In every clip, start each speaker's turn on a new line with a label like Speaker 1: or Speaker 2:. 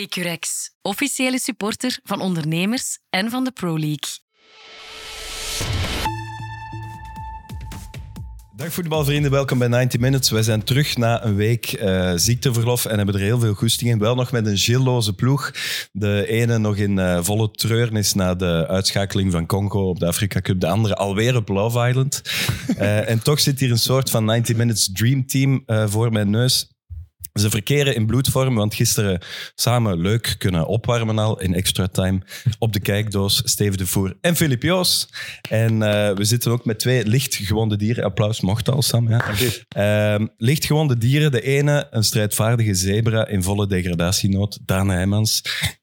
Speaker 1: Securex, officiële supporter van ondernemers en van de Pro League.
Speaker 2: Dag voetbalvrienden, welkom bij 90 Minutes. Wij zijn terug na een week eh, ziekteverlof en hebben er heel veel goesting in. Wel nog met een gilloze ploeg. De ene nog in eh, volle treurnis na de uitschakeling van Congo op de Afrika Cup. De andere alweer op Love Island. Eh, en toch zit hier een soort van 90 Minutes Dream Team eh, voor mijn neus. Ze verkeren in bloedvorm, want gisteren samen leuk kunnen opwarmen al in extra time. Op de kijkdoos Steven de Voer en Filip Joos. En eh, we zitten ook met twee lichtgewonde dieren. Applaus mocht al, Sam. Ja. Ehm, lichtgewonde dieren. De ene een strijdvaardige zebra in volle degradatienood, Daan Heijmans.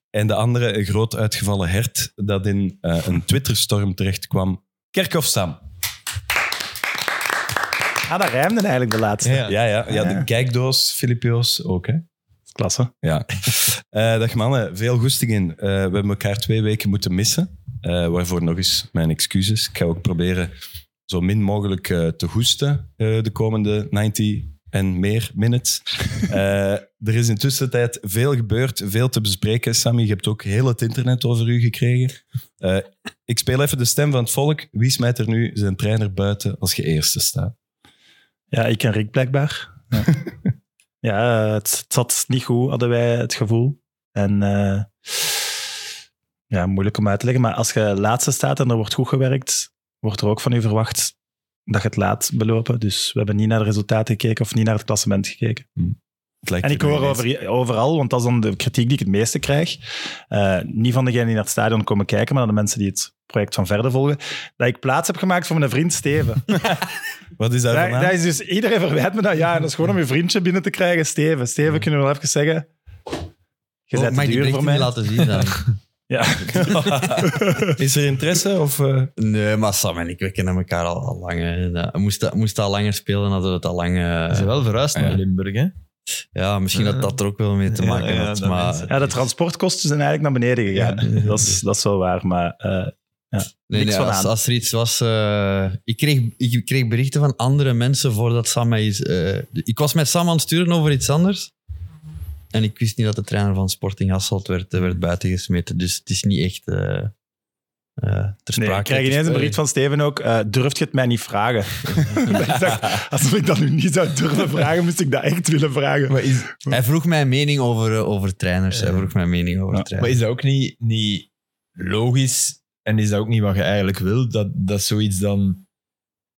Speaker 2: En de andere een groot uitgevallen hert dat in eh, een Twitterstorm terecht kwam. Kerkhoff Sam.
Speaker 3: Ah, dat rijmde eigenlijk de laatste.
Speaker 2: Ja, ja, ja,
Speaker 3: ja.
Speaker 2: de kijkdoos, Filip Joos ook. Hè?
Speaker 3: Klasse.
Speaker 2: Ja. Eh, dag mannen, veel goesting in. Eh, we hebben elkaar twee weken moeten missen. Eh, waarvoor nog eens mijn excuses. Ik ga ook proberen zo min mogelijk eh, te hoesten eh, de komende 90 en meer minutes. Eh, er is intussen tijd veel gebeurd, veel te bespreken. Sammy, je hebt ook heel het internet over u gekregen. Eh, ik speel even de stem van het volk. Wie smijt er nu zijn trainer buiten als je eerste staat?
Speaker 3: Ja, ik en Rick blijkbaar. Ja, ja eh, het, het zat niet goed, hadden wij het gevoel. En eh, ja, moeilijk om uit te leggen. Maar als je laatste staat en er wordt goed gewerkt, wordt er ook van u verwacht dat je het laat belopen. Dus we hebben niet naar de resultaten gekeken of niet naar het klassement gekeken.
Speaker 2: Het lijkt
Speaker 3: En ik
Speaker 2: er nu
Speaker 3: hoor
Speaker 2: ineens-
Speaker 3: over, overal, want dat is dan de kritiek die ik het meeste krijg. eh, niet van degenen die naar het stadion komen kijken, maar van de mensen die het project van verder volgen. Dat ik plaats heb gemaakt voor mijn vriend Steven.
Speaker 2: Wat is daar
Speaker 3: Dat,
Speaker 2: vandaan?
Speaker 3: dat is dus, iedereen verwijt me dat. Ja, en dat is gewoon om je vriendje binnen te krijgen. Steven, Steven, kunnen we wel even zeggen? Je bent te
Speaker 4: mag ik Oh, die
Speaker 3: duur voor
Speaker 4: berichten
Speaker 3: mij.
Speaker 4: niet laten zien dan?
Speaker 3: Ja.
Speaker 2: Is er interesse? Of, eh?
Speaker 4: nee, maar Sam en ik, we kennen elkaar al, al lang. hè. Dat- Moest dat, moest dat al langer spelen, hadden we het al lang... eh,
Speaker 5: Ze zijn wel verhuisd naar
Speaker 4: Ja.
Speaker 5: Limburg, hè?
Speaker 4: ja, misschien dat dat er ook wel mee te
Speaker 5: Ja,
Speaker 4: maken
Speaker 5: ja,
Speaker 4: had.
Speaker 5: dat
Speaker 4: maar,
Speaker 5: mensen-
Speaker 3: ja, de transportkosten zijn eigenlijk naar beneden gegaan.
Speaker 4: Ja.
Speaker 3: Dat, is, dat is wel waar, maar eh,
Speaker 4: nee,
Speaker 3: niks
Speaker 4: nee,
Speaker 3: van
Speaker 4: als,
Speaker 3: aan.
Speaker 4: als er iets was... eh, ik, kreeg, ik kreeg berichten van andere mensen voordat Sam mij is... eh, ik was met Sam aan het sturen over iets anders. En ik wist niet dat de trainer van Sporting Hasselt werd, eh, werd buitengesmeten. Dus het is niet echt... eh eh, ter
Speaker 3: nee,
Speaker 4: sprake
Speaker 3: ik krijg ineens een bericht van Steven ook. eh durft je het mij niet vragen? Ik dacht, als ik dat nu niet zou durven vragen, moest ik dat echt willen vragen.
Speaker 5: Maar is,
Speaker 4: Hij vroeg mijn mening over, eh, over trainers. Hij vroeg mijn mening over
Speaker 3: Ja,
Speaker 5: maar
Speaker 4: trainers.
Speaker 5: is dat ook niet, niet logisch? En is dat ook niet wat je eigenlijk wil? Dat, dat zoiets dan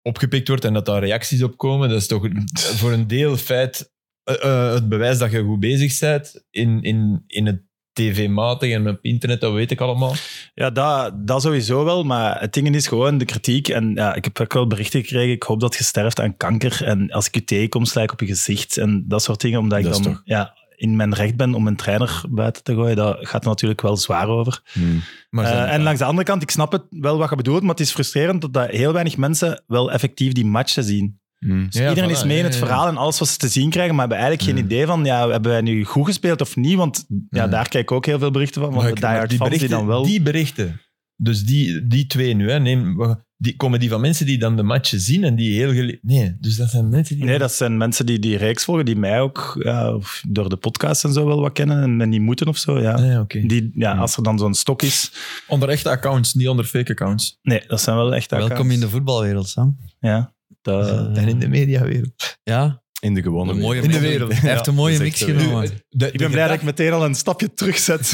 Speaker 5: opgepikt wordt en dat daar reacties op komen? Dat is toch voor een deel feit, eh, eh, het bewijs dat je goed bezig bent in, in, in het tv-matig en op internet, dat weet ik allemaal.
Speaker 3: Ja, dat, dat sowieso wel, maar het ding is gewoon de kritiek. En ja, ik heb ook wel berichten gekregen. Ik hoop dat je sterft aan kanker. En als ik je tegenkom, sla ik op je gezicht. En dat soort dingen, omdat ik
Speaker 2: Dat is
Speaker 3: dan
Speaker 2: toch-
Speaker 3: ja, in mijn recht ben om een trainer buiten te gooien. Dat gaat er natuurlijk wel zwaar over.
Speaker 5: Hmm. Maar
Speaker 3: Eh, en langs de andere kant, ik snap het wel wat je bedoelt, maar het is frustrerend dat, dat heel weinig mensen wel effectief die matchen zien.
Speaker 5: Hmm.
Speaker 3: Dus iedereen is mee in het verhaal en alles wat ze te zien krijgen, maar hebben eigenlijk
Speaker 5: Hmm.
Speaker 3: geen idee van, ja, hebben wij nu goed gespeeld of niet? Want ja,
Speaker 5: Ja.
Speaker 3: daar krijg ik ook heel veel berichten van, want
Speaker 5: Hmm. Maar
Speaker 3: de
Speaker 5: ik- maar
Speaker 3: die,
Speaker 5: die
Speaker 3: fans
Speaker 5: berichten,
Speaker 3: die dan wel...
Speaker 5: die berichten, dus die, die twee nu, hè, neem, we- die, komen die van mensen die dan de matchen zien en die heel gele- Nee, dus dat zijn mensen die...
Speaker 3: Nee, dat zijn mensen die die reeks volgen, die mij ook ja, of door de podcast en zo wel wat kennen en, en die moeten of zo. Ja.
Speaker 5: Ah, ja, oké.
Speaker 3: Die, ja, als er dan zo'n stok is.
Speaker 6: Onder echte accounts, niet onder fake accounts.
Speaker 3: Nee, dat zijn wel echt
Speaker 4: Welkom in de voetbalwereld, Sam. Eh,
Speaker 3: Ja, dat-
Speaker 5: Eh, En in de mediawereld.
Speaker 4: Ja,
Speaker 2: In de gewone
Speaker 4: een mooie
Speaker 2: wereld.
Speaker 4: mix. Hij heeft een mooie
Speaker 2: dat is
Speaker 4: mix
Speaker 2: echt
Speaker 5: eh,
Speaker 2: zo.
Speaker 4: genomen.
Speaker 3: ik ben blij dat ik meteen al een stapje terugzet.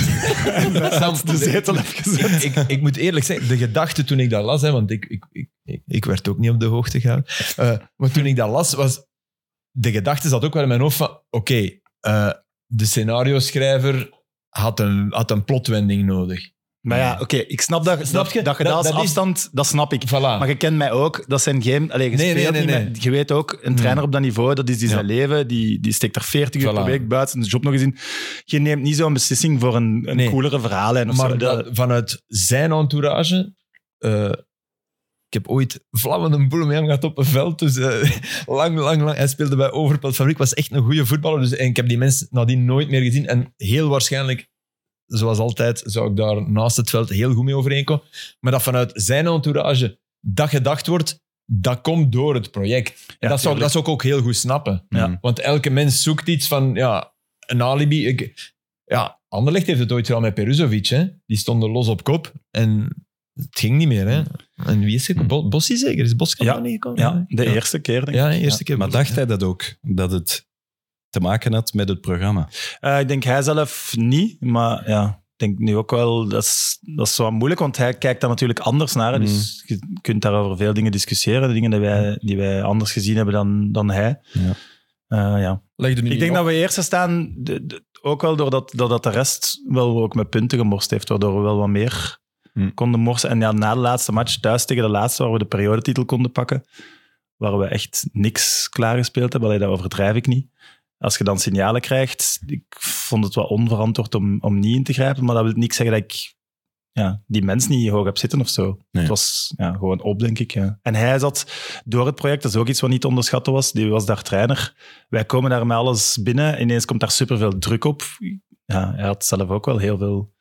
Speaker 5: Sam,
Speaker 3: de zetel heb gezet.
Speaker 5: ik, ik, ik moet eerlijk zeggen, de gedachte toen ik dat las, hè, want ik, ik, ik, ik- ik werd ook niet op de hoogte gehouden. Eh, maar toen ik dat las, was... De gedachte zat ook wel in mijn hoofd van... Oké, eh, de scenario-schrijver had een, had een plotwending nodig.
Speaker 3: Maar ja, oké, ik snap dat,
Speaker 5: Snap
Speaker 3: dat,
Speaker 5: je?
Speaker 3: dat je dat
Speaker 5: Dat-
Speaker 3: als
Speaker 5: dat is-
Speaker 3: afstand, dat snap ik.
Speaker 5: Voilà.
Speaker 3: Maar je kent mij ook, dat zijn geen... Allee, je,
Speaker 5: Ah. Nee,
Speaker 3: speelt
Speaker 5: nee, nee,
Speaker 3: niet
Speaker 5: nee. Mm.
Speaker 3: met- je weet ook, een trainer op dat niveau, dat is die zijn leven, die, die steekt er 40 uur
Speaker 5: Voilà.
Speaker 3: per week buiten, zijn job nog eens in. Je neemt niet zo'n beslissing voor een, een
Speaker 5: Nee.
Speaker 3: coolere verhaallijn of zo.
Speaker 5: maar
Speaker 3: Dat-
Speaker 5: dat- vanuit zijn entourage. eh, ik heb ooit vlammende boel met hem gehad op een veld. Dus eh, lang, lang, lang. Hij speelde bij Overpelt Fabriek. Was echt een goede voetballer. Dus, en ik heb die mensen nadien nooit meer gezien. En heel waarschijnlijk, zoals altijd, zou ik daar naast het veld heel goed mee overeenkomen. Maar dat vanuit zijn entourage dat gedacht wordt, dat komt door het project. En
Speaker 3: Ja,
Speaker 5: dat, zou,
Speaker 3: tuurlijk.
Speaker 5: dat zou ik ook heel goed snappen.
Speaker 3: Ja.
Speaker 5: Want elke mens zoekt iets van ja, een alibi. Ik, ja, Anderlecht heeft het ooit gedaan met Peruzovic. Hè? Die stonden los op kop en het ging niet meer. Hè? En wie is het? Bo- Bossi zeker? Is Boskamp
Speaker 3: Ja.
Speaker 5: nog niet gekomen?
Speaker 3: Ja, de eerste keer, denk ik.
Speaker 5: Ja, de eerste keer.
Speaker 2: Maar dacht hij dat ook? Dat het te maken had met het programma?
Speaker 3: Eh, ik denk hij zelf niet, maar ja, ik denk nu ook wel, dat is, dat is wel moeilijk, want hij kijkt daar natuurlijk anders naar. hè. Dus
Speaker 5: Mm.
Speaker 3: je kunt daarover veel dingen discussiëren, de dingen die wij, die wij anders gezien hebben dan, dan hij.
Speaker 2: Ja.
Speaker 3: Eh, ja.
Speaker 6: Leg er nu
Speaker 3: Ik
Speaker 6: niet
Speaker 3: denk
Speaker 6: op.
Speaker 3: dat we eerste staan, de- de- ook wel doordat, doordat de rest wel ook met punten gemorst heeft, waardoor we wel wat meer
Speaker 2: Hmm.
Speaker 3: konden morsen. En ja, na de laatste match thuis tegen de laatste, waar we de periodetitel konden pakken, waar we echt niks klaargespeeld hebben, Allee, dat overdrijf ik niet. Als je dan signalen krijgt, ik vond het wel onverantwoord om, om niet in te grijpen, maar dat wil niet zeggen dat ik ja, die mens niet hoog heb zitten of zo.
Speaker 2: Nee.
Speaker 3: Het was ja, gewoon op, denk ik. Ja. En hij zat door het project, dat is ook iets wat niet te onderschatten was, die was daar trainer. Wij komen daar met alles binnen, ineens komt daar superveel druk op. Ja, hij had zelf ook wel heel veel,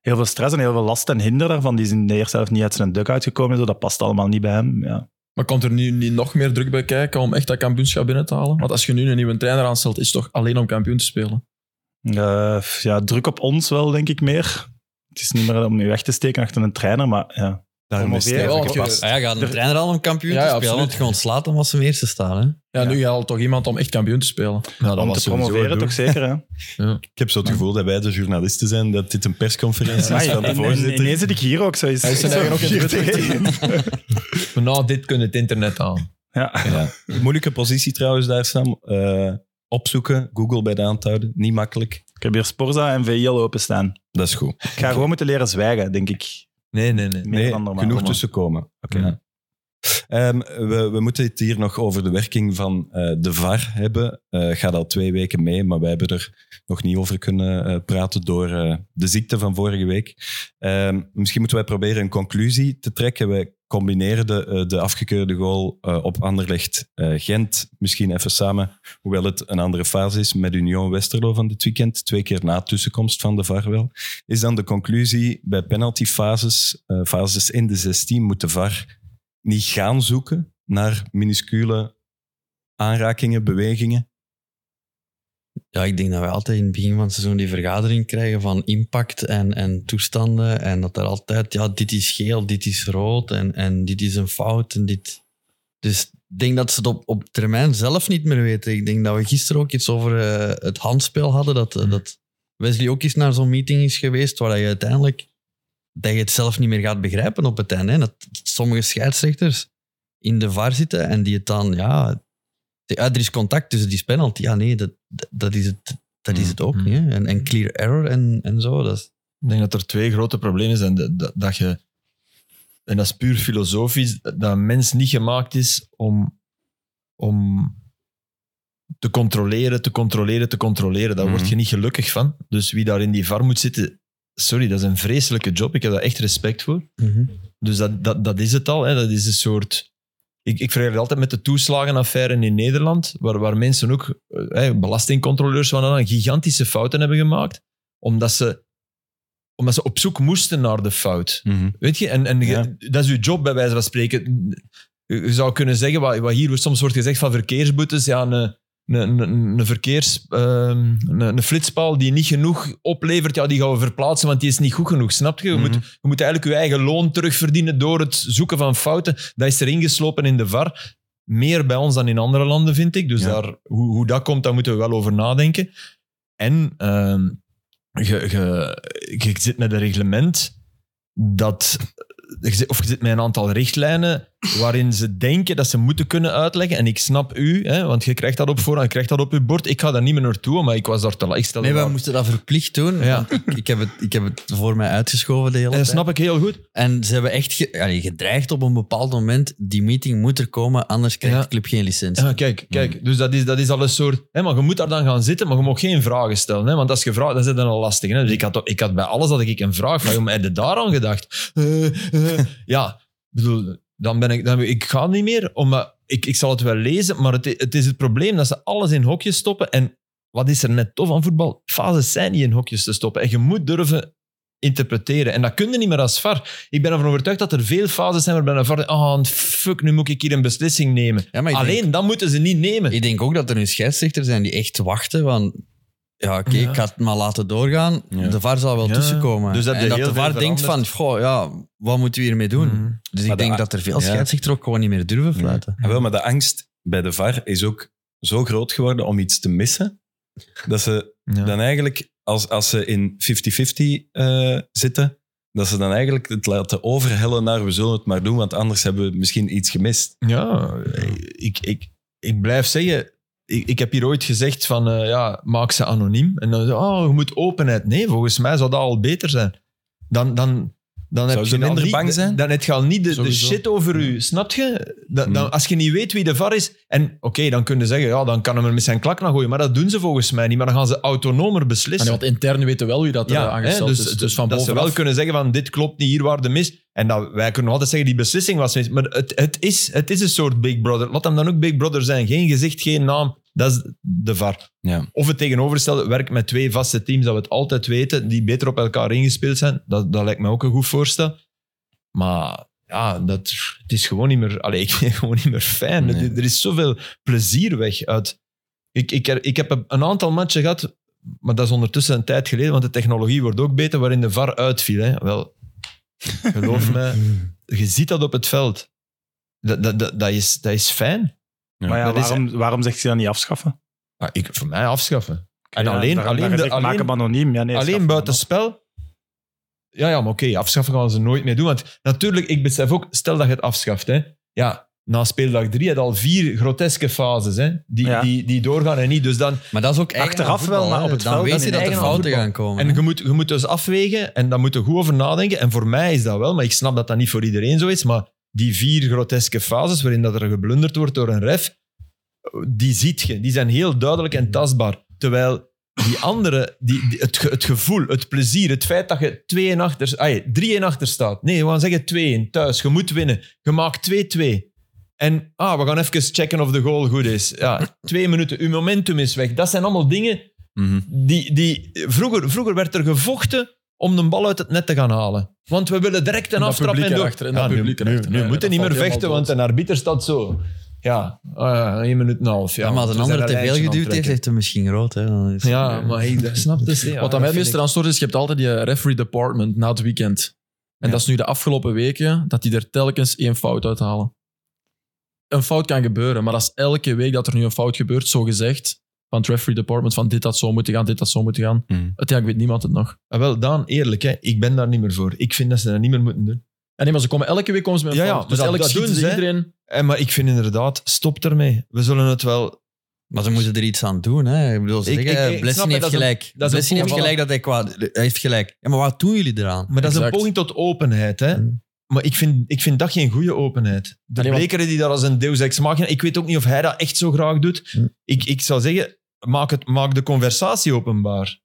Speaker 3: heel veel stress en heel veel last en hinder daarvan. Die is in de eerste helft niet uit zijn duk uitgekomen, zo. dat past allemaal niet bij hem. Ja.
Speaker 6: Maar komt er nu niet nog meer druk bij kijken om echt dat kampioenschap binnen te halen? Want als je nu een nieuwe trainer aanstelt, is het toch alleen om kampioen te spelen?
Speaker 3: Eh, ja, druk op ons wel, denk ik meer. Het is niet meer om je weg te steken achter een trainer, maar ja.
Speaker 2: Daarom is het
Speaker 3: Promoveren,
Speaker 2: eigenlijk
Speaker 6: want je-
Speaker 2: gepast.
Speaker 4: Ah ja, gaat een
Speaker 3: Er-
Speaker 4: trainer al om kampioen
Speaker 6: Ja,
Speaker 4: te
Speaker 6: ja,
Speaker 4: spelen?
Speaker 6: absoluut.
Speaker 4: Want je ontslaat hem als ze hem eerste staan. Hè?
Speaker 6: Ja, nu haalt toch iemand om echt kampioen te spelen.
Speaker 5: Nou, dat
Speaker 3: om
Speaker 5: was
Speaker 3: te
Speaker 5: sowieso
Speaker 3: promoveren
Speaker 5: het doel.
Speaker 3: toch zeker, hè?
Speaker 2: Ik heb zo het gevoel dat wij de journalisten zijn, dat dit een persconferentie is van
Speaker 3: en-
Speaker 2: de
Speaker 3: en-
Speaker 2: voorzitter.
Speaker 3: ineens zit ik hier ook zo. Is,
Speaker 6: Hij is zijn eigen ook in Twitter.
Speaker 5: Maar nou, dit kunnen het internet aan.
Speaker 3: Ja.
Speaker 2: Ja. Moeilijke positie trouwens daar, Sam. Eh, opzoeken, Google bij de hand houden. Niet makkelijk.
Speaker 3: Ik heb hier Sporza en VIL openstaan.
Speaker 2: Dat is goed.
Speaker 3: Ik ga gewoon moeten leren zwijgen, denk ik.
Speaker 5: Nee, nee, nee.
Speaker 3: Meer
Speaker 2: Nee,
Speaker 3: dan normaal.
Speaker 2: genoeg
Speaker 3: Maar-
Speaker 2: tussenkomen. Oké.
Speaker 5: Ja.
Speaker 2: Ehm, we, we moeten het hier nog over de werking van eh, de VAR hebben. Eh gaat al twee weken mee, maar wij hebben er nog niet over kunnen eh, praten door eh, de ziekte van vorige week. Ehm, misschien moeten wij proberen een conclusie te trekken. Wij combineren de, eh, de afgekeurde goal eh, op Anderlecht-Gent misschien even samen, hoewel het een andere fase is, met Union Westerlo van dit weekend. Twee keer na tussenkomst van de VAR wel is dan de conclusie bij penaltyfases, eh, fases in de 16, moet de VAR niet gaan zoeken naar minuscule aanrakingen, bewegingen.
Speaker 4: Ja, ik denk dat wij altijd in het begin van het seizoen die vergadering krijgen van impact en, en toestanden. En dat er altijd, ja, dit is geel, dit is rood en, en dit is een fout. En dit. Dus ik denk dat ze het op, op termijn zelf niet meer weten. Ik denk dat we gisteren ook iets over eh, het handspel hadden. Dat, eh, dat Wesley ook eens naar zo'n meeting is geweest waar je uiteindelijk dat je het zelf niet meer gaat begrijpen op het einde. hè. Dat sommige scheidsrechters in de var zitten en die het dan, ja, de- ah, er is contact, dus het is penalty. Ja, nee, dat, dat- dat is het, dat is het ook
Speaker 6: Mm.
Speaker 4: niet. hè. En, en clear error en, en zo. Dat is,
Speaker 6: Ik denk dat er twee grote problemen zijn. Dat, dat, dat je, en dat is puur filosofisch, dat een mens niet gemaakt is om, om te controleren, te controleren, te controleren. Daar
Speaker 3: Mhm.
Speaker 6: word je niet gelukkig van. Dus wie daar in die var moet zitten, sorry, dat is een vreselijke job. Ik heb daar echt respect voor. Dus dat, dat, dat is het al. Hè. Dat is een soort. Ik, ik vergelijk het altijd met de toeslagenaffaire in Nederland, waar, waar mensen ook, eh, hè, belastingcontroleurs van dan, gigantische fouten hebben gemaakt, omdat ze, omdat ze op zoek moesten naar de fout. Weet je, en, en je- dat is uw job bij wijze van spreken. Je je zou kunnen zeggen, wat, wat hier soms wordt gezegd van verkeersboetes, ja, een, een, een, een verkeers, ehm, een, een flitspaal die niet genoeg oplevert, ja, die gaan we verplaatsen, want die is niet goed genoeg, snap je? Je, moet, je moet eigenlijk je eigen loon terugverdienen door het zoeken van fouten. Dat is er ingeslopen in de VAR. Meer bij ons dan in andere landen, vind ik. Dus daar, hoe, hoe dat komt, daar moeten we wel over nadenken. En ehm, je, je, je zit met een reglement dat. je zit- Of je zit met een aantal richtlijnen waarin ze denken dat ze moeten kunnen uitleggen. En ik snap u, hè, want je krijgt dat op voorhand, je krijgt dat op je bord. Ik ga daar niet meer naartoe, maar ik was daar te laat. Ik stelde
Speaker 4: Nee, wij
Speaker 6: daar-
Speaker 4: moesten dat verplicht doen.
Speaker 6: Ja.
Speaker 4: want Ik, ik, heb het, ik heb het voor mij uitgeschoven de hele
Speaker 6: En
Speaker 4: tijd.
Speaker 6: dat snap ik heel goed.
Speaker 4: En ze hebben echt ge- allee, gedreigd op een bepaald moment, die meeting moet er komen, anders krijgt
Speaker 6: Ja.
Speaker 4: de club geen licentie.
Speaker 6: Ja, kijk, kijk. Dus dat is, dat is al een soort... Hè, maar je moet daar dan gaan zitten, maar je mag geen vragen stellen. Hè, want als je vraagt, dan zit dat al lastig. Hè. Dus ik had, ik had bij alles dat ik een vraag van, joh, maar heb je daar aan gedacht? Eh, eh. ja, ik bedoel, dan ben ik... Dan, ik ga niet meer, omdat... Ik, ik zal het wel lezen, maar het, i- het is het probleem dat ze alles in hokjes stoppen. En wat is er net tof aan voetbal? Fases zijn niet in hokjes te stoppen. En je moet durven interpreteren. En dat kun je niet meer als VAR. Ik ben ervan overtuigd dat er veel fases zijn waarbij een VAR... denkt, Oh, fuck, nu moet ik hier een beslissing nemen.
Speaker 4: Ja, maar ik denk-
Speaker 6: Alleen dat moeten ze niet nemen.
Speaker 4: Ik denk ook dat er nu scheidsrechters zijn die echt wachten van... ja, oké, ik ga het maar laten doorgaan.
Speaker 2: Ja.
Speaker 4: De VAR zal wel
Speaker 6: Ja.
Speaker 4: tussenkomen.
Speaker 6: Dus dat
Speaker 4: en
Speaker 6: er
Speaker 4: dat
Speaker 6: heel
Speaker 4: de
Speaker 6: veel
Speaker 4: VAR denkt van, goh, ja, wat moeten we hiermee doen?
Speaker 6: Mm-hmm. Mm.
Speaker 4: Dus ik
Speaker 2: Maar de
Speaker 4: denk
Speaker 2: a-
Speaker 4: dat er veel
Speaker 2: Ja.
Speaker 4: scheidsrechters ook gewoon niet meer durven
Speaker 2: Nee.
Speaker 4: fluiten.
Speaker 6: Mhm.
Speaker 2: Ah, wel, maar de angst bij de VAR is ook zo groot geworden om iets te missen, dat ze
Speaker 6: Ja.
Speaker 2: dan eigenlijk, als, als ze in 50-50 eh, zitten, dat ze dan eigenlijk het laten overhellen naar we zullen het maar doen, want anders hebben we misschien iets gemist.
Speaker 6: Ja, ik, ik, ik blijf zeggen, ik, ik heb hier ooit gezegd van, eh, ja, maak ze anoniem. En dan, oh, je moet openheid. Nee, volgens mij zou dat al beter zijn. Dan, dan, dan heb
Speaker 2: Zou ze
Speaker 6: je al
Speaker 2: minder
Speaker 6: niet-
Speaker 2: bang zijn?
Speaker 6: Dan heb je al niet de, de
Speaker 2: Sowieso.
Speaker 6: shit over u, snap je? Dan, dan,
Speaker 2: Mm.
Speaker 6: als je niet weet wie de VAR is, en oké, dan kunnen ze zeggen, ja, dan kan hem er met zijn klak naar gooien. Maar dat doen ze volgens mij niet, maar dan gaan ze autonomer
Speaker 5: Maar
Speaker 6: beslissen.
Speaker 5: want intern weten wel wie dat er
Speaker 6: Ja, hè,
Speaker 5: aangesteld
Speaker 6: dus,
Speaker 5: is. Dus van
Speaker 6: dat ze wel
Speaker 5: bovenaf.
Speaker 6: kunnen zeggen van dit klopt niet, hier waar de mis. En dat, wij kunnen nog altijd zeggen die beslissing was mis. Maar het, het, is, het is een soort Big Brother. Laat hem dan ook Big Brother zijn. Geen gezicht, geen naam. Dat is de VAR.
Speaker 2: Ja.
Speaker 6: Of het tegenovergestelde, werk met twee vaste teams dat we het altijd weten, die beter op elkaar ingespeeld zijn. Dat, dat lijkt mij ook een goed voorstel. Maar ja, dat, het is gewoon niet meer, allee, ik vind het gewoon niet meer fijn.
Speaker 2: Nee.
Speaker 6: Het- Er is zoveel plezier weg uit. Ik, ik, ik heb een aantal matchen gehad, maar dat is ondertussen een tijd geleden, want de technologie wordt ook beter, waarin de VAR uitviel. Hè. Wel, geloof me, je ziet dat op het veld. Dat, dat, dat, dat, is, dat is fijn.
Speaker 3: maar ja,
Speaker 6: dat is-
Speaker 3: waarom, waarom zegt hij dat niet afschaffen?
Speaker 6: Ah, ik, voor mij afschaffen. En
Speaker 3: Ja,
Speaker 6: alleen,
Speaker 3: daar-
Speaker 6: alleen,
Speaker 3: daar
Speaker 6: de-
Speaker 3: zegt, maak
Speaker 6: alleen,
Speaker 3: hem anoniem. Ja, nee,
Speaker 6: alleen
Speaker 3: schaf hem af.
Speaker 6: buitenspel. Ja, ja, maar oké, afschaffen gaan ze nooit meer doen. Want natuurlijk, ik besef ook, stel dat je het afschaft. Hè. Ja, na speeldag drie had je al vier groteske fases hè, die,
Speaker 3: Ja.
Speaker 6: die, die doorgaan en niet. Dus dan,
Speaker 4: Maar dat is ook eigen
Speaker 3: Achteraf
Speaker 4: aan voetbal,
Speaker 3: wel, maar
Speaker 4: hè.
Speaker 3: op het
Speaker 4: Dan
Speaker 3: veld
Speaker 4: weet
Speaker 3: is
Speaker 4: je
Speaker 3: het
Speaker 4: dat er
Speaker 3: eigen aan
Speaker 4: fouten
Speaker 6: voetbal.
Speaker 4: gaan komen.
Speaker 6: en je moet, je moet dus afwegen en daar moet je goed over nadenken. En voor mij is dat wel, maar ik snap dat dat niet voor iedereen zo is. Maar die vier groteske fases waarin dat er geblunderd wordt door een ref, die ziet je. Die zijn heel duidelijk en tastbaar. Terwijl die andere, die, die- het, ge- het gevoel, het plezier, het feit dat je 2-1 achter, ay, 3-1 achter staat. Nee, we gaan zeggen 2-1 thuis. Je moet winnen. Je maakt 2-2. En ah, we gaan even checken of de goal goed is. Ja, twee minuten, uw momentum is weg. Dat zijn allemaal dingen
Speaker 5: Mhm.
Speaker 6: die, die, vroeger, vroeger werd er gevochten om de bal uit het net te gaan halen. Want we willen direct een
Speaker 5: En dat
Speaker 6: aftrap
Speaker 5: publiek
Speaker 6: en door.
Speaker 5: erachter, en dat
Speaker 6: nu-
Speaker 5: publiek
Speaker 6: nu,
Speaker 5: erachter.
Speaker 6: nu
Speaker 5: Ja,
Speaker 6: moeten
Speaker 5: dat
Speaker 6: niet meer
Speaker 5: valt helemaal
Speaker 6: vechten,
Speaker 5: dood.
Speaker 6: want een arbiter staat zo. Ja, eh één minuut en een half. Ja,
Speaker 4: Ja, maar als een
Speaker 6: we zijn
Speaker 4: ander te
Speaker 6: een
Speaker 4: veel
Speaker 6: lijntje aan
Speaker 4: geduwd heeft,
Speaker 6: het trekken.
Speaker 4: heeft hij misschien rood. Hè. Dan is-
Speaker 6: Ja, maar ik dat snap dus niet.
Speaker 5: Wat aan
Speaker 6: Ja,
Speaker 5: mij
Speaker 6: dat
Speaker 5: het meest
Speaker 6: vind ik-
Speaker 5: eraan stoort is, je hebt altijd die eh, referee department na het weekend. En
Speaker 6: Ja.
Speaker 5: dat is nu de afgelopen weken dat die er telkens één fout uithalen. Een fout kan gebeuren, maar dat is elke week dat er nu een fout gebeurt, zo gezegd, van het referee department, van dit dat zo moeten gaan, dit dat zo moeten
Speaker 6: Mm.
Speaker 5: gaan.
Speaker 2: Mhm.
Speaker 5: Uiteindelijk weet niemand het nog.
Speaker 6: Ah, wel, Daan, eerlijk, hè, ik ben daar niet meer voor. Ik vind dat ze dat niet meer moeten doen.
Speaker 5: En nee, maar ze komen elke week komen ze met een
Speaker 6: Ja, ja,
Speaker 5: fout.
Speaker 6: maar
Speaker 5: dus
Speaker 6: dat-
Speaker 5: elke
Speaker 6: dat
Speaker 5: schieten
Speaker 6: doen
Speaker 5: ze
Speaker 6: ze, hè.
Speaker 5: iedereen.
Speaker 6: Eh, maar ik vind inderdaad, stop ermee. We zullen het wel...
Speaker 4: Maar ze moeten er iets aan doen. Hè. Ik bedoel, ze
Speaker 6: Ik-
Speaker 4: zeggen,
Speaker 6: ik- ik
Speaker 4: eh,
Speaker 6: snap
Speaker 4: Blessing
Speaker 6: dat,
Speaker 4: heeft
Speaker 6: dat is een-
Speaker 4: gelijk.
Speaker 6: dat is een
Speaker 4: Blessing heeft
Speaker 6: voorval.
Speaker 4: gelijk dat hij kwaad hij heeft gelijk. Ja, maar wat doen jullie eraan?
Speaker 6: Maar dat is een
Speaker 5: Exact.
Speaker 6: poging tot openheid, hè. Maar ik vind, ik vind dat geen goede openheid. De
Speaker 5: Nee, want-
Speaker 6: Blekeren die daar als een deus ex machina... Ik weet ook niet of hij dat echt zo graag doet.
Speaker 4: Hm.
Speaker 6: Ik, ik zou zeggen, maak, het, maak de conversatie openbaar.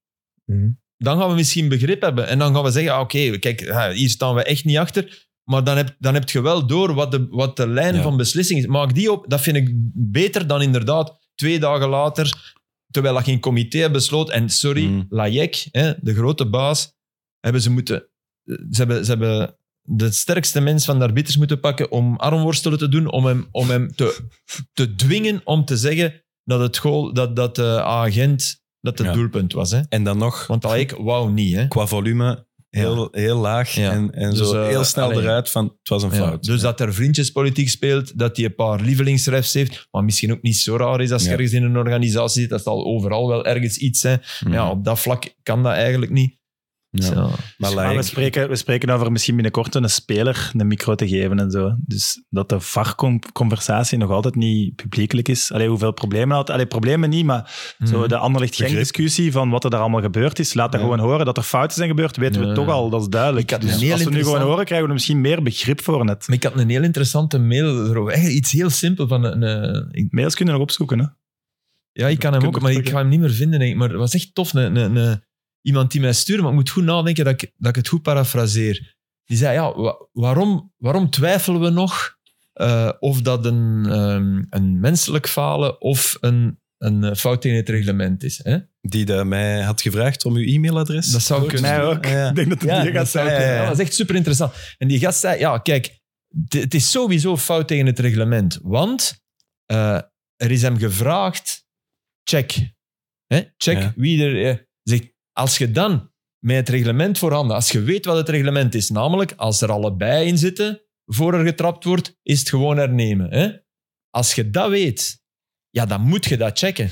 Speaker 4: Hm.
Speaker 6: Dan gaan we misschien begrip hebben. En dan gaan we zeggen, ah, oké, kijk, ja, hier staan we echt niet achter. Maar dan heb, dan heb je wel door wat de, wat de lijn
Speaker 2: Ja.
Speaker 6: van beslissing is. Maak die op. Dat vind ik beter dan inderdaad twee dagen later, terwijl dat geen comité besloot. En sorry,
Speaker 2: Hm.
Speaker 6: Lajek, hè, de grote baas, hebben ze moeten... Ze hebben, ze hebben de sterkste mens van de arbiters moeten pakken om armworstelen te doen, om hem, om hem te, te dwingen om te zeggen dat het goal, dat, dat de agent, dat het
Speaker 2: Ja.
Speaker 6: doelpunt was. Hè?
Speaker 2: En dan nog,
Speaker 6: Want dat ik wou niet. Hè?
Speaker 2: qua volume, heel, heel laag
Speaker 6: Ja.
Speaker 2: en, en
Speaker 6: Dus,
Speaker 2: zo
Speaker 6: eh,
Speaker 2: heel snel
Speaker 6: allee.
Speaker 2: eruit van het was een
Speaker 6: Ja,
Speaker 2: fout.
Speaker 6: dus dat er vriendjespolitiek speelt, dat hij een paar lievelingsrefs heeft, wat misschien ook niet zo raar is als je
Speaker 2: Ja.
Speaker 6: ergens in een organisatie zit, dat zal overal wel ergens iets zijn.
Speaker 2: Mm.
Speaker 6: Ja, op dat vlak kan dat eigenlijk niet.
Speaker 2: Ja.
Speaker 6: Zo.
Speaker 2: Maar
Speaker 3: Maar we,
Speaker 2: Laik-
Speaker 3: spreken, we spreken over misschien binnenkort een speler een micro te geven en zo. Dus dat de VAR-conversatie nog altijd niet publiekelijk is. Allee, hoeveel problemen had. Allee, problemen niet, maar
Speaker 6: Mhm.
Speaker 3: zo de
Speaker 2: Begrip.
Speaker 3: Anderlicht-Genk-discussie van wat er daar allemaal gebeurd is. Laat dat
Speaker 6: Mm. Ja.
Speaker 3: gewoon horen. Dat er fouten zijn gebeurd, weten we
Speaker 6: Ja.
Speaker 3: toch al. Dat is duidelijk.
Speaker 6: Ik had
Speaker 3: Dus
Speaker 6: een heel
Speaker 3: als we nu gewoon
Speaker 6: interessant-
Speaker 3: horen, krijgen we er misschien meer begrip voor net.
Speaker 6: Maar ik had een heel interessante mail erover. Eigenlijk iets heel simpel van een... een- ik-
Speaker 3: Mails kunnen we nog opzoeken, hè?
Speaker 6: Ja, ik kan hem
Speaker 3: Kunnen
Speaker 6: ook, maar ik ga hem niet meer vinden. Denk ik. Maar het was echt tof. Een, een, een- iemand die mij stuurde, maar ik moet goed nadenken dat ik, dat ik het goed parafraseer. Die zei, ja, wa- waarom, waarom twijfelen we nog eh, of dat een, ehm, een menselijk falen of een, een eh, fout tegen het reglement is? Hè?
Speaker 2: Die dat mij had gevraagd om uw e-mailadres.
Speaker 6: Dat zou kunnen.
Speaker 3: Mij ook.
Speaker 2: Ja, ja.
Speaker 3: Ik denk dat het
Speaker 6: Ja,
Speaker 3: hier gaat
Speaker 6: dat,
Speaker 3: zijn.
Speaker 6: zou kunnen. Ja, dat is echt super interessant. En die gast zei: Ja, kijk, het- het is sowieso fout tegen het reglement. Want eh, er is hem gevraagd: check. Hè? Check
Speaker 2: Ja.
Speaker 6: wie er... eh, zegt, als je dan met het reglement voorhanden, als je weet wat het reglement is, namelijk als er allebei in zitten, voor er getrapt wordt, is het gewoon hernemen. Hè? Als je dat weet, ja, dan moet je dat checken.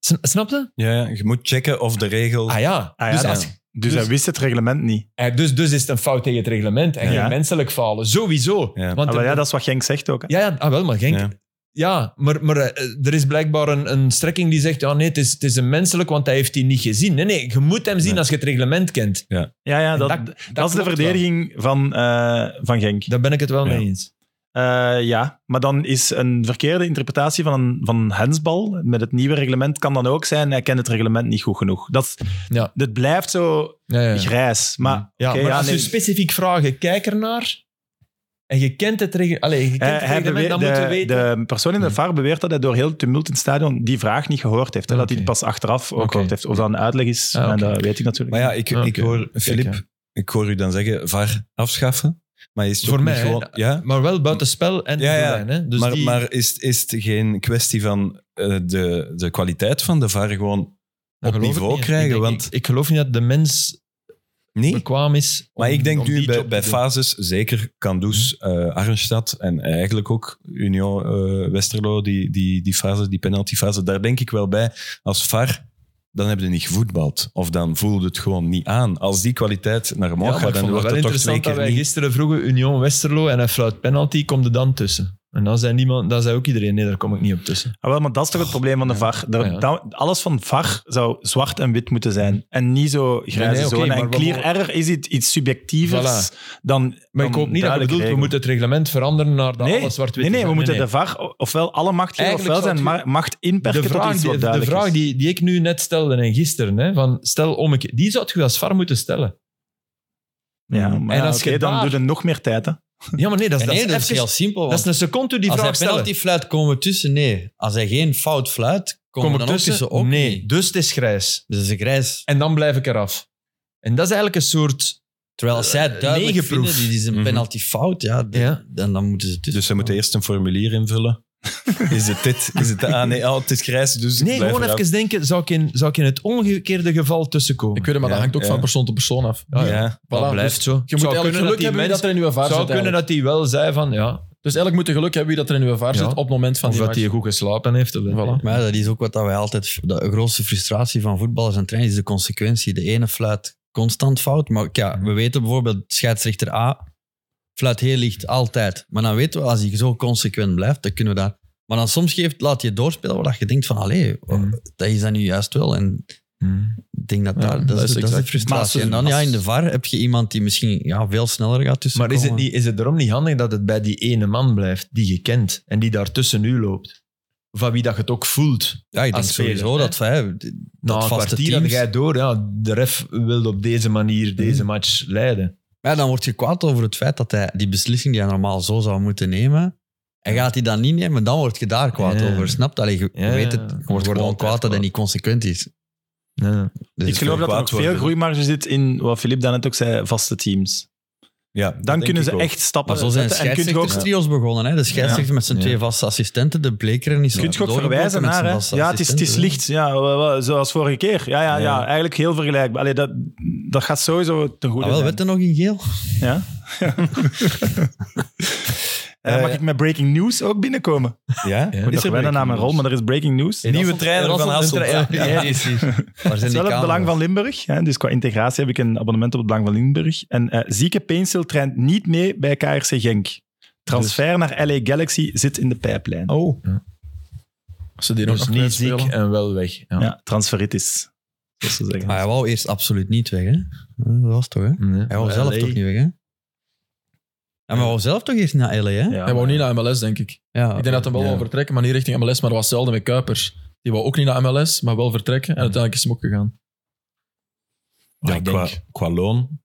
Speaker 6: Sn- Snap je?
Speaker 2: Ja, ja, je moet checken of de regel...
Speaker 6: Ah ja.
Speaker 3: Ah ja,
Speaker 6: dus,
Speaker 3: dat-
Speaker 6: als,
Speaker 3: Dus, hij wist het reglement niet.
Speaker 6: eh, dus, dus is het een fout tegen het reglement en
Speaker 3: Ja.
Speaker 6: geen menselijk falen. Sowieso.
Speaker 2: Ja.
Speaker 6: Want
Speaker 3: Ah, wel,
Speaker 6: er-
Speaker 3: ja, dat is wat Genk zegt ook. hè.
Speaker 6: Ja, ja ah, wel, maar Genk...
Speaker 2: Ja.
Speaker 6: Ja, maar, maar eh, er is blijkbaar een, een strekking die zegt, ja, nee, het is, het is een menselijk, want hij heeft die niet gezien. Nee, nee, je moet hem zien
Speaker 2: Nee.
Speaker 6: als je het reglement kent.
Speaker 3: Ja, ja, dat,
Speaker 6: En
Speaker 3: dat, is de
Speaker 6: klopt wel.
Speaker 3: verdediging van, eh, van Genk.
Speaker 6: Daar ben ik het wel
Speaker 2: Ja.
Speaker 6: mee eens.
Speaker 3: Eh, ja, maar dan is een verkeerde interpretatie van een, van een hensbal met het nieuwe reglement kan dan ook zijn, hij kent het reglement niet goed genoeg. Dat, is-
Speaker 6: Ja.
Speaker 3: dat blijft zo
Speaker 6: Ja, ja.
Speaker 3: grijs. Maar,
Speaker 6: ja,
Speaker 3: oké,
Speaker 6: maar als
Speaker 3: nee.
Speaker 6: je specifiek vragen, kijk ernaar en je kent het, reg Allee, je kent
Speaker 3: Eh, Hij-
Speaker 6: het
Speaker 3: hij
Speaker 6: reglement, dan
Speaker 3: beweert-
Speaker 6: moeten we
Speaker 3: de,
Speaker 6: weten.
Speaker 3: de persoon in de VAR beweert dat hij door heel het tumult in het stadion die vraag niet gehoord heeft. Hè? Dat hij
Speaker 6: Oké.
Speaker 3: het pas achteraf ook
Speaker 6: Oké.
Speaker 3: gehoord heeft. Of dat een uitleg is,
Speaker 6: Ah,
Speaker 3: en
Speaker 6: oké.
Speaker 3: dat weet ik natuurlijk.
Speaker 2: Maar ja, ik,
Speaker 6: Ah,
Speaker 2: ik
Speaker 6: oké.
Speaker 2: hoor,
Speaker 6: ja.
Speaker 2: Filip, ik hoor u dan zeggen, VAR afschaffen. Maar is het
Speaker 6: Voor
Speaker 2: ook niet
Speaker 6: mij, hè?
Speaker 2: gewoon... Ja?
Speaker 6: Maar wel buitenspel en
Speaker 2: Ja,
Speaker 6: de
Speaker 2: ja.
Speaker 6: lijn, hè? Dus
Speaker 2: maar
Speaker 6: die-
Speaker 2: maar is, is het geen kwestie van eh, de, de kwaliteit van de VAR gewoon
Speaker 6: dat
Speaker 2: op
Speaker 6: geloof ik
Speaker 2: niveau
Speaker 6: niet. Ik
Speaker 2: krijgen?
Speaker 6: denk-
Speaker 2: want
Speaker 6: ik, ik geloof niet dat de mens
Speaker 2: nee,
Speaker 6: bekwaam is. om-
Speaker 2: maar ik denk
Speaker 6: om
Speaker 2: nu
Speaker 6: die
Speaker 2: bij,
Speaker 6: job te
Speaker 2: bij
Speaker 6: doen.
Speaker 2: fases, zeker Kandus, eh Arnstad en eigenlijk ook Union eh, Westerlo, die, die, die fase, die penaltyfase, daar denk ik wel bij. Als VAR, dan hebben ze niet gevoetbald. Of dan voelde het gewoon niet aan. Als die kwaliteit naar
Speaker 6: Ja,
Speaker 2: omhoog
Speaker 6: maar
Speaker 2: gaat,
Speaker 6: ik
Speaker 2: dan
Speaker 6: vond het
Speaker 2: wordt het
Speaker 6: wel
Speaker 2: toch twee
Speaker 6: interessant dat
Speaker 2: keer
Speaker 6: wij
Speaker 2: niet.
Speaker 6: gisteren vroegen Union Westerlo en hij fluit penalty, komt er dan tussen. En dan zei, niemand, dan zei ook iedereen, nee, daar kom ik niet op tussen.
Speaker 3: Ah, wel, maar dat is toch het probleem van de VAR. Dat-
Speaker 6: Ja.
Speaker 3: dat- alles van VAR zou zwart en wit moeten zijn. En niet zo grijze
Speaker 6: Nee, nee, oké,
Speaker 3: zone.
Speaker 6: maar
Speaker 3: En
Speaker 6: we
Speaker 3: clear
Speaker 6: mogen-
Speaker 3: error is iets, iets subjectievers dan
Speaker 6: Maar
Speaker 3: dan
Speaker 6: ik hoop niet dat je
Speaker 3: duidelijke
Speaker 6: bedoelt, we
Speaker 3: regel.
Speaker 6: moeten het reglement veranderen naar dat
Speaker 3: Nee,
Speaker 6: alles zwart-wit
Speaker 3: nee, nee,
Speaker 6: is.
Speaker 3: we moeten de VAR o- ofwel alle macht geven,
Speaker 6: Eigenlijk
Speaker 3: ofwel zijn
Speaker 6: zou
Speaker 3: ma- macht inperken
Speaker 6: de
Speaker 3: tot
Speaker 6: vraag,
Speaker 3: iets
Speaker 6: die,
Speaker 3: wat
Speaker 6: de
Speaker 3: duidelijk
Speaker 6: vraag
Speaker 3: is.
Speaker 6: die, die ik nu net stelde en gisteren, hè, van stel om ik, die zou je als VAR moeten stellen.
Speaker 3: Ja, maar
Speaker 6: En
Speaker 3: ja,
Speaker 6: als
Speaker 3: oké,
Speaker 6: je
Speaker 3: dan
Speaker 6: daar-
Speaker 3: doe Mm, je nog meer tijd. Hè.
Speaker 6: Ja, maar nee, dat is,
Speaker 4: nee,
Speaker 6: dat is,
Speaker 4: dat is
Speaker 6: even-
Speaker 4: heel simpel.
Speaker 6: dat is
Speaker 4: want
Speaker 6: een seconde die
Speaker 4: als hij
Speaker 6: vraag stellen.
Speaker 4: penalty fluit, komen we tussen. Nee. Als hij geen fout fluit, komen
Speaker 6: Kom
Speaker 4: we
Speaker 6: ik
Speaker 4: dan ook
Speaker 6: tussen?
Speaker 4: tussen. Ook
Speaker 6: nee,
Speaker 4: niet.
Speaker 6: dus het is grijs.
Speaker 4: Dus dat is een grijs.
Speaker 6: En dan blijf ik eraf. En dat is eigenlijk een soort...
Speaker 4: Terwijl als zij
Speaker 6: Eh,
Speaker 4: duidelijk
Speaker 6: negenproef.
Speaker 4: vinden, dit is een
Speaker 2: Mhm.
Speaker 4: penalty fout, ja, d-
Speaker 6: Ja.
Speaker 4: Dan, dan moeten ze tussen.
Speaker 2: Dus ze moeten eerst een formulier invullen. Is het dit? Is het dat? Ah, nee, oh, het is grijs, dus ik
Speaker 6: Nee,
Speaker 2: blijf
Speaker 6: gewoon
Speaker 2: eraf.
Speaker 6: even denken, zou ik, in, zou ik in het omgekeerde geval tussenkomen?
Speaker 7: Ik weet het, maar
Speaker 2: Ja,
Speaker 7: dat hangt ook
Speaker 2: ja.
Speaker 7: van persoon tot persoon af.
Speaker 2: Ja,
Speaker 7: Voilà,
Speaker 2: ja.
Speaker 6: dat
Speaker 7: dus
Speaker 6: blijft zo.
Speaker 7: je moet eigenlijk geluk hebben wie dat er in uw vaar
Speaker 6: zou
Speaker 7: zit.
Speaker 6: kunnen
Speaker 7: eigenlijk.
Speaker 6: dat hij wel zei van, ja,
Speaker 7: Dus eigenlijk moet je geluk hebben wie dat er in uw vaar
Speaker 6: Ja.
Speaker 7: zit op het moment van
Speaker 6: of
Speaker 7: die
Speaker 6: dat hij
Speaker 7: match.
Speaker 6: goed geslapen heeft. Of
Speaker 7: Voilà.
Speaker 4: Maar ja, dat is ook wat dat wij altijd. De grootste frustratie van voetballers en trainers is de consequentie. De ene fluit constant fout. Maar ja, we weten bijvoorbeeld, scheidsrechter A fluit heel licht altijd. Maar dan weten we, als hij zo consequent blijft, dan kunnen we daar. Maar dan soms geeft, laat je doorspelen waar dat je denkt van, allee, oh, dat is dat nu juist wel. En ik denk dat daar, dat,
Speaker 6: dat
Speaker 4: is,
Speaker 6: is
Speaker 4: dat is de
Speaker 6: exact.
Speaker 4: frustratie.
Speaker 7: Maar
Speaker 4: en
Speaker 7: als-
Speaker 4: dan ja, in de
Speaker 7: als-
Speaker 4: VAR heb je iemand die misschien ja, veel sneller gaat tussen.
Speaker 6: Maar is het, niet, is het erom niet handig dat het bij die ene man blijft die je kent en die daar tussen u loopt? Van wie dat je het ook voelt.
Speaker 4: Ja, ik
Speaker 6: als
Speaker 4: denk
Speaker 6: speler,
Speaker 4: sowieso
Speaker 6: hè?
Speaker 4: dat wij...
Speaker 6: Na
Speaker 4: Dat
Speaker 6: een
Speaker 4: vaste
Speaker 6: kwartier
Speaker 4: teams.
Speaker 6: had jij door, ja, de ref wil op deze manier deze match leiden.
Speaker 4: Ja, dan word je kwaad over het feit dat hij die beslissing die hij normaal zo zou moeten nemen, en gaat hij dan niet nemen, dan word je daar kwaad
Speaker 6: Ja.
Speaker 4: over. Snap je? Allee, je
Speaker 6: Ja,
Speaker 4: weet het,
Speaker 6: ja.
Speaker 4: je
Speaker 6: Je
Speaker 4: wordt
Speaker 6: wordt
Speaker 4: gewoon
Speaker 6: altijd
Speaker 4: kwaad dat hij
Speaker 6: kwaad.
Speaker 4: niet consequent is. Dus
Speaker 3: ik geloof dat er
Speaker 2: kwaad
Speaker 3: nog veel
Speaker 2: worden.
Speaker 3: groeimarge zit in wat Filip daarnet ook zei, vaste teams.
Speaker 2: Ja, dat
Speaker 3: Dan
Speaker 2: denk
Speaker 3: kunnen
Speaker 2: ik
Speaker 3: ze
Speaker 2: ook.
Speaker 3: echt stappen
Speaker 4: Maar zo zijn
Speaker 3: zetten. En kun je ook,
Speaker 4: scheidsrechterstrio's begonnen. Hè? De scheidsrechter met zijn twee vaste assistenten, de blekeren is
Speaker 3: kun je ook
Speaker 4: doorgebroken
Speaker 3: verwijzen
Speaker 4: met
Speaker 3: naar...
Speaker 4: zijn
Speaker 3: hè?
Speaker 4: vaste
Speaker 3: Ja, het is, het is
Speaker 4: assistenten.
Speaker 3: licht. Ja, wel, wel, zoals vorige keer. Ja, ja, ja.
Speaker 2: Ja.
Speaker 3: eigenlijk heel vergelijkbaar. Allee, dat, dat gaat sowieso ten goede
Speaker 4: Ah, wel,
Speaker 3: zijn.
Speaker 4: werd er nog in geel?
Speaker 3: Ja. Eh, mag ik met breaking news ook binnenkomen?
Speaker 2: Ja?
Speaker 3: Ik moet
Speaker 2: Is
Speaker 3: nog
Speaker 2: er
Speaker 3: wennen naar mijn rol, maar er is breaking news.
Speaker 2: Nieuwe trainer van Hasselt.
Speaker 4: Ja, precies. Waar
Speaker 3: Het
Speaker 4: zijn
Speaker 3: is wel
Speaker 4: die
Speaker 3: het
Speaker 4: camera's?
Speaker 3: Belang van Limburg. Hè? Dus qua integratie heb ik een abonnement op het Belang van Limburg. En eh, zieke Painstil traint niet mee bij KRC Genk. Transfer naar LA Galaxy zit in de pijplijn.
Speaker 6: Oh,
Speaker 7: Als ze die nog
Speaker 6: dus
Speaker 7: nog
Speaker 6: niet
Speaker 7: niet
Speaker 6: ziek
Speaker 7: spelen.
Speaker 6: en wel weg. Ja.
Speaker 3: Ja, transferitis. Zoals ze zeggen.
Speaker 4: Maar hij wou eerst absoluut niet weg, hè? Dat was toch, hè?
Speaker 6: Nee.
Speaker 4: Hij wou zelf
Speaker 6: LA.
Speaker 4: toch niet weg, hè? Ja, maar hij wou zelf toch eerst naar LA, hè? Ja.
Speaker 7: Hij wou niet naar MLS, denk ik. Ik denk dat hij wel
Speaker 4: Ja.
Speaker 7: wou vertrekken, maar niet richting MLS. Maar dat was hetzelfde met Kuipers. Die wou ook niet naar MLS, maar wel vertrekken. En uiteindelijk is hem ook gegaan.
Speaker 6: Ah,
Speaker 2: Ja,
Speaker 7: ik
Speaker 2: qua,
Speaker 7: denk-
Speaker 2: qua loon.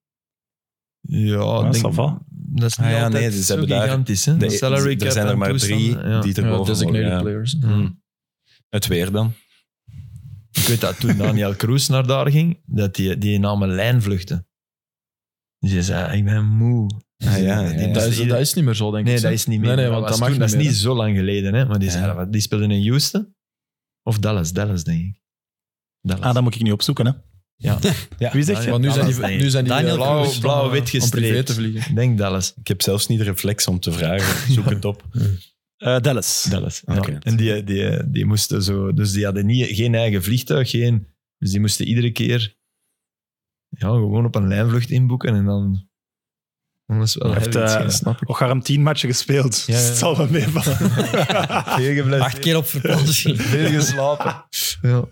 Speaker 6: Ja,
Speaker 3: Ja,
Speaker 6: denk-
Speaker 3: ça va.
Speaker 6: dat is niet
Speaker 2: Ah ja,
Speaker 6: altijd
Speaker 2: nee, dus ze
Speaker 6: zo
Speaker 2: hebben daar-
Speaker 6: gigantisch. Daar,
Speaker 2: De- er zijn er maar drie die
Speaker 7: Ja,
Speaker 2: erboven
Speaker 7: designated
Speaker 2: worden, ja.
Speaker 7: players.
Speaker 6: Mm.
Speaker 2: Hmm. Het weer dan. Ah,
Speaker 6: Ik weet dat toen Daniel Kroes naar daar ging, dat die, die nam een lijnvluchten. Dus die zei, ik ben moe.
Speaker 2: Ah, ja,
Speaker 6: Die-
Speaker 2: ja,
Speaker 6: die-
Speaker 2: ja.
Speaker 7: Dat is, dat is niet meer zo, denk ik.
Speaker 6: Nee,
Speaker 7: hè?
Speaker 6: dat is niet meer.
Speaker 7: Nee, nee, want dat,
Speaker 6: was
Speaker 7: mag
Speaker 6: toen-
Speaker 7: niet
Speaker 6: dat is
Speaker 7: meer,
Speaker 6: niet zo lang geleden. Hè? Maar die,
Speaker 2: Ja.
Speaker 6: zeiden, wat, die speelden in Houston of Dallas. Dallas, denk ik.
Speaker 5: Dat was-
Speaker 3: Ah, dat moet ik nu opzoeken, hè.
Speaker 5: Ja.
Speaker 3: Ja. Wie zegt
Speaker 7: Want nu zijn die, nu zijn die
Speaker 4: Daniel
Speaker 7: eh, blauw-
Speaker 4: Kroes.
Speaker 7: blauw-wit
Speaker 5: Om
Speaker 7: gestreept. Om privé te vliegen.
Speaker 5: Ik denk Dallas.
Speaker 2: Ik heb zelfs niet de reflex om te vragen. Zoek het op.
Speaker 3: Eh, Dallas.
Speaker 5: Dallas.
Speaker 2: Oké.
Speaker 5: Ja. En die, die, die moesten zo... Dus die hadden niet, geen eigen vliegtuig, geen... Dus die moesten iedere keer ja, gewoon op een lijnvlucht inboeken en dan... Anders wel
Speaker 3: Heeft,
Speaker 5: ergens
Speaker 3: eh,
Speaker 5: geen snap ik.
Speaker 3: Och, Harm 10 matchen gespeeld.
Speaker 5: Ja, ja.
Speaker 3: Het zal wel meevallen.
Speaker 5: Veel
Speaker 4: Acht keer op vakantie.
Speaker 5: Veel geslapen. Ja.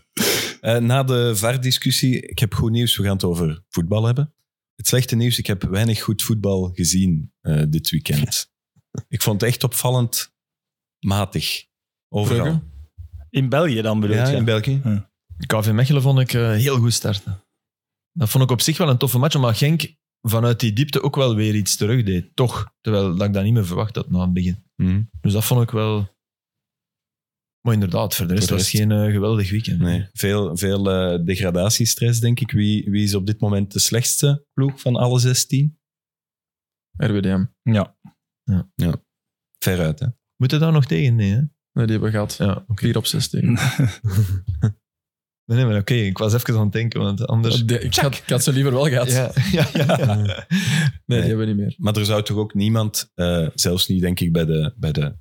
Speaker 2: Eh, na de VAR-discussie, ik heb goed nieuws. We gaan het over voetbal hebben. Het slechte nieuws, ik heb weinig goed voetbal gezien eh, dit weekend. ik vond het echt opvallend matig. Overal.
Speaker 7: Brugge?
Speaker 3: In België dan bedoel
Speaker 2: Ja,
Speaker 3: je?
Speaker 2: in België.
Speaker 6: KV Mechelen vond ik eh, heel goed starten. Dat vond ik op zich wel een toffe match, omdat Genk vanuit die diepte ook wel weer iets terug deed. Toch. Terwijl dat ik dat niet meer verwacht had na het begin.
Speaker 2: Mhm.
Speaker 6: Dus dat vond ik wel... Maar inderdaad, voor de rest
Speaker 2: Voor de
Speaker 6: was het geen eh, geweldig weekend.
Speaker 2: Nee, veel, veel eh, degradatiestress, denk ik. Wie, wie is op dit moment de slechtste ploeg van alle 16?
Speaker 7: RWDM.
Speaker 2: Veruit, hè?
Speaker 6: Moet je daar nog tegen? Nee, hè?
Speaker 7: Nee, die hebben we gehad.
Speaker 6: Ja, oké.
Speaker 7: 4 op 6 tegen.
Speaker 6: Nee, nee, maar oké, ik was even aan het denken, want anders...
Speaker 7: De- ik, had, ik had ze liever wel gehad.
Speaker 6: Ja, ja, ja. ja.
Speaker 7: Nee,
Speaker 2: Nee.
Speaker 7: die hebben we niet meer.
Speaker 2: Maar er zou toch ook niemand, eh, zelfs niet denk ik bij de, bij de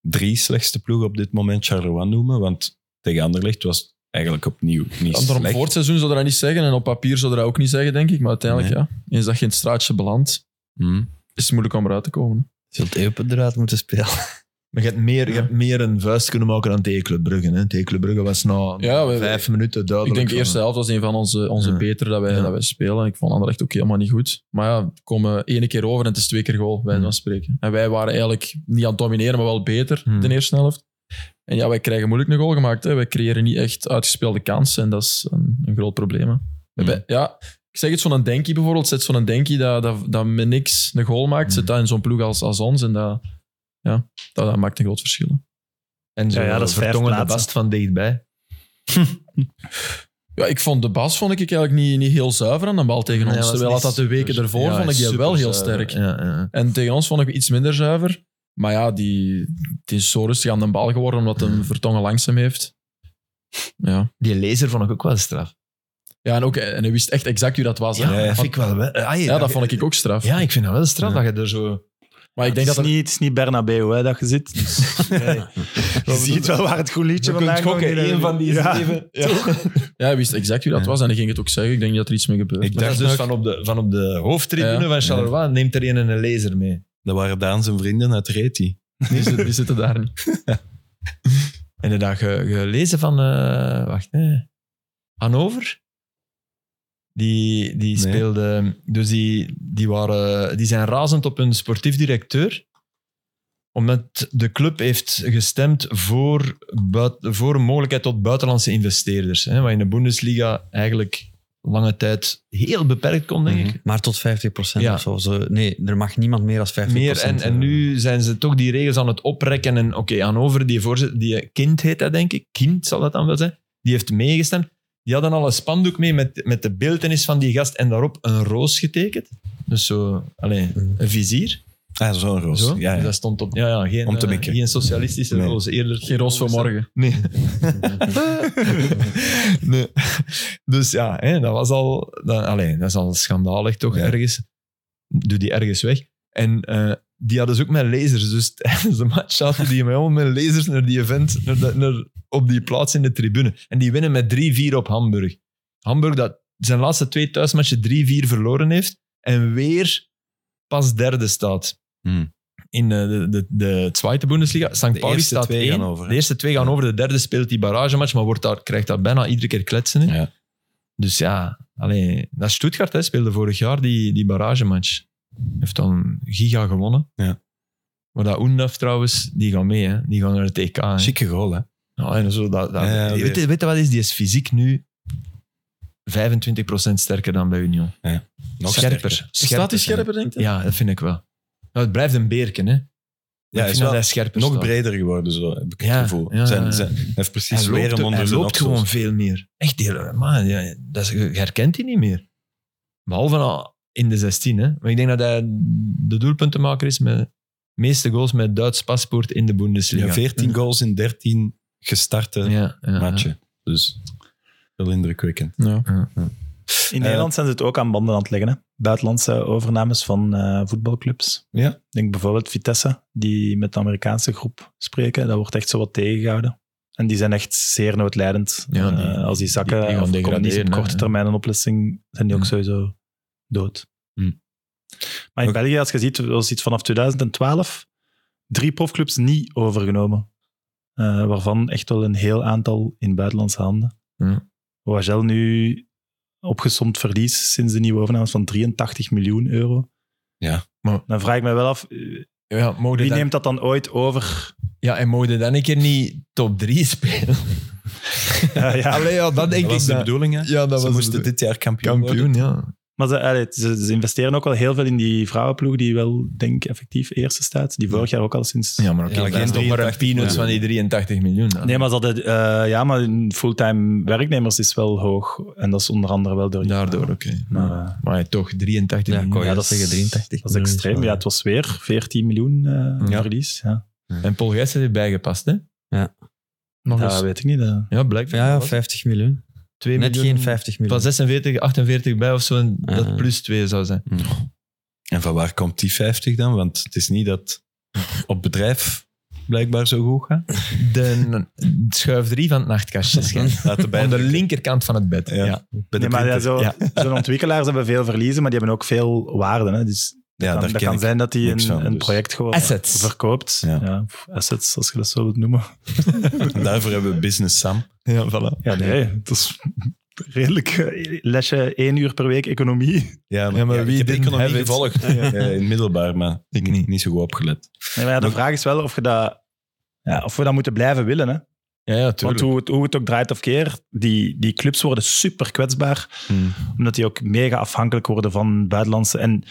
Speaker 2: drie slechtste ploegen op dit moment, Charleroi noemen. Want tegen Anderlecht was het eigenlijk opnieuw niet
Speaker 7: Daarom
Speaker 2: slecht.
Speaker 7: voor het seizoen zou dat niet zeggen en op papier zou dat ook niet zeggen, denk ik. Maar uiteindelijk, ja, eens dat je in het straatje belandt,
Speaker 2: Hm.
Speaker 7: is het moeilijk om eruit te komen.
Speaker 4: Zult Eupen eruit moeten spelen.
Speaker 6: Maar je hebt, meer, je hebt meer een vuist kunnen maken dan tegen Club Brugge. Hè. Tegen Club Brugge was na
Speaker 7: Ja, we-
Speaker 6: vijf minuten
Speaker 7: ik
Speaker 6: duidelijk.
Speaker 7: denk de
Speaker 6: van-
Speaker 7: eerste helft was een van onze, onze
Speaker 6: Ja.
Speaker 7: betere dat wij,
Speaker 6: Ja.
Speaker 7: dat wij spelen. Ik vond Anderlecht ook helemaal niet goed. Maar ja, we komen ene keer over en het is twee keer goal, wij
Speaker 6: Hmm.
Speaker 7: van spreken. En wij waren eigenlijk niet aan het domineren, maar wel beter
Speaker 6: Hmm.
Speaker 7: de eerste helft. En ja, wij krijgen moeilijk een goal gemaakt. Hè. Wij creëren niet echt uitgespeelde kansen en dat is een, een groot probleem. hè. We
Speaker 6: Hmm.
Speaker 7: hebben- Ja, ik zeg het, zo'n Denki bijvoorbeeld, zet zo'n Denki dat, dat, dat met niks een goal maakt,
Speaker 6: Hmm.
Speaker 7: zet dat in zo'n ploeg als, als ons en dat, ja, dat, dat maakt een groot verschil. hè.
Speaker 6: En zo
Speaker 3: Ja, ja, dat is vijf
Speaker 6: vertongen de
Speaker 3: plaatsen.
Speaker 6: bast van dichtbij.
Speaker 7: Ja, ik vond de Bas vond ik eigenlijk niet, niet heel zuiver aan de bal tegen
Speaker 6: Nee,
Speaker 7: ons.
Speaker 6: was
Speaker 7: Terwijl
Speaker 6: niet
Speaker 7: dat de weken
Speaker 6: super-
Speaker 7: ervoor
Speaker 6: ja,
Speaker 7: vond ik die
Speaker 6: super
Speaker 7: wel heel
Speaker 6: zuiver.
Speaker 7: sterk.
Speaker 6: Ja, ja.
Speaker 7: En tegen ons vond ik iets minder zuiver. Maar ja, die, die is zo rustig aan de bal geworden omdat hem Vertongen langs hem heeft. Ja.
Speaker 6: Die lezer vond ik ook wel straf.
Speaker 7: ja, en, ook, eh, en hij wist echt exact wie dat was. hè.
Speaker 6: Ja, dat
Speaker 7: Want-
Speaker 6: vind ik wel. wel- ah, je-
Speaker 7: ja, dat vond ik ook straf.
Speaker 6: Ja, ik vind dat wel straf dat je er zo...
Speaker 7: Maar ik denk dat
Speaker 3: het,
Speaker 7: er
Speaker 3: is niet, het is niet Bernabeu hè, dat je zit. Dus, nee. Je ziet wel waar het goed liedje vandaan komt.
Speaker 7: eh,
Speaker 6: één van die
Speaker 3: Ja.
Speaker 6: zeven.
Speaker 7: Ja, hij wist exact wie dat was en hij ging het ook zeggen. Ik denk niet dat er iets mee gebeurt.
Speaker 2: Ik
Speaker 6: Dat
Speaker 2: dacht
Speaker 6: is
Speaker 2: dus
Speaker 6: dus van op de, van op de hoofdtribune
Speaker 7: Ja.
Speaker 6: van Charleroi neemt er een een lezer mee.
Speaker 2: Dat waren Daan zijn vrienden uit Reti.
Speaker 7: Die, zit- die zitten daar niet.
Speaker 6: En dan heb je gelezen van... eh, wacht, hè. Hannover? Die, die
Speaker 2: Nee.
Speaker 6: speelde... Dus die, die, waren, die zijn razend op hun sportief directeur. Omdat de club heeft gestemd voor, buit- voor een mogelijkheid tot buitenlandse investeerders. Hè, wat in de Bundesliga eigenlijk lange tijd heel beperkt kon, denk ik.
Speaker 4: Maar tot 50%
Speaker 6: Ja.
Speaker 4: of zo. zo. Nee, er mag niemand meer dan 50%.
Speaker 6: Meer en,
Speaker 2: eh,
Speaker 4: eh,
Speaker 6: en nu zijn ze toch die regels aan het oprekken. En oké, Hannover, die voorzitter, die kind heet dat denk ik, kind zal dat dan wel zijn, die heeft meegestemd. Die hadden al een spandoek mee met, met de beeltenis van die gast en daarop een roos getekend. Dus zo, alleen een vizier.
Speaker 2: Ah, zo'n Mm. roos.
Speaker 6: Zo.
Speaker 2: Ja,
Speaker 6: Dus
Speaker 2: ja.
Speaker 6: dat stond op. Ja, ja geen,
Speaker 2: Om te
Speaker 6: eh,
Speaker 2: mikken.
Speaker 6: geen socialistische
Speaker 2: Nee.
Speaker 6: roos. Eerder
Speaker 7: Geen roos voor morgen.
Speaker 6: Nee. nee. Dus ja, hè, dat was al... Dat, allee, dat is al schandalig toch,
Speaker 2: Ja.
Speaker 6: ergens. Doe die ergens weg. En eh, die hadden ze ook met lasers. Dus tijdens de match zaten die met allemaal met lasers naar die event, naar dat- naar, op die plaats in de tribune. En die winnen met 3-4 op Hamburg. Hamburg dat zijn laatste twee thuismatchen 3-4 verloren heeft en weer pas derde staat.
Speaker 2: Hmm.
Speaker 6: In eh, de, de, de Zweite Bundesliga. St. Pauli
Speaker 2: eerste
Speaker 6: staat
Speaker 2: twee
Speaker 6: één.
Speaker 2: gaan over, hè?
Speaker 6: De eerste twee gaan over. De derde speelt die barragematch, maar wordt daar, krijgt daar bijna iedere keer kletsen in.
Speaker 2: Ja.
Speaker 6: Dus ja, alleen, dat Stuttgart hè, speelde vorig jaar die, die barragematch. Heeft dan giga gewonnen.
Speaker 2: Ja.
Speaker 6: Maar dat Oendaf trouwens, die gaan mee. Hè. Die gaan naar het EK. hè.
Speaker 2: Chique goal, hè?
Speaker 6: Ja, en zo, dat, dat,
Speaker 2: Ja, ja,
Speaker 6: weet,
Speaker 2: weer.
Speaker 6: je- weet je wat is? Die is fysiek nu 25% sterker dan bij Union.
Speaker 2: Nog
Speaker 6: scherper.
Speaker 2: sterker.
Speaker 7: Staat hij
Speaker 6: zijn.
Speaker 7: scherper, denk je?
Speaker 6: Ja, dat vind ik wel. Nou, het blijft een beerken, hè. Ja,
Speaker 2: Ja,
Speaker 6: ik
Speaker 2: hij is
Speaker 6: vind dat
Speaker 2: wel
Speaker 6: hij scherper
Speaker 2: nog
Speaker 6: staat.
Speaker 2: breder geworden, zo heb ik het
Speaker 6: Ja,
Speaker 2: gevoel.
Speaker 6: ja, ja.
Speaker 2: zijn, zijn, hij heeft precies
Speaker 6: Hij
Speaker 2: weer
Speaker 6: loopt,
Speaker 2: hem
Speaker 6: ook-
Speaker 2: onder
Speaker 6: hij
Speaker 2: zijn
Speaker 6: loopt
Speaker 2: oksels.
Speaker 6: gewoon veel meer. Echt heel... Man, ja, dat is, je herkent hij niet meer. Behalve al in de 16, hè. Maar ik denk dat hij de doelpuntenmaker is met de meeste goals met Duits paspoort in de Bundesliga.
Speaker 2: Ja, 14 goals in 13 gestarte
Speaker 6: Ja, ja, ja.
Speaker 2: matchen. Dus Heel indrukwekkend.
Speaker 7: Ja.
Speaker 3: In Nederland zijn ze het ook aan banden aan het leggen. Hè? Buitenlandse overnames van eh, voetbalclubs.
Speaker 2: Ja.
Speaker 3: Ik Denk bijvoorbeeld Vitesse, die met de Amerikaanse groep spreken. Dat wordt echt zo wat tegengehouden. En die zijn echt zeer noodlijdend.
Speaker 7: Ja, die-
Speaker 3: Eh, als die zakken,
Speaker 7: die gaan
Speaker 3: of komen die op
Speaker 7: degraderen,
Speaker 3: korte
Speaker 7: hè.
Speaker 3: termijn een oplossing, zijn die ook
Speaker 7: Hmm.
Speaker 3: sowieso dood.
Speaker 7: Hm.
Speaker 2: Hmm.
Speaker 3: Maar in
Speaker 2: Oké.
Speaker 3: België, als je ziet, was iets vanaf 2012 drie profclubs niet overgenomen. Eh, waarvan echt wel een heel aantal in buitenlandse handen.
Speaker 7: Ja.
Speaker 3: Wagel nu opgesomd verlies sinds de nieuwe overname van 83 miljoen euro.
Speaker 2: Ja,
Speaker 3: Maar,
Speaker 6: maar-
Speaker 3: dan vraag ik me wel af, eh,
Speaker 6: Ja, mogen
Speaker 3: wie
Speaker 6: dan-
Speaker 3: neemt dat dan ooit over?
Speaker 6: ja, en mogen dan een keer niet top 3 spelen?
Speaker 3: Ja, Eh, ja.
Speaker 6: Allee, ja, dat denk
Speaker 2: dat was
Speaker 6: ik.
Speaker 2: de
Speaker 6: dat-
Speaker 2: bedoeling, hè?
Speaker 6: ja,
Speaker 2: Ze
Speaker 6: dat was de
Speaker 2: moesten
Speaker 6: bedoeling.
Speaker 2: dit jaar kampioen, worden.
Speaker 6: kampioen, ja.
Speaker 3: Maar ze, allee, ze, ze investeren ook wel heel veel in die vrouwenploeg, die wel, denk ik, effectief eerste staat. Die vorig jaar ook al sinds...
Speaker 6: Ja, maar oké,
Speaker 2: Ja,
Speaker 6: dat
Speaker 2: geen
Speaker 6: is toch maar een
Speaker 2: 83
Speaker 6: peanuts
Speaker 2: miljoen.
Speaker 6: van die 83 miljoen. hè.
Speaker 3: Nee, maar, ze hadden, eh, ja, maar hun fulltime werknemers is wel hoog. En dat is onder andere wel door... die
Speaker 6: Daardoor, oké.
Speaker 3: vrouwen. Maar, eh,
Speaker 6: Maar ja, toch, 83
Speaker 4: Ja, ik
Speaker 6: miljoen.
Speaker 4: wou
Speaker 3: Ja, dat is-
Speaker 4: juist zeggen 83.
Speaker 3: dat is extreem. Ja, het was weer 14 miljoen eh,
Speaker 6: Ja.
Speaker 3: verlies. Ja.
Speaker 6: En Paul Gijs heeft erbij gepast, hè?
Speaker 4: Ja.
Speaker 6: Nog
Speaker 3: Dat
Speaker 2: Dus-
Speaker 6: eens.
Speaker 3: weet ik niet. eh.
Speaker 6: Ja, blijkbaar.
Speaker 4: Ja, ja,
Speaker 6: Wat?
Speaker 4: 50 miljoen.
Speaker 6: 2
Speaker 4: Net
Speaker 6: miljoen.
Speaker 4: geen 50 miljoen.
Speaker 6: Van 46, 48 bij of zo, en
Speaker 4: Ja.
Speaker 6: dat plus 2 zou zijn.
Speaker 2: En van waar komt die 50 dan? Want het is niet dat op bedrijf blijkbaar zo goed gaat.
Speaker 6: De schuif 3 van het nachtkastje. schijnt.
Speaker 2: Laten
Speaker 6: Aan de
Speaker 2: bij
Speaker 6: linkerkant van het bed.
Speaker 2: Ja.
Speaker 6: Ja.
Speaker 2: bij de
Speaker 3: Nee, maar ja,
Speaker 2: printer.
Speaker 3: zo, Zo'n ontwikkelaars hebben veel verliezen, maar die hebben ook veel waarde. Hè? Dus
Speaker 2: Ja,
Speaker 3: dan,
Speaker 2: daar
Speaker 3: dat
Speaker 2: ken
Speaker 3: kan
Speaker 2: ik.
Speaker 3: zijn dat hij een,
Speaker 2: niks van,
Speaker 3: een
Speaker 2: dus.
Speaker 3: project gewoon
Speaker 6: Assets.
Speaker 3: verkoopt. Ja.
Speaker 2: Ja.
Speaker 3: of assets, als je dat zo wilt noemen.
Speaker 2: En daarvoor hebben we Business Sam.
Speaker 6: Ja, voilà.
Speaker 3: Ja, nee, het is redelijk eh, lesje één uur per week economie.
Speaker 2: Ja,
Speaker 6: maar wie
Speaker 2: ik heb de
Speaker 6: didn't
Speaker 2: economie
Speaker 6: have it?
Speaker 2: gevolgd. Eh, in middelbaar, maar ik niet, niet zo goed opgelet.
Speaker 3: Nee, maar ja, de vraag is wel of, je dat, ja, of we dat moeten blijven willen. Hè?
Speaker 6: Ja, ja,
Speaker 3: Want
Speaker 6: tuurlijk.
Speaker 3: hoe het, hoe het ook draait of keer, die, die clubs worden super kwetsbaar.
Speaker 6: Hmm.
Speaker 3: Omdat die ook mega afhankelijk worden van buitenlandse. En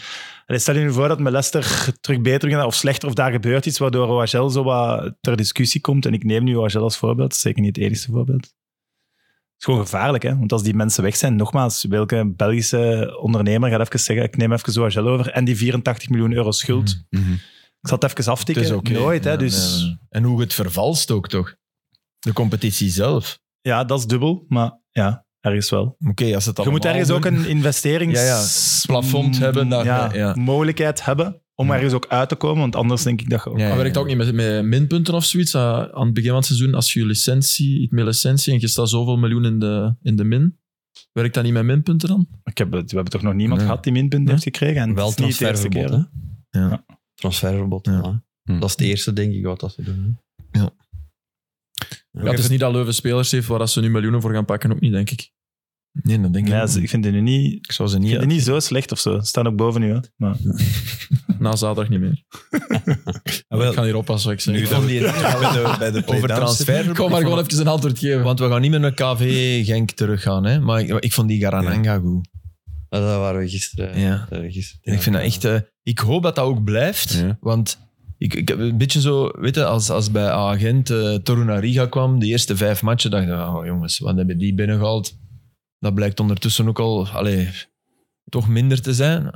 Speaker 3: allee, stel je nu voor dat met Leicester terug beter gaat of slechter, of daar gebeurt iets waardoor OHL zo wat ter discussie komt. En ik neem nu OHL als voorbeeld, zeker niet het enige voorbeeld. Het is gewoon gevaarlijk, hè? want als die mensen weg zijn, nogmaals, welke Belgische ondernemer gaat even zeggen: Ik neem even OHL over en die 84 miljoen euro schuld. Ik zal het even aftikken.
Speaker 6: Hmm. Het is oké.
Speaker 3: Nooit, hè?
Speaker 6: Ja,
Speaker 3: dus
Speaker 6: nee, nee. En hoe het vervalst ook, toch? De competitie zelf.
Speaker 3: ja, dat is dubbel, maar ja, ergens wel.
Speaker 6: Oké, als het
Speaker 3: Je
Speaker 6: allemaal
Speaker 3: moet ergens ook een investerings... Mm,
Speaker 6: Ja, ja, plafond hebben daar-
Speaker 3: ja,
Speaker 6: ja.
Speaker 3: mogelijkheid hebben om ergens ook uit te komen, want anders denk ik dat je ook...
Speaker 6: Ja,
Speaker 7: Maar werkt dat ook niet met, met minpunten of zoiets? Ah, aan het begin van het seizoen, als je je licentie, iets meer licentie en je staat zoveel miljoen in de, in de min, werkt dat niet met minpunten dan?
Speaker 3: Ik heb, het- we hebben toch nog niemand
Speaker 6: Nee.
Speaker 3: gehad die minpunten
Speaker 7: Nee.
Speaker 3: heeft gekregen? En
Speaker 4: Wel
Speaker 3: het is niet de eerste
Speaker 4: transferverbod,
Speaker 3: keer.
Speaker 4: hè?
Speaker 6: Ja.
Speaker 4: Transferverbod,
Speaker 6: Ja.
Speaker 4: voilà.
Speaker 2: Hm.
Speaker 4: Dat is het eerste, denk ik, wat dat ze doen. hè.
Speaker 7: Ja, het is niet dat Leuven spelers heeft waar dat ze nu miljoenen voor gaan pakken, ook niet, denk ik.
Speaker 6: Nee, dat denk ik
Speaker 3: Ja,
Speaker 6: ook
Speaker 3: ze-
Speaker 6: niet.
Speaker 3: ik vind het nu niet,
Speaker 6: Ik zou ze
Speaker 3: ik
Speaker 6: niet...
Speaker 3: vind die niet zo slecht of zo. Ze staan ook boven nu. Hè. Maar,
Speaker 7: Na zaterdag niet meer.
Speaker 2: Ah, wel,
Speaker 7: Ik ga hier oppassen wat ik zeg.
Speaker 2: nu dat we bij de, bij de
Speaker 6: Over
Speaker 2: play-downs zitten.
Speaker 6: transfer.
Speaker 7: Ik wou maar gewoon even een antwoord geven.
Speaker 6: Want we gaan niet meer naar KV Genk teruggaan, hè? maar ik, ik vond die Garananga goed.
Speaker 4: Ah, Dat waren we gisteren.
Speaker 6: Ja.
Speaker 4: eh, gisteren
Speaker 6: En ik vind dat echt... eh, ik hoop dat dat ook blijft,
Speaker 2: Ja.
Speaker 6: want ik, ik heb een beetje zo... Weet je, als, als bij Agent eh Torunariga kwam, de eerste vijf matchen, dacht ik, oh jongens, wat hebben die binnengehaald? Dat blijkt ondertussen ook al allee, toch minder te zijn.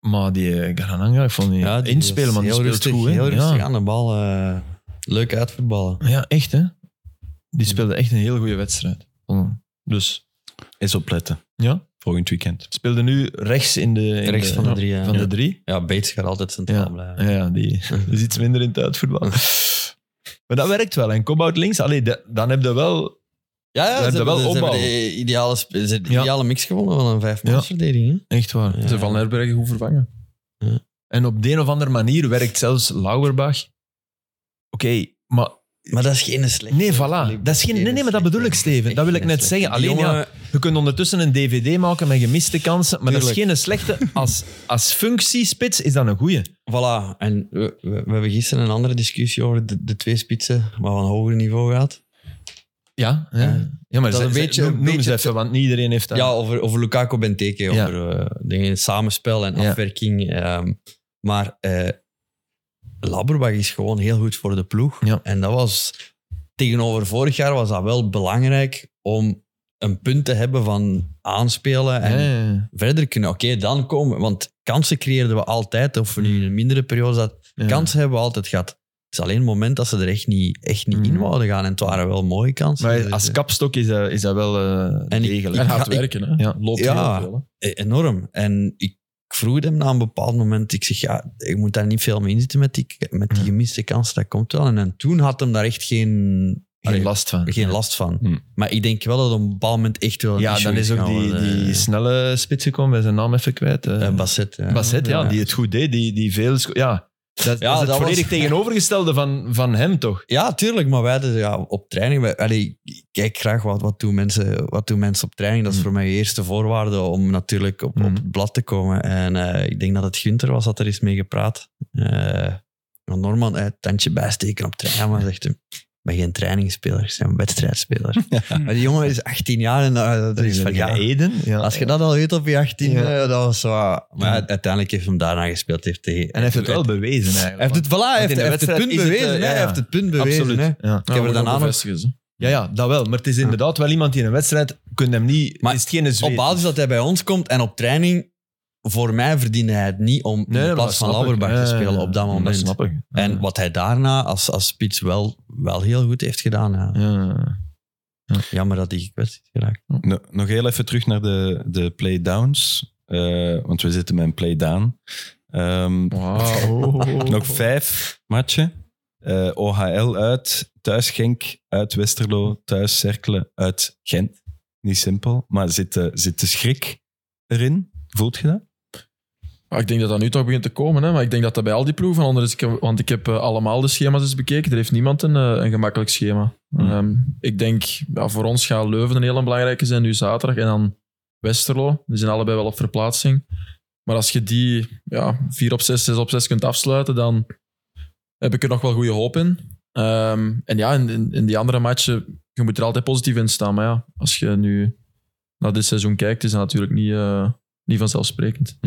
Speaker 6: Maar die eh, Garananga, ik vond die
Speaker 4: Ja, die was
Speaker 6: inspelen, man, die
Speaker 4: heel
Speaker 6: speelt
Speaker 4: rustig,
Speaker 6: goed. Hè?
Speaker 4: Heel rustig
Speaker 6: ja.
Speaker 4: aan de bal. eh, leuk uitvoetballen.
Speaker 6: ja, echt hè. Die speelde echt een heel goede wedstrijd. Dus...
Speaker 2: Eens opletten.
Speaker 6: Ja.
Speaker 2: Volgend weekend.
Speaker 6: speelde nu rechts in de... in
Speaker 4: Rechts van de drie, ja.
Speaker 6: Van
Speaker 4: Ja.
Speaker 6: de drie.
Speaker 4: Ja, Bates gaat altijd centraal blijven.
Speaker 6: Ah Ja, ja, die is iets minder in het uitvoetbal. maar dat werkt wel. En Cobbout links, allee, da- dan heb je wel...
Speaker 4: Ja, ja
Speaker 6: Ze hebben wel
Speaker 4: ze
Speaker 6: opbouw.
Speaker 4: de ideale, sp- ze hebben de
Speaker 6: Ja.
Speaker 4: ideale mix gewonnen van een vijfmansverdediging. hè.
Speaker 6: Echt waar.
Speaker 4: Ja.
Speaker 7: Ze Van Herbergen goed vervangen.
Speaker 6: En op de een of andere manier werkt zelfs Lauerbach. Oké, maar...
Speaker 4: Maar dat is geen slechte.
Speaker 6: Nee, voilà. Dat is geen, nee, nee, maar dat bedoel ik, Steven. Dat wil ik net zeggen. Alleen, ja, je kunt ondertussen een DVD maken met gemiste kansen, maar dat is
Speaker 4: Tuurlijk.
Speaker 6: geen slechte. Als, als functiespits is dat een goeie.
Speaker 4: Voilà. En we, we, we hebben gisteren een andere discussie over de, de twee spitsen, maar van hoger niveau gaat. Eh,
Speaker 6: Ja, ja.
Speaker 4: Ja.
Speaker 6: ja maar
Speaker 4: Dat
Speaker 6: ze-
Speaker 4: een
Speaker 6: ze-
Speaker 4: beetje-
Speaker 6: noem,
Speaker 4: een
Speaker 6: noem
Speaker 4: beetje
Speaker 6: ze even, want niet iedereen heeft dat.
Speaker 4: Ja, over, over Lukaku Benteke,
Speaker 6: Ja.
Speaker 4: over eh, dingen, samenspel en
Speaker 6: Ja.
Speaker 4: afwerking. ehm, maar eh Labberbach is gewoon heel goed voor de ploeg.
Speaker 6: Ja.
Speaker 4: En dat was tegenover vorig jaar was dat wel belangrijk om een punt te hebben van aanspelen en
Speaker 6: Ja, ja, ja.
Speaker 4: verder kunnen. Oké, dan komen. Want kansen creëerden we altijd, of we nu in een mindere periode zat.
Speaker 6: Ja.
Speaker 4: Kansen hebben we altijd gehad. is alleen het moment dat ze er echt niet, echt niet
Speaker 7: Mhm.
Speaker 4: in wouden gaan. En het waren wel mooie kansen.
Speaker 6: Maar
Speaker 4: Dus,
Speaker 6: als
Speaker 4: eh,
Speaker 6: kapstok is dat, is dat wel eh
Speaker 4: En ik-
Speaker 6: degelijk.
Speaker 7: En
Speaker 4: ik-
Speaker 7: hard werken, hè.
Speaker 6: ja.
Speaker 7: Loopt
Speaker 4: Ja.
Speaker 7: heel veel, hè.
Speaker 4: E- enorm. En ik vroeg hem na een bepaald moment, ik zeg, ja, je moet daar niet veel mee inzitten met die, met die gemiste kans, dat komt wel. En, en toen had hem daar echt geen,
Speaker 6: Allee,
Speaker 4: geen, last.
Speaker 6: last van.
Speaker 4: geen last van.
Speaker 6: Hm.
Speaker 4: Maar ik denk wel dat op een bepaald moment echt wel een
Speaker 6: Ja,
Speaker 4: issue
Speaker 6: dan is ook
Speaker 4: gaan
Speaker 6: die,
Speaker 4: worden.
Speaker 6: die snelle spits gekomen, bij zijn naam even kwijt. eh.
Speaker 4: Eh, Basset. Ja.
Speaker 6: Basset, ja,
Speaker 4: Ja.
Speaker 6: die het goed deed, die, die veel... sco- Ja, dat, dat is het
Speaker 4: dat was-
Speaker 6: volledig tegenovergestelde van, van hem, toch?
Speaker 4: Ja, tuurlijk, maar wij hadden ja, op training. wij- allee, ik kijk graag wat, wat, doen mensen, wat doen mensen op training. Dat is
Speaker 6: Mm.
Speaker 4: voor mij de eerste voorwaarde om natuurlijk op, op
Speaker 6: Mm.
Speaker 4: het blad te komen. En eh, ik denk dat het Gunter was dat er eens mee gepraat. Eh, want Norman, eh, tandje bijsteken op training. Maar zegt hem, ik ben geen trainingsspeler, ik ben een wedstrijdspeler. maar die jongen is 18 jaar en eh, dat is van, ja,
Speaker 6: Eden. Ja.
Speaker 4: als je dat al weet op je 18,
Speaker 6: Ja.
Speaker 4: eh, dat was zo... ah. Maar u- uiteindelijk heeft hem daarna gespeeld. Heeft hij,
Speaker 6: En hij heeft het wel bewezen, eigenlijk.
Speaker 4: Hij heeft het, voilà, hij heeft,
Speaker 6: in de
Speaker 4: hij heeft het punt
Speaker 6: wedstrijd is het, eh,
Speaker 4: bewezen. hè.
Speaker 6: ja,
Speaker 4: Hij
Speaker 6: ja.
Speaker 4: heeft het punt bewezen.
Speaker 6: Absoluut.
Speaker 4: hè.
Speaker 6: Ja.
Speaker 4: Ik heb er
Speaker 7: Ja,
Speaker 4: daarna nog
Speaker 7: bevestigen ze.
Speaker 6: Ja, ja, dat wel. Maar het is inderdaad wel iemand die in een wedstrijd... Kun je hem niet...
Speaker 4: Maar
Speaker 6: is het geen
Speaker 4: op
Speaker 6: zweet.
Speaker 4: basis dat hij bij ons komt en op training, voor mij verdiende hij het niet om
Speaker 6: Nee,
Speaker 4: in
Speaker 6: maar
Speaker 4: plaats van
Speaker 6: dat snap ik.
Speaker 4: Lauerbach te
Speaker 6: Ja, ja,
Speaker 4: spelen
Speaker 6: ja.
Speaker 4: op dat moment.
Speaker 6: Dat snap ik. Ja.
Speaker 4: En wat hij daarna als, als spits wel, wel heel goed heeft gedaan. Ja.
Speaker 6: Ja.
Speaker 4: Jammer dat hij gekwetst is geraakt.
Speaker 2: No- nog heel even terug naar de, de playdowns. Eh want we zitten met een playdown. Ehm Nog vijf matchen. Eh, OHL uit, thuis Genk, uit Westerlo, thuis Cerkelen, uit Gent. Niet simpel, maar zit de, zit de schrik erin? Voelt je dat?
Speaker 7: Maar ik denk dat dat nu toch begint te komen. Hè? Maar ik denk dat dat bij al die ploegen van anders is. Ik heb- Want ik heb eh, allemaal de schema's eens bekeken. Er heeft niemand een, eh, een gemakkelijk schema. Ehm, ik denk, ja, voor ons gaat Leuven een heel belangrijke zijn nu zaterdag. En dan Westerlo. Die zijn allebei wel op verplaatsing. Maar als je die ja, 4 op 6, 6 op 6 kunt afsluiten, dan heb ik er nog wel goede hoop in. Ehm, en ja, in, in, in die andere matchen, je moet er altijd positief in staan. Maar ja, als je nu naar dit seizoen kijkt, is dat natuurlijk niet, eh, niet vanzelfsprekend.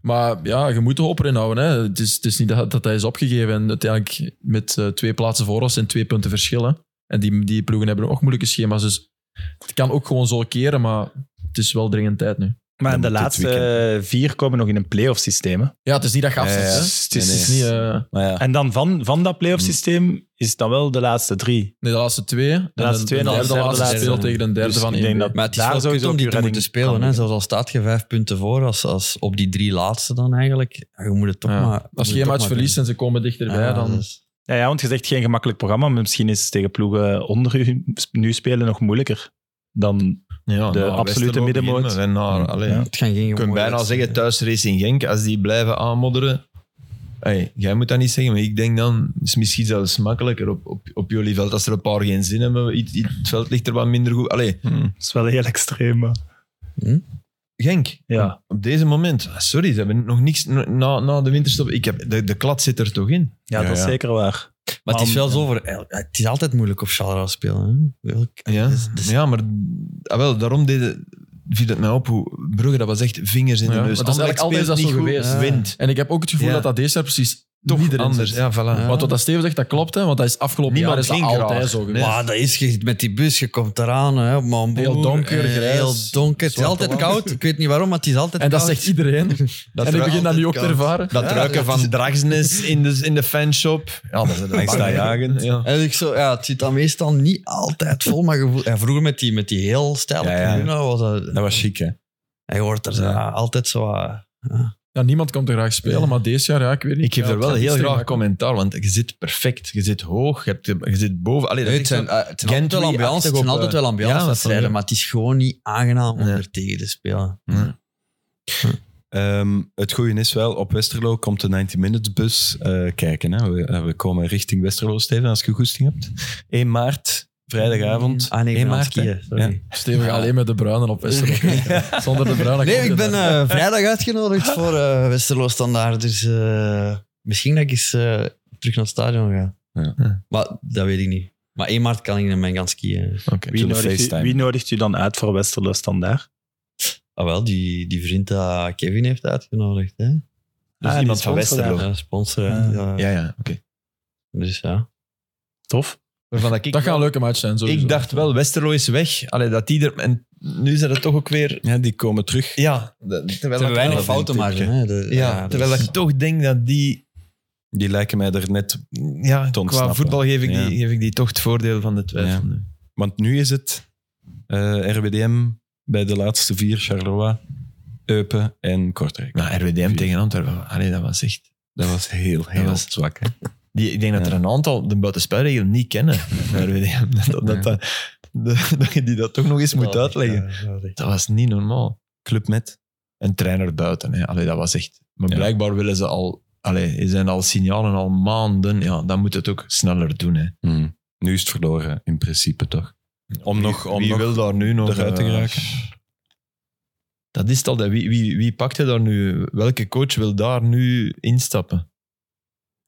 Speaker 7: Maar ja, je moet de hoop erin houden. Hè. Het, is, het is niet dat, dat hij is opgegeven. En uiteindelijk met eh, twee plaatsen voor ons en twee punten verschillen. En die, die ploegen hebben ook moeilijke schema's. Dus het kan ook gewoon zo keren, maar het is wel dringend tijd nu.
Speaker 3: Maar
Speaker 2: Dan
Speaker 3: de
Speaker 2: moet dit
Speaker 3: laatste vier komen nog in een play-off systeem. hè.
Speaker 7: Ja, het is niet dat je
Speaker 2: Ja,
Speaker 7: afzet.
Speaker 2: ja,
Speaker 7: hè.
Speaker 2: ja.
Speaker 7: Het is,
Speaker 2: Nee,
Speaker 7: het is
Speaker 2: nee.
Speaker 7: niet... eh,
Speaker 2: Maar ja,
Speaker 3: En dan van, van dat play-off
Speaker 6: Mm.
Speaker 3: systeem is dan wel de laatste drie.
Speaker 7: nee, de laatste twee. En
Speaker 3: De laatste
Speaker 7: een-
Speaker 3: twee en
Speaker 7: een
Speaker 3: dan
Speaker 7: derde
Speaker 3: de
Speaker 7: laatste
Speaker 3: derde.
Speaker 7: speel tegen een derde
Speaker 3: Dus
Speaker 7: van
Speaker 3: ik denk
Speaker 7: één.
Speaker 3: dat
Speaker 4: Maar het is
Speaker 3: daar
Speaker 4: wel
Speaker 3: sowieso
Speaker 4: kut om
Speaker 3: op je
Speaker 4: die te
Speaker 3: redding
Speaker 4: moeten spelen.
Speaker 3: kan
Speaker 4: Hè?
Speaker 3: liggen.
Speaker 4: Zelfs al staat je vijf punten voor, als, als op die drie laatste dan eigenlijk. Ja, Je moet het toch
Speaker 7: Ja.
Speaker 4: maar...
Speaker 7: Als je geen match verliest en ze komen dichterbij, dan...
Speaker 3: Ja, ja, want je zegt geen gemakkelijk programma, maar misschien is tegen ploegen onder u nu spelen nog moeilijker dan...
Speaker 6: Ja,
Speaker 3: De
Speaker 6: nou,
Speaker 3: absolute
Speaker 6: Westerlo
Speaker 3: middenmoot.
Speaker 6: begint, En naar, allee,
Speaker 3: Ja.
Speaker 6: ja.
Speaker 4: Het gaan geen
Speaker 6: Ik kan bijna zeggen, thuis Racing Genk, als die blijven aanmodderen... Hey, jij moet dat niet zeggen, maar ik denk dan, het is misschien zelfs makkelijker op, op, op jullie veld. Als er een paar geen zin hebben, iets- iets- het veld ligt er wat minder goed. Allee,
Speaker 7: Hm.
Speaker 3: Dat is wel heel extreem, maar...
Speaker 6: Genk,
Speaker 3: Ja.
Speaker 6: op deze moment, ah, sorry, ze hebben nog niks na, na de winterstop. Ik heb, de, de klad zit er toch in.
Speaker 3: Ja,
Speaker 2: Ja,
Speaker 3: dat is
Speaker 2: ja.
Speaker 3: zeker waar.
Speaker 4: Maar het is
Speaker 3: Man,
Speaker 4: wel zo voor... ja, Het is altijd moeilijk op Charleroi spelen. Hè? Welk-
Speaker 6: Ja,
Speaker 4: Dus- dus-
Speaker 6: ja maar ah, wel, daarom deden, viel het mij op hoe Brugge, dat was echt vingers in
Speaker 7: Ja,
Speaker 6: de
Speaker 7: maar
Speaker 6: neus.
Speaker 7: dat is
Speaker 6: Anderlecht
Speaker 7: eigenlijk altijd
Speaker 6: speelt
Speaker 7: dat zo
Speaker 6: niet goed,
Speaker 7: geweest.
Speaker 6: Wint.
Speaker 7: En ik heb ook het gevoel
Speaker 6: Ja.
Speaker 7: dat dat deze jaar precies
Speaker 6: Toch
Speaker 7: niet erin
Speaker 6: anders.
Speaker 7: zit.
Speaker 6: Ja, voilà.
Speaker 4: Ja.
Speaker 7: Want wat dat Steven zegt, dat klopt. Hè, want dat is afgelopen
Speaker 6: Niemand
Speaker 7: jaar is
Speaker 6: ging
Speaker 7: dat altijd
Speaker 6: graag. Ah,
Speaker 7: zo geweest.
Speaker 4: Maar dat is je- met die bus, je komt eraan, hè, op Mamboer.
Speaker 7: Heel donker,
Speaker 4: Eh,
Speaker 7: grijs,
Speaker 4: Heel donker. Het is
Speaker 7: zwarte
Speaker 4: altijd
Speaker 7: wand.
Speaker 4: koud. Ik weet niet waarom, maar het is altijd
Speaker 7: En dat
Speaker 4: koud.
Speaker 7: zegt iedereen. en ik
Speaker 6: ruikt
Speaker 7: begin dat nu ook te
Speaker 6: altijd
Speaker 7: ervaren.
Speaker 6: Dat ruiken van dragsnes in de, in de fanshop. Ja, dat is een
Speaker 2: angst aanjagend.
Speaker 6: Ja.
Speaker 4: En ik zo, ja, het zit dan meestal niet altijd vol, maar gevoel. En vroeger met die, met die heel stijle
Speaker 2: Ja, ja.
Speaker 4: tribune was dat...
Speaker 2: Dat was chic, hè?
Speaker 4: Hij hoort er zo, ja, altijd zo... ah,
Speaker 7: Ja, niemand komt er graag spelen, maar deze jaar, ja, ik weet niet.
Speaker 6: Ik geef
Speaker 7: Ja,
Speaker 6: er wel
Speaker 7: het gaat
Speaker 6: heel
Speaker 7: niet
Speaker 6: graag
Speaker 7: maken.
Speaker 6: commentaar, want je zit perfect. Je zit hoog, je, hebt, je zit boven. Allee, dat
Speaker 4: Nee,
Speaker 6: is
Speaker 4: het zijn,
Speaker 6: echt
Speaker 4: eh, het zijn altijd wel
Speaker 6: Gentry-achtig
Speaker 4: ambiance, het zijn
Speaker 6: op,
Speaker 4: altijd
Speaker 6: eh,
Speaker 4: wel ambiance
Speaker 6: ja, dat
Speaker 4: wedstrijden,
Speaker 6: vond ik.
Speaker 4: maar het is gewoon niet aangenaam om
Speaker 6: Nee.
Speaker 4: er tegen te spelen.
Speaker 2: Ehm, het goede is wel, op Westerlo komt de 90 Minutes bus eh, kijken. Hè. We, eh, we komen richting Westerlo, Steven, als je goesting hebt. 1 maart, vrijdagavond.
Speaker 4: Ah nee, ik
Speaker 2: 1
Speaker 4: ben aan het
Speaker 2: maart, hè?
Speaker 4: skiën, sorry.
Speaker 7: Steven gaat alleen met de bruinen op Westerlo. Zonder de bruinen.
Speaker 4: Nee,
Speaker 7: komt
Speaker 4: ik ben
Speaker 7: hij daar.
Speaker 4: eh, vrijdag uitgenodigd voor eh, Westerlo Standaard. Dus eh, misschien dat ik eens eh, terug naar het stadion ga.
Speaker 2: Ja.
Speaker 4: Maar dat weet ik niet. Maar 1 maart kan ik naar mijn gaan skiën.
Speaker 2: Oké,
Speaker 3: Wie
Speaker 2: zullen we
Speaker 3: nodigt, u,
Speaker 2: FaceTime?
Speaker 3: wie nodigt u dan uit voor Westerlo standaard?
Speaker 4: Ah wel, die, die vriend dat Kevin heeft uitgenodigd. Hè?
Speaker 6: Dus
Speaker 3: Ah,
Speaker 6: iemand
Speaker 3: die
Speaker 6: van
Speaker 3: sponsor daar.
Speaker 6: Westerlo.
Speaker 4: Ja, sponsor. hè.
Speaker 3: Ah.
Speaker 4: Ja.
Speaker 6: Ja, ja, oké.
Speaker 4: Dus ja.
Speaker 3: Tof.
Speaker 6: Waarvan dat ik,
Speaker 7: Dat gaat een leuke match zijn, sowieso.
Speaker 6: eh, ik dacht wel, Westerlo is weg. Allee, dat die er, en nu zijn het toch ook weer...
Speaker 2: Ja, die komen terug.
Speaker 6: Ja, dat- terwijl
Speaker 4: Ze hebben
Speaker 6: ik-
Speaker 4: weinig fouten maken.
Speaker 6: Ja, terwijl
Speaker 4: dat
Speaker 6: ik toch denk dat die
Speaker 2: Die lijken mij er net...
Speaker 6: Ja,
Speaker 2: Te
Speaker 6: qua
Speaker 2: ontsnappen.
Speaker 6: voetbal geef ik,
Speaker 2: Ja.
Speaker 6: die, geef ik die toch het voordeel van de twijfel. nu.
Speaker 2: Want nu is het eh, RWDM bij de laatste vier, Charleroi, Eupen en Kortrijk.
Speaker 6: Maar RWDM tegen Antwerpen, allee, dat was echt...
Speaker 2: dat was heel, heel
Speaker 6: was-
Speaker 2: zwak. Hè?
Speaker 6: Die, ik denk dat er een aantal de buitenspelregel niet kennen bij RWDM. Dat, dat, dat, dat, dat je die dat toch nog eens moet uitleggen. Dat was niet normaal.
Speaker 2: Club met.
Speaker 6: Een trainer buiten, hè. Allee, dat was echt... Maar
Speaker 2: Ja.
Speaker 6: blijkbaar willen ze al... Allee, zijn al signalen al maanden. Ja, dan moet het ook sneller doen, hè.
Speaker 2: Hmm. Nu is het verloren, in principe toch. Om nog, om
Speaker 6: wie
Speaker 2: nog
Speaker 6: wil daar nu nog...
Speaker 2: eruit te
Speaker 6: eh,
Speaker 2: geraken.
Speaker 6: Dat is het al. dat- Wie, wie, wie pakt hij daar nu? Welke coach wil daar nu instappen?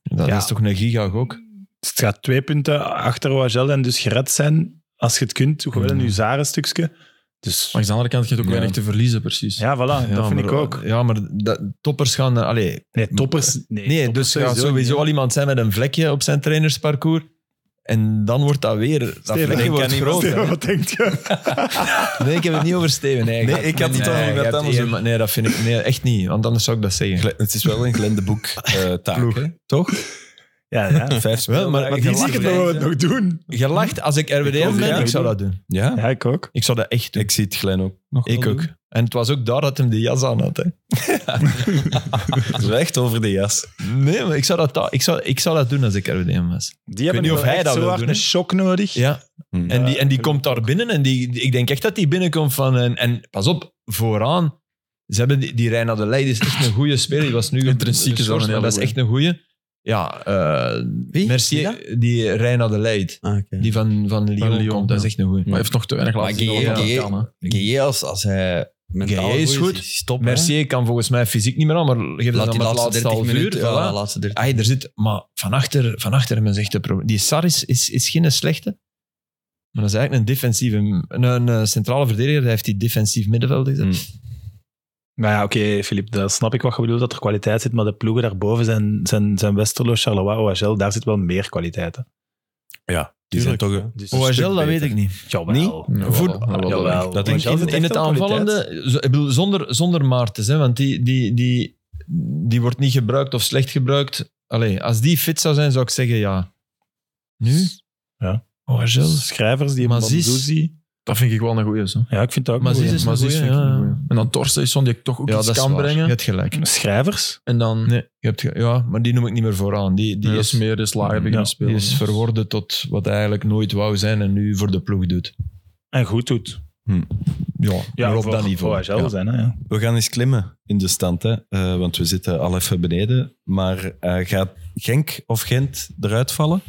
Speaker 6: Dat
Speaker 3: Ja.
Speaker 6: is toch een gigagok?
Speaker 3: Dus het gaat twee punten achter OHL en dus gered zijn. Als je het kunt, gewoon
Speaker 6: Mm.
Speaker 3: een Uzaren stukje. Dus
Speaker 7: Maar aan de andere kant, je hebt ook
Speaker 6: Ja.
Speaker 7: weinig te verliezen, precies.
Speaker 3: ja, voilà, dat
Speaker 6: Ja,
Speaker 3: vind
Speaker 6: maar-
Speaker 3: ik ook.
Speaker 6: Ja, maar dat, toppers gaan... daar- Allee,
Speaker 3: Nee, toppers. Nee,
Speaker 6: nee,
Speaker 3: toppers
Speaker 6: dus er gaat
Speaker 3: sowieso
Speaker 6: sowieso
Speaker 3: niet.
Speaker 6: al iemand zijn met een vlekje op zijn trainersparcours. En dan wordt dat weer... Dat
Speaker 3: Steven,
Speaker 6: vlekje
Speaker 3: ik
Speaker 6: wordt
Speaker 2: ken
Speaker 6: groot.
Speaker 3: Steven,
Speaker 6: hè.
Speaker 3: wat denk je?
Speaker 6: Nee, ik heb het niet over Steven. Nee,
Speaker 2: Nee, ik had het
Speaker 6: Nee,
Speaker 2: al over
Speaker 6: je
Speaker 2: wat
Speaker 6: hebt
Speaker 2: anders.
Speaker 6: iemand- Nee, dat vind ik nee, echt niet. Want anders zou ik dat zeggen.
Speaker 2: Gle- Het is wel een Glenn de Boek eh, taak,
Speaker 6: Ploeg.
Speaker 2: hè? toch?
Speaker 3: Ja, ja.
Speaker 2: Vijf
Speaker 6: Wel, maar
Speaker 2: speeldagen
Speaker 6: die
Speaker 2: gelachen.
Speaker 6: zie
Speaker 4: eh,
Speaker 6: ik er wel
Speaker 3: nog doen.
Speaker 6: Je lacht. Als ik
Speaker 2: Ik
Speaker 6: RWDM
Speaker 2: ook,
Speaker 6: ben,
Speaker 2: ja.
Speaker 6: ik zou dat doen.
Speaker 2: Ja,
Speaker 3: Ja, ik ook.
Speaker 6: Ik zou dat echt doen.
Speaker 2: ik zie het Glenn ook nog
Speaker 6: Ik
Speaker 2: wel
Speaker 6: ook.
Speaker 2: doen.
Speaker 6: En het was ook daar dat hem de jas aan had. Hè.
Speaker 2: Het is echt over de jas.
Speaker 6: Nee, maar ik zou, dat, da- ik, zou, ik zou dat doen als ik RWDM was.
Speaker 3: Die hebben
Speaker 6: niet
Speaker 3: wel
Speaker 6: of hij
Speaker 3: echt
Speaker 6: dat
Speaker 3: zo
Speaker 6: wil
Speaker 3: hard
Speaker 6: doen,
Speaker 3: een
Speaker 6: hè?
Speaker 3: shock nodig.
Speaker 6: Ja.
Speaker 2: Hmm.
Speaker 6: En die, en die
Speaker 3: Ja,
Speaker 6: komt daar binnen en die, die- ik denk echt dat die binnenkomt van... En, en pas op, vooraan. Ze hebben die, die Reina de Leij, die is echt een goede speler. Die was nu
Speaker 7: Intrinsiek is dat
Speaker 6: geschorst,
Speaker 7: een
Speaker 6: maar
Speaker 7: hele
Speaker 6: dat is echt een goede. Ja, eh
Speaker 4: Wie?
Speaker 6: Merci,
Speaker 4: Wie
Speaker 6: die Reina de Leij,
Speaker 4: Ah, oké.
Speaker 6: die van, van Lyon,
Speaker 7: Lyon,
Speaker 6: komt, dat is
Speaker 7: ja.
Speaker 6: echt een goede.
Speaker 7: Maar hij heeft nog te weinig
Speaker 4: Maar E,
Speaker 7: laten zien wat hij
Speaker 4: Gueye-
Speaker 7: kan, hè.
Speaker 4: Gueye, E als, als hij mentaal
Speaker 6: Gueye E is goed.
Speaker 4: Stop,
Speaker 6: Mercier kan volgens mij fysiek niet meer aan, maar geef
Speaker 4: Laat
Speaker 6: dat
Speaker 4: die
Speaker 6: dan maar het
Speaker 4: laatste
Speaker 6: laatste
Speaker 4: 30
Speaker 6: half uur.
Speaker 4: minuten. Ja,
Speaker 6: voilà.
Speaker 4: laatste 30
Speaker 6: Ay, er zit, maar van achter, van achter hebben ze echt een probleem. Die Sar is, is, is geen slechte, maar dat is eigenlijk een defensieve, een, een eh, centrale verdediger. Hij heeft die defensief middenveld gezet.
Speaker 2: Mm.
Speaker 3: Maar ja, oké, Filip, dat snap ik wat je bedoelt, dat er kwaliteit zit. Maar de ploegen daarboven zijn, zijn, zijn Westerlo, Charleroi, OHL, daar zit wel meer kwaliteit. Hè.
Speaker 2: Ja, die zijn toch... een-
Speaker 3: Dus
Speaker 6: OHL, dat weet ik niet.
Speaker 3: Jawel.
Speaker 6: Niet?
Speaker 7: Jawel,
Speaker 6: Voet-
Speaker 7: jawel, dat
Speaker 3: Jawel.
Speaker 7: denk ik.
Speaker 2: Dat denk
Speaker 3: OHL
Speaker 6: In,
Speaker 3: zit
Speaker 6: in
Speaker 3: echt
Speaker 6: het
Speaker 3: wel kwaliteit.
Speaker 6: aanvallende, zo- ik bedoel, zonder, zonder Maartens, hè, want die, die, die, die wordt niet gebruikt of slecht gebruikt. Allee, als die fit zou zijn, zou ik zeggen ja. Nu?
Speaker 3: Ja.
Speaker 6: OHL.
Speaker 3: Schrijvers die
Speaker 6: Mazis.
Speaker 3: Mazis.
Speaker 7: Dat vind ik wel een goeie. Zo.
Speaker 3: Ja, ik vind dat ook
Speaker 6: Mazis
Speaker 3: mooi.
Speaker 6: is een
Speaker 7: Mazis
Speaker 6: goeie,
Speaker 7: vind ik
Speaker 6: ja.
Speaker 7: een goeie. En dan Torstensson, die ik toch ook
Speaker 6: Ja,
Speaker 7: iets
Speaker 6: dat is
Speaker 7: kan
Speaker 6: waar. Je
Speaker 7: brengen.
Speaker 6: hebt gelijk.
Speaker 3: Schrijvers?
Speaker 7: En dan
Speaker 6: Nee, je hebt ge- ja, maar die noem ik niet meer vooraan. Die, die
Speaker 7: die
Speaker 6: is
Speaker 7: is meer is lager beginnen
Speaker 3: Ja,
Speaker 7: spelen.
Speaker 6: Die is verworden tot wat hij eigenlijk nooit wou zijn en nu voor de ploeg doet.
Speaker 3: En goed doet.
Speaker 6: Ja, maar op
Speaker 3: voor
Speaker 6: dat niveau.
Speaker 3: OHL
Speaker 6: Ja.
Speaker 3: zijn, hè, ja.
Speaker 2: We gaan eens klimmen in de stand, hè? Eh, want we zitten al even beneden. Maar eh, gaat Genk of Gent eruit vallen?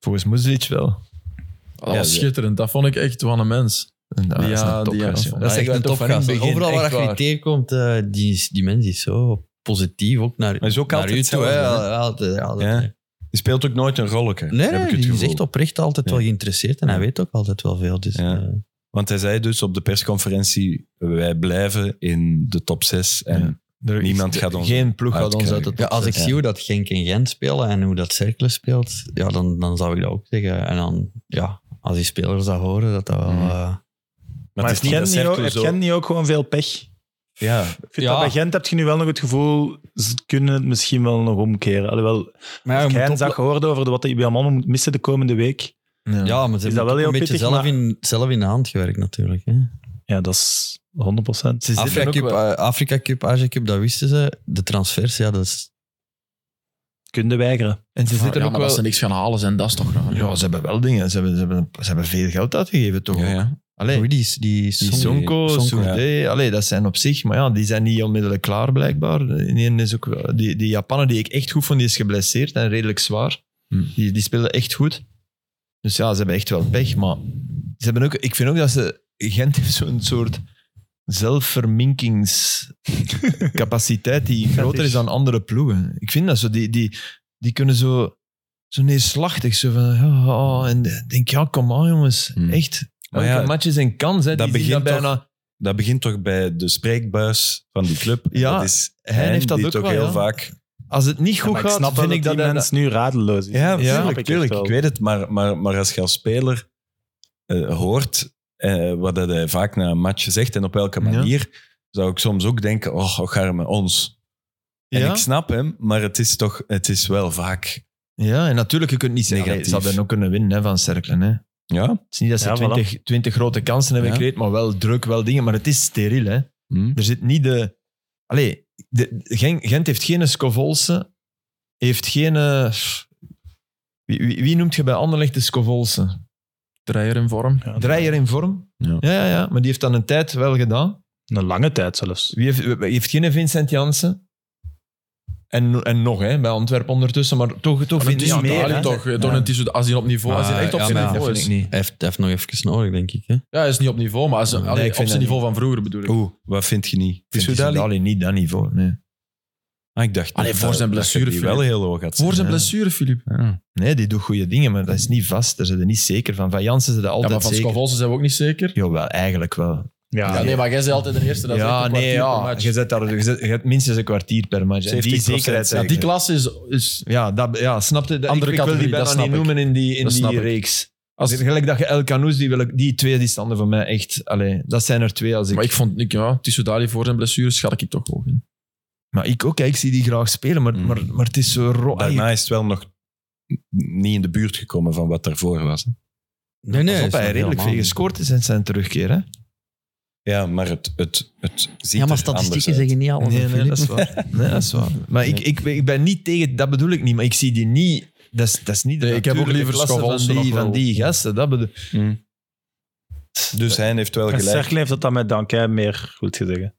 Speaker 6: Volgens Muzlic wel. Oh,
Speaker 7: Dat
Speaker 2: Ja,
Speaker 7: was
Speaker 2: ze-
Speaker 7: schitterend. Dat vond ik echt wat een mens.
Speaker 6: En dat
Speaker 7: Ja,
Speaker 6: is een
Speaker 7: die-
Speaker 6: topgast, joh.
Speaker 7: dat is
Speaker 6: Ja, ik
Speaker 7: echt
Speaker 6: ben
Speaker 7: een
Speaker 6: toch van in het
Speaker 7: topgast.
Speaker 6: begin,
Speaker 4: Overal
Speaker 6: echt
Speaker 4: waar je
Speaker 6: waar.
Speaker 4: niet tegenkomt, eh, die, is- die mens is zo positief. Ook naar,
Speaker 2: Maar is ook
Speaker 4: naar
Speaker 2: altijd
Speaker 4: u toe.
Speaker 2: hetzelfde,
Speaker 4: hè.
Speaker 2: hè?
Speaker 4: Ja, altijd, ja, altijd,
Speaker 2: Ja.
Speaker 4: hè.
Speaker 2: Die speelt ook nooit een rolletje,
Speaker 4: Nee,
Speaker 2: heb ik
Speaker 4: nee
Speaker 2: het
Speaker 4: die is
Speaker 2: gevoel.
Speaker 4: echt oprecht altijd
Speaker 2: Ja.
Speaker 4: wel geïnteresseerd. En hij weet ook altijd wel veel. Dus,
Speaker 2: Ja.
Speaker 4: eh,
Speaker 2: Want hij zei dus op de persconferentie, wij blijven in de top 6. En
Speaker 6: Er is-
Speaker 2: Niemand gaat ons
Speaker 6: Geen ploeg gaat ons uit
Speaker 2: uitkrijgen.
Speaker 6: het...
Speaker 4: ja, als ik
Speaker 2: Ja.
Speaker 4: zie hoe dat Genk en Gent spelen en hoe dat Cercle speelt, ja, dan, dan zou ik dat ook zeggen. En dan, ja, als die spelers dat horen, dat dat wel...
Speaker 2: Mhm.
Speaker 4: eh,
Speaker 2: Maar
Speaker 3: Maar
Speaker 2: het
Speaker 3: heeft
Speaker 2: is niet dat dus
Speaker 3: Gent, niet ook,
Speaker 2: Cercle
Speaker 3: heeft
Speaker 2: zo-
Speaker 3: Gent niet ook gewoon veel pech?
Speaker 2: Ja,
Speaker 3: Ik vind
Speaker 4: Ja.
Speaker 3: dat bij Gent heb je nu wel nog het gevoel, ze kunnen het misschien wel nog omkeren. Alhoewel,
Speaker 4: maar ja, je moet
Speaker 3: Gent
Speaker 4: ook-
Speaker 3: zag gehoord over de, wat de IBM allemaal moet missen de komende week.
Speaker 4: Ja, maar ze
Speaker 3: Is
Speaker 4: hebben
Speaker 3: dat wel
Speaker 4: ook
Speaker 3: heel
Speaker 4: een beetje
Speaker 3: pittig,
Speaker 4: zelf,
Speaker 3: maar-
Speaker 4: in, zelf in de hand gewerkt natuurlijk. Hè.
Speaker 3: Ja, dat is 100 procent.
Speaker 6: Ze zitten
Speaker 4: Afrika,
Speaker 6: ook
Speaker 4: Cup,
Speaker 6: wel-
Speaker 4: eh, Afrika Cup, Azië Cup, dat wisten ze. De transfers, ja, dat is...
Speaker 3: Kunnen weigeren.
Speaker 6: En ze
Speaker 7: Ja,
Speaker 6: zitten
Speaker 7: maar
Speaker 6: ook
Speaker 7: dat ze
Speaker 6: wel...
Speaker 7: niks gaan halen zijn, dat is toch raar.
Speaker 6: Ja, ze hebben wel dingen. Ze hebben, ze hebben, ze hebben veel geld uitgegeven, toch?
Speaker 2: ja, ja.
Speaker 6: Allee,
Speaker 4: Oei, die, die,
Speaker 6: die
Speaker 4: Song-
Speaker 6: Sonko,
Speaker 2: Sonko,
Speaker 6: Soudé, allee, dat zijn op zich... Maar ja, die zijn niet onmiddellijk klaar, blijkbaar. In één is ook, wel- die, die Japaner die ik echt goed vond, die is geblesseerd en redelijk zwaar. Die, die speelden echt goed. Dus ja, ze hebben echt wel pech. Maar ze hebben ook, ik vind ook dat ze... Gent heeft zo'n soort zelfverminkingscapaciteit die groter is dan andere ploegen. Ik vind dat zo. Die, die, die kunnen zo, zo neerslachtig. Zo van, ja, ja, en ik denk, ja, kom aan jongens.
Speaker 2: Hmm.
Speaker 6: Echt.
Speaker 2: Maar
Speaker 6: Elke
Speaker 2: ja,
Speaker 6: match is een kans. Hè.
Speaker 2: dat
Speaker 6: Die zien
Speaker 2: begint
Speaker 6: dat bijna...
Speaker 2: dat begint toch bij de spreekbuis van die club. En
Speaker 6: Ja,
Speaker 2: dat is
Speaker 6: hij heeft dat
Speaker 2: die
Speaker 6: ook
Speaker 2: toch
Speaker 6: wel,
Speaker 2: heel
Speaker 6: ja.
Speaker 2: vaak...
Speaker 6: Als het niet
Speaker 3: Ja,
Speaker 6: goed
Speaker 3: maar ik
Speaker 6: gaat,
Speaker 3: snap
Speaker 6: vind
Speaker 3: wel
Speaker 6: ik
Speaker 3: dat
Speaker 6: dat...
Speaker 3: die
Speaker 6: hij-
Speaker 3: mens nu radeloos is. Dat snap
Speaker 2: tuurlijk,
Speaker 3: ik echt
Speaker 2: tuurlijk.
Speaker 3: wel.
Speaker 2: Ik weet het, maar, maar, maar als je als speler eh, hoort eh, wat dat hij vaak na een match zegt en op welke
Speaker 6: Ja.
Speaker 2: manier, zou ik soms ook denken, oh, och, arme oh, ons. En
Speaker 6: Ja?
Speaker 2: ik snap hem, maar het is toch het is wel vaak.
Speaker 6: Ja, en natuurlijk, je kunt niet zeggen... Allee,
Speaker 2: Negatief.
Speaker 6: ze hadden ook kunnen winnen hè, van Cerkelen. Hè. Het
Speaker 2: Ja,
Speaker 6: is niet dat
Speaker 3: Ja,
Speaker 6: ze
Speaker 3: voilà.
Speaker 6: 20 20 grote kansen hebben
Speaker 2: Ja.
Speaker 6: gecreëerd, maar wel druk, wel dingen. Maar het is steriel, hè. Er zit niet de... Allee, de, Gen- Gent heeft geen Scovolse, heeft geen... eh, Wie, wie, wie noemt je bij Anderlecht de Scovolse?
Speaker 7: Dreier in vorm.
Speaker 3: Ja,
Speaker 6: Dreier in vorm?
Speaker 2: Ja.
Speaker 6: ja, ja, ja. Maar die heeft dan een tijd wel gedaan.
Speaker 3: Een lange tijd zelfs.
Speaker 6: Wie heeft, wie heeft geen Vincent Jansen? En, en nog, hè, bij Antwerpen ondertussen. Maar toch, toch
Speaker 7: Maar
Speaker 6: vind
Speaker 7: het is
Speaker 6: ik...
Speaker 7: meer,
Speaker 6: Ja,
Speaker 7: toch, eh, toch het is, het- als hij op niveau, als
Speaker 6: Ah,
Speaker 7: hij echt op
Speaker 4: Ja,
Speaker 7: zijn
Speaker 4: maar
Speaker 7: niveau
Speaker 6: dat
Speaker 7: is.
Speaker 6: vind ik niet.
Speaker 4: Hij heeft, hij heeft nog even nodig, denk ik. Hè?
Speaker 7: Ja, hij is niet op niveau, maar als,
Speaker 6: Nee,
Speaker 7: allee,
Speaker 6: ik
Speaker 7: op
Speaker 6: vind
Speaker 7: zijn
Speaker 6: dat
Speaker 7: niveau van vroeger bedoel ik.
Speaker 2: Oeh, wat vind je niet?
Speaker 6: Vind
Speaker 2: Is
Speaker 6: Dali? niet dat niveau, nee.
Speaker 2: Ah, ik dacht
Speaker 7: Allee,
Speaker 2: dat-
Speaker 7: voor zijn
Speaker 2: dat je die
Speaker 7: blessure,
Speaker 2: wel heel hoog had.
Speaker 7: Voor zijn
Speaker 6: Ja.
Speaker 7: blessure, Filip.
Speaker 6: Nee, die doet goede dingen, maar dat is niet vast. Daar zijn ze niet zeker van. Van Jansen zijn ze
Speaker 7: Ja,
Speaker 6: altijd
Speaker 7: maar van
Speaker 6: zeker.
Speaker 7: Scovolsen zijn we ook niet zeker.
Speaker 6: Jawel, eigenlijk wel.
Speaker 3: Ja,
Speaker 7: Ja, nee, maar jij bent altijd de eerste. Dat is echt
Speaker 6: ja,
Speaker 7: een
Speaker 6: nee,
Speaker 7: kwartier per
Speaker 6: ja.
Speaker 7: match.
Speaker 6: Je, zet daar, je, zet- je hebt minstens een kwartier per match. En die
Speaker 2: 70%
Speaker 6: zekerheid. Dus,
Speaker 7: Ja, die klasse is... is
Speaker 6: Ja, dat, ja snap je? Dat,
Speaker 7: Andere
Speaker 6: ik, ik wil die
Speaker 7: categorie,
Speaker 6: bijna
Speaker 7: dat
Speaker 6: niet
Speaker 7: snap ik.
Speaker 6: noemen in die, in
Speaker 7: Dat snap
Speaker 6: die
Speaker 7: ik.
Speaker 6: reeks.
Speaker 7: als,
Speaker 6: Gelijk dat je El Canoes, die, wil ik- die twee die standen voor mij echt... Allee, dat zijn er twee als ik...
Speaker 7: maar ik vond, ik, ja, Dali voor zijn blessure schat ik het toch hoog in.
Speaker 6: maar ik ook, hè. ik zie die graag spelen, maar,
Speaker 2: Mm.
Speaker 6: maar, maar het is zo... Ro- Allee,
Speaker 2: Daarna is het wel nog niet in de buurt gekomen van wat daarvoor was. hè.
Speaker 4: Nee, nee.
Speaker 6: pas op,
Speaker 4: is nog
Speaker 6: hij heeft redelijk
Speaker 4: helemaal
Speaker 6: veel
Speaker 4: niet.
Speaker 6: gescoord is in zijn terugkeer. Hè?
Speaker 2: Ja, maar het, het, het ziet
Speaker 4: Ja, maar
Speaker 2: er
Speaker 4: statistieken
Speaker 2: anders uit.
Speaker 4: zeggen niet alles. hè,
Speaker 6: Nee, nee,
Speaker 4: Filip.
Speaker 6: dat is waar. Nee, dat is waar. Maar ik, ik, ben- ik ben niet tegen, dat bedoel ik niet, maar ik zie die niet. Dat is, dat is niet de
Speaker 7: Nee, ik heb ook
Speaker 6: natuurlijke
Speaker 7: liever
Speaker 6: klasse
Speaker 7: Schavolsen
Speaker 6: van die,
Speaker 7: nog
Speaker 6: van
Speaker 7: wel.
Speaker 6: die gasten. Dat bedoel
Speaker 2: Dus hij heeft wel
Speaker 3: En
Speaker 2: gelijk.
Speaker 3: Cercle heeft dat dan met Dank meer goed gezegd.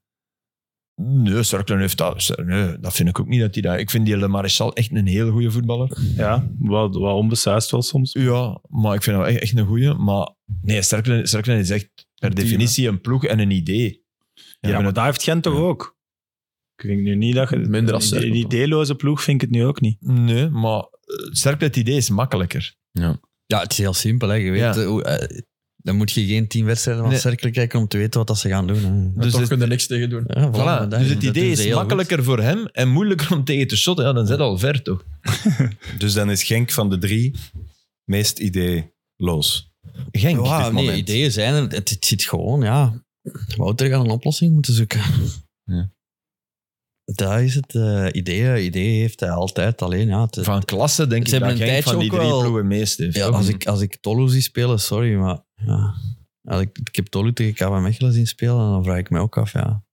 Speaker 6: Nee, Cerkelen heeft dat. Cer- Nee, dat vind ik ook niet dat hij dat. Ik vind die Le Maréchal echt een heel goede voetballer.
Speaker 3: Ja, wat, wat onbesuist wel soms.
Speaker 6: Ja, maar ik vind hem echt, echt een goede. Maar nee, Cerkelen Cerkelen is echt per definitie een ploeg en een idee.
Speaker 3: Ja, maar dat heeft Gent toch ook? Ik vind nu niet dat je...
Speaker 7: Minder als
Speaker 3: Een
Speaker 7: Cercle, toch?
Speaker 3: ideeloze ploeg vind ik het nu ook niet.
Speaker 6: Nee, maar eh, Cerkelen, het idee is makkelijker.
Speaker 4: Ja, het is heel simpel. Hè. Je weet,
Speaker 6: Ja.
Speaker 4: eh, hoe, eh, dan moet je geen tien wedstrijden van
Speaker 6: Nee.
Speaker 4: cirkel kijken om te weten wat dat ze gaan doen. Hè.
Speaker 7: Dus
Speaker 6: Dus
Speaker 7: toch
Speaker 6: het-
Speaker 7: kunnen er niks tegen doen.
Speaker 4: Ja, voilà,
Speaker 6: Voilà.
Speaker 4: maar dat-
Speaker 6: Dus het
Speaker 4: dat
Speaker 6: idee
Speaker 4: doen ze
Speaker 6: is
Speaker 4: heel goed.
Speaker 6: makkelijker voor hem en moeilijker om tegen te shotten. Ja, dan zit al ver toch?
Speaker 2: Dus dan is Genk van de drie meest ideeloos.
Speaker 6: Genk.
Speaker 4: Ja,
Speaker 2: dit
Speaker 4: nee,
Speaker 2: moment.
Speaker 4: ideeën zijn er. Het, het zit gewoon, ja. Wouter gaat een oplossing moeten zoeken.
Speaker 2: Ja.
Speaker 4: Daar is het. eh ideeën, ideeën heeft hij altijd. Alleen, ja. het-
Speaker 6: Van klasse denk
Speaker 4: Ze
Speaker 6: ik
Speaker 4: hebben
Speaker 6: dat
Speaker 4: een
Speaker 6: Genk
Speaker 4: tijdje
Speaker 6: van die
Speaker 4: ook
Speaker 6: drie
Speaker 4: wel-
Speaker 6: ploegen meest heeft.
Speaker 4: ja, als, ik, als ik Tolu zie spelen, sorry, maar. Ja. Als ik, ik heb Tolu tegen KB Mechelen zien spelen, dan vraag ik me ook af, ja.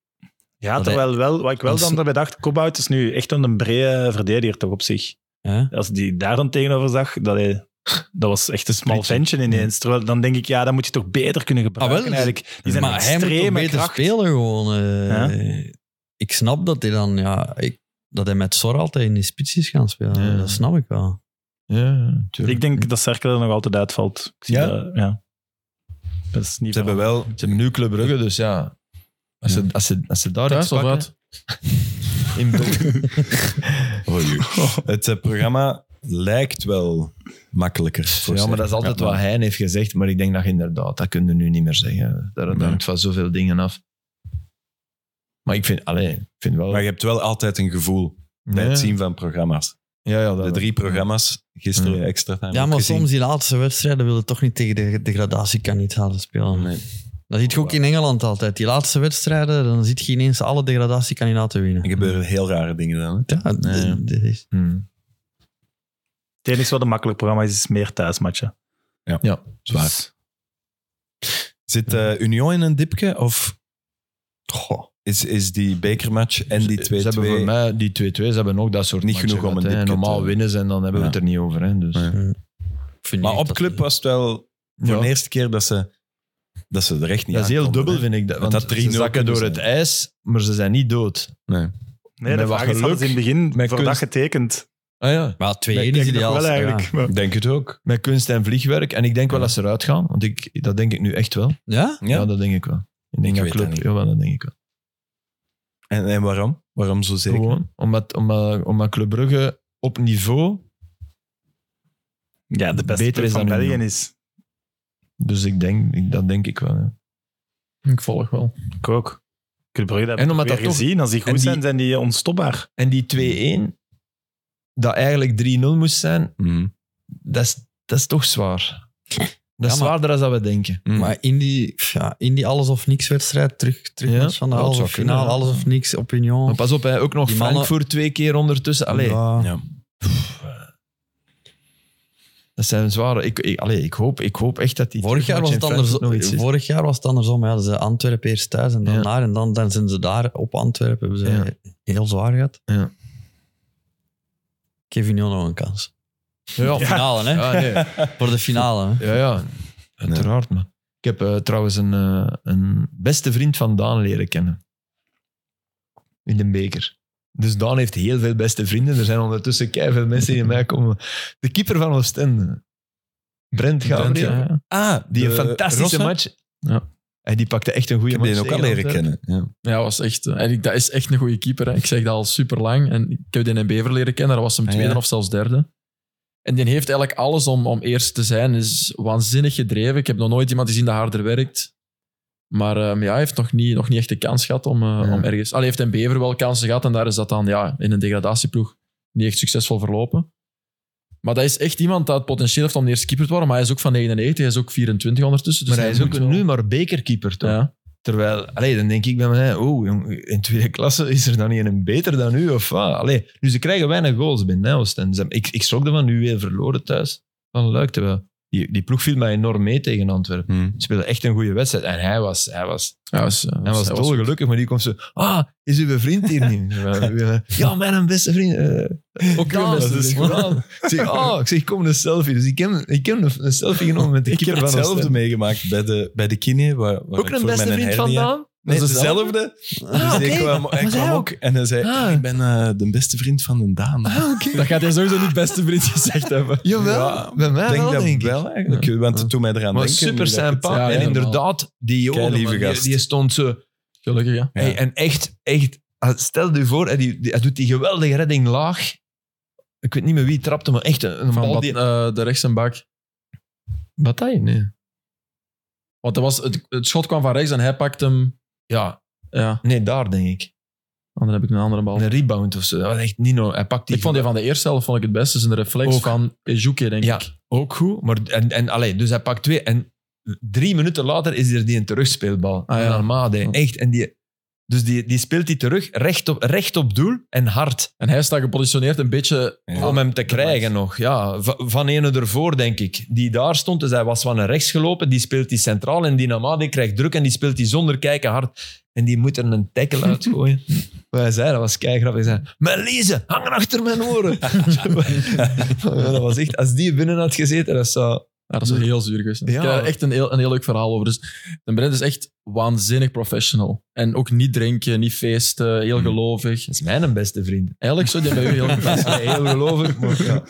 Speaker 3: Ja,
Speaker 4: Want
Speaker 3: terwijl wel, wat ik wel
Speaker 4: want-
Speaker 3: dan daarbij dacht, Kobout is nu echt een brede verdediger toch op zich.
Speaker 4: Hè?
Speaker 3: Als die daar dan tegenover zag, dat, hij, dat was echt een smal ventje ineens. Terwijl dan denk ik, ja, dan moet je toch beter kunnen gebruiken
Speaker 4: Ah, wel,
Speaker 3: eigenlijk. Die zijn
Speaker 4: maar hij moet toch
Speaker 3: extreme
Speaker 4: beter
Speaker 3: kracht.
Speaker 4: spelen gewoon. eh.
Speaker 3: Ja.
Speaker 4: Ik snap dat hij dan, ja, ik, dat hij met Sor altijd in die spits is gaan spelen.
Speaker 6: Ja.
Speaker 4: Dat snap ik wel.
Speaker 6: Ja,
Speaker 3: Ik denk dat Cercle er nog altijd uitvalt. Ik zie
Speaker 6: Ja?
Speaker 3: Dat, ja. Dat is niet
Speaker 2: Ze hebben wel
Speaker 6: Ze hebben nu Club Brugge, dus ja. Als ze, als ze, als ze daar
Speaker 7: Thuis
Speaker 6: iets
Speaker 7: of
Speaker 6: pakken-
Speaker 7: uit?
Speaker 6: In Brugge.
Speaker 2: Het eh, programma lijkt wel makkelijker. voor
Speaker 6: ja, maar dat is
Speaker 2: Cercle.
Speaker 6: altijd
Speaker 2: Ja,
Speaker 6: wat hij heeft gezegd. Maar ik denk dat je inderdaad, dat kun je nu niet meer zeggen. Daar dat
Speaker 2: Nee.
Speaker 6: hangt van zoveel dingen af. Maar ik vind, alleen, ik vind wel...
Speaker 2: Maar je hebt wel altijd een gevoel bij het zien van programma's.
Speaker 6: ja, ja, dat
Speaker 2: De drie programma's, gisteren
Speaker 6: Ja.
Speaker 2: extra time.
Speaker 4: Ja,
Speaker 2: ook
Speaker 4: maar
Speaker 2: gezien.
Speaker 4: soms die laatste wedstrijden willen toch niet tegen de degradatiekandidaten spelen.
Speaker 2: Nee.
Speaker 4: Dat ziet je ook in Engeland altijd. Die laatste wedstrijden, dan ziet je ineens alle degradatiekandidaten
Speaker 2: Er
Speaker 4: winnen.
Speaker 2: gebeuren heel rare dingen dan. hè.
Speaker 4: Ja, d-
Speaker 2: ja.
Speaker 4: dit is-
Speaker 6: Hmm.
Speaker 3: Het enige wat een makkelijk programma is, is meer thuismatchen.
Speaker 2: Zwaar. Zit eh, Union in een dipje of
Speaker 4: Goh.
Speaker 2: is, is die bekermatch en die 2-2?
Speaker 6: Ze hebben voor mij, die 2-2, ze hebben ook dat soort
Speaker 2: Niet
Speaker 6: matchen
Speaker 2: genoeg om
Speaker 6: gehad,
Speaker 2: een
Speaker 6: hè.
Speaker 2: dipje
Speaker 6: Normaal
Speaker 2: te-
Speaker 6: winnen ze en dan hebben we
Speaker 2: Ja.
Speaker 6: het er niet over. Hè, dus.
Speaker 2: Nee.
Speaker 4: Ik vind
Speaker 2: Maar
Speaker 4: niet
Speaker 2: op
Speaker 4: dat-
Speaker 2: club was het wel voor
Speaker 6: Ja.
Speaker 2: de eerste keer dat ze, dat ze er echt niet
Speaker 6: Dat is heel
Speaker 2: aankomen,
Speaker 6: dubbel,
Speaker 2: hè.
Speaker 6: vind ik. Dat,
Speaker 2: Want
Speaker 6: want
Speaker 2: dat 3-0
Speaker 6: ze zakken door
Speaker 2: kunnen
Speaker 6: het ijs, maar ze zijn niet dood.
Speaker 3: Nee, de
Speaker 6: Met wat
Speaker 3: vraag is,
Speaker 6: geluk,
Speaker 3: hadden ze in het begin voor
Speaker 6: met
Speaker 3: dat
Speaker 6: kunst-
Speaker 3: getekend?
Speaker 6: Ah ja.
Speaker 4: Maar 2-1
Speaker 3: Ik
Speaker 4: is
Speaker 3: denk nog
Speaker 4: ideaal.
Speaker 3: wel
Speaker 4: ja.
Speaker 3: eigenlijk. maar-
Speaker 2: Denk het ook.
Speaker 6: Met kunst en vliegwerk. En ik denk wel
Speaker 2: Ja.
Speaker 6: dat ze eruit gaan, want ik, dat denk ik nu echt wel.
Speaker 4: Ja?
Speaker 2: Ja.
Speaker 6: Ja, dat denk ik wel. Ik denk
Speaker 2: Ik
Speaker 6: dat
Speaker 2: weet dat
Speaker 6: klopt.
Speaker 2: niet.
Speaker 6: Jawel, dat denk ik wel.
Speaker 2: En, en waarom? Waarom zo zeker?
Speaker 6: Gewoon, omdat, omdat, omdat Club Brugge op niveau,
Speaker 3: Ja, de beste
Speaker 6: Beter
Speaker 3: ploeg
Speaker 6: is
Speaker 3: van
Speaker 6: dan
Speaker 3: België
Speaker 6: Union.
Speaker 3: is.
Speaker 6: dus ik denk, ik- dat denk ik wel. ja.
Speaker 7: Ik volg wel.
Speaker 3: Ik ook. Club Brugge dat
Speaker 6: En
Speaker 3: heb ik
Speaker 6: omdat
Speaker 3: weer
Speaker 6: dat toch-
Speaker 3: gezien. Als die goed
Speaker 6: en die-
Speaker 3: zijn, zijn die onstopbaar.
Speaker 6: En die 2-1, dat eigenlijk 3-0 moest zijn,
Speaker 2: Mhm.
Speaker 6: dat is, dat is toch zwaar. Dat is
Speaker 4: Ja, maar-
Speaker 6: zwaarder dan dat we denken.
Speaker 2: Mm.
Speaker 4: Maar in die, ja, in die alles of niks wedstrijd, terug, terug
Speaker 6: Ja,
Speaker 4: naar van de
Speaker 6: dat
Speaker 4: halve
Speaker 6: zou kunnen,
Speaker 4: finale,
Speaker 6: ja.
Speaker 4: alles of niks,
Speaker 6: Maar
Speaker 4: opinion.
Speaker 6: pas op, hè, ook nog
Speaker 4: Die mannen-
Speaker 6: Frankfurt twee keer ondertussen. Allee,
Speaker 4: Ja.
Speaker 2: Ja.
Speaker 6: eh. dat zijn zware... Ik, ik, allee, ik, hoop, ik hoop echt dat die...
Speaker 4: Vorig jaar, was het
Speaker 6: terugmatch in Frankfurt nog iets
Speaker 4: andersom,
Speaker 6: is.
Speaker 4: vorig jaar was het andersom. Ja, ze Antwerpen eerst thuis en dan
Speaker 6: Ja.
Speaker 4: naar. En dan, dan zijn ze daar op Antwerpen. Hebben ze heel zwaar gehad.
Speaker 6: Ja.
Speaker 4: Geef Union nog een kans.
Speaker 6: Ja, ja.
Speaker 4: Finale, hè?
Speaker 6: Ja, nee.
Speaker 4: Voor de finale. Hè?
Speaker 6: Ja, ja. Uiteraard, man. Ik heb eh, trouwens een, eh, een beste vriend van Daan leren kennen. In de beker. Dus Daan heeft heel veel beste vrienden. Er zijn ondertussen keiveel mensen die in mij komen. De keeper van Oostende. Brent Gabriel.
Speaker 7: ja.
Speaker 2: Ah,
Speaker 6: Die een fantastische
Speaker 2: Rossa?
Speaker 6: match.
Speaker 7: Ja.
Speaker 6: En die pakte echt een goede
Speaker 2: Ik heb
Speaker 6: match.
Speaker 2: die ook al
Speaker 6: tegen
Speaker 2: leren
Speaker 6: Antwerpen.
Speaker 2: kennen. Ja.
Speaker 7: Ja, was echt, eh, en ik, dat is echt een goede keeper. Hè. Ik zeg dat al super lang. En ik heb die in Bever leren kennen. Dat was hem
Speaker 2: Ah,
Speaker 7: tweede
Speaker 2: ja.
Speaker 7: of zelfs derde. En die heeft eigenlijk alles om, om eerst te zijn. Is waanzinnig gedreven. Ik heb nog nooit iemand gezien dat harder werkt. Maar ehm, ja, hij heeft nog niet, nog niet echt de kans gehad om, eh, om ergens. Allee, heeft in Bever wel kansen gehad. En daar is dat dan ja, in een degradatieploeg niet echt succesvol verlopen. Maar dat is echt iemand dat het potentieel heeft om de eerste keeper te worden. Maar hij is ook van 99, hij is ook 24 ondertussen. Dus
Speaker 6: Maar hij is ook
Speaker 7: moet
Speaker 6: een
Speaker 7: wel-
Speaker 6: nu maar bekerkeeper, toch?
Speaker 7: Ja.
Speaker 6: Terwijl, allee, dan denk ik bij mij, oh, jong, in tweede klasse is er dan niet een beter dan u? Of wat? Allee, nu, ze krijgen weinig goals binnen, hè, Oostende. Ze- Ik, ik schrok ervan, nu weer verloren thuis. Van Luik, terwijl die, die ploeg viel mij enorm mee tegen Antwerpen. Ze speelden echt een goede wedstrijd. En hij was, hij was,
Speaker 7: Ja, hij was,
Speaker 6: hij was, dolgelukkig, maar die komt zo, ah, is uw vriend hier niet? ja, mijn beste vriend. eh,
Speaker 7: ook
Speaker 6: Daan,
Speaker 7: een beste
Speaker 6: dat is
Speaker 7: vriend.
Speaker 6: gedaan. Ik zeg, ah, ik zeg, kom een selfie. Dus ik heb, ik heb een, een selfie genomen met de
Speaker 2: Ik heb
Speaker 6: keeper van
Speaker 2: hetzelfde
Speaker 6: Oostende.
Speaker 2: meegemaakt bij de, bij de kine. Waar, waar
Speaker 6: Ook
Speaker 2: ik
Speaker 6: een
Speaker 2: voor
Speaker 6: beste
Speaker 2: mijn
Speaker 6: vriend
Speaker 2: hernia-
Speaker 6: vandaan?
Speaker 2: Nee,
Speaker 6: Dat is
Speaker 2: dezelfde. dus die
Speaker 6: oké.
Speaker 2: kwam, hij
Speaker 6: Maar zij
Speaker 2: kwam ook.
Speaker 6: ook?
Speaker 2: en hij zei,
Speaker 6: Ah.
Speaker 2: "Ah, ik ben eh, de beste vriend van de Daan.
Speaker 7: Dat gaat hij sowieso niet beste vriend gezegd hebben.
Speaker 6: Jawel,
Speaker 2: Ja,
Speaker 6: bij mij
Speaker 2: denk
Speaker 6: wel,
Speaker 2: dat
Speaker 6: denk ik.
Speaker 2: wel eigenlijk, want toen mij eraan
Speaker 6: Maar
Speaker 2: denken...
Speaker 6: super
Speaker 2: dat ik het-
Speaker 6: sympa.
Speaker 7: ja,
Speaker 6: en
Speaker 7: ja,
Speaker 6: inderdaad, die jongen,
Speaker 2: Keilieve
Speaker 6: man, die,
Speaker 2: gast.
Speaker 6: die stond zo...
Speaker 7: Gelukkig, ja.
Speaker 2: Ja.
Speaker 6: Hey, en echt, echt, ah, stel je voor, hij, die, die- hij doet die geweldige redding laag. Ik weet niet meer wie trapte, maar echt een, een
Speaker 7: Van
Speaker 6: bal
Speaker 7: Bat-
Speaker 6: die...
Speaker 7: eh, de rechts en bak.
Speaker 6: Bataille? Nee.
Speaker 7: Want dat was, het, het schot kwam van rechts en hij pakt hem.
Speaker 6: Ja,
Speaker 7: Ja,
Speaker 6: nee, daar denk ik.
Speaker 7: en dan heb ik een andere
Speaker 2: Oh.
Speaker 7: bal.
Speaker 6: Een rebound of zo. Dat was echt niet no Hij pakt die...
Speaker 7: ik vond die van de eerste helft vond ik het beste. Dus een reflex
Speaker 6: Ook.
Speaker 7: van Ejuke, denk
Speaker 6: Ja,
Speaker 7: ik.
Speaker 6: ook goed. Maar, en, en, allee, dus hij pakt twee. En drie minuten later is er die een terugspeelbal.
Speaker 7: Ah, ja.
Speaker 6: Naar Made.
Speaker 2: Oh.
Speaker 6: Echt. En die, dus die, die speelt die terug, recht op, recht op doel en hard.
Speaker 7: En hij staat gepositioneerd een beetje.
Speaker 2: Ja.
Speaker 6: om hem te krijgen nog. Ja, Va- van ene ervoor, denk ik. Die daar stond, dus hij was van naar rechts gelopen. Die speelt die centraal en die Namadi krijgt druk en die speelt die zonder kijken hard. En die moet er een tackle uitgooien. Wat hij zei, dat was keigraf. Hij zei, Melise, hangen achter mijn oren. Ja, dat was echt, als die binnen had gezeten, dat zou...
Speaker 7: Ja, dat is heel zuur geweest. Ik
Speaker 6: Ja.
Speaker 7: heb daar echt een heel, een heel leuk verhaal over. Dus de Brent is echt waanzinnig professional. En ook niet drinken, niet feesten, heel gelovig.
Speaker 6: Dat is mijn beste vriend.
Speaker 7: Eigenlijk zo, die hebben heel veel
Speaker 6: Dat is
Speaker 7: mensen.
Speaker 6: mij heel gelovig. Maar, ja.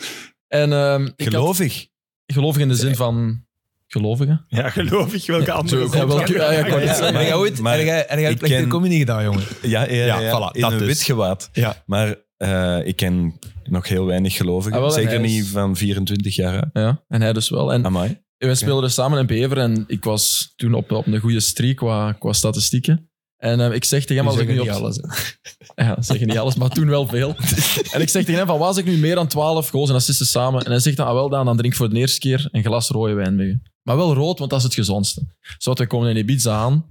Speaker 7: En ehm, ik had-
Speaker 2: Gelovig.
Speaker 7: gelovig in de zin van gelovigen.
Speaker 3: Ja, geloof ik. Welke andere...
Speaker 7: Zo, ja, welke- ja, ja, ik wou net zeggen.
Speaker 6: Heb jij ooit-
Speaker 2: maar
Speaker 6: heb jij- heb jij
Speaker 2: ik
Speaker 6: plechtige
Speaker 2: ken-
Speaker 6: communie gedaan, jongen?
Speaker 2: Ja, ja, ja,
Speaker 6: Ja,
Speaker 2: ja.
Speaker 6: voilà,
Speaker 2: in
Speaker 6: dat
Speaker 2: een
Speaker 6: dus.
Speaker 2: wit gewaad.
Speaker 6: Ja.
Speaker 2: Maar eh, ik ken nog heel weinig gelovigen.
Speaker 7: Ah, wel, en
Speaker 2: Zeker
Speaker 7: hij is-
Speaker 2: niet van 24 jaar. hè.
Speaker 7: Ja, en hij dus wel. En
Speaker 2: Amai.
Speaker 7: We speelden samen in Bever en ik was toen op, op een goede streak qua, qua statistieken. En ehm, ik zeg tegen hem, als ik nu op... Ja, zeggen niet alles, maar toen wel veel. en ik zeg tegen hem, van, was ik nu meer dan 12 goals en assisten samen? En hij zegt dan, ah wel Daan, dan drink ik voor de eerste keer een glas rode wijn mee. Maar wel rood, want dat is het gezondste. Zodat we komen in Ibiza aan,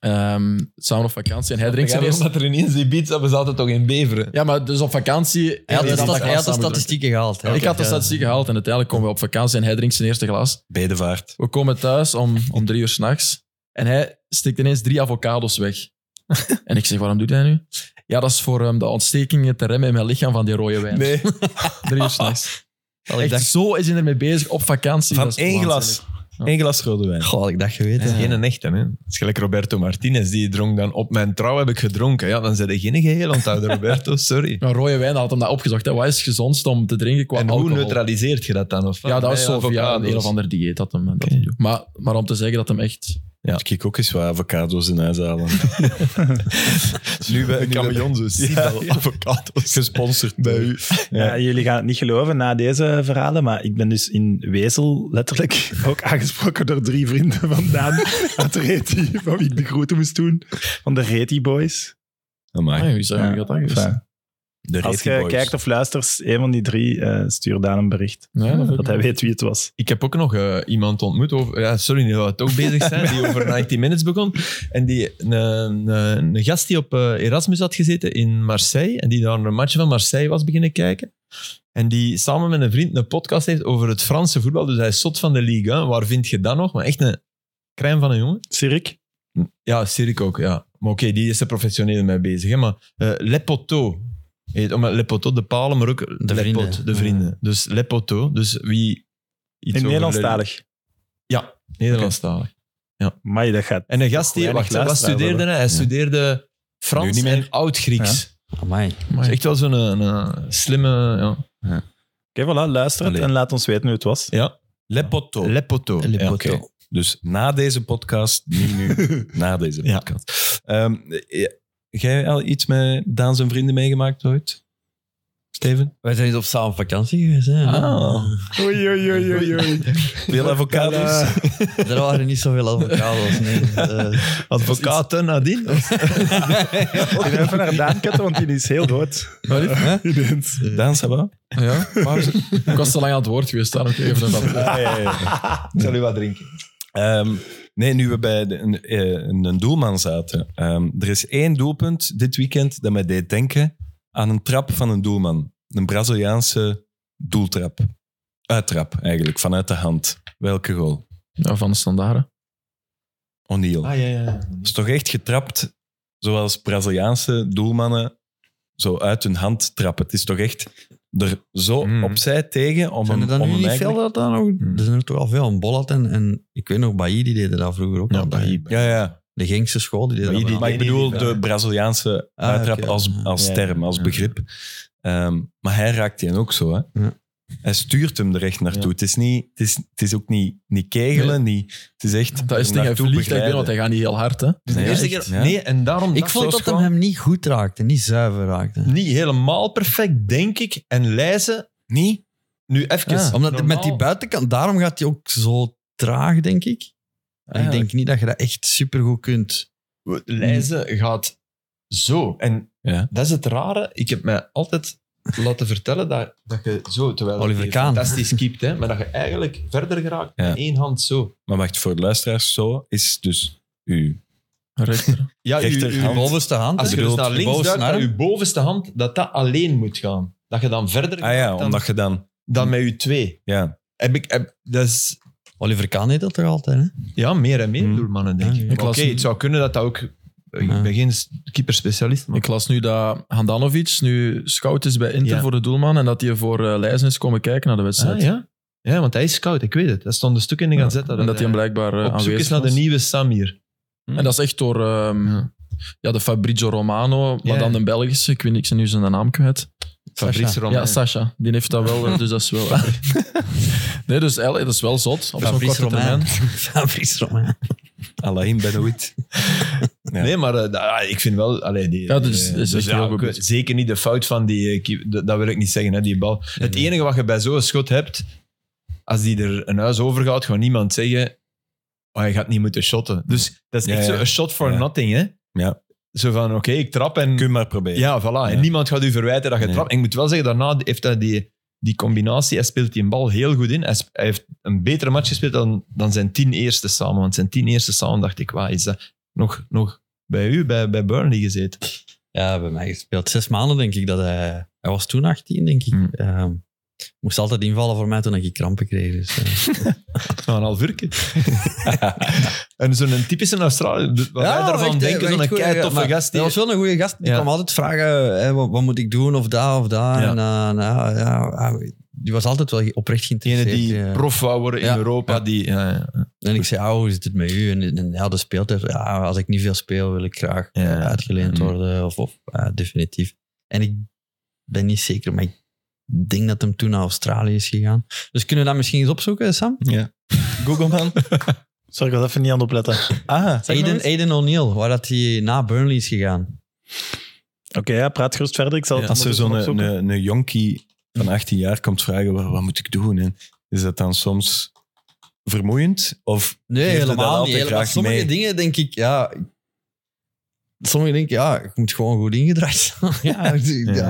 Speaker 7: ehm, samen op vakantie. En hij drinkt zijn eerste...
Speaker 6: Omdat er ineens die beats hebben, zaten toch in Beveren.
Speaker 7: Ja, maar dus op vakantie...
Speaker 4: Hij had de,
Speaker 7: Ja,
Speaker 4: stat-
Speaker 7: dat
Speaker 4: hij had de
Speaker 7: samen gedronken.
Speaker 4: statistieken gehaald. hè.
Speaker 7: Ik had de statistiek gehaald en uiteindelijk komen we op vakantie en hij drinkt zijn eerste glas.
Speaker 2: Bedevaart.
Speaker 7: We komen thuis om, om drie uur s'nachts. En hij steekt ineens drie avocados weg. En ik zeg, waarom doet hij nu? Ja, dat is voor ehm, de ontstekingen te remmen in mijn lichaam van die rode wijn.
Speaker 2: Nee,
Speaker 7: Drie uur s'nachts.
Speaker 4: Had ik
Speaker 7: Echt,
Speaker 4: dacht,
Speaker 7: zo is hij ermee bezig op vakantie.
Speaker 2: van
Speaker 7: Dat is
Speaker 2: één glas.
Speaker 7: waanzinnig.
Speaker 2: Eén glas rode wijn.
Speaker 4: goh, had ik dat geweten.
Speaker 6: Geen een echte, hè. Het is gelijk Roberto Martinez, die dronk dan op mijn trouw heb ik gedronken. Ja, dan zijn er geen geheel onthouden, Roberto, sorry.
Speaker 7: Maar rode wijn, dat had hem dat opgezocht. Hè. Wat is het gezondst om te drinken qua
Speaker 6: En hoe
Speaker 7: alcohol?
Speaker 6: neutraliseert je dat dan? Of wat?
Speaker 7: Ja, dat was
Speaker 6: Bij
Speaker 7: zo via een
Speaker 6: avocados.
Speaker 7: een of ander dieet. Dat hem, dat
Speaker 6: Oké.
Speaker 7: hem doet. maar, maar om te zeggen dat hem echt...
Speaker 6: Ja.
Speaker 2: Moet ik ook eens wat avocado's in huis halen. nu bij
Speaker 6: Een camion,
Speaker 2: zo. Avocado's. Gesponsord eh, bij u.
Speaker 3: Ja, jullie gaan het niet geloven na deze verhalen, maar ik ben dus in Wezel letterlijk ook aangesproken door drie vrienden van Daan uit Reti, van wie ik de groeten moest doen, van de Reti Boys.
Speaker 2: Amai.
Speaker 7: Ah, wie zou
Speaker 3: Ja,
Speaker 7: wie had dat geweest?
Speaker 3: enfin,
Speaker 2: De
Speaker 3: Als
Speaker 2: Rating
Speaker 3: je
Speaker 2: Boys.
Speaker 3: kijkt of luistert, een van die drie, eh, stuur Daan een bericht.
Speaker 7: Ja, dat vind
Speaker 3: dat
Speaker 7: ik-
Speaker 3: hij weet wie het was.
Speaker 6: Ik heb ook nog eh, iemand ontmoet, over, ja, sorry dat we toch bezig zijn, die over 90 Minutes begon. En die, een, een, een gast die op eh, Erasmus had gezeten in Marseille, en die daar een match van Marseille was beginnen kijken. En die samen met een vriend een podcast heeft over het Franse voetbal. Dus hij is zot van de Ligue 1. Waar vind je dat nog? Maar echt een crème van een jongen.
Speaker 3: Sirik?
Speaker 6: Ja, Sirik ook, ja. Maar oké, die is er professioneel mee bezig. Hè? Maar eh Le Poteau. Heet, omdat Le Poteau, de palen, maar ook Le Pot,
Speaker 4: vrienden.
Speaker 6: de vrienden. Dus Le Poteau. Dus wie...
Speaker 3: In
Speaker 6: iets over Le-
Speaker 3: Nederlandstalig.
Speaker 6: Nederlandstalig.
Speaker 3: Maar dat gaat.
Speaker 6: En een gast die,
Speaker 3: Weinig
Speaker 6: wacht, hè, wat
Speaker 3: luisteraars
Speaker 6: studeerde hij? Hij studeerde
Speaker 2: Nu
Speaker 6: Frans
Speaker 2: niet meer.
Speaker 6: en Oud-Grieks.
Speaker 4: Amai.
Speaker 6: Dat is echt wel zo'n eh, een, een slimme... Ja.
Speaker 3: Oké, voilà, luister het
Speaker 2: Allee.
Speaker 3: en laat ons weten hoe het was.
Speaker 2: Le Poteau.
Speaker 6: Le Poteau.
Speaker 4: Le
Speaker 6: Ja,
Speaker 4: Poteau.
Speaker 6: oké.
Speaker 2: Dus na deze podcast, niet nu, na deze
Speaker 6: Ja.
Speaker 2: podcast. Ehm, ja. Jij al iets met Daan zijn vrienden meegemaakt ooit? Steven?
Speaker 4: Wij zijn eens op samen op vakantie geweest. Hè?
Speaker 2: Ah.
Speaker 3: Oei, oei, oei, oei.
Speaker 2: Veel avocados?
Speaker 4: Er waren niet zoveel avocados. Nee. Eh,
Speaker 6: Advocaten nadien.
Speaker 3: Even naar Daan kutten, want die is heel rood.
Speaker 4: eh.
Speaker 2: Daan, ça va?
Speaker 7: Ja, maar ik was te lang aan het woord geweest. Daarom kreeg ik even een vat.
Speaker 6: Ik zal u wat drinken.
Speaker 2: Ehm, nee, nu we bij de- een, eh, een, een doelman zaten. Ehm, er is één doelpunt dit weekend dat mij deed denken aan een trap van een doelman. Een Braziliaanse doeltrap. Uittrap eigenlijk, vanuit de hand. Welke goal?
Speaker 7: Ja, van de standaarden.
Speaker 2: O'Neill.
Speaker 6: Ah, ja, ja.
Speaker 2: is toch echt getrapt zoals Braziliaanse doelmannen zo uit hun hand trappen. Het is toch echt er zo
Speaker 6: Mm.
Speaker 2: opzij tegen om
Speaker 4: zijn er
Speaker 2: hem,
Speaker 4: dan
Speaker 2: om
Speaker 4: nu
Speaker 2: hem
Speaker 4: niet veel
Speaker 2: eigenlijk-
Speaker 4: dat dan nog? Er zijn er toch al veel. Een Bollat en, en ik weet nog, Bailly die deden dat vroeger ook.
Speaker 6: Ja,
Speaker 4: altijd.
Speaker 6: Bahie.
Speaker 2: Ja, ja.
Speaker 4: De Genkse school die deden
Speaker 2: Maar,
Speaker 4: dat. wel.
Speaker 2: ik bedoel de Braziliaanse
Speaker 4: Ah,
Speaker 2: uittrap
Speaker 4: oké.
Speaker 2: als, als
Speaker 4: Ja, ja,
Speaker 2: term, als
Speaker 4: ja.
Speaker 2: begrip. Ehm, maar hij raakt die ook zo. Hè.
Speaker 4: Ja.
Speaker 2: Hij stuurt hem er echt naartoe. Het, is niet, het, is, het is ook niet, niet kegelen. Niet, het is echt
Speaker 7: Dat is het ding, hij
Speaker 2: naartoe
Speaker 7: vliegt daar binnen,
Speaker 2: begeleiden.
Speaker 7: want hij gaat niet heel hard. Hè.
Speaker 6: De
Speaker 2: Nee,
Speaker 6: eerste
Speaker 2: echt,
Speaker 6: keer,
Speaker 2: ja.
Speaker 6: Nee, en daarom
Speaker 4: Ik
Speaker 6: dacht
Speaker 4: vond dat
Speaker 6: Josko,
Speaker 4: hem hem niet goed raakte, niet zuiver raakte.
Speaker 6: Niet helemaal perfect, denk ik. En lijzen,
Speaker 2: Niet?
Speaker 6: nu even.
Speaker 2: Ja.
Speaker 4: Omdat
Speaker 6: normaal-
Speaker 4: met die buitenkant, daarom gaat hij ook zo traag, denk ik. En ik denk niet dat je dat echt supergoed kunt.
Speaker 6: Leijzen gaat zo. En
Speaker 2: Ja.
Speaker 6: dat is het rare. Ik heb mij altijd laten vertellen dat, dat je zo, terwijl
Speaker 4: Oliver
Speaker 6: je
Speaker 4: Kaan.
Speaker 6: fantastisch keept, hè, maar dat je eigenlijk verder geraakt
Speaker 2: Ja.
Speaker 6: met één hand zo.
Speaker 2: Maar wacht, voor de luisteraars, zo is dus u.
Speaker 7: Rechter.
Speaker 6: Ja,
Speaker 2: Rechterhand.
Speaker 6: je- je-
Speaker 4: De bovenste hand.
Speaker 6: als
Speaker 4: hè?
Speaker 6: je dus
Speaker 2: bedoelt
Speaker 6: naar
Speaker 4: de
Speaker 6: links
Speaker 4: bovenste
Speaker 6: duikt, dat
Speaker 4: arm.
Speaker 6: je bovenste hand, dat dat alleen moet gaan. Dat je dan verder
Speaker 2: Ah ja,
Speaker 6: geraakt dan,
Speaker 2: omdat je dan...
Speaker 6: dan met je twee.
Speaker 2: Ja,
Speaker 6: Heb ik, heb, dat is
Speaker 4: Oliver Kahn deed dat toch altijd, hè?
Speaker 6: ja, meer en meer
Speaker 2: Hmm.
Speaker 6: doelmannen, denk
Speaker 4: Ja,
Speaker 6: ik.
Speaker 4: ja.
Speaker 6: Maar Oké,
Speaker 7: Ik las-
Speaker 6: het zou kunnen dat dat ook... Ik
Speaker 4: Ja.
Speaker 6: ben geen s- keeperspecialist, maar...
Speaker 7: Ik las nu dat Handanovic nu scout is bij Inter
Speaker 6: Ja.
Speaker 7: voor de doelman en dat hij voor eh Leijzen is komen kijken naar de wedstrijd.
Speaker 6: Ah, ja? ja, want hij is scout, ik weet het. Dat stond een stuk in de
Speaker 7: Ja.
Speaker 6: gazette.
Speaker 7: En dat hij hem
Speaker 6: hij-
Speaker 7: blijkbaar eh,
Speaker 6: op zoek
Speaker 7: aanwezig
Speaker 6: is naar de
Speaker 7: was.
Speaker 6: nieuwe Samir.
Speaker 7: En dat is echt door ehm, ja.
Speaker 6: Ja.
Speaker 7: de Fabrizio Romano, maar
Speaker 6: Ja.
Speaker 7: dan de Belgische. Ik weet niet, ik ben nu zijn naam kwijt.
Speaker 6: Fabrice Romain.
Speaker 7: Ja, Sasha. Die heeft dat wel, eh, dus dat is wel... nee, dus eigenlijk, dat is wel zot. Op zo'n korte
Speaker 4: Fabrice
Speaker 7: termijn.
Speaker 4: Romain. Fabrice Romain.
Speaker 2: Alain Benoit. Ja.
Speaker 6: Nee, maar eh, da- ah, ik vind wel... Allee, die,
Speaker 7: Ja, dat is-
Speaker 6: eh,
Speaker 7: is echt heel goed
Speaker 6: ik-
Speaker 7: bezig.
Speaker 6: Zeker niet de fout van die... eh, keep- dat, dat wil ik niet zeggen, hè, die bal. Het enige wat je bij zo'n schot hebt, als die er een huis over gaat, gaat niemand zeggen... Oh, je gaat niet moeten shotten. Dus dat is
Speaker 2: Ja,
Speaker 6: echt
Speaker 2: ja.
Speaker 6: zo een shot for
Speaker 2: Ja.
Speaker 6: nothing, hè?
Speaker 2: Ja.
Speaker 6: Zo van, oké, ik trap en...
Speaker 2: Kun je maar proberen.
Speaker 6: Ja, voilà.
Speaker 2: Ja.
Speaker 6: En niemand gaat u verwijten dat je
Speaker 2: Nee.
Speaker 6: trapt. En ik moet wel zeggen, daarna heeft hij die, die combinatie, hij speelt die bal heel goed in. Hij, sp- hij heeft een betere match gespeeld dan, dan zijn tien eerste samen. Want zijn tien eerste samen dacht ik, waar is dat? Nog, nog bij u, bij, bij Burnley gezeten.
Speaker 4: Ja, bij mij gespeeld. Zes maanden, denk ik, dat hij... Hij was toen 18, denk ik.
Speaker 6: Hmm.
Speaker 4: Ehm, moest altijd invallen voor mij toen ik krampen kreeg. Dus, eh.
Speaker 6: Nou, een half uurtje. en zo'n typische Australië, de- wat wij daarvan
Speaker 4: echt,
Speaker 6: denken,
Speaker 4: echt
Speaker 6: zo'n
Speaker 4: goeie-
Speaker 6: keitoffe
Speaker 4: maar
Speaker 6: gast. Die,
Speaker 4: Dat was wel een goede gast. Die
Speaker 6: Ja.
Speaker 4: kwam altijd vragen, hè, wat, wat moet ik doen, of dat, of dat. En, eh, nou, ja, ah, die was altijd wel oprecht
Speaker 6: Degene
Speaker 4: geïnteresseerd.
Speaker 6: die
Speaker 4: ja.
Speaker 6: prof wou worden in
Speaker 4: Ja.
Speaker 6: Europa.
Speaker 4: Ja.
Speaker 6: Die, ja, ja.
Speaker 4: En ik zei, oh, hoe zit het met u? En, en ja, de speeltijd. Ja, als ik niet veel speel, wil ik graag
Speaker 6: Ja.
Speaker 4: eh, uitgeleend
Speaker 6: Mm.
Speaker 4: worden. Of, of ja, definitief. En ik ben niet zeker, maar ik denk dat hem toen naar Australië is gegaan. Dus kunnen we dat misschien eens opzoeken, Sam?
Speaker 2: Google man.
Speaker 3: Sorry, ik was even niet aan het opletten.
Speaker 2: Ah,
Speaker 4: Aiden, Aiden O'Neill, waar dat hij na Burnley is gegaan.
Speaker 3: Oké, ja, praat gerust verder. Ik zal het
Speaker 2: als er
Speaker 3: ondertussen
Speaker 2: zo'n een,
Speaker 3: opzoeken.
Speaker 2: een, jonkie
Speaker 4: Hm.
Speaker 2: van 18 jaar komt vragen, wat, wat moet ik doen? En is dat dan soms vermoeiend? Of
Speaker 4: Nee,
Speaker 2: Geeft hij dat
Speaker 4: helemaal
Speaker 2: altijd
Speaker 4: niet. Helemaal.
Speaker 2: graag
Speaker 4: Sommige
Speaker 2: mee?
Speaker 4: dingen denk ik, ja... Sommigen denken, ja, ik moet gewoon goed ingedraaid zijn. ja,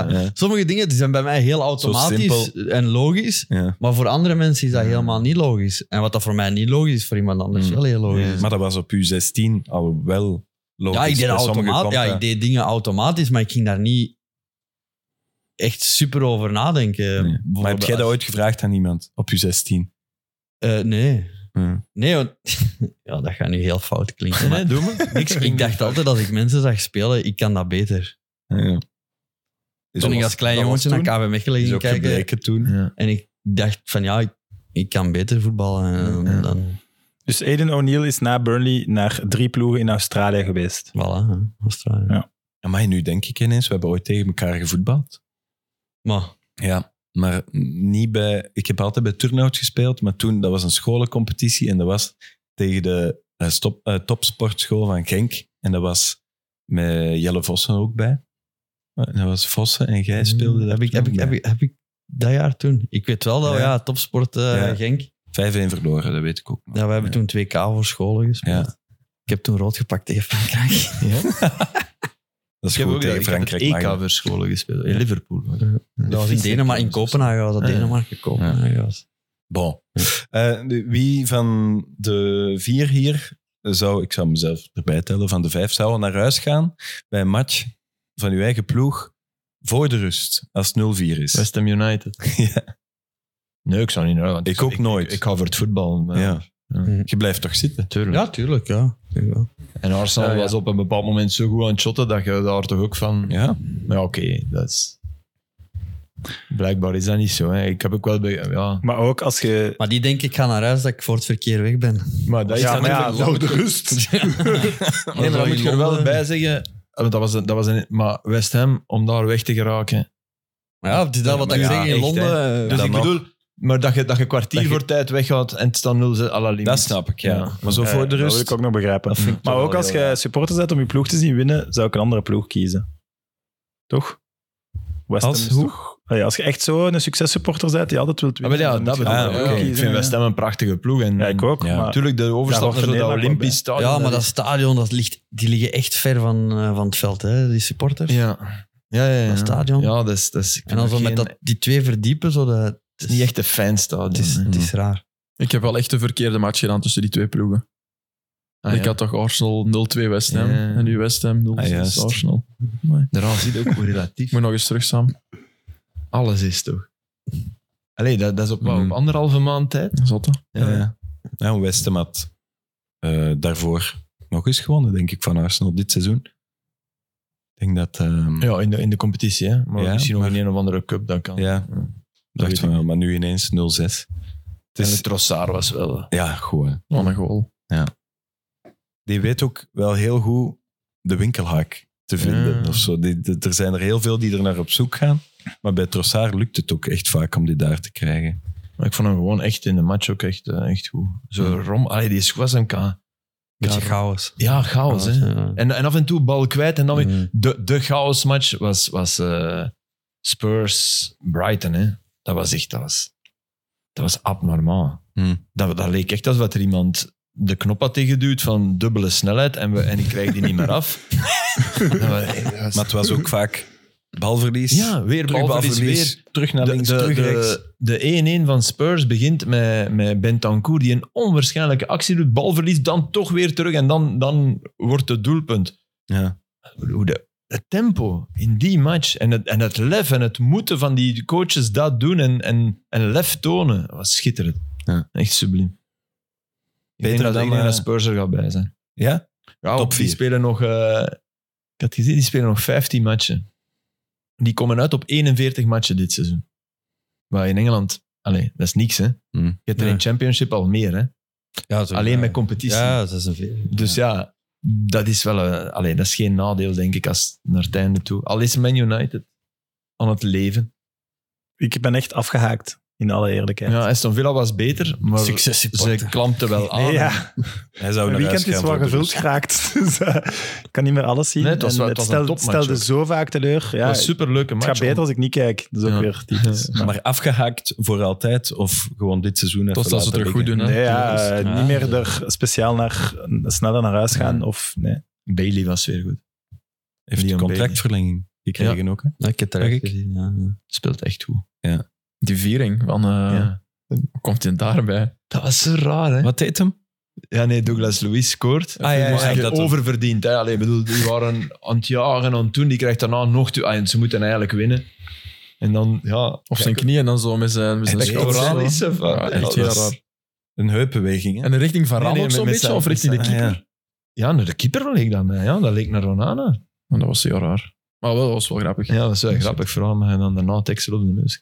Speaker 4: ja. Sommige dingen die zijn bij mij heel automatisch en logisch.
Speaker 6: Ja.
Speaker 4: Maar voor andere mensen is dat helemaal niet logisch. En wat dat voor mij niet logisch is, voor iemand anders
Speaker 6: Mm.
Speaker 4: wel heel logisch. is.
Speaker 2: Oh, Maar dat was op U16 al wel logisch.
Speaker 4: Ja, ik deed,
Speaker 2: Bij sommige
Speaker 4: automaat,
Speaker 2: klanten-
Speaker 4: ja, ik deed dingen automatisch, maar ik ging daar niet echt super over nadenken.
Speaker 2: Nee. Maar heb jij dat ooit gevraagd aan iemand op U16?
Speaker 4: Eh, nee.
Speaker 2: Ja.
Speaker 4: Nee, want... ja, dat gaat nu heel fout klinken. maar-
Speaker 6: doe maar. Niks
Speaker 4: ik dacht altijd, als ik mensen zag spelen, ik kan dat beter.
Speaker 2: Is
Speaker 4: toen
Speaker 2: dat
Speaker 4: ik
Speaker 2: was-
Speaker 4: als klein
Speaker 2: dat was
Speaker 4: jongetje naar
Speaker 2: toen?
Speaker 4: KV Mechelen
Speaker 2: Is
Speaker 4: ging
Speaker 2: ook
Speaker 4: kijken,
Speaker 2: gebleken toen.
Speaker 4: en ik dacht van ja, ik, ik kan beter voetballen en
Speaker 2: Ja.
Speaker 4: dan...
Speaker 3: Dus Aiden O'Neill is na Burnley naar drie ploegen in Australië geweest.
Speaker 4: Voilà, hè, Australië.
Speaker 3: Ja.
Speaker 2: Amai, nu denk ik ineens, we hebben ooit tegen elkaar gevoetbald.
Speaker 4: Maar
Speaker 2: Ja. Maar niet bij... Ik heb altijd bij Turnhout gespeeld, maar toen, dat was een scholencompetitie en dat was tegen de eh, stop, eh, topsportschool van Genk. En dat was met Jelle Vossen ook bij. En dat was Vossen en
Speaker 6: Mm.
Speaker 2: jij speelde daar
Speaker 4: heb ik,
Speaker 2: toen
Speaker 4: heb,
Speaker 2: ook
Speaker 4: ik, heb,
Speaker 2: bij.
Speaker 4: ik, heb ik dat jaar toen? Ik weet wel dat we,
Speaker 2: Ja.
Speaker 4: ja, topsport eh,
Speaker 2: Ja.
Speaker 4: Genk,
Speaker 2: 5-1 verloren, dat weet ik ook nog.
Speaker 4: ja, we hebben toen 2K voor scholen gespeeld.
Speaker 2: Ja.
Speaker 4: Ik heb toen rood gepakt tegen Frankrijk.
Speaker 2: Dat is
Speaker 6: Ik heb ook
Speaker 2: goed, tegen
Speaker 6: ik heb
Speaker 2: Frankrijk.
Speaker 6: het
Speaker 2: mag
Speaker 6: EK
Speaker 2: dat.
Speaker 6: voor scholen gespeeld. In Liverpool.
Speaker 4: Dat was in Denemarken, in Kopenhagen was dat
Speaker 6: Ja.
Speaker 4: Denemarken, Kopenhagen was.
Speaker 2: Bon. Eh, de- wie van de vier hier zou, ik zou mezelf erbij tellen, van de vijf zouden naar huis gaan bij een match van uw eigen ploeg voor de rust, als het 0-4 is?
Speaker 6: West Ham United.
Speaker 2: Ja.
Speaker 6: Nee, ik zou niet naar. want
Speaker 2: Ik ook nooit.
Speaker 6: Ik, ik hou voor het voetbal. maar-
Speaker 2: ja.
Speaker 4: Ja.
Speaker 2: Je blijft toch zitten?
Speaker 6: Tuurlijk.
Speaker 4: Ja, tuurlijk, ja. Ik denk wel.
Speaker 6: En Arsenal
Speaker 2: Ja, ja.
Speaker 6: was op een bepaald moment zo goed aan het shotten dat je daar toch ook van...
Speaker 2: Ja.
Speaker 6: Maar ja, oké, dat is... Blijkbaar is dat niet zo. Hè. Ik heb ook wel... Bij, ja.
Speaker 3: Maar ook als je...
Speaker 4: Maar die denk ik ga naar huis dat ik voor het verkeer weg ben.
Speaker 6: Maar dat is
Speaker 3: Ja, maar ja,
Speaker 6: natuurlijk-
Speaker 3: zo-
Speaker 6: rust. nee,
Speaker 4: zo
Speaker 6: maar dan
Speaker 4: in
Speaker 6: moet je er wel
Speaker 4: Londen-
Speaker 6: bij zeggen... Want Ah, dat was, een- dat was een, maar West Ham, om daar weg te geraken...
Speaker 4: Maar ja, het is dat wat ik
Speaker 6: Ja,
Speaker 4: zeg in
Speaker 6: echt,
Speaker 4: Londen. eh,
Speaker 6: Dus
Speaker 2: dan
Speaker 6: ik
Speaker 2: nog.
Speaker 6: bedoel... Maar dat je, dat je kwartier
Speaker 2: Dat je-
Speaker 6: voor tijd weggaat en het staat 0 à la limiet.
Speaker 2: Dat snap ik, ja.
Speaker 6: Ja.
Speaker 2: Maar zo voor de
Speaker 3: Eh, Dat wil
Speaker 2: rust?
Speaker 3: ik ook nog begrijpen.
Speaker 6: vind ik
Speaker 3: Maar
Speaker 6: toch
Speaker 3: ook
Speaker 6: wel
Speaker 3: als
Speaker 6: heel
Speaker 3: je supporter bent om je ploeg te zien winnen, zou ik een andere ploeg kiezen. Toch? West Ham
Speaker 2: Als
Speaker 3: is
Speaker 2: hoe?
Speaker 3: toch- Allee, als je echt zo'n successupporter bent die altijd wilt
Speaker 6: Ah, wel
Speaker 3: winnen...
Speaker 6: ja,
Speaker 3: dan
Speaker 6: dat
Speaker 3: moet je
Speaker 6: bedoel
Speaker 2: Ah,
Speaker 6: ik.
Speaker 3: een andere
Speaker 2: oké.
Speaker 3: ploeg
Speaker 6: Ja, Ik
Speaker 3: kiezen,
Speaker 6: vind
Speaker 3: ja.
Speaker 6: West Ham een prachtige ploeg. En,
Speaker 3: Ja, ik ook.
Speaker 2: Ja.
Speaker 3: Maar
Speaker 6: Natuurlijk, de overstap
Speaker 3: Daar
Speaker 6: naar
Speaker 3: wordt
Speaker 6: zo'n
Speaker 3: Nederland ook
Speaker 6: Olympisch
Speaker 3: bij.
Speaker 6: stadion.
Speaker 4: Ja, maar dat
Speaker 6: is-
Speaker 4: stadion, dat ligt, die liggen echt ver van, eh, van het veld, hè, die supporters.
Speaker 6: Ja. Ja, ja, ja.
Speaker 4: Dat stadion.
Speaker 6: Ja, dat is... Dat is ik
Speaker 4: En dan
Speaker 6: vind
Speaker 4: zo met
Speaker 6: geen-
Speaker 4: dat, die twee verdiepen, zo dat, het
Speaker 6: Het
Speaker 4: is
Speaker 6: is niet echt een fanstadion.
Speaker 4: Het is,
Speaker 6: hè.
Speaker 4: het is raar.
Speaker 7: Ik heb wel echt een verkeerde match gedaan tussen die twee ploegen.
Speaker 6: Ah,
Speaker 7: ik
Speaker 6: ja.
Speaker 7: had toch Arsenal 0-2 West Ham
Speaker 6: Ja.
Speaker 7: en nu West Ham 0-6
Speaker 2: Ah, juist.
Speaker 7: Arsenal. Amai.
Speaker 6: Daaraan zie je ook hoe
Speaker 7: Ik
Speaker 6: relatief
Speaker 7: moet nog eens terug, Sam.
Speaker 6: alles is, toch? Allee, dat, dat is op, wat, op
Speaker 4: Mm.
Speaker 2: Mhm.
Speaker 6: anderhalve maand tijd.
Speaker 7: Zotte.
Speaker 2: Ja, ja. Nou, West Ham had eh, daarvoor nog eens gewonnen, denk ik, van Arsenal dit seizoen. Ik denk dat... ehm,
Speaker 6: Ja, in de, in de competitie, hè. Maar
Speaker 2: Ja,
Speaker 6: misschien nog
Speaker 2: maar-
Speaker 6: in een of andere cup, dat kan.
Speaker 2: Ja.
Speaker 6: Ja.
Speaker 2: Ik dacht
Speaker 6: weet
Speaker 2: van
Speaker 6: ik
Speaker 2: wel, maar nu ineens 0-6. Het
Speaker 6: En Oh,
Speaker 2: is-
Speaker 6: de Trossard was wel...
Speaker 2: ja, goed. hè.
Speaker 7: Wat een goal.
Speaker 2: die weet ook wel heel goed de winkelhaak te vinden.
Speaker 6: Ja.
Speaker 2: Of zo. Die, die- er zijn er heel veel die er naar op zoek gaan. Maar bij Trossard lukt het ook echt vaak om die daar te krijgen.
Speaker 6: Maar ik vond hem gewoon echt in de match ook echt, eh, echt goed. Zo rom... Allee, die was hem... ka-
Speaker 4: Mm. Beetje
Speaker 6: Ja,
Speaker 4: chaos.
Speaker 6: Ja, chaos, hè.
Speaker 4: Ja.
Speaker 6: En, en af en toe bal kwijt en dan weer...
Speaker 4: Mm.
Speaker 6: De, de chaosmatch was, was eh, Spurs-Brighton. hè. Dat was echt... Dat was, dat was abnormaal.
Speaker 2: Hmm.
Speaker 6: Dat, dat leek echt alsof er iemand de knop had tegengeduwd van dubbele snelheid en, we, en ik krijg die niet meer af. Dat was- dat was-
Speaker 2: Maar het was ook vaak balverlies.
Speaker 6: ja, weer
Speaker 2: terug
Speaker 6: balverlies,
Speaker 2: balverlies.
Speaker 6: weer.
Speaker 2: Terug naar
Speaker 6: De-
Speaker 2: links,
Speaker 6: de,
Speaker 2: terug
Speaker 6: de-
Speaker 2: rechts.
Speaker 6: De 1-1 van Spurs begint met, met Bentancourt, die een onwaarschijnlijke actie doet. Balverlies, dan toch weer terug en dan, dan wordt het doelpunt.
Speaker 2: Ja.
Speaker 6: Hoe de, het tempo in die match en het, en het lef en het moeten van die coaches dat doen en, en, en lef tonen, was schitterend.
Speaker 2: Ja.
Speaker 6: Echt subliem. Ik
Speaker 2: Beter
Speaker 6: denk dat,
Speaker 2: dan,
Speaker 6: ik denk dat
Speaker 2: eh,
Speaker 6: Spurs er gaat bij zijn.
Speaker 2: ja?
Speaker 6: Ja,
Speaker 2: Top
Speaker 6: want die
Speaker 2: vier.
Speaker 6: spelen nog... eh, ik had gezien, die spelen nog 15 matchen. Die komen uit op 41 matchen dit seizoen. Maar in Engeland... Allee, dat is niks, hè.
Speaker 2: Hmm.
Speaker 6: Je hebt er
Speaker 4: Ja.
Speaker 6: in Championship al meer, hè.
Speaker 4: Ja, zo-
Speaker 6: Alleen
Speaker 4: ja.
Speaker 6: met competitie.
Speaker 4: Ja, dat is een veel.
Speaker 6: Dus ja, dat is wel... een- allee, dat is geen nadeel, denk ik, als naar het einde toe. Al is Man United aan het leven.
Speaker 3: Ik ben echt afgehaakt, in alle eerlijkheid.
Speaker 6: Ja, Aston Villa was beter, maar
Speaker 4: Succes
Speaker 6: ze klampten wel aan.
Speaker 3: Nee, ja.
Speaker 2: Hij zou
Speaker 3: Mijn
Speaker 2: naar huis
Speaker 3: weekend
Speaker 2: gaan
Speaker 3: is
Speaker 2: voor
Speaker 3: wel
Speaker 2: de
Speaker 3: gevuld
Speaker 2: rust.
Speaker 3: geraakt. Dus, eh, ik kan niet meer alles zien.
Speaker 6: Nee, het was
Speaker 3: En
Speaker 6: wel- het was een
Speaker 3: stelt-
Speaker 6: topmatch
Speaker 3: stelde
Speaker 6: ook.
Speaker 3: zo vaak teleur. Ja,
Speaker 6: Ja,
Speaker 3: het
Speaker 6: superleuke match.
Speaker 3: gaat beter als ik niet kijk. Dat is ook
Speaker 6: Ja.
Speaker 3: weer typisch. Maar-
Speaker 2: Maar afgehaakt voor altijd of gewoon dit seizoen even
Speaker 7: Tot als ze het
Speaker 2: laten
Speaker 7: terug goed
Speaker 2: liggen?
Speaker 7: doen. Hè.
Speaker 3: Nee, ja,
Speaker 7: Dus-
Speaker 3: eh,
Speaker 4: ja,
Speaker 3: niet meer
Speaker 4: dat-
Speaker 3: er speciaal naar, sneller naar huis gaan. Of, nee.
Speaker 6: Bailey was weer goed.
Speaker 2: Heeft
Speaker 6: Leon
Speaker 2: contractverlenging gekregen ook. Hè?
Speaker 4: Ja, ik heb dat
Speaker 2: Mag
Speaker 4: echt
Speaker 2: ik?
Speaker 4: gezien. Ja, ja.
Speaker 6: Speelt echt goed.
Speaker 7: Die viering van... eh,
Speaker 6: Ja.
Speaker 7: Hoe komt hij daarbij?
Speaker 6: Dat was zo raar, hè?
Speaker 2: Wat deed hem?
Speaker 6: Ja, nee, Douglas Lewis scoort.
Speaker 7: Ah, ja, ja,
Speaker 6: dus
Speaker 7: ja,
Speaker 6: eigenlijk
Speaker 7: dat dan.
Speaker 6: oververdiend. Hè? Allee, ik bedoel, die waren aan het jagen, aan het doen. Die krijgt daarna nog... toe- Ah, en ze moeten eigenlijk winnen. En dan, ja...
Speaker 7: Of zijn knieën dan zo met zijn... Met zijn
Speaker 2: Echt
Speaker 7: schouders,
Speaker 2: overal
Speaker 7: zo.
Speaker 6: is ze van.
Speaker 7: Ja, echt
Speaker 6: Ja,
Speaker 7: heel
Speaker 6: dat is-
Speaker 7: raar.
Speaker 2: Een heupbeweging. Hè?
Speaker 7: En de richting van Ram
Speaker 6: Nee, nee,
Speaker 7: ook zo'n
Speaker 6: met
Speaker 7: beetje?
Speaker 6: zijn-
Speaker 7: of richting de
Speaker 2: met zijn-
Speaker 7: keeper?
Speaker 2: ah,
Speaker 6: Ja, naar de keeper leek dan. hè. Ja, dat leek naar Ronana.
Speaker 7: Maar Dat was heel raar. Maar wel, dat was wel grappig.
Speaker 6: Ja, dat is wel grappig vooral. maar En dan daarna Texel op de neus.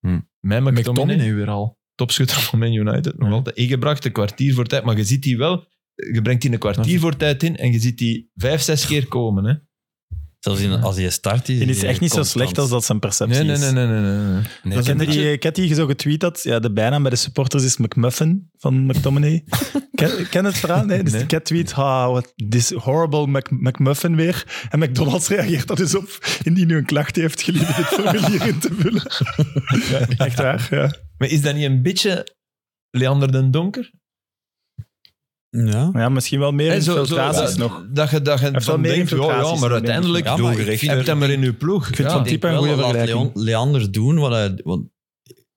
Speaker 2: Hm.
Speaker 6: Mijn
Speaker 7: McTominay
Speaker 6: McTominay,
Speaker 7: nu weer al.
Speaker 6: topschutter van Man United. Nog
Speaker 7: Ja.
Speaker 6: altijd. Ik gebracht een kwartier voor tijd, maar je ziet die wel... Je brengt die een kwartier voor tijd in en je ziet die vijf, zes keer komen. Hè.
Speaker 4: Zelfs in, als je start is.
Speaker 3: Die is
Speaker 4: die
Speaker 3: echt niet zo
Speaker 4: constant.
Speaker 3: slecht als dat zijn perceptie
Speaker 6: Nee, nee,
Speaker 3: is.
Speaker 6: nee, nee, nee, nee. nee.
Speaker 2: Nee,
Speaker 3: Ik, kende die, ik had die zo getweet dat ja, de bijnaam bij de supporters is McMuffin van McTominay. ken, ken het verhaal? Nee, dus ik had tweet, ha, what, this horrible Mc- McMuffin weer. En McDonald's reageert daar dus op, indien u een klacht heeft, gelieve dit formulier in te vullen. echt waar, ja.
Speaker 6: Maar is dat niet een beetje Leander den Donker?
Speaker 4: Ja.
Speaker 3: Ja, misschien wel meer
Speaker 6: Hè, zo- zo-
Speaker 3: infiltraties
Speaker 6: dat-
Speaker 3: nog.
Speaker 6: Dat je, dat je
Speaker 3: heeft wel
Speaker 6: dan
Speaker 3: meer
Speaker 6: denkt, ja, ja,
Speaker 3: infiltraties
Speaker 6: maar
Speaker 3: dan
Speaker 6: uiteindelijk
Speaker 4: denk ik. Ja, maar ik
Speaker 6: doorgerecht. Je
Speaker 4: vind-
Speaker 6: hebt hem er in je ploeg.
Speaker 3: vind
Speaker 6: Ja.
Speaker 3: van
Speaker 4: Ik denk
Speaker 3: type een
Speaker 4: wel,
Speaker 3: goede
Speaker 4: laat
Speaker 3: vergelijking.
Speaker 4: Leon, Leander doen wat hij... Wat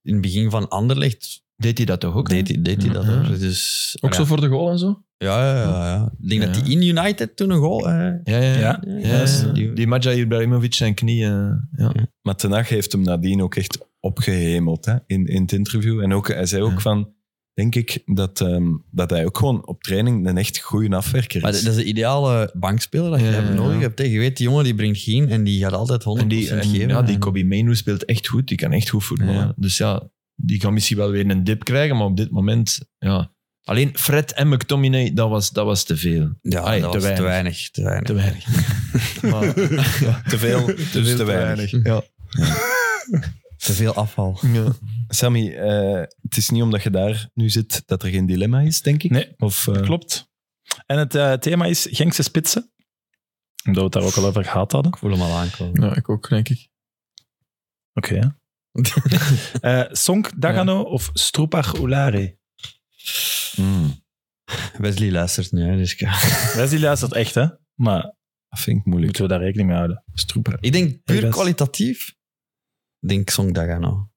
Speaker 4: in het begin van Anderlecht
Speaker 6: Deed hij dat toch ook?
Speaker 4: deed, hij- deed hij dat.
Speaker 6: Ja.
Speaker 4: hoor. Dus,
Speaker 7: Ook
Speaker 4: ja.
Speaker 7: zo voor de goal en zo?
Speaker 4: Ja, ja, ja. ja. Ik denk dat
Speaker 6: Ja.
Speaker 4: hij in United toen een goal... eh,
Speaker 6: Ja, ja, ja.
Speaker 3: Ja.
Speaker 6: Ja,
Speaker 4: dat is- die-
Speaker 6: Die Maja Ibrahimovic zijn knieën. Ja.
Speaker 2: Maar Ten Hag heeft hem nadien ook echt opgehemeld hè, in, in het interview. En ook, hij zei ook van, denk ik, dat, ehm, dat hij ook gewoon op training een echt goede afwerker
Speaker 4: Maar
Speaker 2: is.
Speaker 4: dat is de ideale bankspeler dat je
Speaker 6: Ja,
Speaker 4: hebt
Speaker 6: ja,
Speaker 4: nodig
Speaker 6: ja.
Speaker 4: hebt. hè. Je weet, die jongen die brengt geen en die gaat altijd 100%
Speaker 6: En die, en,
Speaker 4: geven.
Speaker 6: ja, die
Speaker 4: En-
Speaker 6: Kobe Mainu speelt echt goed. Die kan echt goed voetballen.
Speaker 2: Ja.
Speaker 6: Dus ja, die kan misschien wel weer een dip krijgen, maar op dit moment... Ja. Alleen Fred en McTominay, dat was, dat was te veel.
Speaker 4: Ja,
Speaker 6: Allee,
Speaker 4: dat
Speaker 6: te
Speaker 4: was te
Speaker 6: weinig.
Speaker 4: weinig. Te weinig.
Speaker 6: Te weinig. Maar-
Speaker 2: te veel, dus te, weinig.
Speaker 6: Ja.
Speaker 4: Te veel afval.
Speaker 6: Ja.
Speaker 2: Sammy, eh, het is niet omdat je daar nu zit dat er geen dilemma is, denk ik.
Speaker 3: Nee,
Speaker 2: of, eh,
Speaker 3: Klopt. En het eh, thema is Genkse spitsen. Omdat we het daar ook al over gehad hadden.
Speaker 4: Ik voel hem al aankomen.
Speaker 7: Ja, ik ook, denk ik.
Speaker 3: Oké, ja. Eh, Sonk Dagano of Stroepar Oulari?
Speaker 2: mm,
Speaker 4: Wesley luistert nu, hè, dus ik ga-
Speaker 3: Wesley luistert echt, hè? Maar
Speaker 2: dat vind ik moeilijk.
Speaker 3: moeten we daar rekening mee houden.
Speaker 2: Stroepen.
Speaker 4: Ik denk
Speaker 3: Hey,
Speaker 4: puur
Speaker 3: dat is-
Speaker 4: kwalitatief. Ik denk Song Dagano.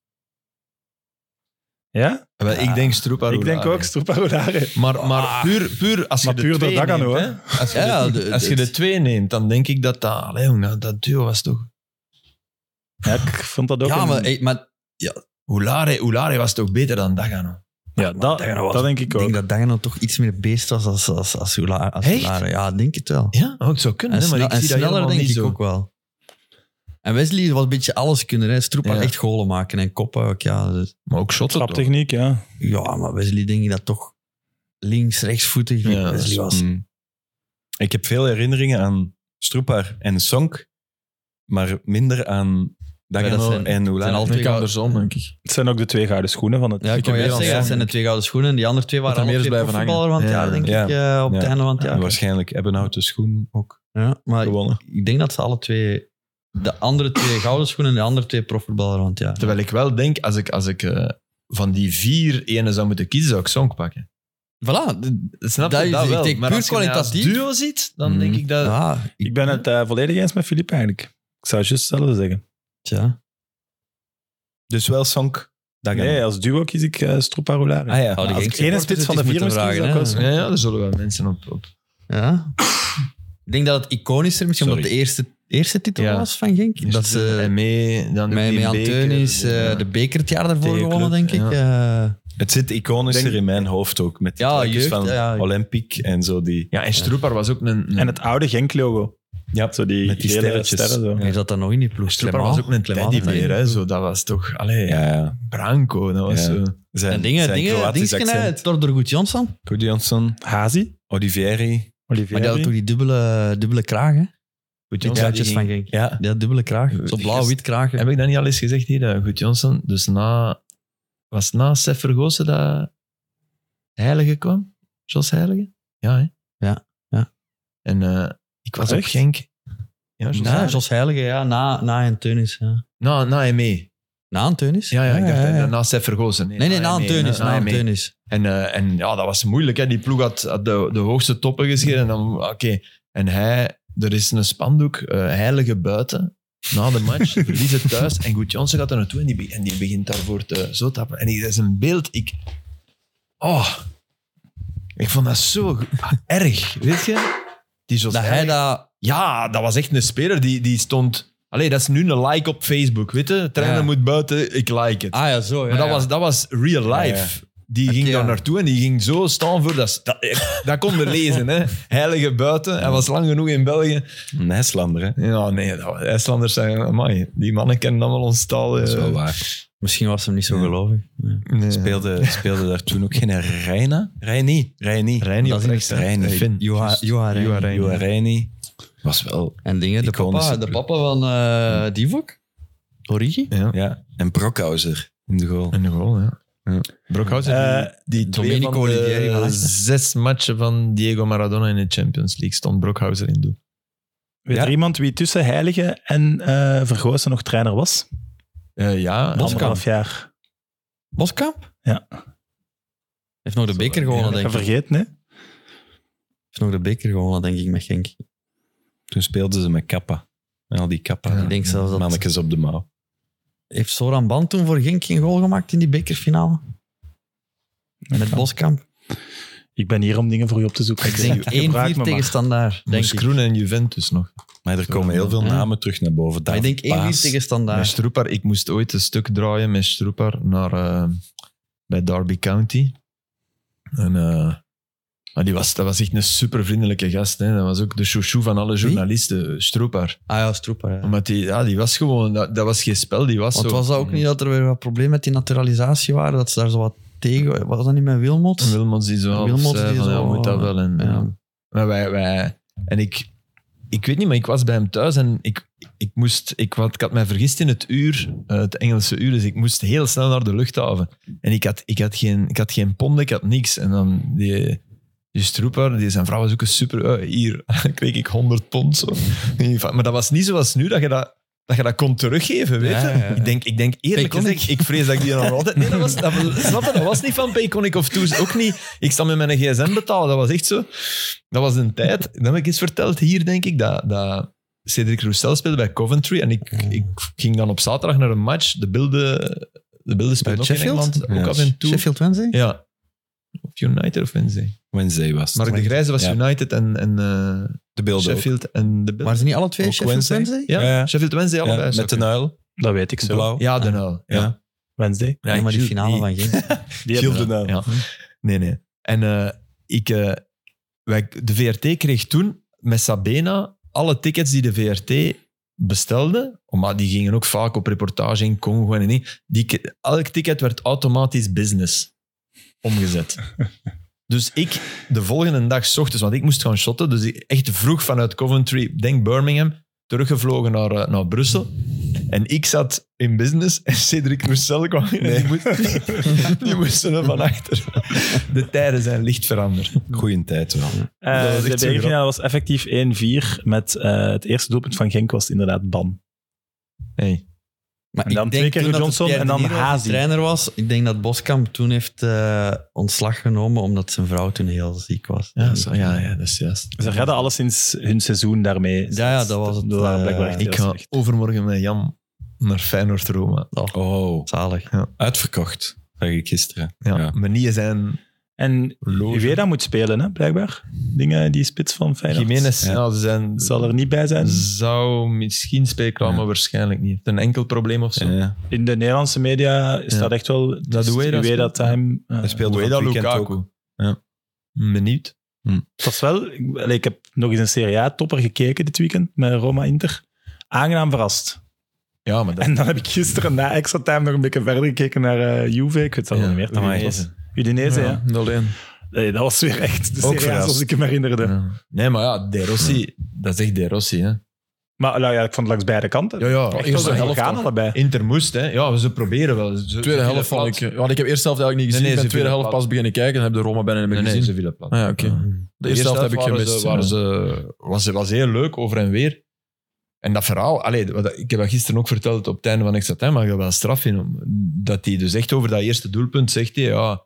Speaker 3: Ja?
Speaker 6: Wel, Ik denk Stroepa
Speaker 3: Ik denk ook Stroepar Oulari.
Speaker 6: Maar, maar puur, puur als je
Speaker 3: Maar
Speaker 6: de
Speaker 3: puur door
Speaker 6: twee
Speaker 3: Dagano,
Speaker 6: neemt,
Speaker 3: hè?
Speaker 6: Als je,
Speaker 4: Ja,
Speaker 6: Ah. de,
Speaker 4: de-
Speaker 6: als je
Speaker 4: dit-
Speaker 6: de twee neemt, dan denk ik dat dat... Allee, jong, dat, dat duo was toch...
Speaker 3: Ja, ik vond dat ook...
Speaker 4: Ja,
Speaker 3: een-
Speaker 4: maar, hey, maar
Speaker 6: Oulare, Oulare was toch beter dan Dagano?
Speaker 3: ja dat,
Speaker 4: Dagano was-
Speaker 3: dat denk
Speaker 4: ik
Speaker 3: ik
Speaker 4: denk
Speaker 3: ook.
Speaker 4: dat Dagano toch iets meer beest was als, als, als, Oula- als
Speaker 6: Echt?
Speaker 4: Oulare. Ja, ik denk het wel.
Speaker 6: Ja, ook zou kunnen.
Speaker 4: En,
Speaker 6: hè, maar
Speaker 4: snel-
Speaker 6: ik
Speaker 4: en
Speaker 6: zie dat
Speaker 4: sneller
Speaker 6: helemaal
Speaker 4: denk
Speaker 6: niet
Speaker 4: ik
Speaker 6: zo.
Speaker 4: ook wel. En Wesley was een beetje alles kunnen. Hè. Stroep had
Speaker 6: Ja.
Speaker 4: echt golen maken en koppen. ook, Ja, dus-
Speaker 6: Maar ook shotten toch?
Speaker 3: Traptechniek, ja.
Speaker 4: ja, maar Wesley denk ik dat toch links, rechtsvoetig
Speaker 6: Ja, dat
Speaker 4: Wesley
Speaker 6: is-
Speaker 4: was.
Speaker 2: Mm. Ik heb veel herinneringen aan Stroepaar en Sonk, maar minder aan
Speaker 4: Ja, dat
Speaker 2: Dagano
Speaker 4: zijn-
Speaker 2: en
Speaker 4: zijn
Speaker 2: Oulari.
Speaker 4: al
Speaker 7: Ik
Speaker 4: twee gouden-
Speaker 7: andersom, denk ik.
Speaker 3: Het zijn ook de twee gouden schoenen van het...
Speaker 2: dus-
Speaker 4: Ja, ik
Speaker 7: heb
Speaker 4: kan juist
Speaker 7: heel
Speaker 4: zeggen, dat
Speaker 7: veel-
Speaker 4: zijn de twee gouden schoenen. Die andere twee waren
Speaker 7: Dat er
Speaker 4: alle
Speaker 7: meer
Speaker 4: twee
Speaker 7: is blijven
Speaker 4: voetballer van het
Speaker 6: hangen.
Speaker 4: jaar, denk
Speaker 2: Ja.
Speaker 4: ik, eh, op het
Speaker 2: Ja.
Speaker 4: einde van het
Speaker 2: En
Speaker 4: jaar.
Speaker 2: waarschijnlijk Ebbenhout de Schoen ook
Speaker 4: Ja, maar Ah, ik,
Speaker 2: gewonnen.
Speaker 4: ik denk dat ze alle twee... De andere twee gouden schoenen en de andere twee profvoetballer van het jaar.
Speaker 6: Terwijl ik wel denk, als ik, als ik eh, van die vier ene zou moeten kiezen, zou ik Song pakken.
Speaker 4: Voilà. de-
Speaker 6: Snap
Speaker 4: Dat
Speaker 6: je?
Speaker 4: is-
Speaker 6: Dat
Speaker 4: ik
Speaker 6: wel.
Speaker 4: denk
Speaker 6: maar
Speaker 4: puur
Speaker 6: als je mij als
Speaker 4: kwalitatief.
Speaker 6: duo ziet, dan
Speaker 2: Mhm.
Speaker 6: denk ik dat...
Speaker 4: Ja, ik,
Speaker 3: Ik ben het eh, volledig eens met Filip eigenlijk. Ik zou juist hetzelfde zeggen.
Speaker 4: tja.
Speaker 2: Dus wel Sonk, Dagano.
Speaker 3: Nee, als duo kies ik eh Stroepar Oulari.
Speaker 2: Ah ja,
Speaker 4: Oh, die
Speaker 3: Als
Speaker 4: Genk
Speaker 3: ik ene
Speaker 4: supporters
Speaker 3: spits
Speaker 4: het
Speaker 3: van
Speaker 4: eens
Speaker 3: de vier
Speaker 4: moeten
Speaker 3: misschien
Speaker 4: vragen,
Speaker 3: zou ik
Speaker 4: hè.
Speaker 3: wel Sonk-
Speaker 6: Ja, ja, er zullen wel mensen op... op.
Speaker 4: Ja. Ik denk dat het iconischer misschien omdat
Speaker 2: Sorry.
Speaker 4: de eerste, eerste titel
Speaker 6: Ja.
Speaker 4: was van Genk. dat
Speaker 6: en
Speaker 4: ze
Speaker 6: mee, dan
Speaker 4: met, met Antonis
Speaker 6: ja.
Speaker 4: eh, de beker het jaar daarvoor
Speaker 2: Tegen
Speaker 4: gewonnen,
Speaker 2: club,
Speaker 4: denk ik. eh.
Speaker 2: Het zit iconischer
Speaker 4: Denk-
Speaker 2: in mijn hoofd ook. Met die
Speaker 4: Ja,
Speaker 2: trucjes
Speaker 4: jeugd,
Speaker 2: van
Speaker 4: ja.
Speaker 2: Olympic en zo. Die,
Speaker 6: ja, en Stroepar was ook een... een
Speaker 3: En het oude Genk-logo.
Speaker 2: Mm. ja,
Speaker 3: Zo die,
Speaker 2: Met die
Speaker 3: gele
Speaker 2: sterretjes.
Speaker 3: sterren zo.
Speaker 4: Wie zat dat nog in die ploeg?
Speaker 6: Stroepar was ook een teddybeer, hè. Zo, dat was toch... Allee,
Speaker 2: ja, ja.
Speaker 6: Branco, dat was
Speaker 2: Ja.
Speaker 6: zo...
Speaker 2: Zijn,
Speaker 4: En dingen,
Speaker 2: zijn
Speaker 4: dingen,
Speaker 2: Kroatisch
Speaker 4: dingen,
Speaker 2: accent.
Speaker 4: Tordor Goed Johnson.
Speaker 2: Goed, Jansson,
Speaker 3: Hazi,
Speaker 2: Olivieri.
Speaker 4: Maar die had
Speaker 3: Olivier.
Speaker 4: toch die dubbele, dubbele kraag, hè?
Speaker 6: Goed,
Speaker 4: Die
Speaker 6: Johnson.
Speaker 4: truitjes van Genk.
Speaker 2: Ja.
Speaker 4: Die had dubbele kraag. Zo blauw-wit kraag.
Speaker 6: Heb ik dat niet al eens gezegd hier? dat Goed Johnson, dus na... Was het na Sef Vergozen dat Heilige kwam? Jos Heilige? Ja, hè?
Speaker 4: Ja, ja.
Speaker 6: En eh, ik was op
Speaker 3: Echt?
Speaker 6: Genk. Ja, Jos
Speaker 4: Na
Speaker 6: Heilige.
Speaker 4: Jos Heilige, ja. Na, na Antonis. Ja.
Speaker 6: Na, na Aimé.
Speaker 4: Na Antonis?
Speaker 6: Ja, ja, ik dacht
Speaker 4: Ah, ja, ja.
Speaker 6: na E, Sef Vergozen. Nee,
Speaker 4: Nee, nee, na
Speaker 6: Aimé,
Speaker 4: Antonis. Na
Speaker 6: Aimé.
Speaker 4: Antonis.
Speaker 6: En, eh, en ja, dat was moeilijk. Hè. Die ploeg had, had de, de hoogste toppen geschreven. En dan, oké. En hij er is een spandoek, eh, heilige buiten, na de match, verlies het thuis. En Goed Johnson gaat er naartoe en die, be- en die begint daarvoor te zo tappen. En die- dat is een beeld, ik... Oh, ik vond dat zo ge- erg, weet je? Die zo
Speaker 4: Dat
Speaker 6: erg-
Speaker 4: hij dat...
Speaker 6: ja, dat was echt een speler die, die stond. Allee, dat is nu een like op Facebook, weet je? Trainer
Speaker 4: Ja.
Speaker 6: moet buiten, ik like het.
Speaker 4: Ah ja, zo. Ja,
Speaker 6: maar dat,
Speaker 4: ja.
Speaker 6: was, dat was real life. Die ging
Speaker 4: Oké,
Speaker 6: daar
Speaker 4: ja.
Speaker 6: naartoe en die ging zo staan voor dat. Dat, eh, dat kon je lezen, hè? Heilige buiten. Hij was lang genoeg in België.
Speaker 2: Een IJslander, hè?
Speaker 6: Ja, nee, dat, IJslanders zijn. Amai, die mannen kennen allemaal ons taal.
Speaker 2: Dat is
Speaker 6: eh.
Speaker 2: wel waar.
Speaker 4: Misschien was hem niet zo gelovig.
Speaker 6: Nee.
Speaker 2: Speelde, speelde daar toen ook geen Reina? Reini. Reini.
Speaker 6: Reini
Speaker 2: Dat is
Speaker 6: oprecht,
Speaker 2: echt
Speaker 6: hè?
Speaker 2: Reini.
Speaker 6: Een Fin.
Speaker 4: Joha- Joha Reini.
Speaker 2: Joha Reini. Was wel...
Speaker 4: En dingen, de
Speaker 2: Iconische
Speaker 4: papa, de
Speaker 2: ploeg.
Speaker 4: papa van eh Divok? Origi?
Speaker 2: Ja. En Brockhouser in de goal.
Speaker 6: Een goal, ja. ja. Brockhuizen,
Speaker 3: Eh,
Speaker 6: die, die twee
Speaker 4: Domenico
Speaker 6: van de
Speaker 4: Olivieri van Ajax.
Speaker 6: zes matchen van Diego Maradona in de Champions League stond Brockhouser in doel.
Speaker 3: Weet er iemand wie tussen Heilige en eh Vergozen nog trainer was?
Speaker 6: Eh, ja,
Speaker 3: Anderhalf jaar.
Speaker 4: Boskamp?
Speaker 3: Ja.
Speaker 4: Heeft nog de beker
Speaker 6: eh,
Speaker 4: gewonnen,
Speaker 3: Ik
Speaker 4: denk
Speaker 3: ga
Speaker 4: ik. Heeft
Speaker 3: vergeten, hè?
Speaker 4: nog de beker gewonnen, denk ik, met Genk.
Speaker 2: Toen speelden ze met Kappa. En al die Kappa.
Speaker 4: Ik denk zelfs dat-
Speaker 2: Mannetjes op de mouw.
Speaker 4: Heeft Soran Band toen voor Genk geen goal gemaakt in die bekerfinale? Met Boskamp.
Speaker 3: Ik ben hier om dingen voor u op te zoeken.
Speaker 4: Ik denk
Speaker 3: Gebruik me maar.
Speaker 4: 1-4 tegen Standaard. Denk
Speaker 6: Moes
Speaker 4: ik.
Speaker 6: Kroen en Juventus nog.
Speaker 2: Maar er komen heel veel
Speaker 4: Ja.
Speaker 2: namen terug naar boven.
Speaker 4: Maar ik
Speaker 2: David
Speaker 4: denk 1-4
Speaker 2: Paes.
Speaker 4: tegen
Speaker 6: Met
Speaker 4: Standaard.
Speaker 6: Stroepar, ik moest ooit een stuk draaien met Stroepar naar, eh, bij Derby County. En, eh, maar die was, dat was echt een super vriendelijke gast. Hè. Dat was ook de chouchou van alle journalisten, Stroepar.
Speaker 4: Ah ja, Stroeper. ja.
Speaker 6: Omdat die, ja, die was gewoon, dat, dat was geen spel, die was
Speaker 4: Want
Speaker 6: zo.
Speaker 4: was dat ook niet dat er weer wat problemen met die naturalisatie waren? Dat ze daar zo wat tegen... Was dat niet met Wilmot?
Speaker 6: En Wilmots die zo.
Speaker 4: Wilmots
Speaker 6: zei
Speaker 4: die
Speaker 6: van,
Speaker 4: zo-
Speaker 6: ja, moet dat wel. En, ja.
Speaker 4: Ja.
Speaker 6: Maar wij, wij, en ik, ik weet niet, maar ik was bij hem thuis en ik, ik moest, ik, had, ik had mij vergist in het uur, eh, het Engelse uur, dus ik moest heel snel naar de luchthaven. En ik had, ik had, geen, ik had geen pond, ik had niks. En dan die, die stroeper, die zijn vrouw was ook een super, eh, hier kreeg ik 100 pond. Zo. Maar dat was niet zoals nu, dat je dat, dat, je dat kon teruggeven, weet je.
Speaker 4: Ja, ja, ja.
Speaker 6: Ik, denk, ik denk eerlijk
Speaker 4: Peconic.
Speaker 6: gezegd, ik vrees dat ik die nog altijd... Nee, dat was, dat, was- snap je, dat was niet van Payconic of Toes, ook niet. Ik sta met mijn gsm betalen, dat was echt zo. Dat was een tijd. Dat heb ik eens verteld hier, denk ik, dat, dat Cedric Roussel speelde bij Coventry. En ik, ik ging dan op zaterdag naar een match. De beelden, de beelden speelden ook
Speaker 4: Sheffield?
Speaker 6: in Engeland, ook af en toe.
Speaker 4: Sheffield Wednesday?
Speaker 6: Ja. Of United of Wednesday.
Speaker 2: Wednesday was het.
Speaker 6: Mark de Grijze was
Speaker 2: Ja.
Speaker 6: United en, en eh,
Speaker 2: De beelden ook.
Speaker 6: Sheffield. En de
Speaker 4: Maar
Speaker 6: beelden.
Speaker 4: ze niet alle twee
Speaker 2: Ook
Speaker 4: Sheffield
Speaker 2: Wednesday?
Speaker 4: Wednesday?
Speaker 6: Ja,
Speaker 2: Ja, ja.
Speaker 6: Sheffield Wednesday
Speaker 2: Ja,
Speaker 6: allebei.
Speaker 2: met de Nuil.
Speaker 3: Dat weet ik zo.
Speaker 2: Blauw.
Speaker 6: Ja, de Nuil. Ja.
Speaker 2: Ja.
Speaker 3: Wednesday.
Speaker 4: Ja, maar die
Speaker 6: Gilles,
Speaker 4: finale
Speaker 6: die-
Speaker 4: van Genk.
Speaker 3: Die
Speaker 2: Gilles
Speaker 3: hebben we.
Speaker 2: de Nuyl.
Speaker 6: Ja. Nee, nee. En eh, ik, eh, wij, de VRT kreeg toen met Sabena alle tickets die de VRT bestelde, maar die gingen ook vaak op reportage in Congo en niet. Die, ke- elk ticket werd automatisch business omgezet. Dus ik de volgende dag 's ochtends, want ik moest gaan shotten, dus ik echt vroeg vanuit Coventry, denk Birmingham, teruggevlogen naar, eh, naar Brussel. En ik zat in business en Cedric Roussel kwam in en die moest, die moesten er van achter. De tijden zijn licht veranderd.
Speaker 2: Goeie tijd wel.
Speaker 3: Eh,
Speaker 6: Dat was
Speaker 3: de
Speaker 6: echt zo
Speaker 3: bekerfinale was effectief 1-4 met eh, het eerste doelpunt van Genk was inderdaad Ban.
Speaker 6: Hey.
Speaker 4: Maar
Speaker 3: En dan
Speaker 4: ik
Speaker 3: twee
Speaker 4: denk
Speaker 3: keer
Speaker 4: toen dat
Speaker 3: Johnson
Speaker 4: het Pierre
Speaker 3: en dan
Speaker 4: De Niro
Speaker 3: Hazi.
Speaker 4: trainer was. Ik denk dat Boskamp toen heeft eh, ontslag genomen omdat zijn vrouw toen heel ziek was.
Speaker 6: Ja,
Speaker 4: En-
Speaker 6: zo, ja, ja, dat is juist.
Speaker 3: Ze redden alleszins hun seizoen daarmee.
Speaker 4: Ja, ja, dat was het,
Speaker 3: Dat waren
Speaker 4: eh,
Speaker 3: blijkbaar echt
Speaker 6: Ik
Speaker 3: heel
Speaker 6: ga
Speaker 3: slecht.
Speaker 6: overmorgen met Jan naar Feyenoord-Roma.
Speaker 2: Oh,
Speaker 4: Zalig.
Speaker 2: uitverkocht. Zag ik gisteren.
Speaker 6: Ja.
Speaker 2: Ja.
Speaker 6: Mijn knieën zijn
Speaker 3: En
Speaker 6: loze.
Speaker 3: Ueda moet spelen, hè, blijkbaar. Dingen die spits van Feyenoord.
Speaker 6: Jiménez
Speaker 2: Ja.
Speaker 6: ja, ze zijn,
Speaker 3: zal er niet bij zijn.
Speaker 6: zou misschien speelklaar,
Speaker 2: Ja.
Speaker 6: maar waarschijnlijk niet. Heeft Een enkel probleem of zo.
Speaker 2: Ja, ja.
Speaker 3: In de Nederlandse media staat echt wel het
Speaker 6: Dat
Speaker 3: is
Speaker 6: Ueda
Speaker 3: Ueda
Speaker 6: speelt,
Speaker 3: time. eh,
Speaker 2: Hij speelde
Speaker 6: Ueda
Speaker 2: van het weekend
Speaker 6: Lukaku.
Speaker 2: ook.
Speaker 6: Benieuwd.
Speaker 3: Het was wel, ik, allee, ik heb nog eens een Serie A-topper gekeken dit weekend met Roma-Inter. Aangenaam verrast.
Speaker 6: Ja, maar dat
Speaker 3: En dan heb ik gisteren na extra time nog een beetje verder gekeken naar eh, Juve. Ik weet het al
Speaker 6: Ja,
Speaker 3: niet meer. Udinese, was. Udinese ja.
Speaker 7: alleen.
Speaker 3: Nee, dat was weer echt de
Speaker 6: Ook
Speaker 3: Serie A
Speaker 6: verrast.
Speaker 3: zoals ik me herinnerde.
Speaker 6: Ja. Nee, maar ja, De Rossi, dat is echt De Rossi. Hè.
Speaker 3: Maar nou ja, ik vond het langs beide kanten.
Speaker 6: Ja, ja.
Speaker 3: Echt wel
Speaker 7: eerste
Speaker 3: een
Speaker 7: helft
Speaker 3: orgaan
Speaker 7: dan.
Speaker 3: allebei.
Speaker 6: Inter moest, hè. Ja, ze proberen wel. Ze-
Speaker 7: Tweede
Speaker 6: ze
Speaker 7: helft vond
Speaker 6: vielen
Speaker 7: ik...
Speaker 6: plat.
Speaker 7: eh, Want ik heb eerste helft eigenlijk niet gezien.
Speaker 6: Nee, nee,
Speaker 7: ik ben
Speaker 6: ze
Speaker 7: tweede
Speaker 6: vielen
Speaker 7: helft
Speaker 6: plat.
Speaker 7: pas beginnen kijken en heb de Roma bijna niet meer
Speaker 6: Nee, nee,
Speaker 7: gezien.
Speaker 6: ze vielen plat.
Speaker 7: Ah ja, oké. De eerste helft heb ik
Speaker 6: waren
Speaker 7: gemist.
Speaker 6: Ze, waren
Speaker 7: ja.
Speaker 6: ze, was, was heel leuk over en weer. En dat verhaal, allee, wat, ik heb dat gisteren ook verteld op het einde van extra time, maar ik heb wel straf in hem. Dat hij dus echt over dat eerste doelpunt zegt, hij, ja,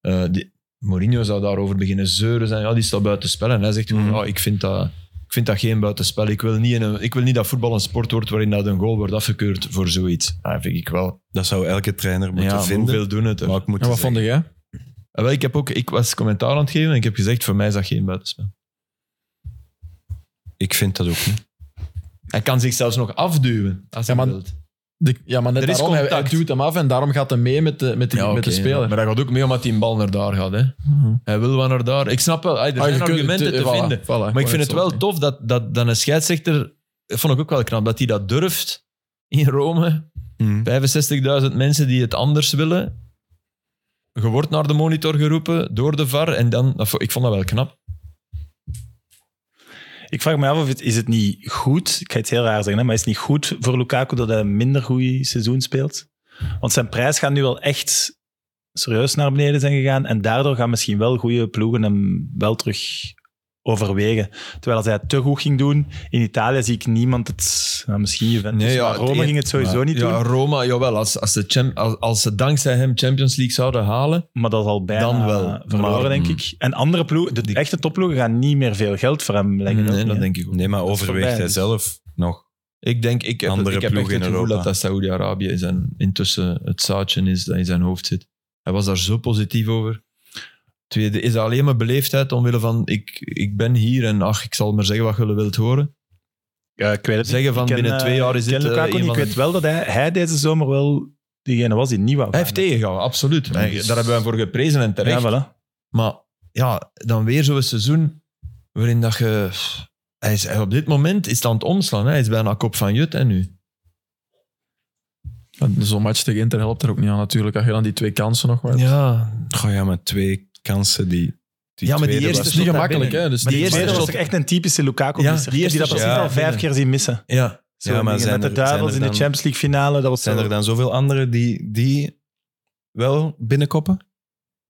Speaker 6: eh, die, Mourinho zou daarover beginnen zeuren zijn, ja, die staat buiten spel. En hij zegt, gewoon,
Speaker 2: Mhm.
Speaker 6: ja, ik vind dat... Ik vind dat geen buitenspel. Ik wil niet, in een, ik wil niet dat voetbal een sport wordt waarin dat een goal wordt afgekeurd voor zoiets. Dat vind ik wel.
Speaker 2: Dat zou elke trainer moeten
Speaker 6: ja, maar
Speaker 2: vinden.
Speaker 6: hoeveel doen het er?
Speaker 2: Maar ik moet
Speaker 7: En wat
Speaker 2: zeggen-
Speaker 7: vond jij?
Speaker 6: Ah, wel, ik, heb ook, ik was commentaar aan het geven en ik heb gezegd, voor mij is dat geen buitenspel.
Speaker 2: Ik vind dat ook niet.
Speaker 6: Hij kan zich zelfs nog afduwen, als
Speaker 7: Ja,
Speaker 6: hij
Speaker 7: maar-
Speaker 6: wilt.
Speaker 7: De- ja, maar net
Speaker 6: Er is
Speaker 7: daarom, hij, hij
Speaker 6: contact.
Speaker 7: duwt hem af en daarom gaat hij mee met de, met de,
Speaker 6: Ja,
Speaker 7: met de
Speaker 6: oké,
Speaker 7: speler. Mhm.
Speaker 6: Maar dat gaat ook mee omdat die bal naar daar gaat. Hè. Hij wil wel naar daar. Ik snap wel, hey, er
Speaker 7: Ah, je
Speaker 6: zijn
Speaker 7: kunt het-
Speaker 6: argumenten te,
Speaker 7: eh, voilà,
Speaker 6: vinden.
Speaker 7: voilà,
Speaker 6: Maar ik
Speaker 7: wou
Speaker 6: vind
Speaker 7: net
Speaker 6: het wel
Speaker 7: zeggen.
Speaker 6: tof dat, dat, dat een scheidsrechter, dat vond ik ook wel knap, dat hij dat durft in Rome. 65.000 mensen die het anders willen. Je wordt naar de monitor geroepen door de VAR en dan, dat vo- ik vond dat wel knap.
Speaker 3: Ik vraag me af of het, is het niet goed, ik ga iets heel raar zeggen, hè, maar is het niet goed voor Lukaku dat hij een minder goed seizoen speelt? Want zijn prijs gaat nu wel echt serieus naar beneden zijn gegaan en daardoor gaan misschien wel goede ploegen hem wel terug overwegen. Terwijl als hij het te goed ging doen, in Italië zie ik niemand het, nou, misschien Juventus,
Speaker 6: Nee, ja,
Speaker 3: maar
Speaker 6: het
Speaker 3: Rome
Speaker 6: een-
Speaker 3: ging het sowieso
Speaker 6: Maar-
Speaker 3: niet
Speaker 6: ja,
Speaker 3: doen,
Speaker 6: Roma, jawel. Als, als, de champ, als, als ze dankzij hem Champions League zouden halen,
Speaker 3: maar dat is al bijna
Speaker 6: Dan wel, Mm.
Speaker 3: verloren,
Speaker 6: maar-
Speaker 3: denk ik. En andere ploegen, de echte topploegen gaan niet meer veel geld voor hem leggen. ook
Speaker 6: nee,
Speaker 3: niet,
Speaker 6: dat
Speaker 3: hè.
Speaker 6: denk ik ook.
Speaker 2: Nee, maar
Speaker 3: is
Speaker 2: overweegt
Speaker 3: voorbij,
Speaker 2: hij
Speaker 3: dus.
Speaker 2: zelf nog.
Speaker 6: Ik denk, ik heb,
Speaker 2: Andere
Speaker 6: ik heb echt
Speaker 2: ploeg in
Speaker 6: het gevoel
Speaker 2: Europa.
Speaker 6: dat dat Saudi-Arabië zijn- intussen het zaadje is dat in zijn hoofd zit. Hij was daar zo positief over. Tweede, is dat alleen maar beleefdheid omwille van ik, ik ben hier en ach, ik zal maar zeggen wat jullie wilt horen.
Speaker 3: Ja, ik weet het
Speaker 6: Zeggen van
Speaker 3: Ik ken,
Speaker 6: binnen
Speaker 3: eh,
Speaker 6: twee jaar is
Speaker 3: ik ken
Speaker 6: dit eh,
Speaker 3: Lukaku niet.
Speaker 6: een
Speaker 3: Ik
Speaker 6: van de-
Speaker 3: weet wel dat hij, hij deze zomer wel diegene was die niet wou.
Speaker 6: Hij heeft
Speaker 3: gaan.
Speaker 6: tegengehouden, absoluut. Hij-
Speaker 3: Dus-
Speaker 6: Daar hebben we hem voor geprezen en terecht.
Speaker 3: Ja, voilà.
Speaker 6: Maar ja, dan weer zo'n seizoen waarin dat je... Hij is, hij- op dit moment is het aan het omslaan. hè. Hij is bijna kop van Jut en nu.
Speaker 7: Zo'n match tegen Inter helpt er ook niet aan natuurlijk. Als je dan die twee kansen nog maar hebt.
Speaker 6: Ja,
Speaker 2: Oh ja, maar twee kansen die. die
Speaker 6: ja maar die
Speaker 2: tweede
Speaker 6: eerste
Speaker 2: was-
Speaker 7: is niet
Speaker 6: shot daar
Speaker 7: gemakkelijk,
Speaker 6: binnen.
Speaker 7: hè. Dus
Speaker 6: Maar die
Speaker 7: die-
Speaker 3: Maar
Speaker 6: eerste
Speaker 3: dat was
Speaker 6: shot-
Speaker 3: toch echt een typische lukaku
Speaker 6: Ja,
Speaker 3: misser.
Speaker 6: die
Speaker 3: die,
Speaker 6: eerste
Speaker 3: dat precies
Speaker 2: shot.
Speaker 3: al vijf
Speaker 6: Ja.
Speaker 3: keer zien missen.
Speaker 6: Ja,
Speaker 3: Zo
Speaker 2: Ja, maar
Speaker 3: dingen
Speaker 2: zijn
Speaker 3: met
Speaker 2: er-
Speaker 3: de duivels
Speaker 2: zijn
Speaker 3: in
Speaker 2: er
Speaker 3: de
Speaker 2: dan-
Speaker 3: Champions League finale. Dat was
Speaker 2: Zijn
Speaker 3: zo-
Speaker 2: er dan zoveel anderen die, die wel binnenkoppen?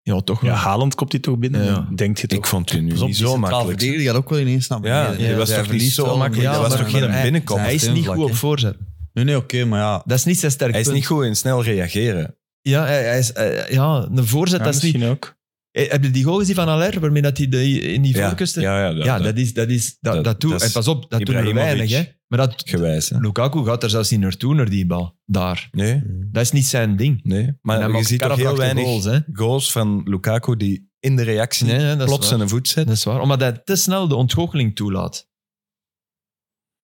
Speaker 6: ja toch wel.
Speaker 3: Ja, Haaland komt die toch binnen?
Speaker 6: Ja.
Speaker 3: Denkt je toch?
Speaker 2: Ik vond die nu
Speaker 4: Pas op,
Speaker 2: niet
Speaker 4: die
Speaker 2: zo
Speaker 4: centraal
Speaker 2: makkelijk.
Speaker 4: verdediger gaat ook wel ineens naar beneden.
Speaker 2: Ja, die was
Speaker 4: hij
Speaker 2: toch niet
Speaker 4: verliest
Speaker 2: zo
Speaker 4: wel,
Speaker 2: makkelijk.
Speaker 4: maar-
Speaker 2: Dat was
Speaker 4: maar-
Speaker 2: toch geen
Speaker 4: maar hij-
Speaker 2: binnenkop?
Speaker 4: zijn
Speaker 6: Hij is niet
Speaker 4: steunvlak,
Speaker 6: goed op
Speaker 4: hè.
Speaker 6: voorzet.
Speaker 4: Nee, nee, oké, maar ja.
Speaker 6: Dat is niet zijn sterk
Speaker 2: Hij is
Speaker 6: punt.
Speaker 2: niet goed in snel reageren.
Speaker 6: Ja, hij, hij is, eh, ja, een voorzet,
Speaker 3: Ja,
Speaker 6: dat is niet...
Speaker 3: misschien ook.
Speaker 6: Eh, Heb je die goal gezien van Allaire, waarmee dat hij de, in die
Speaker 2: Ja,
Speaker 6: voorkusten...
Speaker 2: ja, ja, dat,
Speaker 6: Ja, dat is... Dat, is, dat,
Speaker 2: dat-
Speaker 6: dat, doet-
Speaker 2: dat is
Speaker 6: en pas op, dat doen er
Speaker 2: Ibrahimovic.
Speaker 6: weinig, hè. Maar dat,
Speaker 2: gewijs. hè.
Speaker 6: Lukaku gaat er zelfs niet naartoe, naar die bal. Daar.
Speaker 2: Nee,
Speaker 6: Dat is niet zijn ding.
Speaker 2: nee.
Speaker 6: En hij
Speaker 2: Maar je
Speaker 6: maakt
Speaker 2: ziet toch heel
Speaker 6: karrevlakte
Speaker 2: weinig
Speaker 6: goals,
Speaker 2: goals,
Speaker 6: hè.
Speaker 2: van Lukaku die in de reactie
Speaker 6: Nee, nee, dat is
Speaker 2: plots
Speaker 6: waar.
Speaker 2: zijn voet zet.
Speaker 6: Dat is waar. Omdat hij te snel de ontgoocheling toelaat.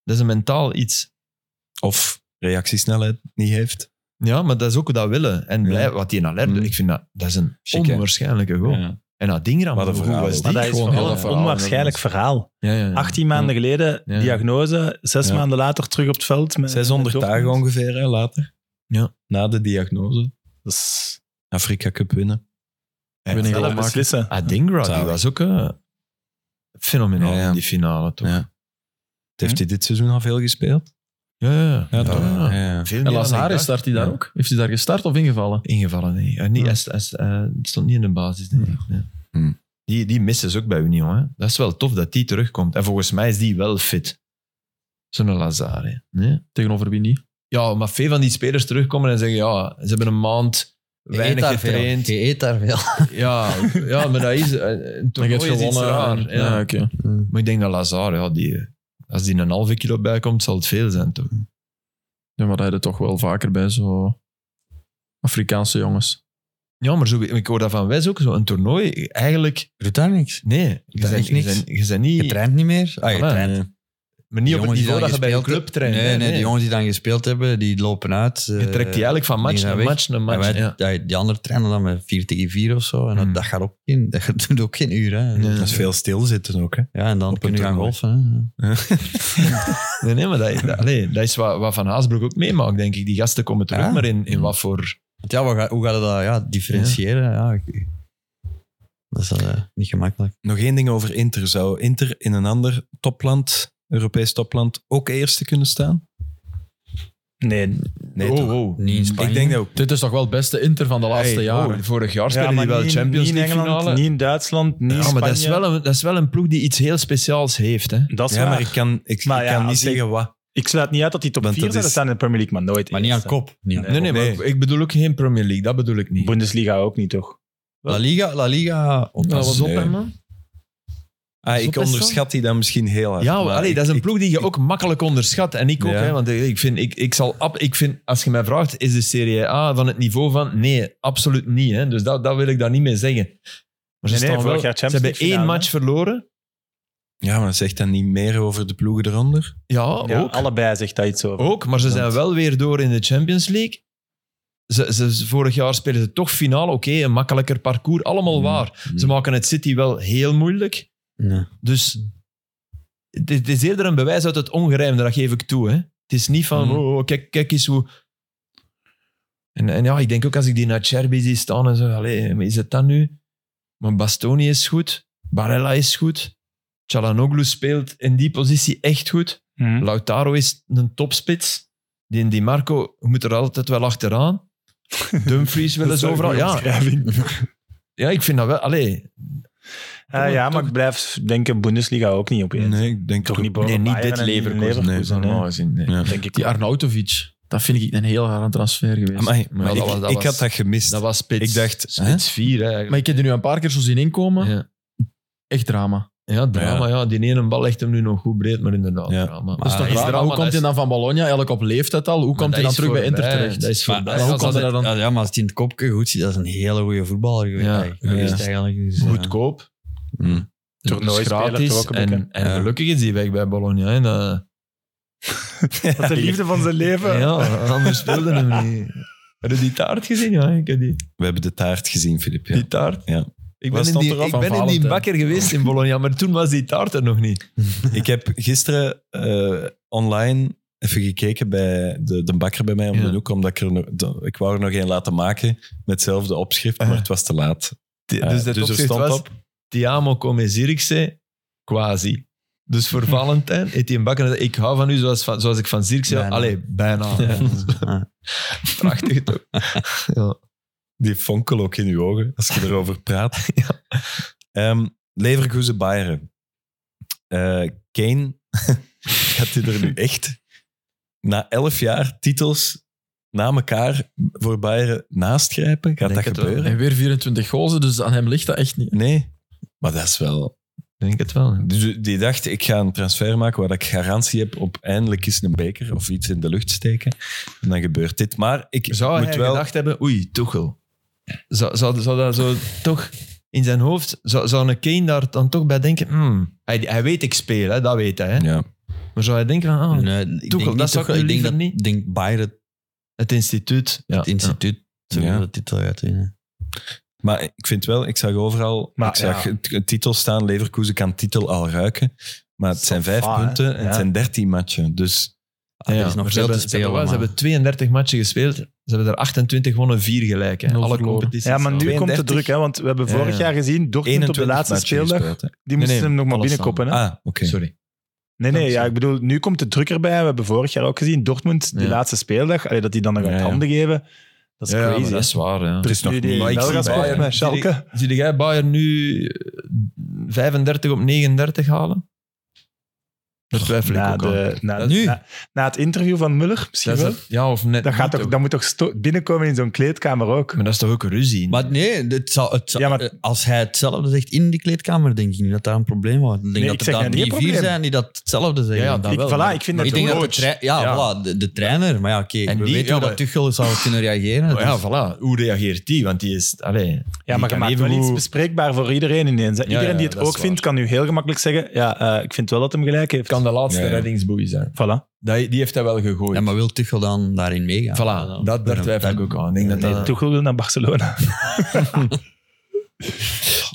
Speaker 6: Dat is een mentaal iets.
Speaker 2: Of reactiesnelheid niet heeft.
Speaker 6: Ja, maar dat is ook dat willen. En
Speaker 2: Ja.
Speaker 6: blij, wat die in Allaire doet,
Speaker 2: Mm.
Speaker 6: ik vind dat, dat is een
Speaker 2: Chic, hè?
Speaker 6: onwaarschijnlijke goal.
Speaker 2: Ja.
Speaker 6: En dat Dingram,
Speaker 2: Wat een
Speaker 6: hoe goed
Speaker 2: verhaal
Speaker 6: was
Speaker 2: ook.
Speaker 6: die?
Speaker 3: Maar dat is
Speaker 7: gewoon
Speaker 3: vooral
Speaker 7: heel
Speaker 3: een
Speaker 7: verhaal,
Speaker 3: onwaarschijnlijk verhaal.
Speaker 6: Ja, ja, ja.
Speaker 3: 18 maanden geleden,
Speaker 6: Ja.
Speaker 3: diagnose. Zes
Speaker 2: Ja.
Speaker 3: maanden later terug op het veld. Met,
Speaker 2: 600
Speaker 3: met
Speaker 2: Eh, dagen
Speaker 3: Dortmund.
Speaker 2: ongeveer hè, later.
Speaker 6: Ja.
Speaker 2: Na de diagnose.
Speaker 3: Dat is
Speaker 2: Afrika Cup winnen.
Speaker 6: Ja,
Speaker 7: Winning
Speaker 3: zelf
Speaker 7: goal maken.
Speaker 3: beslissen.
Speaker 6: Ah, Dingra, die
Speaker 2: Zalig.
Speaker 6: was ook eh, fenomenaal
Speaker 2: Ja, ja.
Speaker 6: in die finale, toch?
Speaker 2: Ja.
Speaker 6: Ja,
Speaker 2: Het Heeft hij dit seizoen al veel gespeeld?
Speaker 6: ja, ja.
Speaker 2: Ja, toch?
Speaker 6: ja.
Speaker 2: Ja.
Speaker 6: Veel meer
Speaker 7: En
Speaker 6: dan ik
Speaker 7: Lazare
Speaker 6: dacht.
Speaker 7: start hij daar
Speaker 6: Ja.
Speaker 7: ook? Heeft hij daar gestart of ingevallen?
Speaker 6: Ingevallen, nee. Eh, niet, hij, hij- hij stond niet in de basis, denk ik. Nee.
Speaker 2: Hm.
Speaker 6: Die, die missen ze ook bij Union. Hè. Dat is wel tof dat die terugkomt. En volgens mij is die wel fit. Zo'n Lazare. Nee?
Speaker 7: Tegenover wie niet?
Speaker 6: Ja, maar veel van die spelers terugkomen en zeggen, ja, ze hebben een maand
Speaker 4: Je eet
Speaker 6: weinig
Speaker 4: daar veel.
Speaker 6: getraind.
Speaker 4: Je eet daar veel.
Speaker 6: Ja, ja, maar dat is... eh, Een
Speaker 7: Dan
Speaker 6: toernooi
Speaker 7: heb
Speaker 6: is
Speaker 7: je
Speaker 6: iets raar.
Speaker 7: gewonnen. en-
Speaker 6: ja.
Speaker 7: Ja, oké.
Speaker 6: Maar ik denk dat Lazar, ja, die, eh, als die een halve kilo bijkomt, zal het veel zijn toch?
Speaker 7: Ja, maar dat heb je toch wel vaker bij zo Afrikaanse jongens.
Speaker 6: Ja, maar zo, ik hoor dat van Wes ook zo. Een toernooi, eigenlijk,
Speaker 4: Doet daar niks.
Speaker 6: nee.
Speaker 4: Dat
Speaker 6: Je bent
Speaker 4: echt niks.
Speaker 6: je bent- je bent niet,
Speaker 4: Je traint niet meer. Ah, je
Speaker 6: Voilà.
Speaker 4: traint.
Speaker 6: Nee. maar niet op het
Speaker 4: jongens die
Speaker 6: niveau dat
Speaker 4: dan
Speaker 6: je bij een
Speaker 4: gespeeld
Speaker 6: club traint.
Speaker 4: Nee,
Speaker 6: hè.
Speaker 4: nee, die jongens die dan gespeeld hebben, die lopen uit.
Speaker 6: Je trekt eh, die eigenlijk van match
Speaker 4: die
Speaker 6: naar
Speaker 4: zijn weg.
Speaker 6: match naar match.
Speaker 4: wij,
Speaker 6: ja.
Speaker 4: ja, Die anderen trainen dan met 4 tegen 4 of zo. En dat,
Speaker 6: Hmm.
Speaker 4: dat gaat ook in. Dat doet ook geen uur. Hè.
Speaker 6: Nee.
Speaker 2: Dat is veel stilzitten ook. Hè?
Speaker 4: Ja, en dan
Speaker 2: Op
Speaker 4: kunnen we
Speaker 2: een
Speaker 4: gaan
Speaker 2: toernooi.
Speaker 4: golfen. hè.
Speaker 6: Nee, nee, maar dat, dat, allee, dat is wat, wat Van Haasbroek ook meemaakt, denk ik. Die gasten komen terug,
Speaker 4: Ja.
Speaker 6: maar in, in wat voor...
Speaker 4: Want ja, wat ga- hoe gaat je dat ja, differentiëren? Ja. ik- dat is eh, niet gemakkelijk.
Speaker 2: Nog één ding over Inter. Zou Inter in een ander topland, Europees topland, ook eerste kunnen staan?
Speaker 3: Nee,
Speaker 2: Nee,
Speaker 6: oh,
Speaker 2: toch?
Speaker 6: oh.
Speaker 4: Niet in Spanje.
Speaker 2: Ik denk dat ook.
Speaker 7: Dit is toch wel het beste Inter van de laatste
Speaker 6: Hey,
Speaker 7: jaren.
Speaker 6: oh, vorig jaar spelen
Speaker 3: maar
Speaker 6: die wel
Speaker 3: niet-
Speaker 6: Champions
Speaker 3: niet in
Speaker 6: League
Speaker 3: Engeland,
Speaker 6: finale.
Speaker 3: Niet in Duitsland, niet in
Speaker 6: ja,
Speaker 3: Spanje.
Speaker 6: maar dat is, wel een, dat is wel een ploeg die iets heel speciaals heeft. Hè.
Speaker 3: Dat is
Speaker 2: Ja,
Speaker 3: waar.
Speaker 2: maar
Speaker 3: ik,
Speaker 2: ik kan, ik,
Speaker 3: Maar
Speaker 2: ik
Speaker 3: ja,
Speaker 2: kan
Speaker 3: als
Speaker 2: niet
Speaker 3: ik-
Speaker 2: zeggen wat.
Speaker 3: sluit niet uit dat die top
Speaker 2: Want
Speaker 3: 4
Speaker 2: dat
Speaker 3: zijn.
Speaker 2: is-
Speaker 3: Dat staan in de Premier League, maar nooit
Speaker 4: Maar niet aan
Speaker 3: eerst, hè.
Speaker 4: kop. Niet aan
Speaker 6: Nee, nee, maar
Speaker 2: Nee.
Speaker 6: ik- ik bedoel ook geen Premier League. Dat bedoel ik niet.
Speaker 3: Bundesliga ook niet, toch?
Speaker 6: oh,
Speaker 4: La Liga, La Liga op
Speaker 7: Dat was op
Speaker 2: Nee.
Speaker 7: hem, man.
Speaker 2: Ah,
Speaker 6: is
Speaker 2: ik
Speaker 6: wel best
Speaker 2: onderschat die dan misschien heel hard.
Speaker 6: Ja,
Speaker 2: maar
Speaker 6: allee,
Speaker 2: ik-
Speaker 6: dat is een
Speaker 2: ik-
Speaker 6: ploeg die je ook makkelijk onderschat. En ik ook,
Speaker 2: Ja.
Speaker 6: hè, want eh, ik vind, ik, ik zal, ab- ik vind, als je mij vraagt, is de Serie A van het niveau van... Nee, absoluut niet. Hè. Dus dat, dat wil ik daar niet mee zeggen. Maar ze,
Speaker 3: Nee, nee,
Speaker 6: staan
Speaker 3: vorig jaar
Speaker 6: wel,
Speaker 3: Champions
Speaker 6: ze hebben
Speaker 3: League
Speaker 6: één
Speaker 3: finale,
Speaker 6: match verloren.
Speaker 2: Ja, maar zegt dat niet meer over de ploegen eronder?
Speaker 6: Ja,
Speaker 3: Ja,
Speaker 6: ook.
Speaker 3: allebei zegt dat iets over.
Speaker 6: Ook, maar ze zijn wel weer door in de Champions League. Ze, ze, vorig jaar spelen ze toch finale. Oké, een makkelijker parcours. Allemaal
Speaker 4: Mm.
Speaker 6: waar. Ze
Speaker 4: Mm.
Speaker 6: maken het City wel heel moeilijk.
Speaker 4: Nee.
Speaker 6: Dus het is- het is eerder een bewijs uit het ongerijmde, dat geef ik toe. Hè. Het is niet
Speaker 4: Mm.
Speaker 6: van, oh, oh, kijk, kijk eens hoe... En, en ja, ik denk ook als ik die Nacherbi zie staan en zo, allee, maar is het dat nu? Maar Bastoni is goed, Barella is goed, Chalanoglu speelt in die positie echt goed.
Speaker 3: Mhm.
Speaker 6: Lautaro is een topspits. Die in Di Marco moet er altijd wel achteraan. Dumfries willen ze overal. Ja, ja, ik vind dat wel. Allee,
Speaker 3: Ah, ja, maar ik blijf denken Bundesliga ook niet op één.
Speaker 2: Nee, ik denk
Speaker 3: Toch
Speaker 2: toch
Speaker 3: niet boven
Speaker 6: nee, niet
Speaker 3: Bayern
Speaker 6: dit
Speaker 3: en
Speaker 6: Leverkusen. Nee,
Speaker 3: Leverkusen, hè.
Speaker 6: normaal gezien, nee.
Speaker 2: Ja.
Speaker 3: denk ik.
Speaker 7: Die Arnautovic, dat vind ik een heel rare transfer geweest.
Speaker 2: Amai, maar
Speaker 6: Ja, dat
Speaker 2: ik,
Speaker 6: was- dat
Speaker 2: ik
Speaker 6: was-
Speaker 2: had dat gemist.
Speaker 6: Dat was spits.
Speaker 2: ik dacht,
Speaker 6: spits 4
Speaker 7: Maar
Speaker 6: eigenlijk.
Speaker 7: ik heb er nu een paar keer zo zien inkomen.
Speaker 6: Ja.
Speaker 7: Echt drama.
Speaker 6: Ja, drama. Ja. die ene bal legt hem nu nog goed breed, maar inderdaad.
Speaker 2: Ja.
Speaker 6: Drama.
Speaker 7: dat is toch
Speaker 6: Ah,
Speaker 7: raar?
Speaker 6: drama,
Speaker 7: Hoe komt
Speaker 6: dat
Speaker 7: hij
Speaker 6: is-
Speaker 7: dan van Bologna, eigenlijk op leeftijd al? Hoe komt
Speaker 6: dat
Speaker 7: hij dan
Speaker 6: is
Speaker 7: terug bij Inter
Speaker 6: voorbij,
Speaker 7: terecht?
Speaker 6: dat is
Speaker 4: Maar,
Speaker 6: voorbij.
Speaker 7: Maar hoe
Speaker 4: als
Speaker 7: komt
Speaker 4: dat-
Speaker 7: hij daar dan-
Speaker 4: als- Ja, maar als hij in het kopje goed ziet, dat is een hele goede voetballer geweest,
Speaker 6: Ja.
Speaker 4: eigenlijk. geweest
Speaker 2: Ja.
Speaker 4: eigenlijk. Dus, eh,
Speaker 6: goedkoop.
Speaker 2: Mm.
Speaker 6: Het is gratis. En, en
Speaker 2: Ja.
Speaker 6: gelukkig is hij weg bij Bologna. Hè. eh, Dat,
Speaker 3: Dat is de liefde van zijn leven.
Speaker 6: ja, anders speelde hem niet. Heb je die taart gezien? Ja, ik heb die,
Speaker 2: we hebben de taart gezien, Filip. Ja.
Speaker 6: die taart.
Speaker 2: Ja. Wat
Speaker 6: Ik ben, in
Speaker 2: stond
Speaker 6: die,
Speaker 2: erop
Speaker 6: ik
Speaker 7: van
Speaker 6: ben in die
Speaker 7: Valentijn?
Speaker 6: bakker geweest in Bologna, maar toen was die taart er nog niet.
Speaker 2: Ik heb gisteren eh, online even gekeken bij de, de bakker bij mij om
Speaker 6: Ja.
Speaker 2: de hoek, omdat ik er nog, de- ik wou er nog één laten maken met hetzelfde opschrift, maar
Speaker 6: Ah.
Speaker 2: het was te laat.
Speaker 6: Ti-
Speaker 2: Eh,
Speaker 6: dus dat
Speaker 2: dus er
Speaker 6: opschrift
Speaker 2: stond
Speaker 6: was,
Speaker 2: op.
Speaker 6: Ti amo come Zirkse, quasi. Dus voor Valentijn heeft hij een bakker gezegd, ik hou van u zoals, van, zoals ik van Zirkse hou.
Speaker 4: Bijna.
Speaker 6: Allee, bijna.
Speaker 4: ah.
Speaker 6: Prachtig toch?
Speaker 2: Die fonkel ook in uw ogen als je erover praat. Ehm, Leverkusen Bayern. Eh, Kane gaat hij er nu echt na elf jaar titels na elkaar voor Bayern naastgrijpen? Gaat
Speaker 6: Denk
Speaker 2: dat
Speaker 6: het wel.
Speaker 2: gebeuren?
Speaker 7: En weer 24 gozen, dus aan hem ligt dat echt niet.
Speaker 2: Nee, maar dat is wel...
Speaker 6: Ik denk het wel.
Speaker 2: Dus die dacht, ik ga een transfer maken waar ik garantie heb op eindelijk eens een beker of iets in de lucht steken. En dan gebeurt dit. Maar ik
Speaker 6: Zou
Speaker 2: moet
Speaker 6: hij
Speaker 2: wel...
Speaker 6: gedacht hebben, oei, Tuchel. Zou, zou, zou dat zo toch in zijn hoofd, zou, zou een Kane daar dan toch bij denken, hmm, hij, hij weet ik speel, hè, dat weet hij. Hè.
Speaker 2: Ja.
Speaker 6: Maar zou hij denken van, ah,
Speaker 4: Nee, ik
Speaker 6: Tuchel,
Speaker 4: denk niet
Speaker 6: dat zou ik
Speaker 4: Tuchel.
Speaker 6: nu
Speaker 4: denk
Speaker 6: liever
Speaker 4: dat,
Speaker 6: niet.
Speaker 4: denk Bayern,
Speaker 6: het instituut. Ja,
Speaker 4: het instituut, sowieso
Speaker 2: Ja.
Speaker 4: de titel gaat winnen.
Speaker 2: Maar ik vind wel, ik zag overal...
Speaker 3: Maar
Speaker 2: ik zag
Speaker 3: ja.
Speaker 2: het, het titel staan, Leverkusen kan titel al ruiken. Maar het
Speaker 3: Ça
Speaker 2: zijn vijf
Speaker 3: va, hè?
Speaker 2: punten en
Speaker 3: Ja.
Speaker 2: het zijn dertien matchen. Dus
Speaker 4: Ah,
Speaker 6: nou Ja,
Speaker 4: er is nog
Speaker 6: maar
Speaker 4: veel
Speaker 6: ze
Speaker 4: te
Speaker 6: hebben, ze
Speaker 4: spelen.
Speaker 6: hebben wel- Ze
Speaker 4: maar-
Speaker 6: hebben 32 matchen gespeeld. Ze hebben er 28 gewonnen, 4 gelijk. Hè.
Speaker 7: Nul
Speaker 6: Alle
Speaker 7: verloren.
Speaker 6: competities.
Speaker 3: Ja, maar nu komt de
Speaker 2: 32.
Speaker 3: druk, hè, want we hebben
Speaker 6: Ja,
Speaker 3: vorig
Speaker 6: ja.
Speaker 3: jaar gezien, Dortmund op de
Speaker 2: 21
Speaker 3: laatste
Speaker 2: matchen
Speaker 3: speeldag, die
Speaker 2: gespeeld, hè.
Speaker 3: moesten
Speaker 6: nee,
Speaker 3: hem nog maar
Speaker 4: alles
Speaker 3: binnenkoppen. Hè?
Speaker 2: Ah, oké.
Speaker 6: Sorry.
Speaker 3: nee, nee, ja,
Speaker 6: dankzij.
Speaker 3: ik bedoel, nu komt de druk erbij. We hebben vorig jaar ook gezien, Dortmund, die
Speaker 6: Ja.
Speaker 3: laatste speeldag, allee, dat die dan nog
Speaker 2: Ja,
Speaker 3: uit
Speaker 2: ja.
Speaker 3: handen geven, dat is
Speaker 6: Ja, maar
Speaker 3: crazy.
Speaker 6: dat is waar. Ja.
Speaker 2: Er is nog
Speaker 3: nu die
Speaker 2: niet- Maar ik
Speaker 3: Belga
Speaker 2: zie
Speaker 3: sport
Speaker 2: Bayern-
Speaker 3: met Schalke.
Speaker 6: Zie, zie jij Bayern nu eh, 35 op 39 halen? Dat twijfel ik
Speaker 3: Na,
Speaker 6: ook aan.
Speaker 3: de, na,
Speaker 6: Dat is nu.
Speaker 3: na, na het interview van Muller,
Speaker 6: Dat
Speaker 3: misschien
Speaker 6: is
Speaker 3: wel.
Speaker 6: dat- ja, of net
Speaker 3: Dat, gaat
Speaker 6: niet
Speaker 3: toch,
Speaker 6: ook.
Speaker 3: dat moet toch sto- binnenkomen in zo'n kleedkamer ook?
Speaker 6: Maar dat is toch ook een ruzie?
Speaker 4: Maar nee, het zou, het zou-
Speaker 3: Ja, maar-
Speaker 4: eh, als hij hetzelfde zegt in die kleedkamer, denk ik niet dat daar een probleem was. Ik denk
Speaker 3: ik
Speaker 4: dat
Speaker 3: zeg niet
Speaker 4: er dan
Speaker 3: een
Speaker 4: drie, vier
Speaker 3: probleem.
Speaker 4: zijn die dat hetzelfde zeggen.
Speaker 6: Ja, ja, dat
Speaker 3: Ik,
Speaker 6: wel,
Speaker 3: voilà,
Speaker 6: maar-
Speaker 3: ik vind
Speaker 4: Maar
Speaker 3: dat
Speaker 4: ik denk
Speaker 3: ook-
Speaker 4: dat de, trei- ja, Voilà,
Speaker 6: Ja.
Speaker 4: de, de trainer, maar ja, oké,
Speaker 6: En
Speaker 4: we
Speaker 6: die-
Speaker 4: weten
Speaker 6: ja,
Speaker 4: hoe
Speaker 6: maar-
Speaker 4: dat Tuchel zou kunnen reageren.
Speaker 6: Maar ja,
Speaker 4: dus-
Speaker 6: voilà. Hoe reageert die? Want die is... Allee,
Speaker 3: Ja, maar je
Speaker 6: kan
Speaker 3: maakt
Speaker 6: even
Speaker 3: wel iets
Speaker 6: goed-
Speaker 3: bespreekbaar voor iedereen ineens. hè.
Speaker 6: Ja,
Speaker 3: iedereen
Speaker 6: ja,
Speaker 3: die het
Speaker 6: dat is
Speaker 3: ook vindt,
Speaker 6: waar.
Speaker 3: kan nu heel gemakkelijk zeggen, ja, eh, ik vind wel dat hem gelijk heeft.
Speaker 6: kan de laatste
Speaker 2: Ja, ja.
Speaker 6: reddingsboei zijn.
Speaker 3: Voilà.
Speaker 6: Die, die heeft hij wel gegooid.
Speaker 4: ja, maar wil Tuchel dan daarin meegaan?
Speaker 6: Voilà, dat, daar twijfel ik ook aan. Ik denk dat
Speaker 4: Nee,
Speaker 6: dat-
Speaker 3: Tuchel wil naar Barcelona.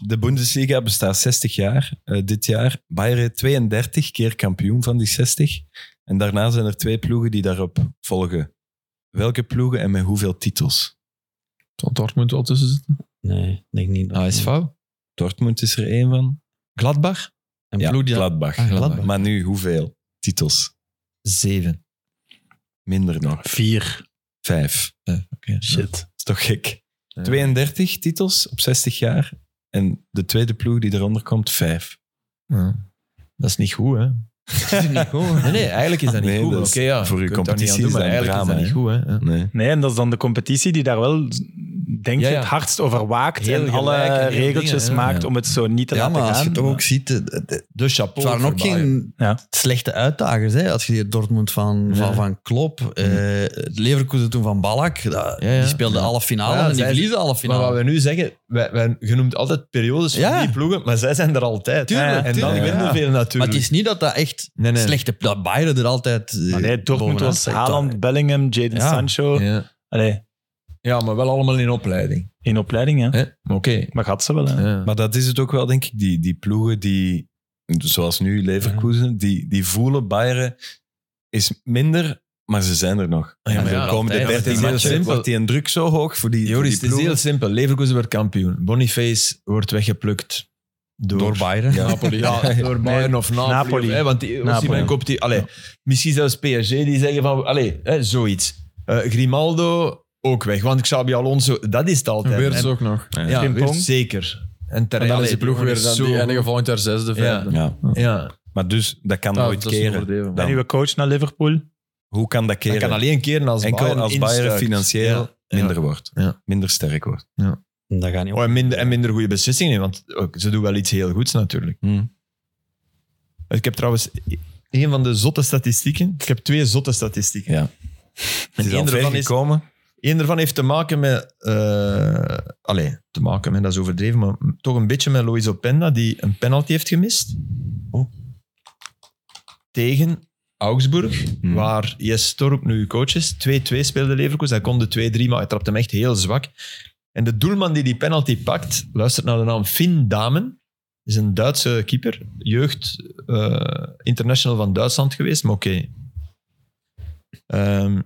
Speaker 2: De Bundesliga bestaat 60 jaar eh, dit jaar. Bayern 32 keer kampioen van die 60. En daarna zijn er twee ploegen die daarop volgen. Welke ploegen en met hoeveel titels?
Speaker 7: Tot Dortmund wel tussen zitten.
Speaker 4: Nee, ik denk niet. dat-
Speaker 6: ASV?
Speaker 2: Dortmund is er één van.
Speaker 6: Gladbach?
Speaker 4: Een
Speaker 2: Ja,
Speaker 4: ploeg die dat-
Speaker 2: Gladbach.
Speaker 4: Ah, Gladbach.
Speaker 2: Maar nu hoeveel titels?
Speaker 6: Zeven.
Speaker 2: Minder nog.
Speaker 3: Vier.
Speaker 2: Vijf.
Speaker 3: Shit.
Speaker 2: Dat is toch gek?
Speaker 6: Ja.
Speaker 2: 32 titels op 60 jaar. En de tweede ploeg die eronder komt, vijf.
Speaker 6: Dat is niet goed, hè? Nee, nee, eigenlijk is dat niet
Speaker 2: Nee,
Speaker 6: goed.
Speaker 2: dat
Speaker 6: Oké,
Speaker 2: is-
Speaker 6: ja.
Speaker 2: voor uw
Speaker 6: je kunt daar niet aan
Speaker 2: competitie
Speaker 6: doen,
Speaker 2: is
Speaker 6: maar
Speaker 2: dat een drama,
Speaker 6: eigenlijk is dat niet goed, hè?
Speaker 2: Nee.
Speaker 3: Nee, en dat is dan de competitie die daar wel denk je
Speaker 6: Ja, ja.
Speaker 3: het hardst overwaakt
Speaker 6: Heel
Speaker 3: en alle
Speaker 6: gelijk en heel
Speaker 3: regeltjes
Speaker 6: dingen, ja.
Speaker 3: maakt om het zo niet te
Speaker 4: Ja,
Speaker 3: laten
Speaker 4: maar als je
Speaker 3: gaan.
Speaker 4: toch ook ziet... de- de- de-
Speaker 8: De chapeau.
Speaker 4: Het waren ook
Speaker 8: voor Bayern.
Speaker 4: geen
Speaker 3: Ja.
Speaker 4: slechte uitdagers. Hè? Als je hier Dortmund van, van, van Klopp, eh Leverkusen toen van Balak, dat-
Speaker 6: Mm. Ja, ja.
Speaker 4: die speelden alle finale
Speaker 6: Ja,
Speaker 4: en die
Speaker 6: zij-
Speaker 4: verliezen alle
Speaker 6: Maar
Speaker 4: finale.
Speaker 6: wat we nu zeggen, wij, wij, je noemt altijd periodes van
Speaker 4: Ja.
Speaker 6: die ploegen, maar zij zijn er altijd.
Speaker 4: Tuurlijk,
Speaker 6: en dan
Speaker 4: tuurlijk,
Speaker 6: winnen
Speaker 3: ja.
Speaker 6: veel natuurlijk.
Speaker 4: Maar het is niet dat dat echt
Speaker 6: Nee, nee.
Speaker 4: slechte... Dat Bayern er altijd... eh,
Speaker 3: Maar nee, Dortmund
Speaker 4: bovenaan
Speaker 3: was
Speaker 4: steekt.
Speaker 3: Haaland, Bellingham, Jadon
Speaker 4: Ja.
Speaker 3: Sancho.
Speaker 6: Ja.
Speaker 3: Allee,
Speaker 6: ja, maar wel allemaal in opleiding.
Speaker 3: in opleiding, hè.
Speaker 6: Hè? Maar Oké.
Speaker 3: Maar gaat ze wel, hè.
Speaker 6: Ja.
Speaker 2: Maar dat is het ook wel, denk ik. Die, die ploegen die, zoals nu
Speaker 6: Mhm.
Speaker 2: Leverkusen, die, die voelen Bayern is minder, maar ze zijn er nog. en
Speaker 6: maar
Speaker 2: de
Speaker 6: Ah, ja,
Speaker 2: komende
Speaker 6: altijd.
Speaker 2: 13
Speaker 6: Het is heel
Speaker 2: matchen
Speaker 6: simpel.
Speaker 2: wordt die een druk zo hoog voor die, voor
Speaker 6: Joris,
Speaker 2: die
Speaker 6: het is
Speaker 2: ploegen.
Speaker 6: heel simpel. Leverkusen werd kampioen. Boniface wordt weggeplukt door,
Speaker 4: Door Bayern.
Speaker 6: Ja,
Speaker 9: Napoli.
Speaker 6: Ja, door Bayern of Napoli.
Speaker 3: Napoli.
Speaker 6: Of, hè, want die,
Speaker 3: Napoli.
Speaker 6: Osimhen koopt die... Allee, Misschien zelfs PSG die zeggen van... Allee, hè, zoiets. Eh, Grimaldo ook weg. Want Xabi Alonso, dat is het altijd.
Speaker 9: Weerts
Speaker 6: En-
Speaker 9: ook nog.
Speaker 6: Ja,
Speaker 3: Frimpong.
Speaker 6: Weerts zeker. En
Speaker 9: En
Speaker 6: terecht.
Speaker 9: dan
Speaker 6: Allee,
Speaker 9: is de ploeg weer dan
Speaker 6: zo
Speaker 9: die
Speaker 6: goed.
Speaker 9: enige volgend jaar zesde, vijfde.
Speaker 2: Ja.
Speaker 6: Ja,
Speaker 2: Maar dus, dat kan
Speaker 9: Ja,
Speaker 2: nooit
Speaker 9: dat is niet
Speaker 2: keren.
Speaker 9: overdreven.
Speaker 3: De
Speaker 2: Dan.
Speaker 3: nieuwe coach naar Liverpool.
Speaker 2: Hoe kan dat
Speaker 6: dat
Speaker 2: keren?
Speaker 6: kan alleen keren als
Speaker 2: Enkel
Speaker 6: Bayern
Speaker 2: als Bayern
Speaker 6: instuikt.
Speaker 2: financieel
Speaker 6: Ja.
Speaker 2: minder wordt.
Speaker 6: Ja.
Speaker 2: Minder sterk wordt.
Speaker 4: Dat gaat niet
Speaker 6: Oh, en, minder, en minder goede beslissingen, want ook, ze doen wel iets heel goeds natuurlijk.
Speaker 2: Hmm.
Speaker 6: Ik heb trouwens een van de zotte statistieken. Ik heb twee zotte statistieken.
Speaker 2: Ja. Het
Speaker 6: En
Speaker 2: is al
Speaker 6: één
Speaker 2: ver
Speaker 6: daarvan, is,
Speaker 2: gekomen.
Speaker 6: één daarvan heeft te maken met... eh allee, te maken met, dat is overdreven, maar toch een beetje met Loïs Openda, die een penalty heeft gemist. Oh. Tegen Augsburg,
Speaker 2: Hmm.
Speaker 6: waar Jes Storp nu coach is. 2-2 speelde Leverkusen. Hij kon de 2-3, maar hij trapte hem echt heel zwak. En de doelman die die penalty pakt, luistert naar de naam Finn Damen. Is een Duitse keeper, jeugd eh, international van Duitsland geweest, maar oké. Ehm,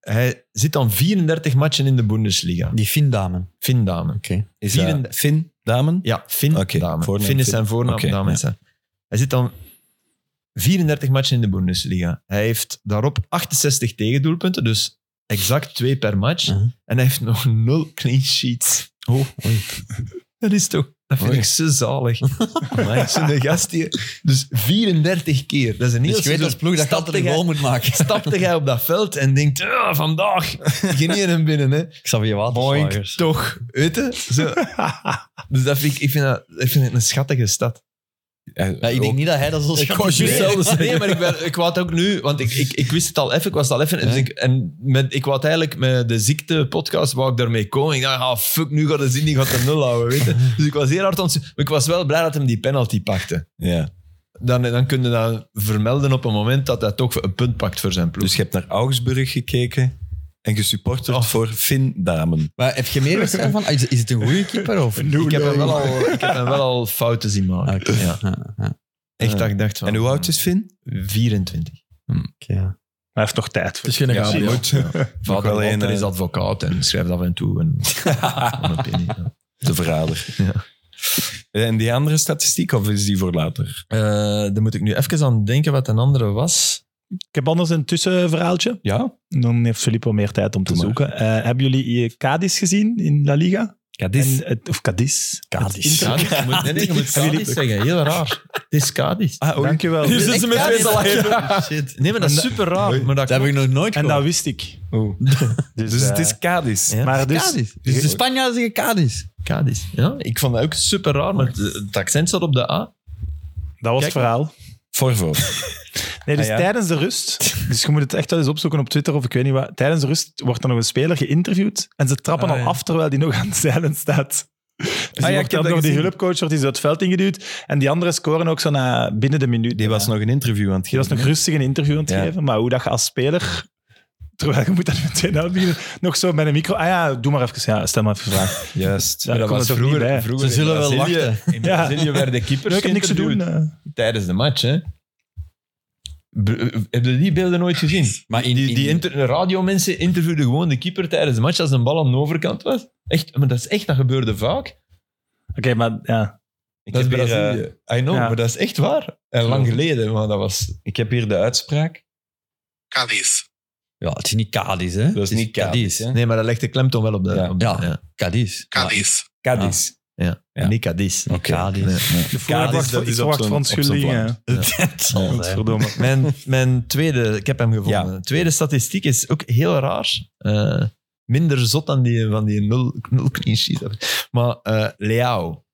Speaker 6: hij zit dan 34 matchen in de Bundesliga.
Speaker 4: Die Findamen.
Speaker 6: Finn Damen.
Speaker 4: Oké.
Speaker 2: Is dat
Speaker 6: Vieren-
Speaker 2: Finn, damen?
Speaker 6: Ja, Finn
Speaker 2: Oké,
Speaker 6: Damen.
Speaker 2: voornaam
Speaker 6: Finn is
Speaker 2: Finn.
Speaker 6: zijn voornaam,
Speaker 2: Oké,
Speaker 6: Damen
Speaker 2: ja.
Speaker 6: is zijn. Hij zit dan 34 matchen in de Bundesliga. Hij heeft daarop 68 tegendoelpunten, dus exact twee per match.
Speaker 4: Mhm.
Speaker 6: En hij heeft nog nul clean sheets. Oh, dat is toch... Dat vind ik zo zalig. Zo'n gast hier. Dus 34 keer. Dat is een heel
Speaker 4: Dus je weet
Speaker 6: seizoen.
Speaker 4: als ploeg dat je
Speaker 6: Stapte
Speaker 4: altijd een
Speaker 6: jij-
Speaker 4: goal moet maken.
Speaker 6: Stapte jij op dat veld en denkt, "Ah, vandaag, geen hem binnen. Hè.
Speaker 4: Xavier
Speaker 6: Boink,
Speaker 4: Waterslagers.
Speaker 6: toch. Weet je? Zo. dus dat vind ik, ik, vind dat, ik vind het een schattige stad.
Speaker 4: Ja, ik denk niet dat hij dat zo
Speaker 6: Ik wou
Speaker 4: schattig
Speaker 6: juist
Speaker 4: deed.
Speaker 6: zelden zeggen. Nee, maar ik, ben, ik wou het ook nu, want ik, ik, ik wist het al even, ik was het al even. En, dus ik, en met, ik wou het eigenlijk met de ziekte-podcast wou ik daarmee komen. Ik dacht, ah, fuck, nu gaat de zin, die gaat de nul houden. Weet je? Dus ik was heel hard aan het- maar Ik was wel blij dat hem die penalty pakte.
Speaker 2: Ja.
Speaker 6: Dan, dan kun je dat vermelden op een moment dat hij toch een punt pakt voor zijn ploeg.
Speaker 2: Dus je hebt naar Augsburg gekeken en gesupporterd
Speaker 6: Oh.
Speaker 2: voor Finn, damen.
Speaker 4: Maar heb je meer wedstrijden van? Is, is het een goede keeper of?
Speaker 6: ik, heb hem wel al, ik heb hem wel al fouten zien maken.
Speaker 4: Ah, Oké.
Speaker 6: Ja.
Speaker 4: Ja, ja.
Speaker 6: Echt dat ik dacht van...
Speaker 2: En hoe oud is Finn?
Speaker 6: 24.
Speaker 4: Oké, ja.
Speaker 3: Maar hij heeft nog tijd.
Speaker 9: Het is geen
Speaker 2: Ja,
Speaker 9: Gabriel.
Speaker 2: goed. Nog
Speaker 6: Vader
Speaker 2: wel
Speaker 6: Walter
Speaker 2: een, eh,
Speaker 6: is advocaat en schrijft af en toe een, een opinie. ja.
Speaker 2: De verrader. Eh, En die andere statistiek, of is die voor later?
Speaker 6: Eh, daar moet ik nu even aan denken wat een andere was.
Speaker 3: Ik heb anders een tussenverhaaltje.
Speaker 2: Ja.
Speaker 3: Dan heeft Filippo meer tijd om te
Speaker 2: Doe maar.
Speaker 3: zoeken. Eh, hebben jullie eh, Cadiz gezien in La Liga?
Speaker 6: Cadiz.
Speaker 3: En het- of Cadiz.
Speaker 4: Cadiz.
Speaker 3: Het inter-
Speaker 6: Je moet- nee, nee, je moet Cadiz zeggen. Heel raar. Het is Cadiz.
Speaker 2: Ah, oei.
Speaker 3: Dankjewel.
Speaker 6: Hier zitten ze met twee salakjes. Shit. Nee, maar dat is super raar. Maar dat
Speaker 4: Dat heb ik nog nooit
Speaker 3: En dat
Speaker 4: gehoord.
Speaker 3: wist ik. Dus,
Speaker 2: Dus het
Speaker 3: eh,
Speaker 2: is Cadiz.
Speaker 6: Ja.
Speaker 3: Maar dus,
Speaker 4: Cadiz. Dus de Spanjaarden zeggen Cadiz.
Speaker 6: Cadiz. Ja, ik vond dat ook super raar, maar het, het accent zat op de A.
Speaker 3: dat was
Speaker 6: Kijk.
Speaker 3: het verhaal.
Speaker 2: Forvo.
Speaker 3: Nee, dus
Speaker 2: Ah, ja.
Speaker 3: tijdens de rust. Dus je moet het echt wel eens opzoeken op Twitter of ik weet niet wat. Tijdens de rust wordt er nog een speler geïnterviewd. En ze trappen
Speaker 6: Ah,
Speaker 3: al
Speaker 6: ja.
Speaker 3: af terwijl die nog aan het zeilen staat. Dus die
Speaker 2: Ah, ja, ik
Speaker 3: wordt
Speaker 2: heb
Speaker 3: dan
Speaker 2: dat
Speaker 3: door die
Speaker 2: gezien.
Speaker 3: hulpcoach wordt die zo het veld ingeduwd. En die anderen scoren ook zo na binnen de minuut.
Speaker 2: Die was nog een interview aan het
Speaker 3: die
Speaker 2: geven.
Speaker 3: was nog rustig een interview aan het
Speaker 2: Ja.
Speaker 3: geven. Maar hoe dat je als speler. Terwijl je moet dan met 2 beginnen. Nog zo met een micro. Ah ja, doe maar even. Ja, stel maar even vragen.
Speaker 2: Juist.
Speaker 3: Ja, dat was vroeger. Niet bij.
Speaker 6: vroeger
Speaker 4: Ze zullen
Speaker 6: in
Speaker 4: wel
Speaker 6: Brazilië-
Speaker 4: lachen.
Speaker 6: In
Speaker 3: Ja.
Speaker 6: Brazilië werden keepers
Speaker 3: Ik heb niks te doen.
Speaker 6: geïnterviewd
Speaker 3: eh.
Speaker 6: tijdens de match. Hè. B- Heb je die beelden nooit gezien?
Speaker 4: Maar in,
Speaker 6: Die, die
Speaker 4: in-
Speaker 6: inter- radiomensen interviewden gewoon de keeper tijdens de match als een bal aan de overkant was. Echt, maar dat is echt, dat gebeurde vaak.
Speaker 3: eh. Oké, maar ja.
Speaker 2: Ik
Speaker 6: Dat
Speaker 2: heb,
Speaker 6: is
Speaker 2: hier, eh,
Speaker 6: Brazilië. I know,
Speaker 3: Ja.
Speaker 6: maar dat is echt waar. En lang geleden, maar dat was...
Speaker 2: ik heb hier de uitspraak.
Speaker 10: Cadiz,
Speaker 4: Ja, het is niet Cadiz, hè?
Speaker 2: Dat is
Speaker 4: Het
Speaker 2: niet Cadiz. hè?
Speaker 6: Nee, maar dat legt de klemtoon wel op de...
Speaker 2: Ja.
Speaker 6: op de-
Speaker 4: Ja. Cadiz.
Speaker 10: Cadiz,
Speaker 2: Cadiz. Ja.
Speaker 6: Niet Cadiz.
Speaker 4: Maar- Cadiz.
Speaker 3: De voorwacht
Speaker 2: dat
Speaker 3: van-
Speaker 2: is
Speaker 3: ik
Speaker 2: op
Speaker 3: verwacht
Speaker 2: zo'n-
Speaker 3: van
Speaker 2: op zo'n
Speaker 3: Schulling.
Speaker 4: Dat zal zijn.
Speaker 3: Verdomme.
Speaker 6: Mijn, mijn tweede, ik heb hem gevonden. Tweede statistiek is ook heel raar. Eh, minder zot dan die van die nul, nul clean sheet. Maar eh Leao.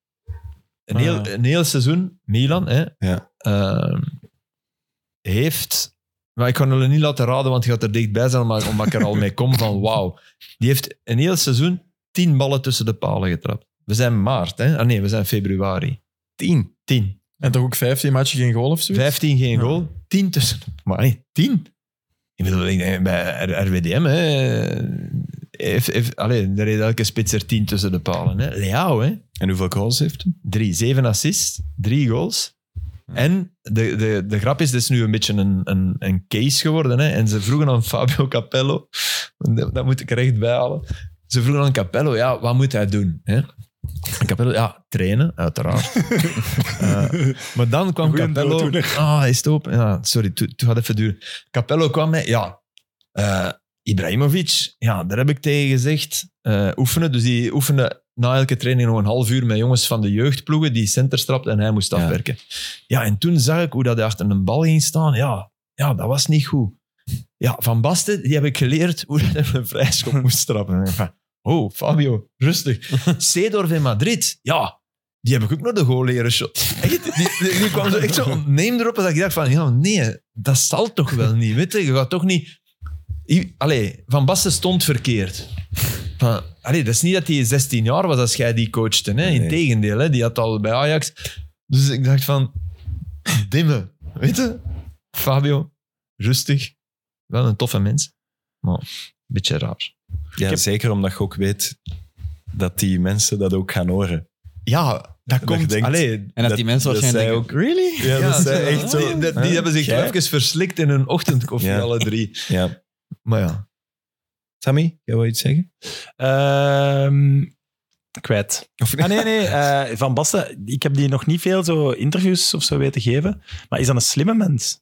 Speaker 6: Een,
Speaker 11: Ah,
Speaker 6: heel,
Speaker 11: ja.
Speaker 6: een heel seizoen, Milan, hè,
Speaker 2: Ja.
Speaker 6: eh, heeft... Maar ik kan het niet laten raden, want je gaat er dichtbij zijn, maar omdat ik er al mee kom van wauw. Die heeft een heel seizoen tien ballen tussen de palen getrapt. We zijn maart, hè? Ah nee, we zijn februari. Tien? Tien.
Speaker 11: En toch ook 15 matchen geen goal of zoiets?
Speaker 6: Vijftien geen goal, tien tussen... Maar nee, tien? Ik bedoel, ik denk, bij R- RWDM, hè... Heeft, heeft, allee, daar heeft elke spits er tien tussen de palen. Hè? Leao, hè?
Speaker 2: En hoeveel goals heeft hij?
Speaker 6: drie. Zeven assists, drie goals. En de, de, de grap is, dit is nu een beetje een, een, een case geworden. Hè? En ze vroegen aan Fabio Capello, dat dat moet ik er echt bij halen. Ze vroegen aan Capello, ja, wat moet hij doen? Hè? En Capello, ja, trainen, uiteraard. Eh, maar dan kwam
Speaker 2: Goeie
Speaker 6: Capello...
Speaker 2: dooddoener.
Speaker 6: Ah, is het open? Ja, sorry, toen toen had even duren. Capello kwam met, ja, eh, Ibrahimovic, ja, daar heb ik tegen gezegd. eh, oefenen, dus die oefenen na elke training nog een half uur met jongens van de jeugdploegen die center strapte en hij moest afwerken. Ja, en toen zag ik hoe dat hij achter een bal ging staan. Ja, ja dat was niet goed. Ja, Van Basten, die heb ik geleerd hoe hij een vrijschop moest trappen. En ik van, Oh, Fabio, rustig. Seedorf in Madrid, ja, die heb ik ook nog de goal leren shot. Echt, die, die, die kwam zo echt zo neem erop en dat ik dacht van, ja, nee, dat zal toch wel niet. Weet je, je gaat toch niet... I- Allee, Van Basten stond verkeerd. Van, allee, dat is niet dat hij 16 jaar was als jij die coachte. Hè? Integendeel, hè? die had al bij Ajax. Dus ik dacht van, dimme, weet je? Fabio, rustig. Wel een toffe mens, maar een beetje raar.
Speaker 2: Ja, zeker omdat je ook weet dat die mensen dat ook gaan horen.
Speaker 6: Ja, dat
Speaker 2: je
Speaker 6: komt...
Speaker 2: denkt,
Speaker 6: allee,
Speaker 4: En dat, die mensen
Speaker 2: dat
Speaker 4: waarschijnlijk
Speaker 2: zij
Speaker 4: denken, really?
Speaker 2: Ja, dat zijn
Speaker 6: zo,
Speaker 2: echt zo.
Speaker 6: Die, die- die
Speaker 2: Huh?
Speaker 6: hebben zich
Speaker 2: Jij?
Speaker 6: even verslikt in hun ochtendkoffie,
Speaker 2: Ja.
Speaker 6: alle drie.
Speaker 2: Ja.
Speaker 6: Maar ja.
Speaker 2: Sammy, jij wil iets zeggen?
Speaker 3: Ehm, kwijt. Ah, nee, nee. eh, van Basten, ik heb die nog niet veel zo interviews of zo weten geven. Maar is dat een slimme mens?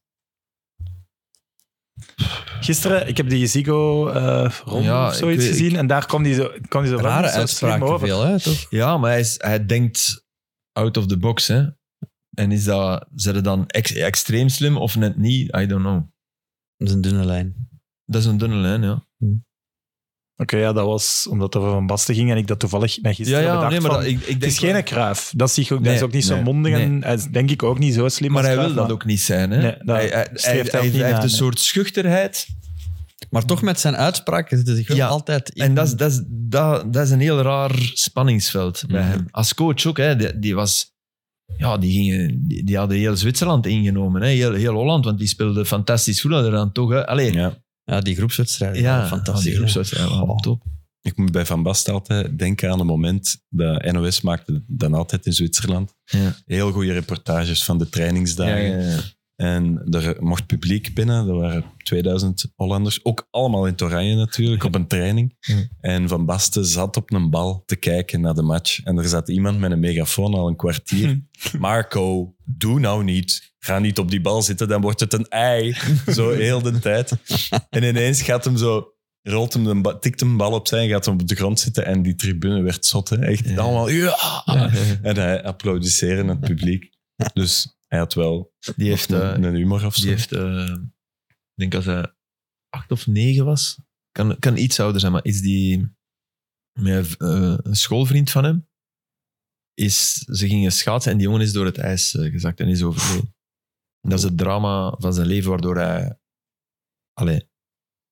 Speaker 3: Gisteren, ik heb die Zigo eh rond
Speaker 6: Ja,
Speaker 3: of zoiets
Speaker 6: ik weet-
Speaker 3: gezien. En daar kwam die zo, kwam die zo van,
Speaker 4: Rare
Speaker 3: zo slim
Speaker 4: uitspraak te
Speaker 3: over.
Speaker 4: veel, hè, toch?
Speaker 6: ja, maar hij, is- hij denkt out of the box. Hè? En is dat, zijn ze dan ex- extreem slim of net niet? I don't know.
Speaker 4: Dat is een dunne lijn.
Speaker 6: Dat is een dunne lijn, ja.
Speaker 3: Oké, ja, dat was omdat het over Van Basten ging en ik dat toevallig net
Speaker 6: Ja,
Speaker 3: gisteren
Speaker 6: ja
Speaker 3: bedacht
Speaker 6: nee, maar
Speaker 3: van,
Speaker 6: dat, ik, ik denk
Speaker 3: Het is geen
Speaker 6: wel-
Speaker 3: kruif. Dat zie ik ook, dat
Speaker 6: Nee,
Speaker 3: is ook niet zo
Speaker 6: nee,
Speaker 3: mondig en hij is denk ik ook niet zo slim
Speaker 6: maar
Speaker 3: als
Speaker 6: hij wil
Speaker 3: Cruijff,
Speaker 6: dat ook niet zijn. Hè?
Speaker 3: Nee, dat
Speaker 6: hij hij, hij,
Speaker 3: streeft hij ook
Speaker 6: hij
Speaker 3: niet
Speaker 6: heeft
Speaker 3: naar,
Speaker 6: een
Speaker 3: nee.
Speaker 6: soort schuchterheid.
Speaker 4: Maar toch met zijn uitspraken zitten zich wel
Speaker 6: Ja,
Speaker 4: altijd in.
Speaker 6: En dat is, dat, is, dat, dat is een heel raar spanningsveld bij
Speaker 4: Mhm.
Speaker 6: hem. Als coach ook, hè, die, die was... Ja, die, gingen, die, die hadden heel Zwitserland ingenomen. Hè, heel, heel Holland, want die speelde fantastisch voetbal er dan toch. Hè. Allee,
Speaker 2: Ja.
Speaker 4: ja, die groepswedstrijden. Ja, fantastisch.
Speaker 6: Oh,
Speaker 4: Oh.
Speaker 6: Die groepswedstrijd, ja,
Speaker 4: Goh.
Speaker 6: top.
Speaker 2: Ik moet bij Van Basten altijd denken aan een moment dat NOS maakte dan altijd in Zwitserland.
Speaker 6: Ja.
Speaker 2: Heel goede reportages van de
Speaker 6: Ja,
Speaker 2: trainingsdagen.
Speaker 6: ja, ja.
Speaker 2: En er mocht publiek binnen. Er waren 2000 Hollanders. Ook allemaal in het oranje natuurlijk, op een training.
Speaker 6: Ja.
Speaker 2: En Van Basten zat op een bal te kijken naar de match. En er zat iemand met een megafoon al een kwartier. Marco, doe nou niet. Ga niet op die bal zitten, dan wordt het een ei. Zo heel de tijd. En ineens gaat hem zo... Rolt hem een ba- tikt hem een bal opzij en gaat hem op de grond zitten. En die tribune werd zot. Hè? Echt allemaal... Ja! En hij applaudisseren het publiek. Dus hij had wel
Speaker 6: Die heeft, eh,
Speaker 2: een, een humor of zo.
Speaker 6: die heeft eh, ik denk als hij acht of negen was, kan, kan iets ouder zijn, maar is die met eh, een schoolvriend van hem, is, ze gingen schaatsen en die jongen is door het ijs eh, gezakt en is overleden. Dat is het drama van zijn leven waardoor hij, allee,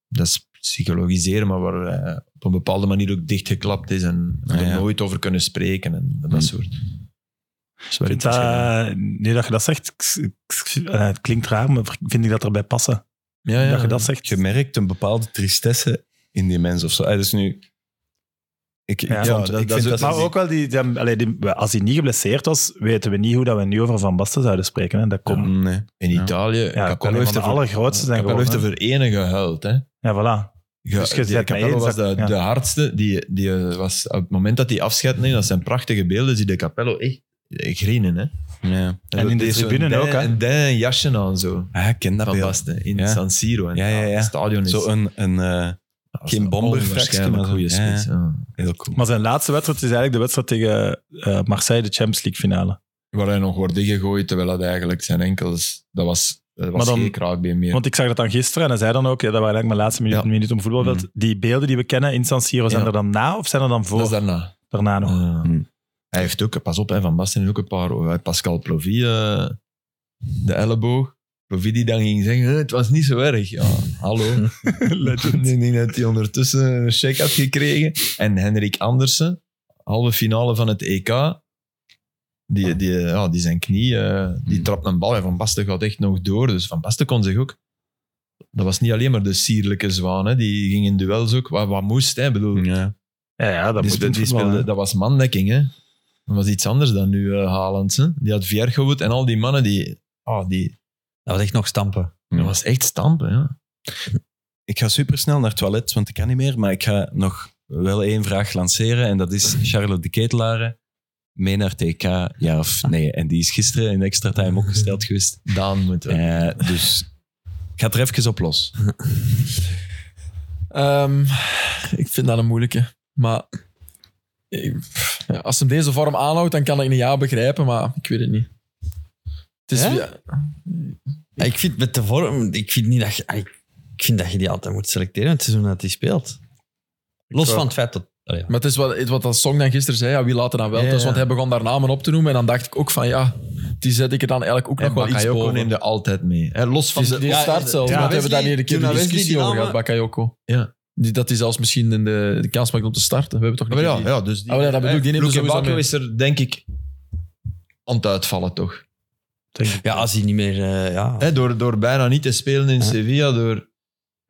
Speaker 6: dat is psychologiseren, maar waar hij op een bepaalde manier ook dichtgeklapt is en
Speaker 2: Ah,
Speaker 6: er
Speaker 2: ja.
Speaker 6: nooit over kunnen spreken en dat soort. Dat is wel
Speaker 3: Ik vind
Speaker 6: interessant.
Speaker 3: dat, nu Eh, dat je dat zegt, ik- ik- ik- eh, het klinkt raar, maar vind ik dat erbij passen.
Speaker 6: ja,
Speaker 3: Dat je dat zegt.
Speaker 2: je merkt een bepaalde tristesse in die mens of zo. Ah, dus nu... Ik, ik
Speaker 3: Ja,
Speaker 2: vond-
Speaker 6: dat-
Speaker 2: ik
Speaker 6: dat
Speaker 2: vind
Speaker 6: is-
Speaker 2: dat...
Speaker 3: maar ook wel, die, die, allee, die- als hij niet geblesseerd was, weten we niet hoe dat we nu over Van Basten zouden spreken. Hè. Dat komt.
Speaker 2: Nee.
Speaker 6: In
Speaker 2: Ja.
Speaker 6: Italië,
Speaker 3: Ja,
Speaker 6: Capello
Speaker 3: Capello heeft
Speaker 6: heeft
Speaker 3: de
Speaker 6: er voor-
Speaker 3: allergrootste zijn
Speaker 6: Capello
Speaker 3: geworden.
Speaker 6: heeft er voor ene gehuild. Hè?
Speaker 3: Ja, voilà.
Speaker 6: Ja,
Speaker 3: Dus je
Speaker 6: die
Speaker 3: zet mij
Speaker 6: Capello
Speaker 3: in,
Speaker 6: was
Speaker 3: zak-
Speaker 6: de,
Speaker 3: ja.
Speaker 6: de hardste. Die, die eh, was, op het moment dat hij afscheid neemt, dat zijn prachtige beelden, zie de Capello echt eh, grienen. Hè?
Speaker 2: Ja.
Speaker 3: En in de tribune ook, hè?
Speaker 6: En daar een jasje aan zo.
Speaker 2: Ah, ik ken dat
Speaker 6: Van
Speaker 2: beeld.
Speaker 6: Basten, in
Speaker 2: Ja.
Speaker 6: San Siro. En
Speaker 2: Ja, ja, ja.
Speaker 6: Het stadion is...
Speaker 2: Zo een... een eh,
Speaker 6: dat was
Speaker 2: geen
Speaker 6: een
Speaker 2: bomberfraksje,
Speaker 6: onwaarschijnlijk
Speaker 2: maar zo,
Speaker 6: goede
Speaker 2: ja,
Speaker 6: spits. Ja,
Speaker 2: heel cool.
Speaker 3: Maar zijn laatste wedstrijd is eigenlijk de wedstrijd tegen eh, Marseille, de Champions League finale.
Speaker 12: Waar hij nog wordt dichtgegooid, terwijl dat eigenlijk zijn enkels... Dat was
Speaker 6: Dat
Speaker 3: Maar
Speaker 6: was
Speaker 3: dan-
Speaker 6: geen kraakbeen meer.
Speaker 3: Want ik zag dat dan gisteren en hij zei dan ook, ja, dat waren eigenlijk mijn laatste minuut,
Speaker 6: Ja.
Speaker 3: minuut om voetbalveld. Die beelden die we kennen in San Siro, zijn
Speaker 6: Ja.
Speaker 3: er dan na of zijn er dan voor?
Speaker 6: dat is daarna.
Speaker 3: Daarna nog.
Speaker 6: Ah. Hij heeft ook, pas op, hè, Van Basten heeft ook een paar. oh, Pascal Plovy, eh, de elleboog. Plovy die dan ging zeggen: "Eh, Het was niet zo erg. Ja, hallo. Legend. Ik denk dat hij ondertussen een check had gekregen. En Henrik Andersen, halve finale van het EK.
Speaker 3: Ah.
Speaker 6: Die, die, ja, die zijn knie, eh, die
Speaker 3: Hmm.
Speaker 6: trapt een bal. En Van Basten gaat echt nog door. Dus Van Basten kon zich ook. Dat was niet alleen maar de sierlijke zwaan. Hè. Die ging in duels ook. Wat, wat moest, hè? Ik bedoel,
Speaker 4: Ja.
Speaker 3: Ja, ja, dat moet in
Speaker 6: die speelde,
Speaker 3: het
Speaker 6: die
Speaker 3: voetbal,
Speaker 6: speelde-
Speaker 3: hè.
Speaker 6: dat was mandekking, hè. Dat was iets anders dan nu eh Haaland. hè. Die had Viergewoed en al die mannen, die, ah die,
Speaker 4: Dat was echt nog stampen.
Speaker 6: dat was echt stampen. Ja.
Speaker 2: Ik ga supersnel naar het toilet, want ik kan niet meer. Maar ik ga nog wel één vraag lanceren. En dat is Charlotte de Ketelare. Mee naar TK, ja of nee? En die is gisteren in extra time opgesteld geweest.
Speaker 6: Daan moet wel.
Speaker 2: Eh, dus ik ga er even op los.
Speaker 7: Ehm, ik vind dat een moeilijke. Maar ik- pff, ja, als hem deze vorm aanhoudt, dan kan ik een ja begrijpen, maar ik weet het niet. Het is,
Speaker 4: Hè?
Speaker 7: ja,
Speaker 4: Ah, Ik vind met de vorm, ik vind niet dat je, ah, ik ik vind dat je die altijd moet selecteren het seizoen dat hij speelt. Los
Speaker 3: wou-
Speaker 4: van het feit dat. Allee, ja.
Speaker 7: maar het is wat, het- wat dat song dan gisteren zei, ja, wie laat er dan wel
Speaker 6: Ja,
Speaker 7: thuis? Want
Speaker 6: ja.
Speaker 7: hij begon daar namen op te noemen en dan dacht ik ook van ja, die zet ik er dan eigenlijk ook
Speaker 6: En
Speaker 7: nog wel iets
Speaker 6: Bakayoko
Speaker 7: boven.
Speaker 6: neemde altijd mee. hè. los van
Speaker 7: Die,
Speaker 6: de,
Speaker 7: Dus die
Speaker 4: Ja,
Speaker 7: start zelfs,
Speaker 4: ja,
Speaker 7: want
Speaker 4: Wesley-
Speaker 7: we hebben daar niet een keer
Speaker 4: toen
Speaker 7: een
Speaker 4: dat Wesley
Speaker 7: discussie
Speaker 4: die
Speaker 7: over
Speaker 4: namen-
Speaker 7: gehad, Bakayoko.
Speaker 6: Ja.
Speaker 7: Die, dat hij zelfs misschien in de, de kans maakt om te starten. We hebben toch
Speaker 6: Maar
Speaker 7: niet
Speaker 6: ja, ja, dus die,
Speaker 7: Ah, wel, ja, dat bedoel ik, die neemde
Speaker 6: Luke
Speaker 7: sowieso
Speaker 6: Bakio
Speaker 7: mee.
Speaker 6: is er, denk ik, aan het uitvallen, toch?
Speaker 4: ja, als hij niet meer. eh, ja.
Speaker 6: Hè, door, door bijna niet te spelen in Sevilla, door...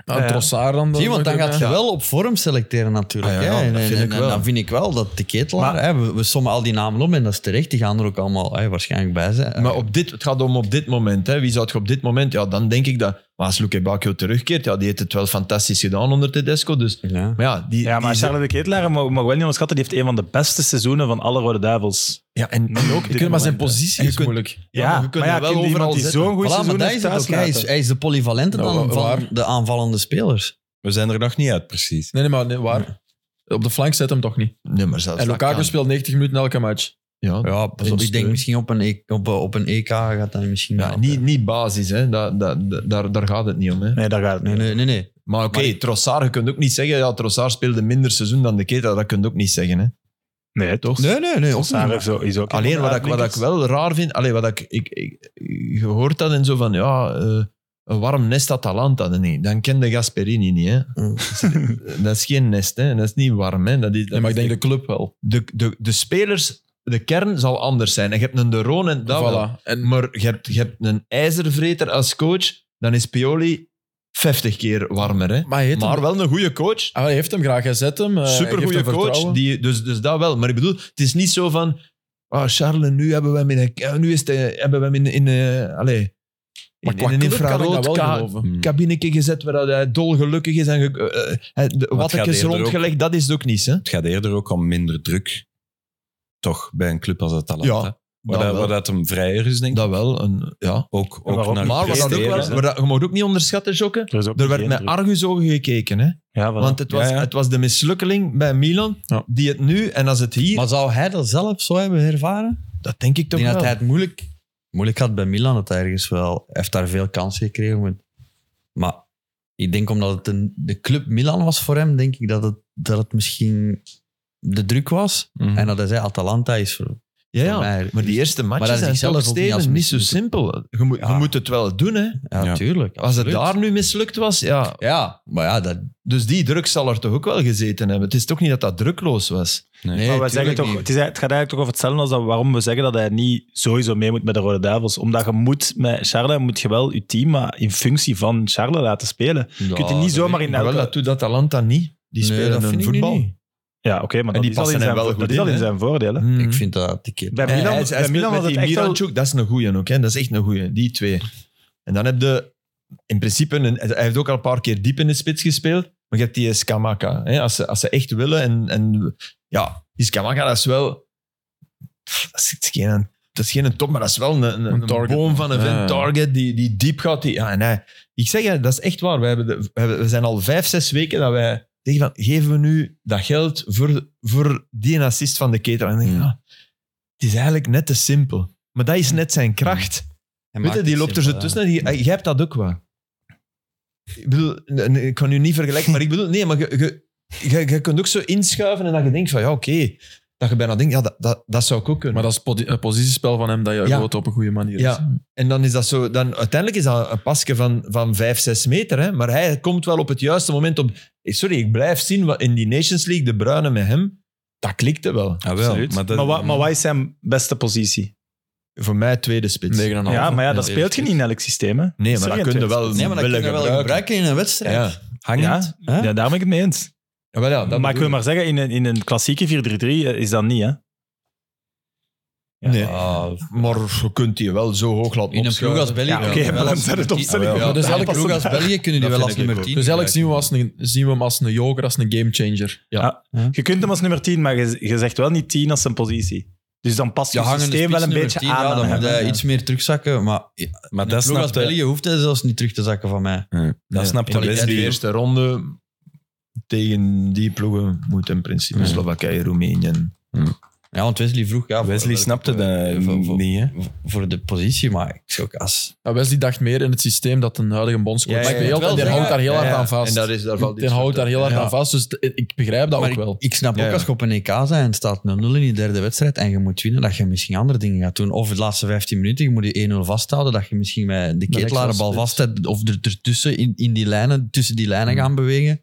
Speaker 7: Nou,
Speaker 3: Ja.
Speaker 7: Trossard dan.
Speaker 4: Zie, want dan gaat je
Speaker 7: Ja.
Speaker 4: wel op vorm selecteren natuurlijk.
Speaker 6: Ah, ja, ja,
Speaker 4: hè. En,
Speaker 6: dat
Speaker 4: en-
Speaker 6: vind ik
Speaker 4: en
Speaker 6: wel.
Speaker 4: dan vind ik wel dat de ketelaar... hè, we, we sommen al die namen op en dat is terecht. Die gaan er ook allemaal hè, waarschijnlijk bij zijn.
Speaker 6: Maar op dit, het gaat om op dit moment. Hè. Wie zou je op dit moment... Ja, dan denk ik dat... Maar als Luke Bakio terugkeert, ja, die heeft het wel fantastisch gedaan onder Tedesco. Dus,
Speaker 4: Ja.
Speaker 6: maar ja, die,
Speaker 3: Ja,
Speaker 6: die
Speaker 3: maar
Speaker 6: is-
Speaker 3: Charlotte de Ketelaar mag, mag wel niet onderschatten. Die heeft een van de beste seizoenen van alle Rode Duivels.
Speaker 6: ja, en,
Speaker 3: Nu ook,
Speaker 7: Je kunt maar zijn positie
Speaker 6: Je
Speaker 7: is
Speaker 6: kunt-
Speaker 7: moeilijk.
Speaker 3: Ja,
Speaker 6: maar
Speaker 3: maar,
Speaker 6: je kunt
Speaker 3: ja,
Speaker 6: hem wel
Speaker 3: kun je
Speaker 6: overal
Speaker 3: iemand die
Speaker 6: zetten.
Speaker 3: zo'n goed
Speaker 4: Voilà, maar
Speaker 3: seizoen
Speaker 4: dat
Speaker 3: heeft
Speaker 4: is het ook. Hij is,
Speaker 3: thuislaten.
Speaker 4: hij is de polyvalente
Speaker 7: Nou,
Speaker 4: dan
Speaker 7: wa-
Speaker 4: van
Speaker 7: waar?
Speaker 4: de aanvallende spelers.
Speaker 2: We zijn er nog niet uit, precies.
Speaker 7: Nee, nee, maar nee, waar? Op de flank zet hem toch niet.
Speaker 6: Nee, maar zelfs
Speaker 7: En
Speaker 6: dat
Speaker 7: Lukaku
Speaker 6: kan.
Speaker 7: speelt 90 minuten elke match.
Speaker 6: Ja,
Speaker 4: Ja, pas
Speaker 6: In
Speaker 4: op. Ik denk
Speaker 6: steun.
Speaker 4: misschien op een, E- op, op een EK gaat dat misschien
Speaker 6: ja,
Speaker 4: wel.
Speaker 6: niet, niet basis, hè. Dat, dat, dat- daar, daar gaat het niet om. Hè.
Speaker 3: Nee, daar gaat het
Speaker 4: Nee,
Speaker 3: niet.
Speaker 4: nee, nee. nee.
Speaker 6: Maar oké,
Speaker 4: Maar
Speaker 6: Trossard, je kunt ook niet zeggen... Ja, Trossard speelde minder seizoen dan de Keta. Dat kun je ook niet zeggen, hè.
Speaker 3: Nee, toch?
Speaker 4: Nee, nee, nee. ook
Speaker 3: Sarre
Speaker 4: niet.
Speaker 3: is ook- is ook
Speaker 6: Alleen wat ik, wat ik
Speaker 3: uitblinkers.
Speaker 6: wel raar vind, alleen wat ik, ik, ik, je hoort dat en zo van, ja, eh, een warm nest Atalanta, dan, nee, dan kende Gasperini niet. Hè.
Speaker 4: Mm.
Speaker 6: dat is geen nest, hè. dat is niet warm. Hè. Dat is, dat
Speaker 7: Nee, maar ik
Speaker 6: is
Speaker 7: denk de club wel.
Speaker 6: de, de, de, de spelers, de kern zal anders zijn. En je hebt een De Roon en dat wel.
Speaker 7: Voilà. En,
Speaker 6: Maar je hebt, je hebt een ijzervreter als coach, dan is Pioli 50 keer warmer. Hè.
Speaker 7: maar hij heeft,
Speaker 6: Maar
Speaker 7: hem,
Speaker 6: wel een goede coach.
Speaker 7: Ah, hij heeft hem graag. Hij zet hem. eh, hij
Speaker 6: Supergoeie
Speaker 7: geeft hem
Speaker 6: coach.
Speaker 7: vertrouwen.
Speaker 6: Die, dus, dus dat wel. Maar ik bedoel, het is niet zo van... Ah, Charles, nu hebben we hem in, een- eh, nu is het, eh, hebben we hem in, in, eh, allez,
Speaker 7: Maar
Speaker 6: in,
Speaker 7: qua
Speaker 6: in een
Speaker 7: club kan ik dat
Speaker 6: infrarood
Speaker 7: wel
Speaker 6: ka-
Speaker 7: geloven.
Speaker 6: cabinetje gezet waar hij dolgelukkig is en ge, eh, eh, hij- de
Speaker 2: Maar het gaat
Speaker 6: wattekes
Speaker 2: eerder
Speaker 6: rondgelegd. Dat is het ook niet, hè?
Speaker 2: Het gaat eerder ook om minder druk. Toch, bij een club als Atalanta.
Speaker 6: Ja,
Speaker 2: waar, dat,
Speaker 6: wel.
Speaker 2: waar dat hem vrijer is, denk ik.
Speaker 6: Dat wel. Een, ja.
Speaker 2: ook, ook
Speaker 3: waarom
Speaker 2: naar
Speaker 3: niet?
Speaker 6: Maar wat dat ook
Speaker 2: presteren.
Speaker 6: wel, waar dat- je mag ook niet onderschatten, Jokke.
Speaker 3: Er, is ook
Speaker 6: Er werd
Speaker 3: geen
Speaker 6: met
Speaker 3: druk.
Speaker 6: argusogen gekeken, hè?
Speaker 3: Ja, voilà.
Speaker 6: Want het was,
Speaker 2: Ja, ja.
Speaker 6: Het was de mislukkeling bij Milan
Speaker 7: Ja.
Speaker 6: die het nu, en als het hier,
Speaker 4: Maar zou hij dat zelf zo hebben ervaren?
Speaker 6: dat denk ik
Speaker 4: Ik
Speaker 6: toch
Speaker 4: denk dat
Speaker 6: wel.
Speaker 4: hij het moeilijk, moeilijk had bij Milan. Dat hij ergens wel... Hij heeft daar veel kansen gekregen. Maar, maar ik denk omdat het een, de club Milan was voor hem, denk ik dat het, dat het misschien de druk was.
Speaker 6: Mhm.
Speaker 4: En dat hij zei, Atalanta is voor,
Speaker 6: Ja,
Speaker 4: voor
Speaker 6: ja.
Speaker 4: mij.
Speaker 6: Maar die eerste
Speaker 4: Maar dat
Speaker 6: matchen
Speaker 4: is
Speaker 6: zijn
Speaker 4: zichzelf
Speaker 6: zelf
Speaker 4: ook niet als
Speaker 6: Steven niet zo
Speaker 4: mislukking.
Speaker 6: simpel. Je moet,
Speaker 4: Ja.
Speaker 6: je moet het wel doen, hè.
Speaker 4: Ja,
Speaker 2: Ja.
Speaker 4: tuurlijk.
Speaker 6: Als het
Speaker 4: absoluut.
Speaker 6: daar nu mislukt was, ja.
Speaker 4: Ja, maar ja, dat...
Speaker 6: Dus die druk zal er toch ook wel gezeten hebben. Het is toch niet dat dat drukloos was.
Speaker 4: Nee,
Speaker 3: Maar we zeggen
Speaker 4: tuurlijk
Speaker 3: toch,
Speaker 4: niet.
Speaker 3: het, is, het gaat eigenlijk toch over hetzelfde als dat, waarom we zeggen dat hij niet sowieso mee moet met de Rode Duivels. Omdat je moet met Charles, moet je wel je team maar in functie van Charles laten spelen. Je kunt
Speaker 4: Ja,
Speaker 3: hem niet zomaar in
Speaker 6: Maar wel,
Speaker 3: elke...
Speaker 6: dat doet Atalanta niet. Die
Speaker 4: Nee,
Speaker 6: spelen
Speaker 4: dat
Speaker 6: hun
Speaker 4: vind ik nu
Speaker 6: voetbal.
Speaker 4: niet.
Speaker 3: Ja, oké, maar
Speaker 6: En
Speaker 3: dat
Speaker 6: die
Speaker 3: is al in
Speaker 6: passen
Speaker 3: zijn,
Speaker 6: hem wel
Speaker 3: vo-
Speaker 6: goed
Speaker 3: dat is al
Speaker 6: in,
Speaker 3: in
Speaker 6: hè?
Speaker 3: zijn voordeel. Hè?
Speaker 6: Hmm.
Speaker 4: Ik vind dat die keer...
Speaker 3: Bij Milan,
Speaker 6: Eh, hij, hij
Speaker 3: bij
Speaker 6: speelt
Speaker 3: Milan
Speaker 6: met
Speaker 3: was het
Speaker 6: die
Speaker 3: echt wel...
Speaker 6: Miranchuk, dat is een goeie ook. Hè. Dat is echt een goeie, die twee. En dan heb je in principe... Een, hij heeft ook al een paar keer diep in de spits gespeeld. Maar je hebt die Skamaka. Hè. Als, ze, als ze echt willen. En, en ja, die Skamaka, dat is wel... pff, Dat is geen, dat is geen top, maar dat is wel een, een,
Speaker 7: Een
Speaker 6: een
Speaker 7: target.
Speaker 6: boom van een vent.
Speaker 7: Ja.
Speaker 6: Target, die, die diep gaat. Die, ja, en hij, ik zeg je, dat is echt waar. We, hebben de- we, hebben- we zijn al vijf, zes weken dat wij zeggen van... Geven we nu dat geld voor, voor die assist Hmm. ah, van de ketel? En dan denk ik, ja, Hmm. het is eigenlijk net te simpel. Maar dat is net zijn kracht. Weet je, die loopt er zo tussen. Die, Ah, jij hebt dat ook wel. Ik bedoel, nee, nee, ik kan u niet vergelijken, maar ik bedoel, nee, maar je- je- je je kunt ook zo inschuiven en dat je denkt van, ja, oké. Dat je bijna denkt, ja, dat, dat, dat zou ik ook kunnen.
Speaker 7: Maar dat is podi- een positiespel van hem dat je
Speaker 6: Ja.
Speaker 7: goed op een goede manier is.
Speaker 6: Ja. En dan is dat zo, dan, uiteindelijk is dat een pasje van, van 5, 6 meter. Hè? Maar hij komt wel op het juiste moment op. Sorry, ik blijf zien wat in die Nations League, de Bruine met hem, dat klikte wel.
Speaker 2: Ah, wel.
Speaker 3: Absoluut.
Speaker 2: Maar, dat,
Speaker 3: Maar, wa- maar wat is zijn beste positie?
Speaker 6: Voor mij tweede spits. Nee,
Speaker 4: Nou,
Speaker 7: 9,5.
Speaker 3: Ja, maar ja, dat
Speaker 7: Ja,
Speaker 3: speelt je niet in elk systeem. Hè?
Speaker 6: maar
Speaker 3: Sorry,
Speaker 6: dat kun je
Speaker 3: Antoine.
Speaker 6: wel
Speaker 4: Nee, maar dat
Speaker 6: willen
Speaker 4: kunnen we wel gebruiken in een wedstrijd.
Speaker 6: Ja.
Speaker 3: Ja,
Speaker 4: Hè?
Speaker 3: ja, daar ben ik het mee eens.
Speaker 6: Ja, wel, ja, dat
Speaker 3: maar ik wil
Speaker 6: bedoel
Speaker 3: maar zeggen, in een, in een klassieke 4-3-3 eh, is dat niet, hè?
Speaker 6: Nee. Maar je kunt die wel zo hoog laten
Speaker 4: In een ploeg
Speaker 6: opschuiven.
Speaker 4: als België.
Speaker 3: Ja, oké,
Speaker 4: kunnen we
Speaker 3: maar
Speaker 4: wel
Speaker 3: dan
Speaker 4: als-
Speaker 3: zijn het opstellingen.
Speaker 4: Ja,
Speaker 7: Ja, dus
Speaker 4: dus elke
Speaker 7: eigenlijk
Speaker 4: ploeg als België kunnen die wel
Speaker 6: Dat vind
Speaker 4: als
Speaker 6: ik
Speaker 4: nummer
Speaker 6: ook goed.
Speaker 4: 10.
Speaker 7: Dus eigenlijk zien we, hem als een, zien we hem als een joker, als een gamechanger.
Speaker 3: Je kunt hem als nummer 10, maar je, je zegt wel niet 10 als zijn positie. Dus dan past je
Speaker 4: Ja, hangende
Speaker 3: systeem wel een
Speaker 4: spits,
Speaker 3: beetje
Speaker 4: nummer 10,
Speaker 3: aan.
Speaker 4: ja,
Speaker 3: aan
Speaker 4: dan moet
Speaker 3: hem,
Speaker 4: hij
Speaker 3: hè.
Speaker 4: iets meer terugzakken. Maar
Speaker 2: maar
Speaker 4: een
Speaker 2: dat
Speaker 4: ploeg als
Speaker 2: snapt de,
Speaker 4: België hoeft hij zelfs niet terug te zakken van mij.
Speaker 2: dat snapt de
Speaker 6: Maar in de
Speaker 2: Wesley.
Speaker 6: eerste ronde tegen die ploegen moet in principe
Speaker 4: Ja.
Speaker 6: Slowakije, Roemenië.
Speaker 4: Ja, want Wesley vroeg... Ja, voor
Speaker 2: Wesley
Speaker 4: welke-
Speaker 2: snapte dat
Speaker 4: voor- voor-
Speaker 2: niet, hè?
Speaker 4: Voor de positie, maar ik zou ook als...
Speaker 7: Ja, Wesley dacht meer in het systeem dat een huidige bondscoach
Speaker 6: Ja, ja, ja.
Speaker 4: Maar
Speaker 7: speelt.
Speaker 4: ik
Speaker 7: En
Speaker 4: moet
Speaker 7: die
Speaker 4: wel
Speaker 7: houdt daar heel hard aan vast.
Speaker 6: En daar is daar valt
Speaker 7: die houdt daar heel hard
Speaker 4: Ja.
Speaker 7: aan vast, dus t- ik begrijp dat
Speaker 4: Maar
Speaker 7: ook wel.
Speaker 4: Ik, ik snap
Speaker 6: Ja,
Speaker 4: ook
Speaker 6: ja.
Speaker 4: als je op een EK bent en het staat 0-0 in die derde wedstrijd en je moet winnen, dat je misschien andere dingen gaat doen. Of de laatste 15 minuten, je moet die 1-0 vasthouden, dat je misschien met de ketelare bal vasthoudt of er, ertussen in, in die lijnen, tussen die
Speaker 6: Hmm.
Speaker 4: lijnen gaan bewegen.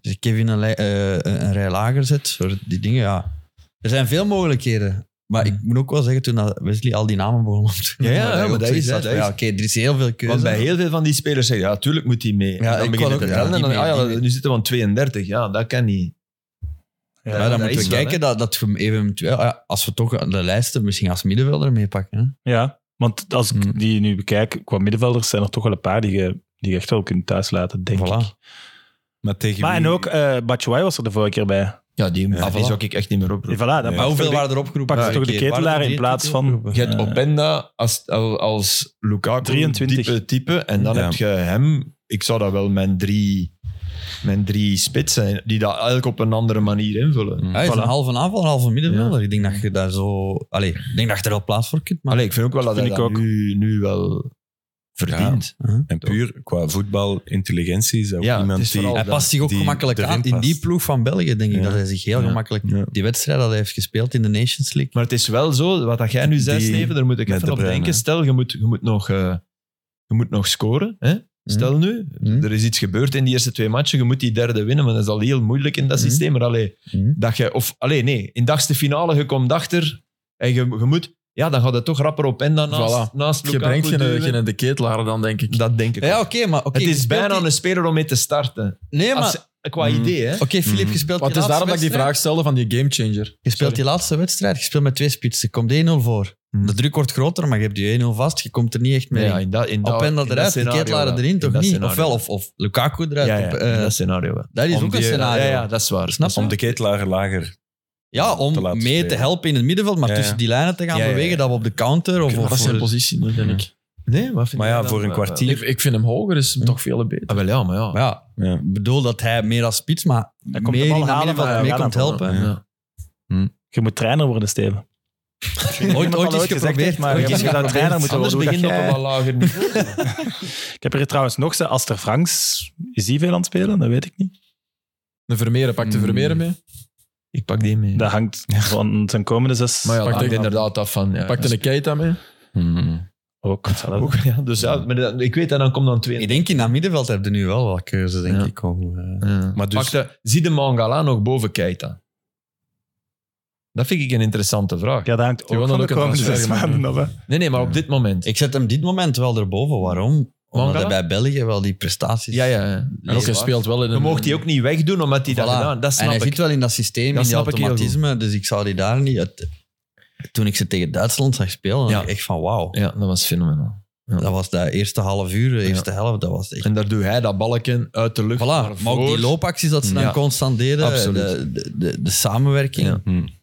Speaker 4: Dus Kevin een, lij- eh, een, een rij lager zet, soort die dingen, ja. Er zijn veel mogelijkheden. Maar ik moet ook wel zeggen, toen dat Wesley al die namen begon op te
Speaker 6: Hmm. Ja, ja, ja,
Speaker 4: ook
Speaker 6: maar dat
Speaker 4: zoiets
Speaker 6: is-
Speaker 4: had
Speaker 6: dat
Speaker 4: van,
Speaker 6: is-
Speaker 4: ja, oké, er is heel veel keuze.
Speaker 6: Want bij heel veel van die spelers zeggen, ja, tuurlijk moet die mee.
Speaker 4: Ja,
Speaker 6: en dan
Speaker 4: ik wou
Speaker 6: beginnen te
Speaker 4: ook- ja,
Speaker 6: tellen en dan,
Speaker 4: die
Speaker 6: ah
Speaker 4: mee,
Speaker 6: ja,
Speaker 4: die mee.
Speaker 6: nu zitten we aan 32. Ja, dat kan niet.
Speaker 4: Ja,
Speaker 6: dat
Speaker 4: dan moeten
Speaker 6: is
Speaker 4: we
Speaker 6: wel,
Speaker 4: kijken dat, dat we hem eventueel, ja, als we toch de lijsten misschien als middenvelder meepakken. hè.
Speaker 3: Ja, want als ik
Speaker 7: Hmm.
Speaker 3: die nu bekijk, qua middenvelders zijn er toch wel een paar die je, die je echt wel kunt thuislaten, denk
Speaker 4: Voilà.
Speaker 3: ik.
Speaker 2: Maar tegen
Speaker 3: Maar en
Speaker 2: wie-
Speaker 3: ook eh Batshuayi was er de vorige keer bij.
Speaker 6: Ja, die,
Speaker 2: Ja,
Speaker 6: die zou ik echt niet meer
Speaker 3: Ja,
Speaker 6: oproepen.
Speaker 3: voilà, dan pakt
Speaker 4: Maar hoeveel
Speaker 3: toch de-
Speaker 4: waren er opgeroepen?
Speaker 3: pakt toch de
Speaker 4: Oké, waren er
Speaker 3: ketelaar in
Speaker 4: drie
Speaker 3: plaats
Speaker 4: tot die
Speaker 3: van-
Speaker 4: opgeroepen?
Speaker 6: Je hebt
Speaker 4: Ja.
Speaker 6: Openda als, al- als Lukaku
Speaker 3: 23.
Speaker 6: type, type. En dan
Speaker 2: Ja.
Speaker 6: heb je hem. Ik zou dat wel mijn drie, mijn drie spitsen, die dat eigenlijk op een andere manier invullen.
Speaker 4: Hij is
Speaker 3: Voilà.
Speaker 4: een halve aanval, een halve middenvelder. Ik denk dat je daar zo... Allee, ik denk dat je er wel plaats voor kunt
Speaker 6: Maar
Speaker 4: maken.
Speaker 6: ik vind ook wel dat
Speaker 3: Vind
Speaker 6: hij
Speaker 3: ik
Speaker 6: dat
Speaker 3: ook.
Speaker 6: Nu, nu wel verdient.
Speaker 2: En puur qua voetbal, intelligentie, is dat
Speaker 6: Ja,
Speaker 2: iemand
Speaker 6: het is
Speaker 2: die...
Speaker 6: vooral-
Speaker 4: Hij
Speaker 6: dat-
Speaker 4: past zich ook
Speaker 2: die
Speaker 4: gemakkelijk
Speaker 2: erin
Speaker 4: aan. In die
Speaker 2: past.
Speaker 4: ploeg van België denk ik
Speaker 2: Ja.
Speaker 4: dat hij zich heel
Speaker 2: Ja.
Speaker 4: gemakkelijk...
Speaker 2: Ja.
Speaker 4: Die wedstrijd dat hij heeft gespeeld in de Nations League.
Speaker 6: Maar het is wel zo, wat dat jij nu zei,
Speaker 2: Die-
Speaker 6: Steven, daar moet ik
Speaker 2: met
Speaker 6: even
Speaker 2: De
Speaker 6: op
Speaker 2: Bruyne.
Speaker 6: denken. Stel, je moet, je moet, nog, eh, je moet nog scoren. Hè? Stel nu,
Speaker 4: Mhm.
Speaker 6: er is iets gebeurd in die eerste twee matchen, je moet die derde winnen, maar dat is al heel moeilijk in dat
Speaker 4: Mhm.
Speaker 6: systeem. Maar allee,
Speaker 4: Mhm.
Speaker 6: dat je, of, allee, nee, in dagste finale, je komt achter en je, je moet, ja, dan gaat het toch rapper op en dan naast,
Speaker 7: Voilà.
Speaker 6: naast
Speaker 7: je
Speaker 6: Lukaku
Speaker 7: brengt geen,
Speaker 6: duwen.
Speaker 7: geen de ketelaar dan, denk ik.
Speaker 6: Dat denk ik
Speaker 4: Ja,
Speaker 6: wel.
Speaker 4: oké, maar... oké,
Speaker 6: Het
Speaker 4: je
Speaker 6: is
Speaker 4: speelt
Speaker 6: bijna
Speaker 4: die-
Speaker 6: een speler om mee te starten.
Speaker 4: Nee, maar...
Speaker 6: Als-
Speaker 4: Oké,
Speaker 6: qua
Speaker 2: Mhm.
Speaker 6: idee, hè.
Speaker 4: Filip,
Speaker 2: Mhm.
Speaker 4: je speelt
Speaker 7: Maar het
Speaker 4: die
Speaker 7: is daarom
Speaker 4: laatste
Speaker 7: dat ik die
Speaker 4: wedstrijd.
Speaker 7: vraag stelde van die gamechanger.
Speaker 4: Je speelt die laatste wedstrijd, je speelt met twee spitsen. Komt 1-0 voor.
Speaker 6: Hmm.
Speaker 4: De druk wordt groter, maar je hebt die 1-0 vast. Je komt er niet echt mee.
Speaker 6: Ja, in dat, in dat,
Speaker 4: op en dat
Speaker 6: in
Speaker 4: eruit, de
Speaker 6: scenario
Speaker 4: ketelaren
Speaker 6: wel.
Speaker 4: erin,
Speaker 6: In
Speaker 4: toch
Speaker 6: dat
Speaker 4: niet?
Speaker 6: scenario
Speaker 4: Ofwel,
Speaker 6: wel.
Speaker 4: of, of Lukaku eruit.
Speaker 6: Ja, ja,
Speaker 4: op,
Speaker 6: in
Speaker 4: eh,
Speaker 6: dat scenario wel.
Speaker 4: dat is
Speaker 2: Om
Speaker 4: ook een
Speaker 2: die-
Speaker 4: scenario.
Speaker 6: Ja,
Speaker 4: Ja,
Speaker 6: ja, dat is waar.
Speaker 4: Snap je?
Speaker 2: Om de ketelaar lager.
Speaker 4: om
Speaker 2: te
Speaker 4: mee
Speaker 2: laten
Speaker 4: te
Speaker 2: spelen.
Speaker 4: helpen in het middenveld, maar
Speaker 2: Ja,
Speaker 4: tussen
Speaker 2: ja.
Speaker 4: die lijnen te gaan
Speaker 6: Ja, ja, ja.
Speaker 4: bewegen, dat we op de counter of...
Speaker 7: Maar
Speaker 4: of
Speaker 7: dat is zijn
Speaker 4: voor-
Speaker 7: positie, niet, denk ik.
Speaker 6: Nee, maar, vind
Speaker 2: Maar
Speaker 6: jij
Speaker 2: ja,
Speaker 6: dan-
Speaker 2: voor een kwartier.
Speaker 7: Ik, ik vind hem hoger, is hem toch veel beter.
Speaker 6: Ah, wel ja, maar ja.
Speaker 4: Maar ja,
Speaker 2: Ja.
Speaker 4: ik bedoel dat hij meer als spits, maar
Speaker 3: Hij komt de
Speaker 4: meer
Speaker 3: bal
Speaker 4: in dat
Speaker 3: halen, maar
Speaker 4: middenveld
Speaker 3: hij
Speaker 4: mee
Speaker 3: gaat
Speaker 4: komt
Speaker 3: hem
Speaker 4: helpen.
Speaker 3: Hm. Je moet trainer worden, Steven.
Speaker 4: Ooit, ooit
Speaker 3: al
Speaker 4: is
Speaker 3: ooit gezegd
Speaker 4: geprobeerd,
Speaker 3: heeft, maar
Speaker 4: maar...
Speaker 3: je moet dat trainer moeten
Speaker 6: Anders
Speaker 3: worden. Hoe
Speaker 6: begint
Speaker 3: dat
Speaker 6: op een
Speaker 3: jij-
Speaker 6: wat lager niveau.
Speaker 3: Ik heb er trouwens nog ze Aster Franks. Is die veel aan het spelen? Dat weet ik niet.
Speaker 7: De Vermeeren, pak de
Speaker 6: Mm.
Speaker 7: Vermeeren mee.
Speaker 6: ik pak die mee.
Speaker 3: Dat hangt van zijn komende zes
Speaker 6: Maar ja, dat
Speaker 7: Pak
Speaker 6: hangt
Speaker 7: de-
Speaker 6: inderdaad af van... Ja,
Speaker 7: Pak de Keita mee.
Speaker 6: Mm.
Speaker 3: ook. hetzelfde.
Speaker 6: Ook, ja, dus ja, maar dat- ik weet dat dan komt dan twee.
Speaker 4: Ik denk, in dat middenveld heb je nu wel wat keuze, denk
Speaker 6: Ja.
Speaker 4: ik. Om, eh,
Speaker 2: Maar dus,
Speaker 6: Pak de, zie de Mangala nog boven Keita? Dat vind ik een interessante vraag.
Speaker 3: Ja, dat hangt
Speaker 7: Die
Speaker 3: ook
Speaker 7: wonnen
Speaker 3: van de
Speaker 7: ook een
Speaker 3: komende
Speaker 7: transfer
Speaker 3: zes
Speaker 7: gemaakt,
Speaker 3: maanden af. hè.
Speaker 6: Nee, nee, maar op dit moment.
Speaker 4: Ik zet hem dit moment wel erboven. Waarom? Omdat
Speaker 6: Mangala?
Speaker 4: hij bij België wel die prestaties...
Speaker 6: ja, ja. ja.
Speaker 7: En ook, hij speelt wel in
Speaker 6: Je
Speaker 7: een...
Speaker 6: mocht die ook niet wegdoen omdat hij dat
Speaker 4: Voilà.
Speaker 6: gedaan. Dat
Speaker 4: en
Speaker 6: snap
Speaker 4: hij
Speaker 6: ik.
Speaker 4: zit wel in dat systeem,
Speaker 6: Dat
Speaker 4: in die
Speaker 6: snap ik heel
Speaker 4: automatisme. Dus ik zou die daar niet... het- toen ik ze tegen Duitsland zag spelen, dan
Speaker 6: Ja.
Speaker 4: dacht ik echt van wauw.
Speaker 6: Ja, dat was fenomenaal.
Speaker 4: Dat was dat eerste half uur, de eerste helft, dat was echt...
Speaker 6: En daar doet hij dat balken uit de lucht.
Speaker 4: Voilà, maar ook
Speaker 6: voor-
Speaker 4: die loopacties dat ze dan
Speaker 6: Ja.
Speaker 4: constant deden,
Speaker 6: Absoluut.
Speaker 4: de, de, de, de samenwerking,
Speaker 6: Ja.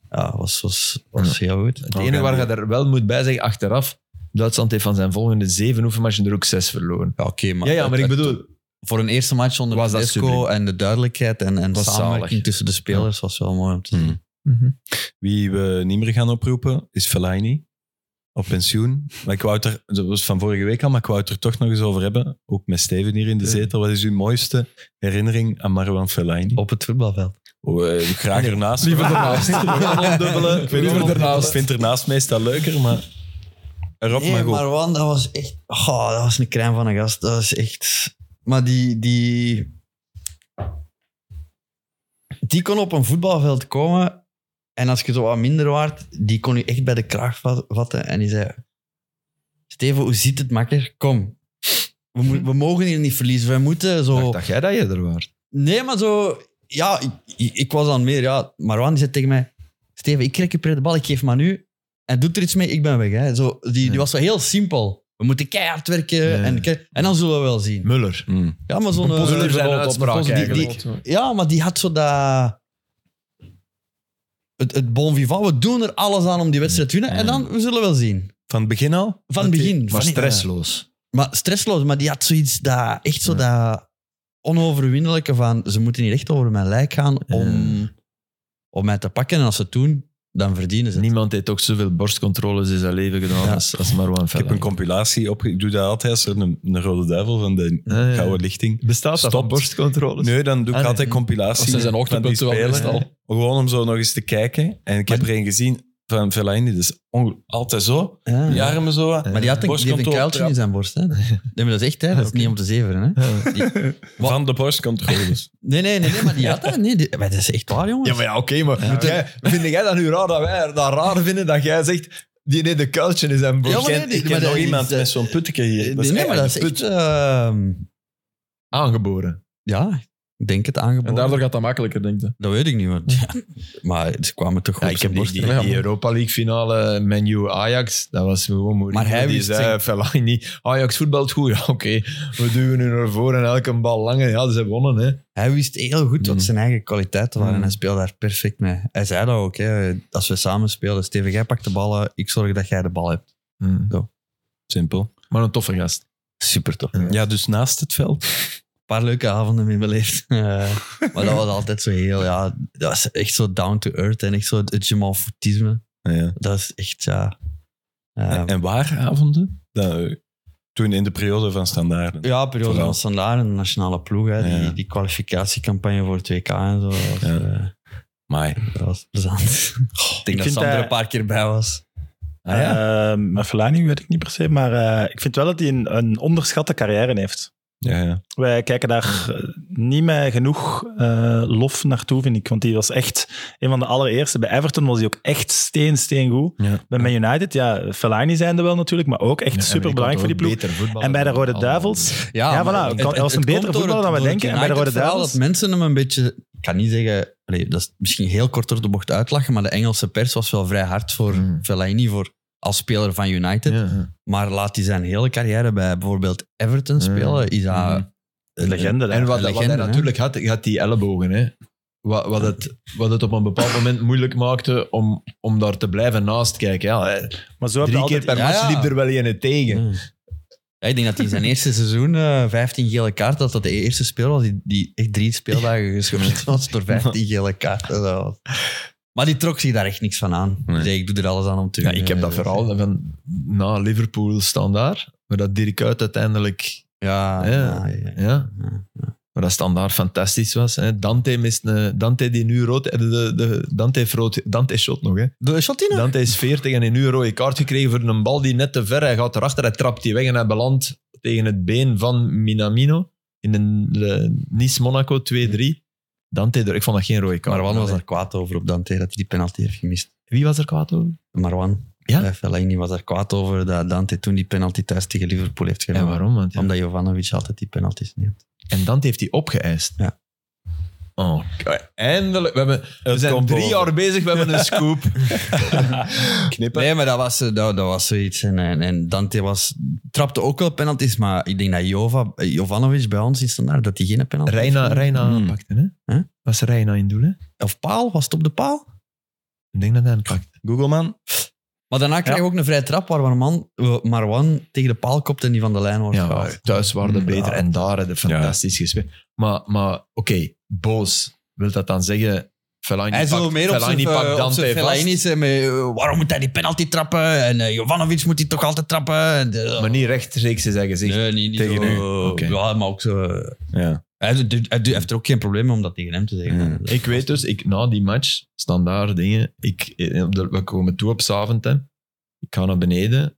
Speaker 4: ja. was, was, was heel goed.
Speaker 6: Hm. Het enige waar je er wel moet bij zeggen, achteraf, Duitsland heeft van zijn volgende zeven oefenmatchen er ook zes verloren.
Speaker 4: Ja, oké, maar,
Speaker 6: Ja, ja, maar ik
Speaker 4: het-
Speaker 6: bedoel,
Speaker 4: voor een eerste match onder
Speaker 6: Was dat
Speaker 4: Tedesco
Speaker 6: subliem.
Speaker 4: en de duidelijkheid en, en
Speaker 6: Was
Speaker 4: samenwerking
Speaker 6: zalig. Hm.
Speaker 4: tussen de spelers was wel mooi om te zien.
Speaker 2: wie we niet meer gaan oproepen, is Fellaini. op pensioen. Maar ik wou het er, dat was van vorige week al, maar ik wou het er toch nog eens over hebben. Ook met Steven hier in de zetel. Wat is uw mooiste herinnering aan Marwan Fellaini?
Speaker 4: Op het voetbalveld.
Speaker 2: Oh, eh, graag ernaast.
Speaker 7: Liever ernaast.
Speaker 2: dubbele. Ik weet
Speaker 7: Liever
Speaker 2: niet, waarom.
Speaker 7: ernaast.
Speaker 2: Ik vind ernaast meestal leuker, maar... Rob
Speaker 4: Nee,
Speaker 2: mag ook.
Speaker 4: Marwan, dat was echt... Goh, dat was een crème van een gast. Dat was echt... Maar die... Die, die kon op een voetbalveld komen. En als je zo wat minder waard, die kon je echt bij de kraag va- vatten. En die zei... Steven, hoe ziet het, makker? Kom. We, mo- we mogen hier niet verliezen. We moeten zo...
Speaker 6: dacht jij dat je er was.
Speaker 4: Nee, maar zo... Ja, ik, ik, ik was dan meer... Ja, Marwan die zei tegen mij... Steven, ik krijg je per de bal, ik geef maar nu. En doet er iets mee, ik ben weg. Hè. Zo, die, die was zo heel simpel. We moeten keihard werken en, ke- en dan zullen we wel zien.
Speaker 6: Muller.
Speaker 4: Ja, maar zo'n... eh,
Speaker 6: positieve
Speaker 4: zo'n-
Speaker 6: noot op, een positieve
Speaker 4: die- ja, maar die had zo dat... Het, het bon vivant, we doen er alles aan om die wedstrijd te winnen. En dan, we zullen wel zien.
Speaker 2: Van het begin al?
Speaker 4: Van het begin.
Speaker 6: Maar
Speaker 4: van-
Speaker 6: stressloos.
Speaker 4: maar stressloos, maar die had zoiets dat echt zo dat onoverwinnelijke van ze moeten hier echt over mijn lijk gaan om, om mij te pakken. En als ze het doen, dan verdienen ze het.
Speaker 6: Niemand heeft ook zoveel borstcontroles in zijn leven gedaan Dus- als, als Marwan
Speaker 2: Ik heb
Speaker 6: Fellaini.
Speaker 2: een compilatie op. Ik doe dat altijd als er een, een rode duivel van de
Speaker 6: ja.
Speaker 2: gouden lichting.
Speaker 6: Bestaat
Speaker 2: Stop.
Speaker 6: dat van borstcontroles?
Speaker 2: Nee, dan doe ik
Speaker 6: Ah, nee.
Speaker 2: altijd compilatie.
Speaker 7: Dat zijn
Speaker 2: van
Speaker 7: zijn
Speaker 2: die
Speaker 7: ochtendpunten wel
Speaker 2: spelen.
Speaker 7: meestal.
Speaker 2: Gewoon om zo nog eens te kijken. En ik heb er een gezien van Fellaini. Dat is onge- altijd zo.
Speaker 4: Ja.
Speaker 2: Die armen zo. wat.
Speaker 4: Maar die had een, die heeft een
Speaker 2: Borstcontrole,
Speaker 4: kuiltje in zijn borst. Hè. Nee, maar dat is echt, hè. dat is niet om te zeveren. Hè.
Speaker 2: Van de borstcontroles.
Speaker 4: Nee, nee, nee, nee, maar die had dat. Nee, die- maar dat is echt waar, jongens.
Speaker 5: Ja, maar ja, oké, maar moet jij- vind jij dat nu raar dat wij dat raar vinden dat jij zegt die nee de kuiltje is en
Speaker 4: Ja,
Speaker 5: broer?
Speaker 4: maar nee, die-
Speaker 2: ik
Speaker 4: maar
Speaker 2: ken
Speaker 4: dat
Speaker 2: nog
Speaker 4: is,
Speaker 2: iemand
Speaker 4: eh,
Speaker 2: met zo'n putteke hier. Dat is
Speaker 4: nee, nee, maar dat is
Speaker 2: eigenlijk
Speaker 4: echt... ehm,
Speaker 5: aangeboren.
Speaker 4: ja, ik denk het aangeboden.
Speaker 7: En daardoor gaat dat makkelijker, denk ik.
Speaker 4: Dat weet ik niet, want... maar ze kwamen toch op
Speaker 5: Ja, ik
Speaker 4: zijn
Speaker 5: heb die,
Speaker 4: borst.
Speaker 5: die,
Speaker 7: Ja,
Speaker 5: die
Speaker 7: man.
Speaker 5: Europa League finale menu Ajax, dat was gewoon moeilijk.
Speaker 4: Maar hij
Speaker 5: die
Speaker 4: wist
Speaker 5: zei
Speaker 4: zijn-
Speaker 5: Fellaini, Ajax voetbalt goed, ja oké, we duwen nu naar voren en elke bal langer, ja ze wonnen hè.
Speaker 4: Hij wist heel goed wat
Speaker 7: Hmm.
Speaker 6: Mm.
Speaker 4: zijn eigen kwaliteiten waren
Speaker 6: Mm.
Speaker 4: en hij speelde daar perfect mee. Hij zei dat ook, hè. als we samen speelden. Steven, jij pakt de ballen, ik zorg dat jij de bal hebt.
Speaker 6: Hmm.
Speaker 2: Simpel.
Speaker 6: Maar een toffe gast.
Speaker 4: Super toch? Een
Speaker 2: Ja, dus naast het veld.
Speaker 4: paar leuke avonden mee beleefd. Eh, maar dat was altijd zo heel, ja, dat was echt zo down to earth en echt zo het, het Jamal Footisme.
Speaker 2: Ja.
Speaker 4: Dat is echt, ja.
Speaker 2: En-
Speaker 4: eh,
Speaker 2: En waar avonden? Dat- eh, Toen in de periode van standaarden.
Speaker 4: ja, periode
Speaker 2: Vooral.
Speaker 4: van standaard en de nationale ploeg, hè,
Speaker 2: Ja.
Speaker 4: die, die kwalificatiecampagne voor het WK en zo. Dat was,
Speaker 2: Ja.
Speaker 4: eh,
Speaker 2: Maar
Speaker 4: dat was plezant. ik denk dat
Speaker 3: vind
Speaker 4: Sander
Speaker 3: dat-
Speaker 4: een paar keer bij was. Ah,
Speaker 3: Eh, maar Fellaini weet ik niet per se, maar eh, ik vind wel dat hij een, een onderschatte carrière heeft.
Speaker 2: ja, ja.
Speaker 3: Wij kijken daar eh, niet meer genoeg eh, lof naartoe, vind ik. Want die was echt een van de allereerste. Bij Everton was hij ook echt steen, steen goed.
Speaker 2: Ja.
Speaker 3: Bij Man United, ja, Fellaini zijn er wel natuurlijk, maar ook echt super belangrijk voor die ploeg. En bij de Rode Duivels, ja,
Speaker 4: maar
Speaker 3: voilà,
Speaker 4: het-
Speaker 3: kan- hij was
Speaker 4: het
Speaker 3: een betere
Speaker 4: komt door
Speaker 3: voetballer dan wij
Speaker 4: door
Speaker 3: denken. En bij de
Speaker 4: United
Speaker 3: Rode
Speaker 4: verhaal
Speaker 3: Duivels...
Speaker 4: dat mensen hem een beetje... Ik kan niet zeggen... allee, dat is misschien heel kort door de bocht uitlachen, maar de Engelse pers was wel vrij hard voor
Speaker 6: Mm.
Speaker 4: Fellaini voor, als speler van United.
Speaker 6: Ja.
Speaker 4: Maar laat hij zijn hele carrière bij bijvoorbeeld Everton spelen, is dat...
Speaker 6: Mm.
Speaker 4: een-
Speaker 3: Mhm. Legende, hè.
Speaker 6: En wat,
Speaker 4: Een
Speaker 6: wat
Speaker 4: legende,
Speaker 6: hij
Speaker 4: hè?
Speaker 6: natuurlijk had, hij had die ellebogen. Hè. Wat, wat, het, wat het op een bepaald moment moeilijk maakte om, om daar te blijven naast kijken. Ja, hè.
Speaker 3: Maar zo heb je
Speaker 6: drie
Speaker 3: altijd...
Speaker 6: keer per
Speaker 4: Ja,
Speaker 6: match
Speaker 4: ja.
Speaker 6: liep er wel een tegen.
Speaker 4: Mm. Ja, ik denk dat hij in zijn eerste seizoen eh, 15 gele kaarten, dat dat de eerste speel was die, die echt drie speeldagen geschorst was door 15 gele kaarten. Dat was- Maar die trok zich daar echt niks van aan.
Speaker 2: Nee.
Speaker 4: Die zei, ik doe er alles aan om te
Speaker 6: Ja,
Speaker 4: winnen.
Speaker 6: ik heb dat verhaal van na Liverpool standaard, maar dat Dirk Uit uiteindelijk...
Speaker 4: Ja,
Speaker 6: Ja.
Speaker 4: ja, ja.
Speaker 6: Ja,
Speaker 4: Ja.
Speaker 6: maar dat standaard fantastisch was. Hè. Dante mist een... Dante die nu rood... De, de, de- Dante, heeft rood, Dante shot nog, hè.
Speaker 4: De Shottina?
Speaker 6: Dante is 40 en heeft nu een rode kaart gekregen voor een bal die net te ver. Hij gaat erachter, hij trapt die weg en hij belandt tegen het been van Minamino in een eh, Nice-Monaco 2-3. Dante, er- ik vond dat geen rode kaart.
Speaker 4: Marwan was daar kwaad over op Dante, dat hij die penalty heeft gemist.
Speaker 6: Wie was er kwaad over?
Speaker 4: Marwan.
Speaker 6: Ja?
Speaker 4: Eh, Fellaini was daar kwaad over dat Dante toen die penalty thuis tegen Liverpool heeft genomen.
Speaker 6: En waarom? Want, ja.
Speaker 4: Omdat Jovanovic altijd die penalties neemt.
Speaker 6: En Dante heeft die opgeëist.
Speaker 4: Ja.
Speaker 6: Oh, k- eindelijk. We, hebben, we zijn
Speaker 2: komt
Speaker 6: drie
Speaker 2: boven.
Speaker 6: jaar bezig, we hebben een scoop.
Speaker 2: Knippen.
Speaker 4: Nee, maar dat was, eh, dat, dat was zoiets. En, en, en Dante was, trapte ook wel penalties, maar ik denk dat Jova, eh, Jovanovic bij ons is standaard dat hij geen penalty
Speaker 6: Reina,
Speaker 4: heeft.
Speaker 6: Reina
Speaker 2: Hmm.
Speaker 6: pakte, hè?
Speaker 4: Huh?
Speaker 6: Was Reina in doel, hè?
Speaker 4: Of paal, was het op de paal?
Speaker 6: Ik denk dat hij hem pakt.
Speaker 2: Googleman.
Speaker 4: Maar daarna kreeg je ook een vrije trap waar Marwan, Marwan tegen de paal kopt en die van de lijn wordt
Speaker 6: Ja,
Speaker 4: gehaald.
Speaker 6: maar thuis waren de
Speaker 4: Ja.
Speaker 6: beter en daar hadden fantastisch gespeeld. Maar, maar oké, boos. Wil dat dan zeggen Fellaini
Speaker 4: Hij is
Speaker 6: pakt-
Speaker 4: wel meer op zijn,
Speaker 6: Fellaini pakt
Speaker 4: eh, op
Speaker 6: Dante
Speaker 4: zijn
Speaker 6: vast.
Speaker 4: Fellaini's, eh, met, eh, waarom moet hij die penalty trappen? En eh, Jovanovic moet hij toch altijd trappen? En, eh,
Speaker 6: Maar niet rechtstreeks in zijn gezicht.
Speaker 4: nee, niet, niet
Speaker 6: tegen
Speaker 4: zo,
Speaker 6: u. Oké.
Speaker 4: Ja, maar ook zo... eh,
Speaker 6: Ja.
Speaker 4: Hij, doet- doet- hij doet- heeft er ook geen probleem om dat tegen hem te zeggen.
Speaker 6: Ja.
Speaker 4: Dat-
Speaker 6: Ik weet dus, ik, na die match, standaard dingen, ik, eh, op de- we komen toe op 's avond, hè. ik ga naar beneden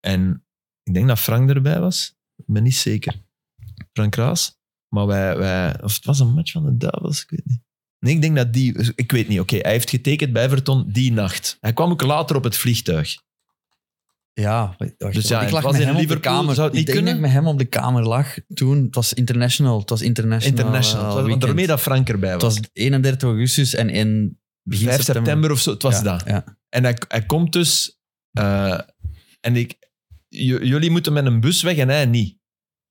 Speaker 6: en ik denk dat Frank erbij was. Ik ben niet zeker. Frank Kraas. Maar wij, wij, of het was een match van de Duivels, ik weet niet. Nee, ik denk dat die, ik weet niet, oké, hij heeft getekend bij Everton die nacht. Hij kwam ook later op het vliegtuig.
Speaker 4: Ja,
Speaker 6: Dus ja,
Speaker 4: ik
Speaker 6: het
Speaker 4: lag
Speaker 6: was
Speaker 4: met
Speaker 6: in
Speaker 4: hem op de
Speaker 6: Liverpool,
Speaker 4: kamer.
Speaker 6: zou het
Speaker 4: ik denk
Speaker 6: niet
Speaker 4: dat ik
Speaker 6: kunnen?
Speaker 4: met hem op de kamer lag toen. Het was international. Het was international.
Speaker 6: International.
Speaker 4: eh,
Speaker 6: Het was- want
Speaker 4: weekend.
Speaker 6: daarmee dat Frank erbij
Speaker 4: Het
Speaker 6: was.
Speaker 4: was 31 augustus en in begin
Speaker 6: 5 september. of zo, het was
Speaker 4: Ja,
Speaker 6: dat.
Speaker 4: ja.
Speaker 6: En hij, hij komt dus... eh, en ik... j- jullie moeten met een bus weg en hij niet.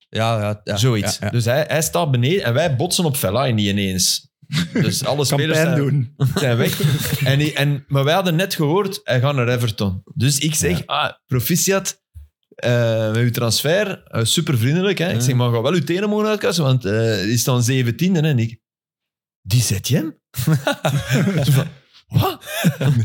Speaker 4: Ja, ja, ja,
Speaker 6: Zoiets.
Speaker 4: ja, ja.
Speaker 6: Dus hij, hij staat beneden en wij botsen op Fellaini ineens. Dus alle spelers zijn,
Speaker 3: doen.
Speaker 6: zijn weg. En, die- en, maar wij hadden net gehoord, hij gaat naar Everton. Dus ik zeg, ah, proficiat eh, met uw transfer. super vriendelijk. Hè? Ik zeg, maar ga wel uw tenen mogen uitkassen, want eh die staan 17 en ik... Die zet je hem? Zo van, Wat?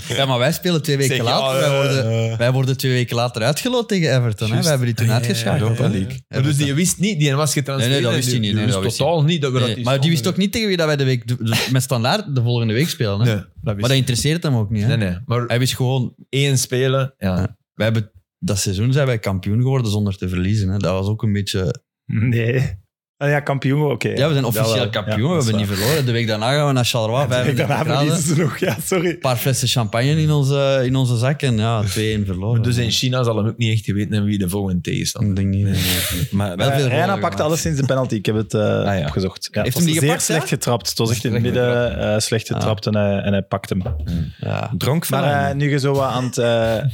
Speaker 4: Ja, maar wij spelen twee weken
Speaker 6: Zeg, ja, eh,
Speaker 4: later. wij, worden, wij worden twee weken later uitgeloot tegen Everton. Hè? Wij hebben die
Speaker 6: Ah,
Speaker 4: toen uitgeschakeld. hè.
Speaker 6: Maar dus die wist niet, die was getransfereerd.
Speaker 4: Nee, nee, dat wist hij
Speaker 6: en die-
Speaker 4: niet, nee,
Speaker 6: die
Speaker 4: dat
Speaker 6: wist
Speaker 4: wist hij
Speaker 6: totaal niet dat we
Speaker 4: Nee,
Speaker 6: dat iets
Speaker 4: maar die wist ook
Speaker 6: vonden.
Speaker 4: niet tegen wie dat wij de week, de- de- met standaard de volgende week spelen. Hè?
Speaker 6: Nee,
Speaker 4: maar dat interesseert hem ook niet. Hè?
Speaker 6: Nee, nee. Maar
Speaker 4: Hij wist gewoon,
Speaker 6: één spelen, ja.
Speaker 4: wij hebben, dat seizoen zijn wij kampioen geworden zonder te verliezen. Hè? Dat was ook een beetje
Speaker 3: Nee. Ah, ja, kampioen, oké.
Speaker 4: Ja, we zijn
Speaker 3: Dat wel.
Speaker 4: officieel kampioen.
Speaker 3: Ja,
Speaker 4: we
Speaker 3: dat
Speaker 4: hebben
Speaker 3: is
Speaker 4: niet verloren. De week daarna gaan we naar Charleroi.
Speaker 3: waar. Ik
Speaker 4: 35
Speaker 3: daarna verliezen
Speaker 4: graden.
Speaker 3: ze nog, ja, sorry.
Speaker 4: Een paar flessen champagne in onze, in onze zak en ja, 2-1 verloren.
Speaker 6: Maar dus in China zal hem ook niet echt weten hebben wie de volgende tegenstander
Speaker 4: Ik denk niet.
Speaker 2: Maar
Speaker 4: Wel veel
Speaker 3: Reina
Speaker 4: golen
Speaker 3: pakte
Speaker 4: gemaakt.
Speaker 3: Eh, alles sinds de penalty. Ik heb het eh,
Speaker 6: ja.
Speaker 3: opgezocht. Ja, het was
Speaker 4: Heeft hem die
Speaker 3: zeer
Speaker 4: gepakt,
Speaker 3: slecht
Speaker 4: ja?
Speaker 3: getrapt. Het was echt in het
Speaker 6: Slecht
Speaker 3: midden eh, slecht getrapt en, hij, en hij pakte hem.
Speaker 4: Ja.
Speaker 2: dronk
Speaker 3: Maar
Speaker 2: Fellaini?
Speaker 3: eh, nu je zo wat aan het, eh,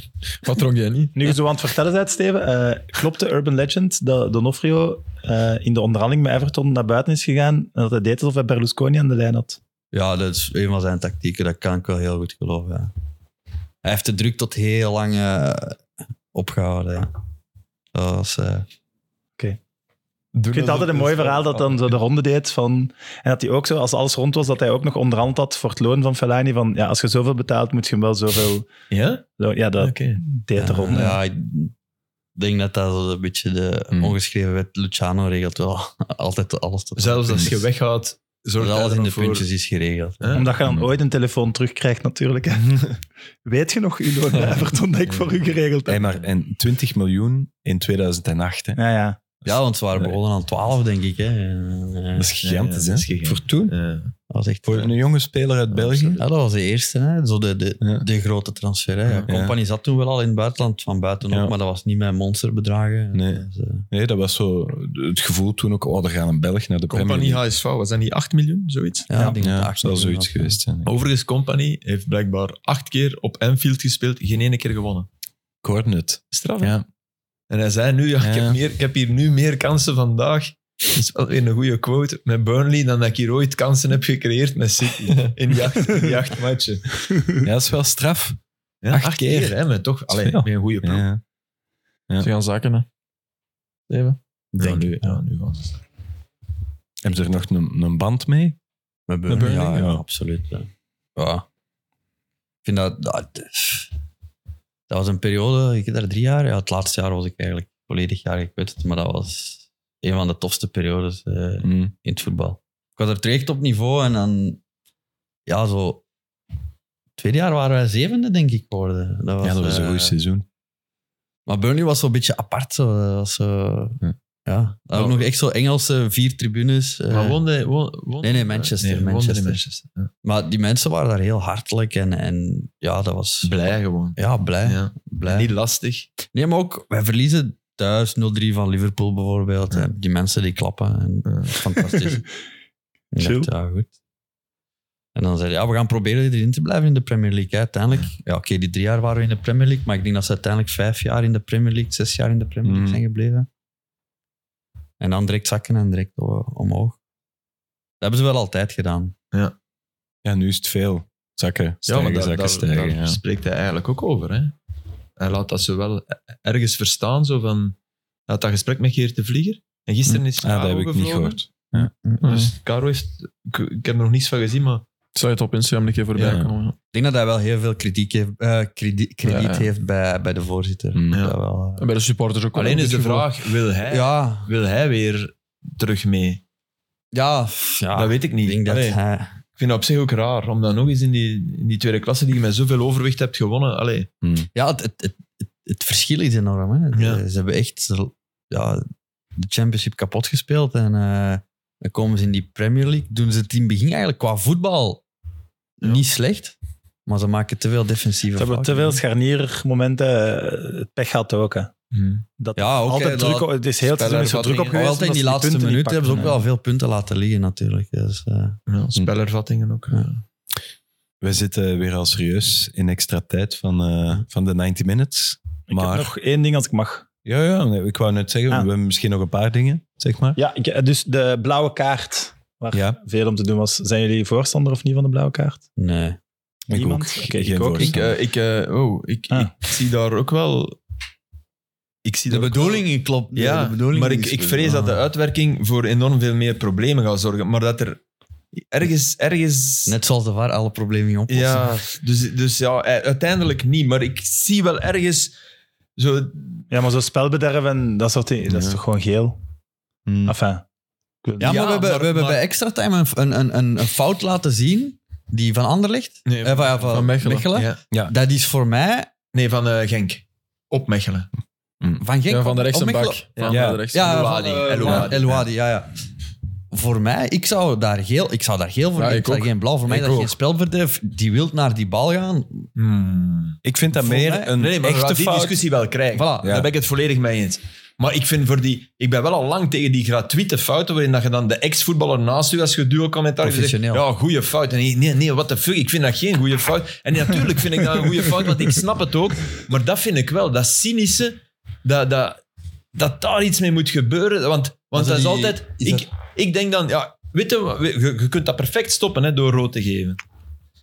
Speaker 7: Wat dronk jij niet?
Speaker 3: nu je zo aan het vertellen bent, Steven, eh, klopt de urban legend dat Donofrio eh, in de onderhandeling met Everton naar buiten is gegaan en dat hij deed alsof hij Berlusconi aan de lijn had?
Speaker 4: ja, dat is een van zijn tactieken. Dat kan ik wel heel goed geloven. ja. Hij heeft de druk tot heel lang eh, opgehouden. Ja. Dat was, eh,
Speaker 3: Ik vind het altijd een mooi verhaal dat dan zo de ronde deed van... En dat hij ook zo, als alles rond was, dat hij ook nog onderhand had voor het loon van Fellaini. Van, ja, als je zoveel betaalt, moet je hem wel zoveel...
Speaker 6: Ja?
Speaker 3: loon- Ja, dat
Speaker 6: Oké.
Speaker 3: deed de ronde.
Speaker 4: ja, ik denk dat dat zo een beetje de
Speaker 6: Hmm.
Speaker 4: ongeschreven wet. Luciano regelt wel altijd alles tot
Speaker 6: Zelfs als je weggaat, zorgt hij
Speaker 4: alles in
Speaker 6: er
Speaker 4: de
Speaker 6: nog voor.
Speaker 4: puntjes is geregeld.
Speaker 6: Hè?
Speaker 3: Omdat je dan ooit een telefoon terugkrijgt, natuurlijk. Weet je nog, uw loon bij Everton, dat ik voor u geregeld
Speaker 2: Hey,
Speaker 3: heb?
Speaker 2: maar en 20 miljoen in 2008, hè.
Speaker 3: Ja, ja.
Speaker 4: Ja, want ze waren
Speaker 2: Nee.
Speaker 4: begonnen aan 12, denk ik. Hè. Ja,
Speaker 2: Dat is gigantisch,
Speaker 6: Ja, ja, dat is
Speaker 2: hè?
Speaker 6: gigantisch.
Speaker 2: Voor toen?
Speaker 6: Ja.
Speaker 4: Dat was echt... eh,
Speaker 2: Voor een jonge speler uit België?
Speaker 4: Ja, dat was de eerste, hè. Zo de, de,
Speaker 2: Ja.
Speaker 4: de grote transfer. Hè. Ja, Company zat toen wel al in het buitenland, van buitenop,
Speaker 2: Ja.
Speaker 4: maar dat was niet met monsterbedragen.
Speaker 2: Nee.
Speaker 4: Dus, eh,
Speaker 2: Nee, dat was zo het gevoel toen ook, oh, er gaan een Belg naar de Premier
Speaker 6: Compagnie
Speaker 2: League.
Speaker 6: HSV, was dat niet 8 miljoen, zoiets?
Speaker 4: ja, ik denk dat
Speaker 2: Ja,
Speaker 4: het
Speaker 2: dat
Speaker 4: acht
Speaker 2: zou
Speaker 4: miljoen
Speaker 2: zoiets
Speaker 4: was.
Speaker 2: geweest Oh, zijn. ja.
Speaker 6: Overigens, Company heeft blijkbaar acht keer op Anfield gespeeld, geen ene keer gewonnen.
Speaker 2: Ik hoorde het.
Speaker 6: Straf, hè?
Speaker 2: Ja.
Speaker 6: En hij zei nu, ja, Ik,
Speaker 2: Ja.
Speaker 6: heb meer, ik heb hier nu meer kansen vandaag. Dat is wel weer een goede quote met Burnley dan dat ik hier ooit kansen heb gecreëerd met City. In die acht, in die acht matchen.
Speaker 2: ja, dat is wel straf.
Speaker 6: Ja,
Speaker 2: Acht keer.
Speaker 6: hè, maar toch allee,
Speaker 2: veel.
Speaker 6: met een goede ploeg.
Speaker 2: Ja. Ja.
Speaker 7: Ze gaan zakken, hè. Steven?
Speaker 6: Ja,
Speaker 4: Denk
Speaker 6: nu, ja, nu gaan ze.
Speaker 2: Hebben ze er nog een, een band mee?
Speaker 4: Met Burnley,
Speaker 2: Met Burnley,
Speaker 4: ja, ja,
Speaker 2: ja.
Speaker 4: absoluut. Ja. Ja. Ik vind dat, dat... dat was een periode, ik heb daar drie jaar... Ja, het laatste jaar was ik eigenlijk volledig jaar, ik weet het, maar dat was een van de tofste periodes. eh,
Speaker 2: Mm.
Speaker 4: in het voetbal. Ik was er terecht op niveau en dan, ja, zo. Tweede jaar waren wij zevende, denk ik, geworden. Dat was,
Speaker 2: Ja, dat was een
Speaker 4: eh,
Speaker 2: goed seizoen.
Speaker 4: Maar Burnley was zo'n beetje apart. Zo. Dat was zo, ja.
Speaker 6: Hm.
Speaker 2: Ja.
Speaker 4: Dan ook
Speaker 6: Oh.
Speaker 4: nog echt zo Engelse vier tribunes. eh,
Speaker 6: Maar woonde, woon- woonde-
Speaker 4: Nee, nee, Manchester,
Speaker 6: woonde in
Speaker 4: Manchester.
Speaker 6: Manchester. Ja.
Speaker 4: maar die mensen waren daar heel hartelijk en, en ja, dat was.
Speaker 6: Blij gewoon.
Speaker 4: Ja, blij.
Speaker 6: Ja.
Speaker 4: blij.
Speaker 6: Niet lastig.
Speaker 4: Nee, maar ook, wij verliezen thuis 0-3 van Liverpool bijvoorbeeld. En Die mensen die klappen. En, Fantastisch. Ik
Speaker 3: Chill.
Speaker 4: dacht, ja, goed. En dan zei hij, ja, we gaan proberen erin te blijven in de Premier League. hè. Uiteindelijk, ja, oké, die drie jaar waren we in de Premier League, maar ik denk dat ze uiteindelijk vijf jaar in de Premier League, zes jaar in de Premier League
Speaker 6: Mm.
Speaker 2: Mhm.
Speaker 4: zijn gebleven. En dan direct zakken en direct o- omhoog. Dat hebben ze wel altijd gedaan.
Speaker 2: Ja, nu is het veel. Zakken, stijgen,
Speaker 6: daar-
Speaker 2: zakken,
Speaker 6: daar,
Speaker 2: stijgen.
Speaker 6: daar
Speaker 2: ja.
Speaker 6: spreekt hij eigenlijk ook over. Hè? Hij laat dat ze wel ergens verstaan. Zo van, hij had dat gesprek met Geert de Vlieger. En gisteren is
Speaker 2: Ah, dat
Speaker 6: Caro
Speaker 2: heb ik niet Hm.
Speaker 6: gevlogen.
Speaker 2: gehoord.
Speaker 6: Dus Caro is... Ik, ik heb er nog niets van gezien, maar
Speaker 7: Ik zou het op Instagram een keer voorbij
Speaker 6: Ja.
Speaker 7: komen. ja.
Speaker 4: Ik denk dat hij wel heel veel kritiek heeft, eh, kredi- krediet
Speaker 7: Ja, ja.
Speaker 4: heeft bij, bij de voorzitter.
Speaker 6: Mm.
Speaker 4: Dat wel, eh.
Speaker 7: En bij de supporters ook wel
Speaker 6: Alleen
Speaker 7: een
Speaker 6: is de
Speaker 7: beetje
Speaker 6: vraag, wil hij,
Speaker 4: ja,
Speaker 6: wil hij weer terug mee?
Speaker 4: ja, pff,
Speaker 7: Ah,
Speaker 4: ja.
Speaker 6: dat weet ik niet.
Speaker 4: Ik denk dat
Speaker 6: Allee,
Speaker 4: hij-
Speaker 6: ik vind dat op zich ook raar, om dan nog eens in die, in die tweede klasse die je met zoveel overwicht hebt gewonnen. Allee,
Speaker 4: Ja, het, het, het, het- het verschil is enorm. Hè. De-
Speaker 6: Ja.
Speaker 4: Ze hebben echt ze- ja, de Championship kapot gespeeld. En eh, dan komen ze in die Premier League. Doen ze het in het begin eigenlijk qua voetbal niet slecht. Maar ze maken te veel defensieve
Speaker 3: Ze hebben te
Speaker 4: fouten.
Speaker 3: veel scharniermomenten. eh, Het pech gehad ook. Hè. Dat
Speaker 4: Hm. Ja, ook, hè,
Speaker 3: altijd druk,
Speaker 4: dat-
Speaker 3: op- het is heel het seizoen is zo druk op
Speaker 4: Maar
Speaker 3: geweest.
Speaker 4: altijd in die
Speaker 3: omdat ze
Speaker 4: laatste
Speaker 3: punten niet
Speaker 4: minuten hebben ze ook
Speaker 3: pakten,
Speaker 4: wel veel punten laten liggen natuurlijk. Dus, eh,
Speaker 6: ja, spellervattingen ook. ja.
Speaker 2: We zitten weer al serieus in extra tijd van, eh, van de 90 minutes.
Speaker 3: hè. Ik
Speaker 2: Maar
Speaker 3: heb nog één ding als ik mag.
Speaker 2: ja, ja, nee, ik wou net zeggen,
Speaker 3: Ah.
Speaker 2: we hebben misschien nog een paar dingen, zeg maar.
Speaker 3: Ja, ik- dus de blauwe kaart, waar
Speaker 2: Ja.
Speaker 3: veel om te doen was. Zijn jullie voorstander of niet van de blauwe kaart?
Speaker 4: nee.
Speaker 2: Ik
Speaker 3: Niemand?
Speaker 2: ook.
Speaker 3: Oké,
Speaker 2: Geen
Speaker 3: ik ook
Speaker 2: voorstel.
Speaker 3: niet.
Speaker 7: Ik, eh, ik, eh, oh, ik,
Speaker 3: Ah.
Speaker 7: ik zie daar ook wel... Ik zie
Speaker 6: De
Speaker 7: daar ook
Speaker 6: bedoeling
Speaker 4: klopt.
Speaker 6: Ja, maar ik, ik vrees dat de
Speaker 4: Ah.
Speaker 6: uitwerking voor enorm veel meer problemen gaat zorgen. Maar dat er ergens... ergens
Speaker 4: Net zoals de VAR alle problemen niet oplossen.
Speaker 6: ja, dus, dus ja, eh, uiteindelijk niet. Maar ik zie wel ergens... Zo,
Speaker 3: Ja, maar zo spelbederf en dat soort dingen, dat is toch gewoon geel?
Speaker 2: Hmm.
Speaker 3: Enfin,
Speaker 4: Ja, maar
Speaker 6: Ja,
Speaker 4: we hebben,
Speaker 6: maar-
Speaker 4: we hebben
Speaker 6: maar-
Speaker 4: bij extra time een, een, een, een, een fout laten zien die van Anderlecht,
Speaker 6: Nee,
Speaker 4: eh, van, ja, van,
Speaker 7: van Mechelen.
Speaker 4: Mechelen.
Speaker 6: Ja.
Speaker 4: Dat is voor mij
Speaker 6: Nee, van eh, Genk. Op Mechelen. Hm.
Speaker 4: van Genk.
Speaker 7: Ja, van de
Speaker 4: op-
Speaker 7: rechtse
Speaker 4: op Mechelen.
Speaker 7: bak. Van
Speaker 2: Ja.
Speaker 7: de rechtse
Speaker 4: Ja,
Speaker 7: bak.
Speaker 4: Elouadi.
Speaker 6: Elouadi, Elouadi.
Speaker 4: Elouadi, ja, ja. Voor mij, ik zou daar geel, ik zou daar geel voor
Speaker 7: Ja,
Speaker 4: geven.
Speaker 7: ik
Speaker 4: Ik zou
Speaker 7: ook.
Speaker 4: geen blauw. Voor mij
Speaker 7: Ik
Speaker 4: dat
Speaker 7: ook.
Speaker 4: geen spelverderf. Die wilt naar die bal gaan.
Speaker 2: Ik vind dat
Speaker 4: Voor
Speaker 2: meer
Speaker 4: mij-
Speaker 2: een
Speaker 6: Nee, maar we gaan
Speaker 2: echte
Speaker 6: die
Speaker 2: fout.
Speaker 6: discussie wel krijgen.
Speaker 4: Voilà.
Speaker 6: Daar ben ik het volledig mee eens. Maar ik, vind voor die, ik ben wel al lang tegen die gratuite fouten waarin dat je dan de ex-voetballer naast u als je duo-commentaar zegt,
Speaker 4: Professioneel.
Speaker 6: ja, goede fout. En nee, nee, nee, what the fuck, ik vind dat geen goede fout. En natuurlijk vind ik dat een goede fout, want ik snap het ook. Maar dat vind ik wel, dat cynische, dat, dat, dat daar iets mee moet gebeuren. Want, want
Speaker 4: Maar
Speaker 6: dat is
Speaker 4: die-
Speaker 6: altijd...
Speaker 4: is
Speaker 6: ik,
Speaker 4: dat-
Speaker 6: ik denk dan, ja, weet je, wat, je, je kunt dat perfect stoppen hè, door rood te geven.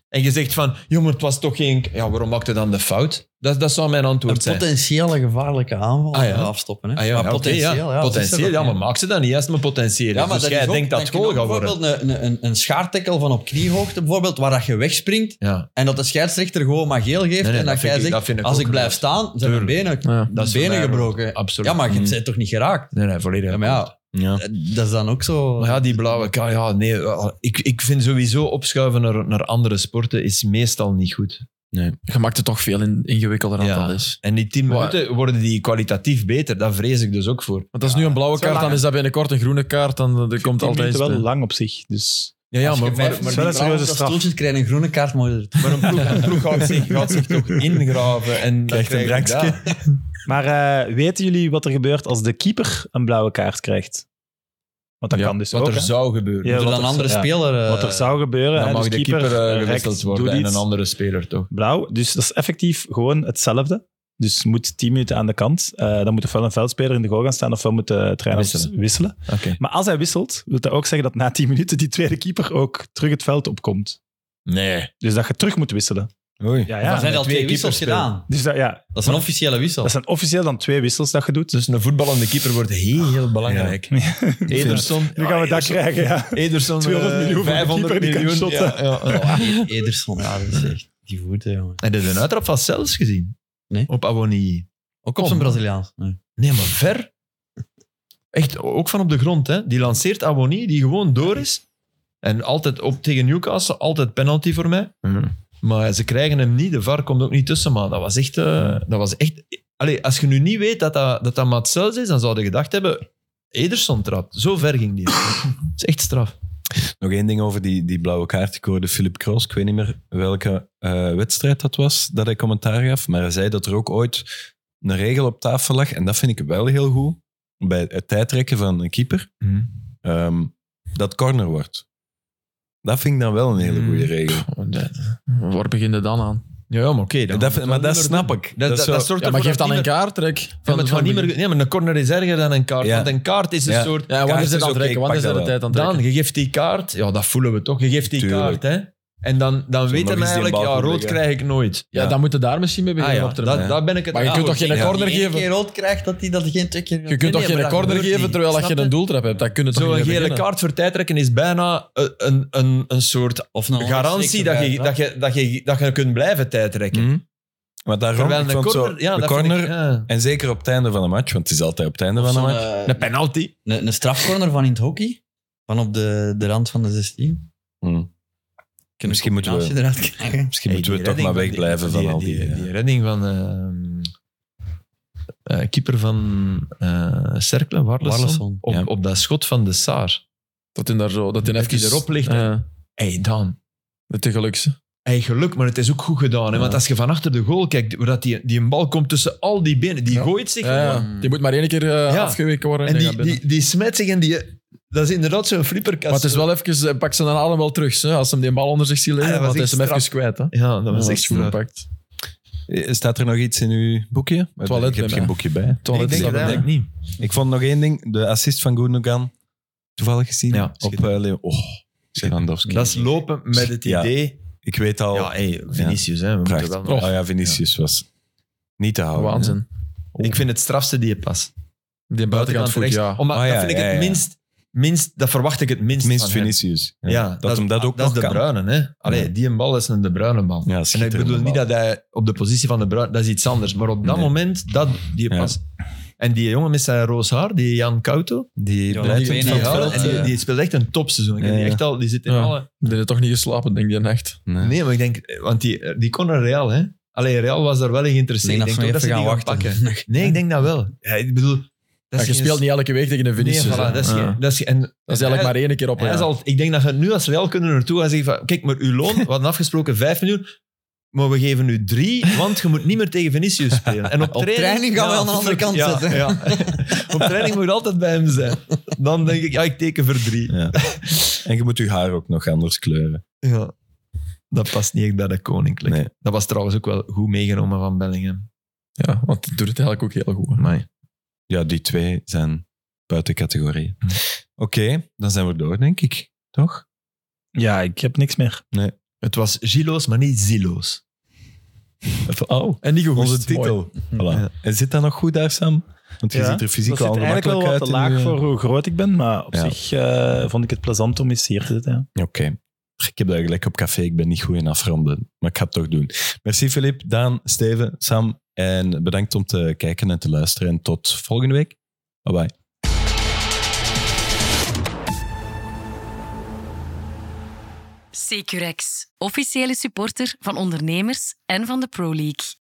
Speaker 6: En je zegt van, joh, maar het was toch geen... Ja, waarom maakte dan de fout? Dat, dat zou mijn
Speaker 4: Een
Speaker 6: antwoord zijn.
Speaker 4: potentiële gevaarlijke aanval
Speaker 6: Ah, ja.
Speaker 4: afstoppen. Hè.
Speaker 6: Ah, ja,
Speaker 4: Maar
Speaker 6: ja, oké,
Speaker 4: potentieel, ja. dat is
Speaker 6: potentieel,
Speaker 4: er
Speaker 6: ja,
Speaker 4: ook,
Speaker 6: maar maak ze dan niet. Juist maar potentieel.
Speaker 4: Ja, maar
Speaker 6: dus
Speaker 4: dat
Speaker 6: jij
Speaker 4: is ook-
Speaker 6: denkt dat het
Speaker 4: dan kun
Speaker 6: goal
Speaker 4: je
Speaker 6: gaat
Speaker 4: ook
Speaker 6: worden.
Speaker 4: Bijvoorbeeld een, een, een schaartekkel van op kniehoogte, bijvoorbeeld, waar dat je wegspringt
Speaker 6: Ja.
Speaker 4: en dat de scheidsrechter gewoon maar geel geeft.
Speaker 6: Nee, nee,
Speaker 4: en
Speaker 6: dat
Speaker 4: dat,
Speaker 6: vind
Speaker 4: jij
Speaker 6: ik- dat
Speaker 4: zegt,
Speaker 6: vind ik
Speaker 4: als
Speaker 6: ook
Speaker 4: ik blijf
Speaker 6: juist.
Speaker 4: staan, zijn mijn benen,
Speaker 7: Ja.
Speaker 4: mijn
Speaker 6: is
Speaker 4: benen
Speaker 6: voor mij
Speaker 4: gebroken.
Speaker 6: Absoluut.
Speaker 4: Ja, maar je
Speaker 6: Mm.
Speaker 4: bent toch niet geraakt?
Speaker 6: Nee, nee, volledig.
Speaker 4: Ja, maar ja,
Speaker 2: Ja.
Speaker 4: dat is dan ook zo...
Speaker 6: Maar ja, die blauwe kaart, ja, nee. ja, Ik, ik vind sowieso opschuiven naar, naar andere sporten is meestal niet goed.
Speaker 7: Je maakt het toch veel in, ingewikkelder dan
Speaker 6: Ja.
Speaker 7: dat is.
Speaker 6: En die tien
Speaker 7: Maar-
Speaker 6: minuten worden die kwalitatief beter. Daar vrees ik dus ook voor.
Speaker 7: Want dat is nu een blauwe
Speaker 3: is wel
Speaker 7: kaart, dan
Speaker 3: lang,
Speaker 7: is dat binnenkort een groene kaart. Dan dan komt
Speaker 3: die
Speaker 7: altijd
Speaker 3: minuten
Speaker 7: iets
Speaker 3: wel
Speaker 7: bij.
Speaker 3: lang op zich. Dus
Speaker 7: Ja, ja, maar, maar,
Speaker 3: vijf- wel een serieuze straf.
Speaker 4: stoeltjes krijgen een groene kaart, maar er-
Speaker 6: Maar een ploeg, een ploeg gaat, zich, gaat zich toch ingraven. En dan
Speaker 2: Krijgt een
Speaker 6: krijg je
Speaker 2: drankje.
Speaker 6: dat.
Speaker 3: Maar eh, weten jullie wat er gebeurt als de keeper een blauwe kaart krijgt? Want dat
Speaker 7: Ja,
Speaker 3: kan dus
Speaker 6: Wat
Speaker 3: ook.
Speaker 6: er
Speaker 3: hè?
Speaker 6: zou gebeuren.
Speaker 3: Ja,
Speaker 4: er
Speaker 3: wat
Speaker 4: dan een
Speaker 3: er-
Speaker 4: andere
Speaker 3: ja.
Speaker 4: speler... eh,
Speaker 3: Wat er zou gebeuren.
Speaker 6: Dan
Speaker 3: hè,
Speaker 6: mag
Speaker 3: dus
Speaker 6: de keeper eh,
Speaker 3: rechts,
Speaker 6: gewisseld worden
Speaker 3: doet
Speaker 6: en
Speaker 3: iets.
Speaker 6: een andere speler toch.
Speaker 3: blauw. Dus dat is effectief gewoon hetzelfde. Dus moet 10 minuten aan de kant. Eh, dan moet ofwel een veldspeler in de goal gaan staan, ofwel moet de trainer wisselen.
Speaker 6: Wisselen. Oké.
Speaker 3: Maar als hij wisselt, wil dat ook zeggen dat na 10 minuten die tweede keeper ook terug het veld opkomt.
Speaker 6: Nee.
Speaker 3: Dus dat je terug moet wisselen.
Speaker 2: Oei.
Speaker 3: Ja,
Speaker 4: Dan
Speaker 3: ja.
Speaker 4: zijn er al
Speaker 6: twee
Speaker 4: twee wissels
Speaker 6: keepers
Speaker 4: gedaan.
Speaker 3: Dus dat, ja,
Speaker 4: Dat is een officiële wissel.
Speaker 3: dat zijn officieel dan twee wissels dat je doet.
Speaker 6: Dus een voetballende keeper wordt heel, heel belangrijk. Ederson.
Speaker 3: Nu gaan we dat krijgen, ja.
Speaker 6: Ederson,
Speaker 3: 200
Speaker 6: eh,
Speaker 3: miljoen voor de
Speaker 6: 500
Speaker 3: keeper, die kan
Speaker 6: miljoen.
Speaker 3: shotten. Dus
Speaker 6: Ja, ja.
Speaker 4: Oh, Ederson, ja, dat is echt... Die voeten, jongen.
Speaker 6: Heb je een uittrap van zelfs gezien?
Speaker 4: Nee.
Speaker 6: Op Awoniyi.
Speaker 4: Ook op zijn Braziliaans. Nee.
Speaker 6: Nee, maar ver. Echt, ook van op de grond. Hè. Die lanceert Awoniyi, die gewoon door is. En altijd op, tegen Newcastle, altijd penalty voor mij. Maar ze krijgen hem niet. De VAR komt ook niet tussen. Maar dat was echt... eh, dat was echt Allee, als je nu niet weet dat dat, dat, dat Matsels is, dan zou je gedacht hebben... Ederson trapt. Zo ver ging die. Dat is echt straf.
Speaker 2: Nog één ding over die, die blauwe kaart. Ik hoorde Philip Kroos, ik weet niet meer welke eh, wedstrijd dat was, dat hij commentaar gaf. Maar hij zei dat er ook ooit een regel op tafel lag. En dat vind ik wel heel goed. Bij het tijdrekken van een keeper.
Speaker 6: Mhm.
Speaker 2: ehm, dat corner wordt. Dat vind ik dan wel een hele
Speaker 7: Hmm.
Speaker 6: Mhm.
Speaker 2: goede regel.
Speaker 7: Waar begint het dan aan?
Speaker 6: Ja, ja, maar oké. dan-
Speaker 2: Dat vind- maar dat snap ik.
Speaker 6: Dat, dat,
Speaker 2: is zo-
Speaker 6: dat zorgt
Speaker 7: Ja,
Speaker 6: ervoor
Speaker 7: maar geef
Speaker 6: dat
Speaker 7: dan een
Speaker 6: niet meer-
Speaker 7: kaart, trek. Van,
Speaker 6: Ja, maar, het gaat niet meer, nee, maar een corner is erger dan een kaart.
Speaker 2: Ja.
Speaker 6: Want een kaart is een
Speaker 2: Ja.
Speaker 6: soort...
Speaker 7: Ja, wanneer
Speaker 6: kaart
Speaker 7: is het aan
Speaker 6: is oké,
Speaker 7: het trekken?
Speaker 6: pak
Speaker 7: Wanneer is
Speaker 6: dat
Speaker 7: er de
Speaker 6: wel.
Speaker 7: tijd aan het
Speaker 6: Dan,
Speaker 7: trekken?
Speaker 6: je geeft die kaart. Ja, dat voelen we toch. Je geeft die
Speaker 2: Tuurlijk.
Speaker 6: kaart, hè. En dan, dan
Speaker 2: nog
Speaker 6: weet hij
Speaker 2: eens die
Speaker 6: eigenlijk,
Speaker 2: bal
Speaker 6: ja,
Speaker 2: goed
Speaker 6: rood
Speaker 2: leggen.
Speaker 6: krijg ik nooit.
Speaker 7: Ja, dan moet je daar misschien mee
Speaker 6: Ah,
Speaker 7: beginnen
Speaker 6: ja,
Speaker 7: op termijn.
Speaker 6: dat, dat ben ik het Ah,
Speaker 7: Maar je
Speaker 6: aan
Speaker 7: kunt toch
Speaker 6: het
Speaker 7: geen
Speaker 6: zien, ja.
Speaker 7: corner
Speaker 4: Als je één
Speaker 7: geven?
Speaker 4: keer rood krijgt, dat hij dat geen twee keer
Speaker 7: Je kunt toch geen corner geven terwijl dat je een doeltrap hebt? Dat kun je toch
Speaker 6: Zo'n
Speaker 7: niet mee
Speaker 6: gele
Speaker 7: beginnen?
Speaker 6: kaart voor tijdrekken is bijna een, een, een, een soort
Speaker 4: Of een
Speaker 6: garantie dat je, dat, je, dat, je, dat je kunt blijven tijdrekken.
Speaker 2: Hm? Maar daarom,
Speaker 6: Terwijl
Speaker 2: ik
Speaker 6: een
Speaker 2: vond
Speaker 6: corner...
Speaker 2: zo,
Speaker 6: ja,
Speaker 2: de
Speaker 6: dat vind
Speaker 2: corner
Speaker 6: ik- ja. eh,
Speaker 2: en zeker op het einde van de match, want het is altijd op het einde van de match.
Speaker 4: Een
Speaker 6: penalty.
Speaker 4: Een, een strafcorner van in het hockey. Van op de, de rand van de 16.
Speaker 2: Hm.
Speaker 4: Kunnen
Speaker 2: Misschien moeten we-
Speaker 4: combinatie eruit krijgen.
Speaker 2: Misschien
Speaker 6: Hey,
Speaker 2: moeten we
Speaker 6: die
Speaker 2: toch maar
Speaker 6: redding van
Speaker 2: wegblijven van al die...
Speaker 6: Die,
Speaker 2: eh,
Speaker 6: redding van... ehm, eh, eh, keeper van eh Cercle, Warleson,
Speaker 4: Warleson,
Speaker 6: op,
Speaker 2: ja.
Speaker 6: op dat schot van de Saar.
Speaker 7: Dat hij daar zo... Dat hij
Speaker 6: Dat
Speaker 7: even
Speaker 6: hij erop ligt, hè.
Speaker 7: Ja,
Speaker 6: hey, dan.
Speaker 7: dat is gelukkig.
Speaker 6: Hey, geluk, maar het is ook goed gedaan. Hè? Want als je van achter de goal kijkt, hoe dat die, die een bal komt tussen al die benen, die
Speaker 7: Ja.
Speaker 6: gooit zich
Speaker 7: Ja, ja.
Speaker 6: gewoon.
Speaker 7: Die moet maar één keer eh, afgeweken worden en,
Speaker 6: En
Speaker 7: die
Speaker 6: die,
Speaker 7: gaat binnen.
Speaker 6: die, die smet zich en die... Dat is inderdaad zo'n flipperkast.
Speaker 7: maar het is wel even, eh, pak ze dan adem wel terug, hè, als ze hem die bal onder zich zien liggen,
Speaker 6: Ah, dat
Speaker 7: want
Speaker 6: was
Speaker 7: hij is hem
Speaker 6: echt
Speaker 7: even kwijt. Hè.
Speaker 6: Ja, dat was
Speaker 7: Ja,
Speaker 6: echt
Speaker 7: goed
Speaker 6: goed.
Speaker 7: gepakt.
Speaker 2: Eh, Staat er nog iets in uw boekje?
Speaker 7: Toilet
Speaker 2: ik heb
Speaker 7: bij
Speaker 2: geen
Speaker 7: mij.
Speaker 2: boekje bij.
Speaker 7: Toilet
Speaker 6: ik denk
Speaker 7: stappen,
Speaker 6: het
Speaker 7: hè.
Speaker 6: eigenlijk niet.
Speaker 2: Ik vond nog één ding. De assist van Gundogan. Toevallig gezien.
Speaker 6: Ja,
Speaker 2: op eh, Leo. Oh, Lewandowski.
Speaker 6: Dat is lopen met het
Speaker 2: Ja.
Speaker 6: idee.
Speaker 2: Ik weet al.
Speaker 6: Ja, hey, Vinicius, hè, we moeten
Speaker 2: prachtig.
Speaker 6: wel nog-
Speaker 2: Oh ja, Vinicius was niet te houden.
Speaker 7: Waanzin.
Speaker 6: Ik vind het strafste die je pas.
Speaker 7: Die buitenkant voet,
Speaker 6: rechts.
Speaker 7: ja.
Speaker 6: Omdat,
Speaker 2: Ah, ja,
Speaker 6: dat vind ik
Speaker 2: ja, ja.
Speaker 6: het minst, minst... Dat verwacht ik het minst,
Speaker 2: hè. Minst
Speaker 6: van hem.
Speaker 2: Vinicius. Ja,
Speaker 6: Ja,
Speaker 2: dat, hem dat ook
Speaker 6: dat is
Speaker 2: nog
Speaker 6: de
Speaker 2: kan.
Speaker 6: Bruinen, hè. Allee,
Speaker 2: Ja.
Speaker 6: die een bal is een De Bruyne bal.
Speaker 2: Ja,
Speaker 6: en ik
Speaker 2: schitterende
Speaker 6: bedoel niet
Speaker 2: bal.
Speaker 6: dat hij op de positie van De Bruyne... Dat is iets anders. Maar op dat
Speaker 2: Nee.
Speaker 6: moment, dat, die
Speaker 2: Ja.
Speaker 6: pas... En die jongen met zijn roos haar, die Jan Couto, die blijft
Speaker 4: die
Speaker 6: op het
Speaker 4: benen
Speaker 6: veld
Speaker 4: houden,
Speaker 6: en die,
Speaker 4: ja.
Speaker 6: die speelt echt een topseizoen. Ik heb
Speaker 2: eh. Ja,
Speaker 6: die,
Speaker 2: ja.
Speaker 6: echt al, die zit in
Speaker 7: Ja.
Speaker 6: alle...
Speaker 7: Die heeft toch niet geslapen, denk ik, die nacht.
Speaker 2: Nee.
Speaker 6: Nee, maar ik denk... Want die, die kon naar Real, hè. Allee, Real was daar wel in
Speaker 4: Ik
Speaker 6: geïnteresseerd.
Speaker 4: denk dat
Speaker 6: Ik
Speaker 4: ze
Speaker 6: denk
Speaker 4: nog
Speaker 6: toch
Speaker 4: even
Speaker 6: dat
Speaker 4: gaan
Speaker 6: ze die
Speaker 4: wachten.
Speaker 6: pakken. Nee, ik denk dat wel. Ja, ik bedoel... Dat
Speaker 7: Ja, je
Speaker 6: is geen-
Speaker 7: speelt niet elke week tegen een Vinicius.
Speaker 4: dus,
Speaker 6: Nee, voilà,
Speaker 7: hè.
Speaker 6: dat is geen-
Speaker 7: Ja.
Speaker 6: dat is geen- en-
Speaker 4: Oh,
Speaker 7: Dat is eigenlijk maar één keer op een
Speaker 6: hij
Speaker 7: jaar.
Speaker 6: zal, ik denk dat je nu als Real kunnen naartoe gaan zeggen van, kijk, maar uw loon, we hadden afgesproken 5 miljoen, maar we geven u 3, want je moet niet meer tegen Vinicius spelen. En op,
Speaker 4: Op training gaan we aan de andere kant
Speaker 6: ja,
Speaker 4: zetten.
Speaker 6: ja. op training moet je altijd bij hem zijn. Dan denk ik, ja, ik teken voor 3.
Speaker 2: Ja. En je moet je haar ook nog anders kleuren.
Speaker 6: Ja. Dat past niet echt bij de koninklijk.
Speaker 2: Nee.
Speaker 6: Dat was trouwens ook wel goed meegenomen van Bellingham.
Speaker 7: Ja, want die doet het eigenlijk ook heel goed.
Speaker 6: Amai.
Speaker 2: Ja, die twee zijn buiten categorie. Hm. Oké, dan zijn we door, denk ik. Toch?
Speaker 3: Ja, ik heb niks meer.
Speaker 6: Het was Gilo's, maar niet Zilo's.
Speaker 2: Oh,
Speaker 7: En niet gehoest.
Speaker 2: onze
Speaker 7: Mooi.
Speaker 2: titel. Voilà.
Speaker 6: Ja.
Speaker 2: En zit dat nog goed daar, Sam? Want je
Speaker 3: Ja,
Speaker 2: ziet er
Speaker 3: Dat
Speaker 2: fysiek
Speaker 3: zit
Speaker 2: al
Speaker 3: eigenlijk wel
Speaker 2: gemakkelijk
Speaker 3: wat
Speaker 2: uit.
Speaker 3: te
Speaker 2: in eh,
Speaker 3: laag
Speaker 2: je-
Speaker 6: eh,
Speaker 3: voor hoe groot ik ben, maar op
Speaker 2: Ja.
Speaker 3: zich eh, vond ik het plezant om eens hier te zitten. Ja.
Speaker 2: Oké. Ik heb dat gelijk op café. Ik ben niet goed in afronden. Maar ik ga het toch doen. Merci Filip, Daan, Steven, Sam. En bedankt om te kijken en te luisteren. En tot volgende week. Bye bye.
Speaker 1: Securex, officiële supporter van ondernemers en van de Pro League.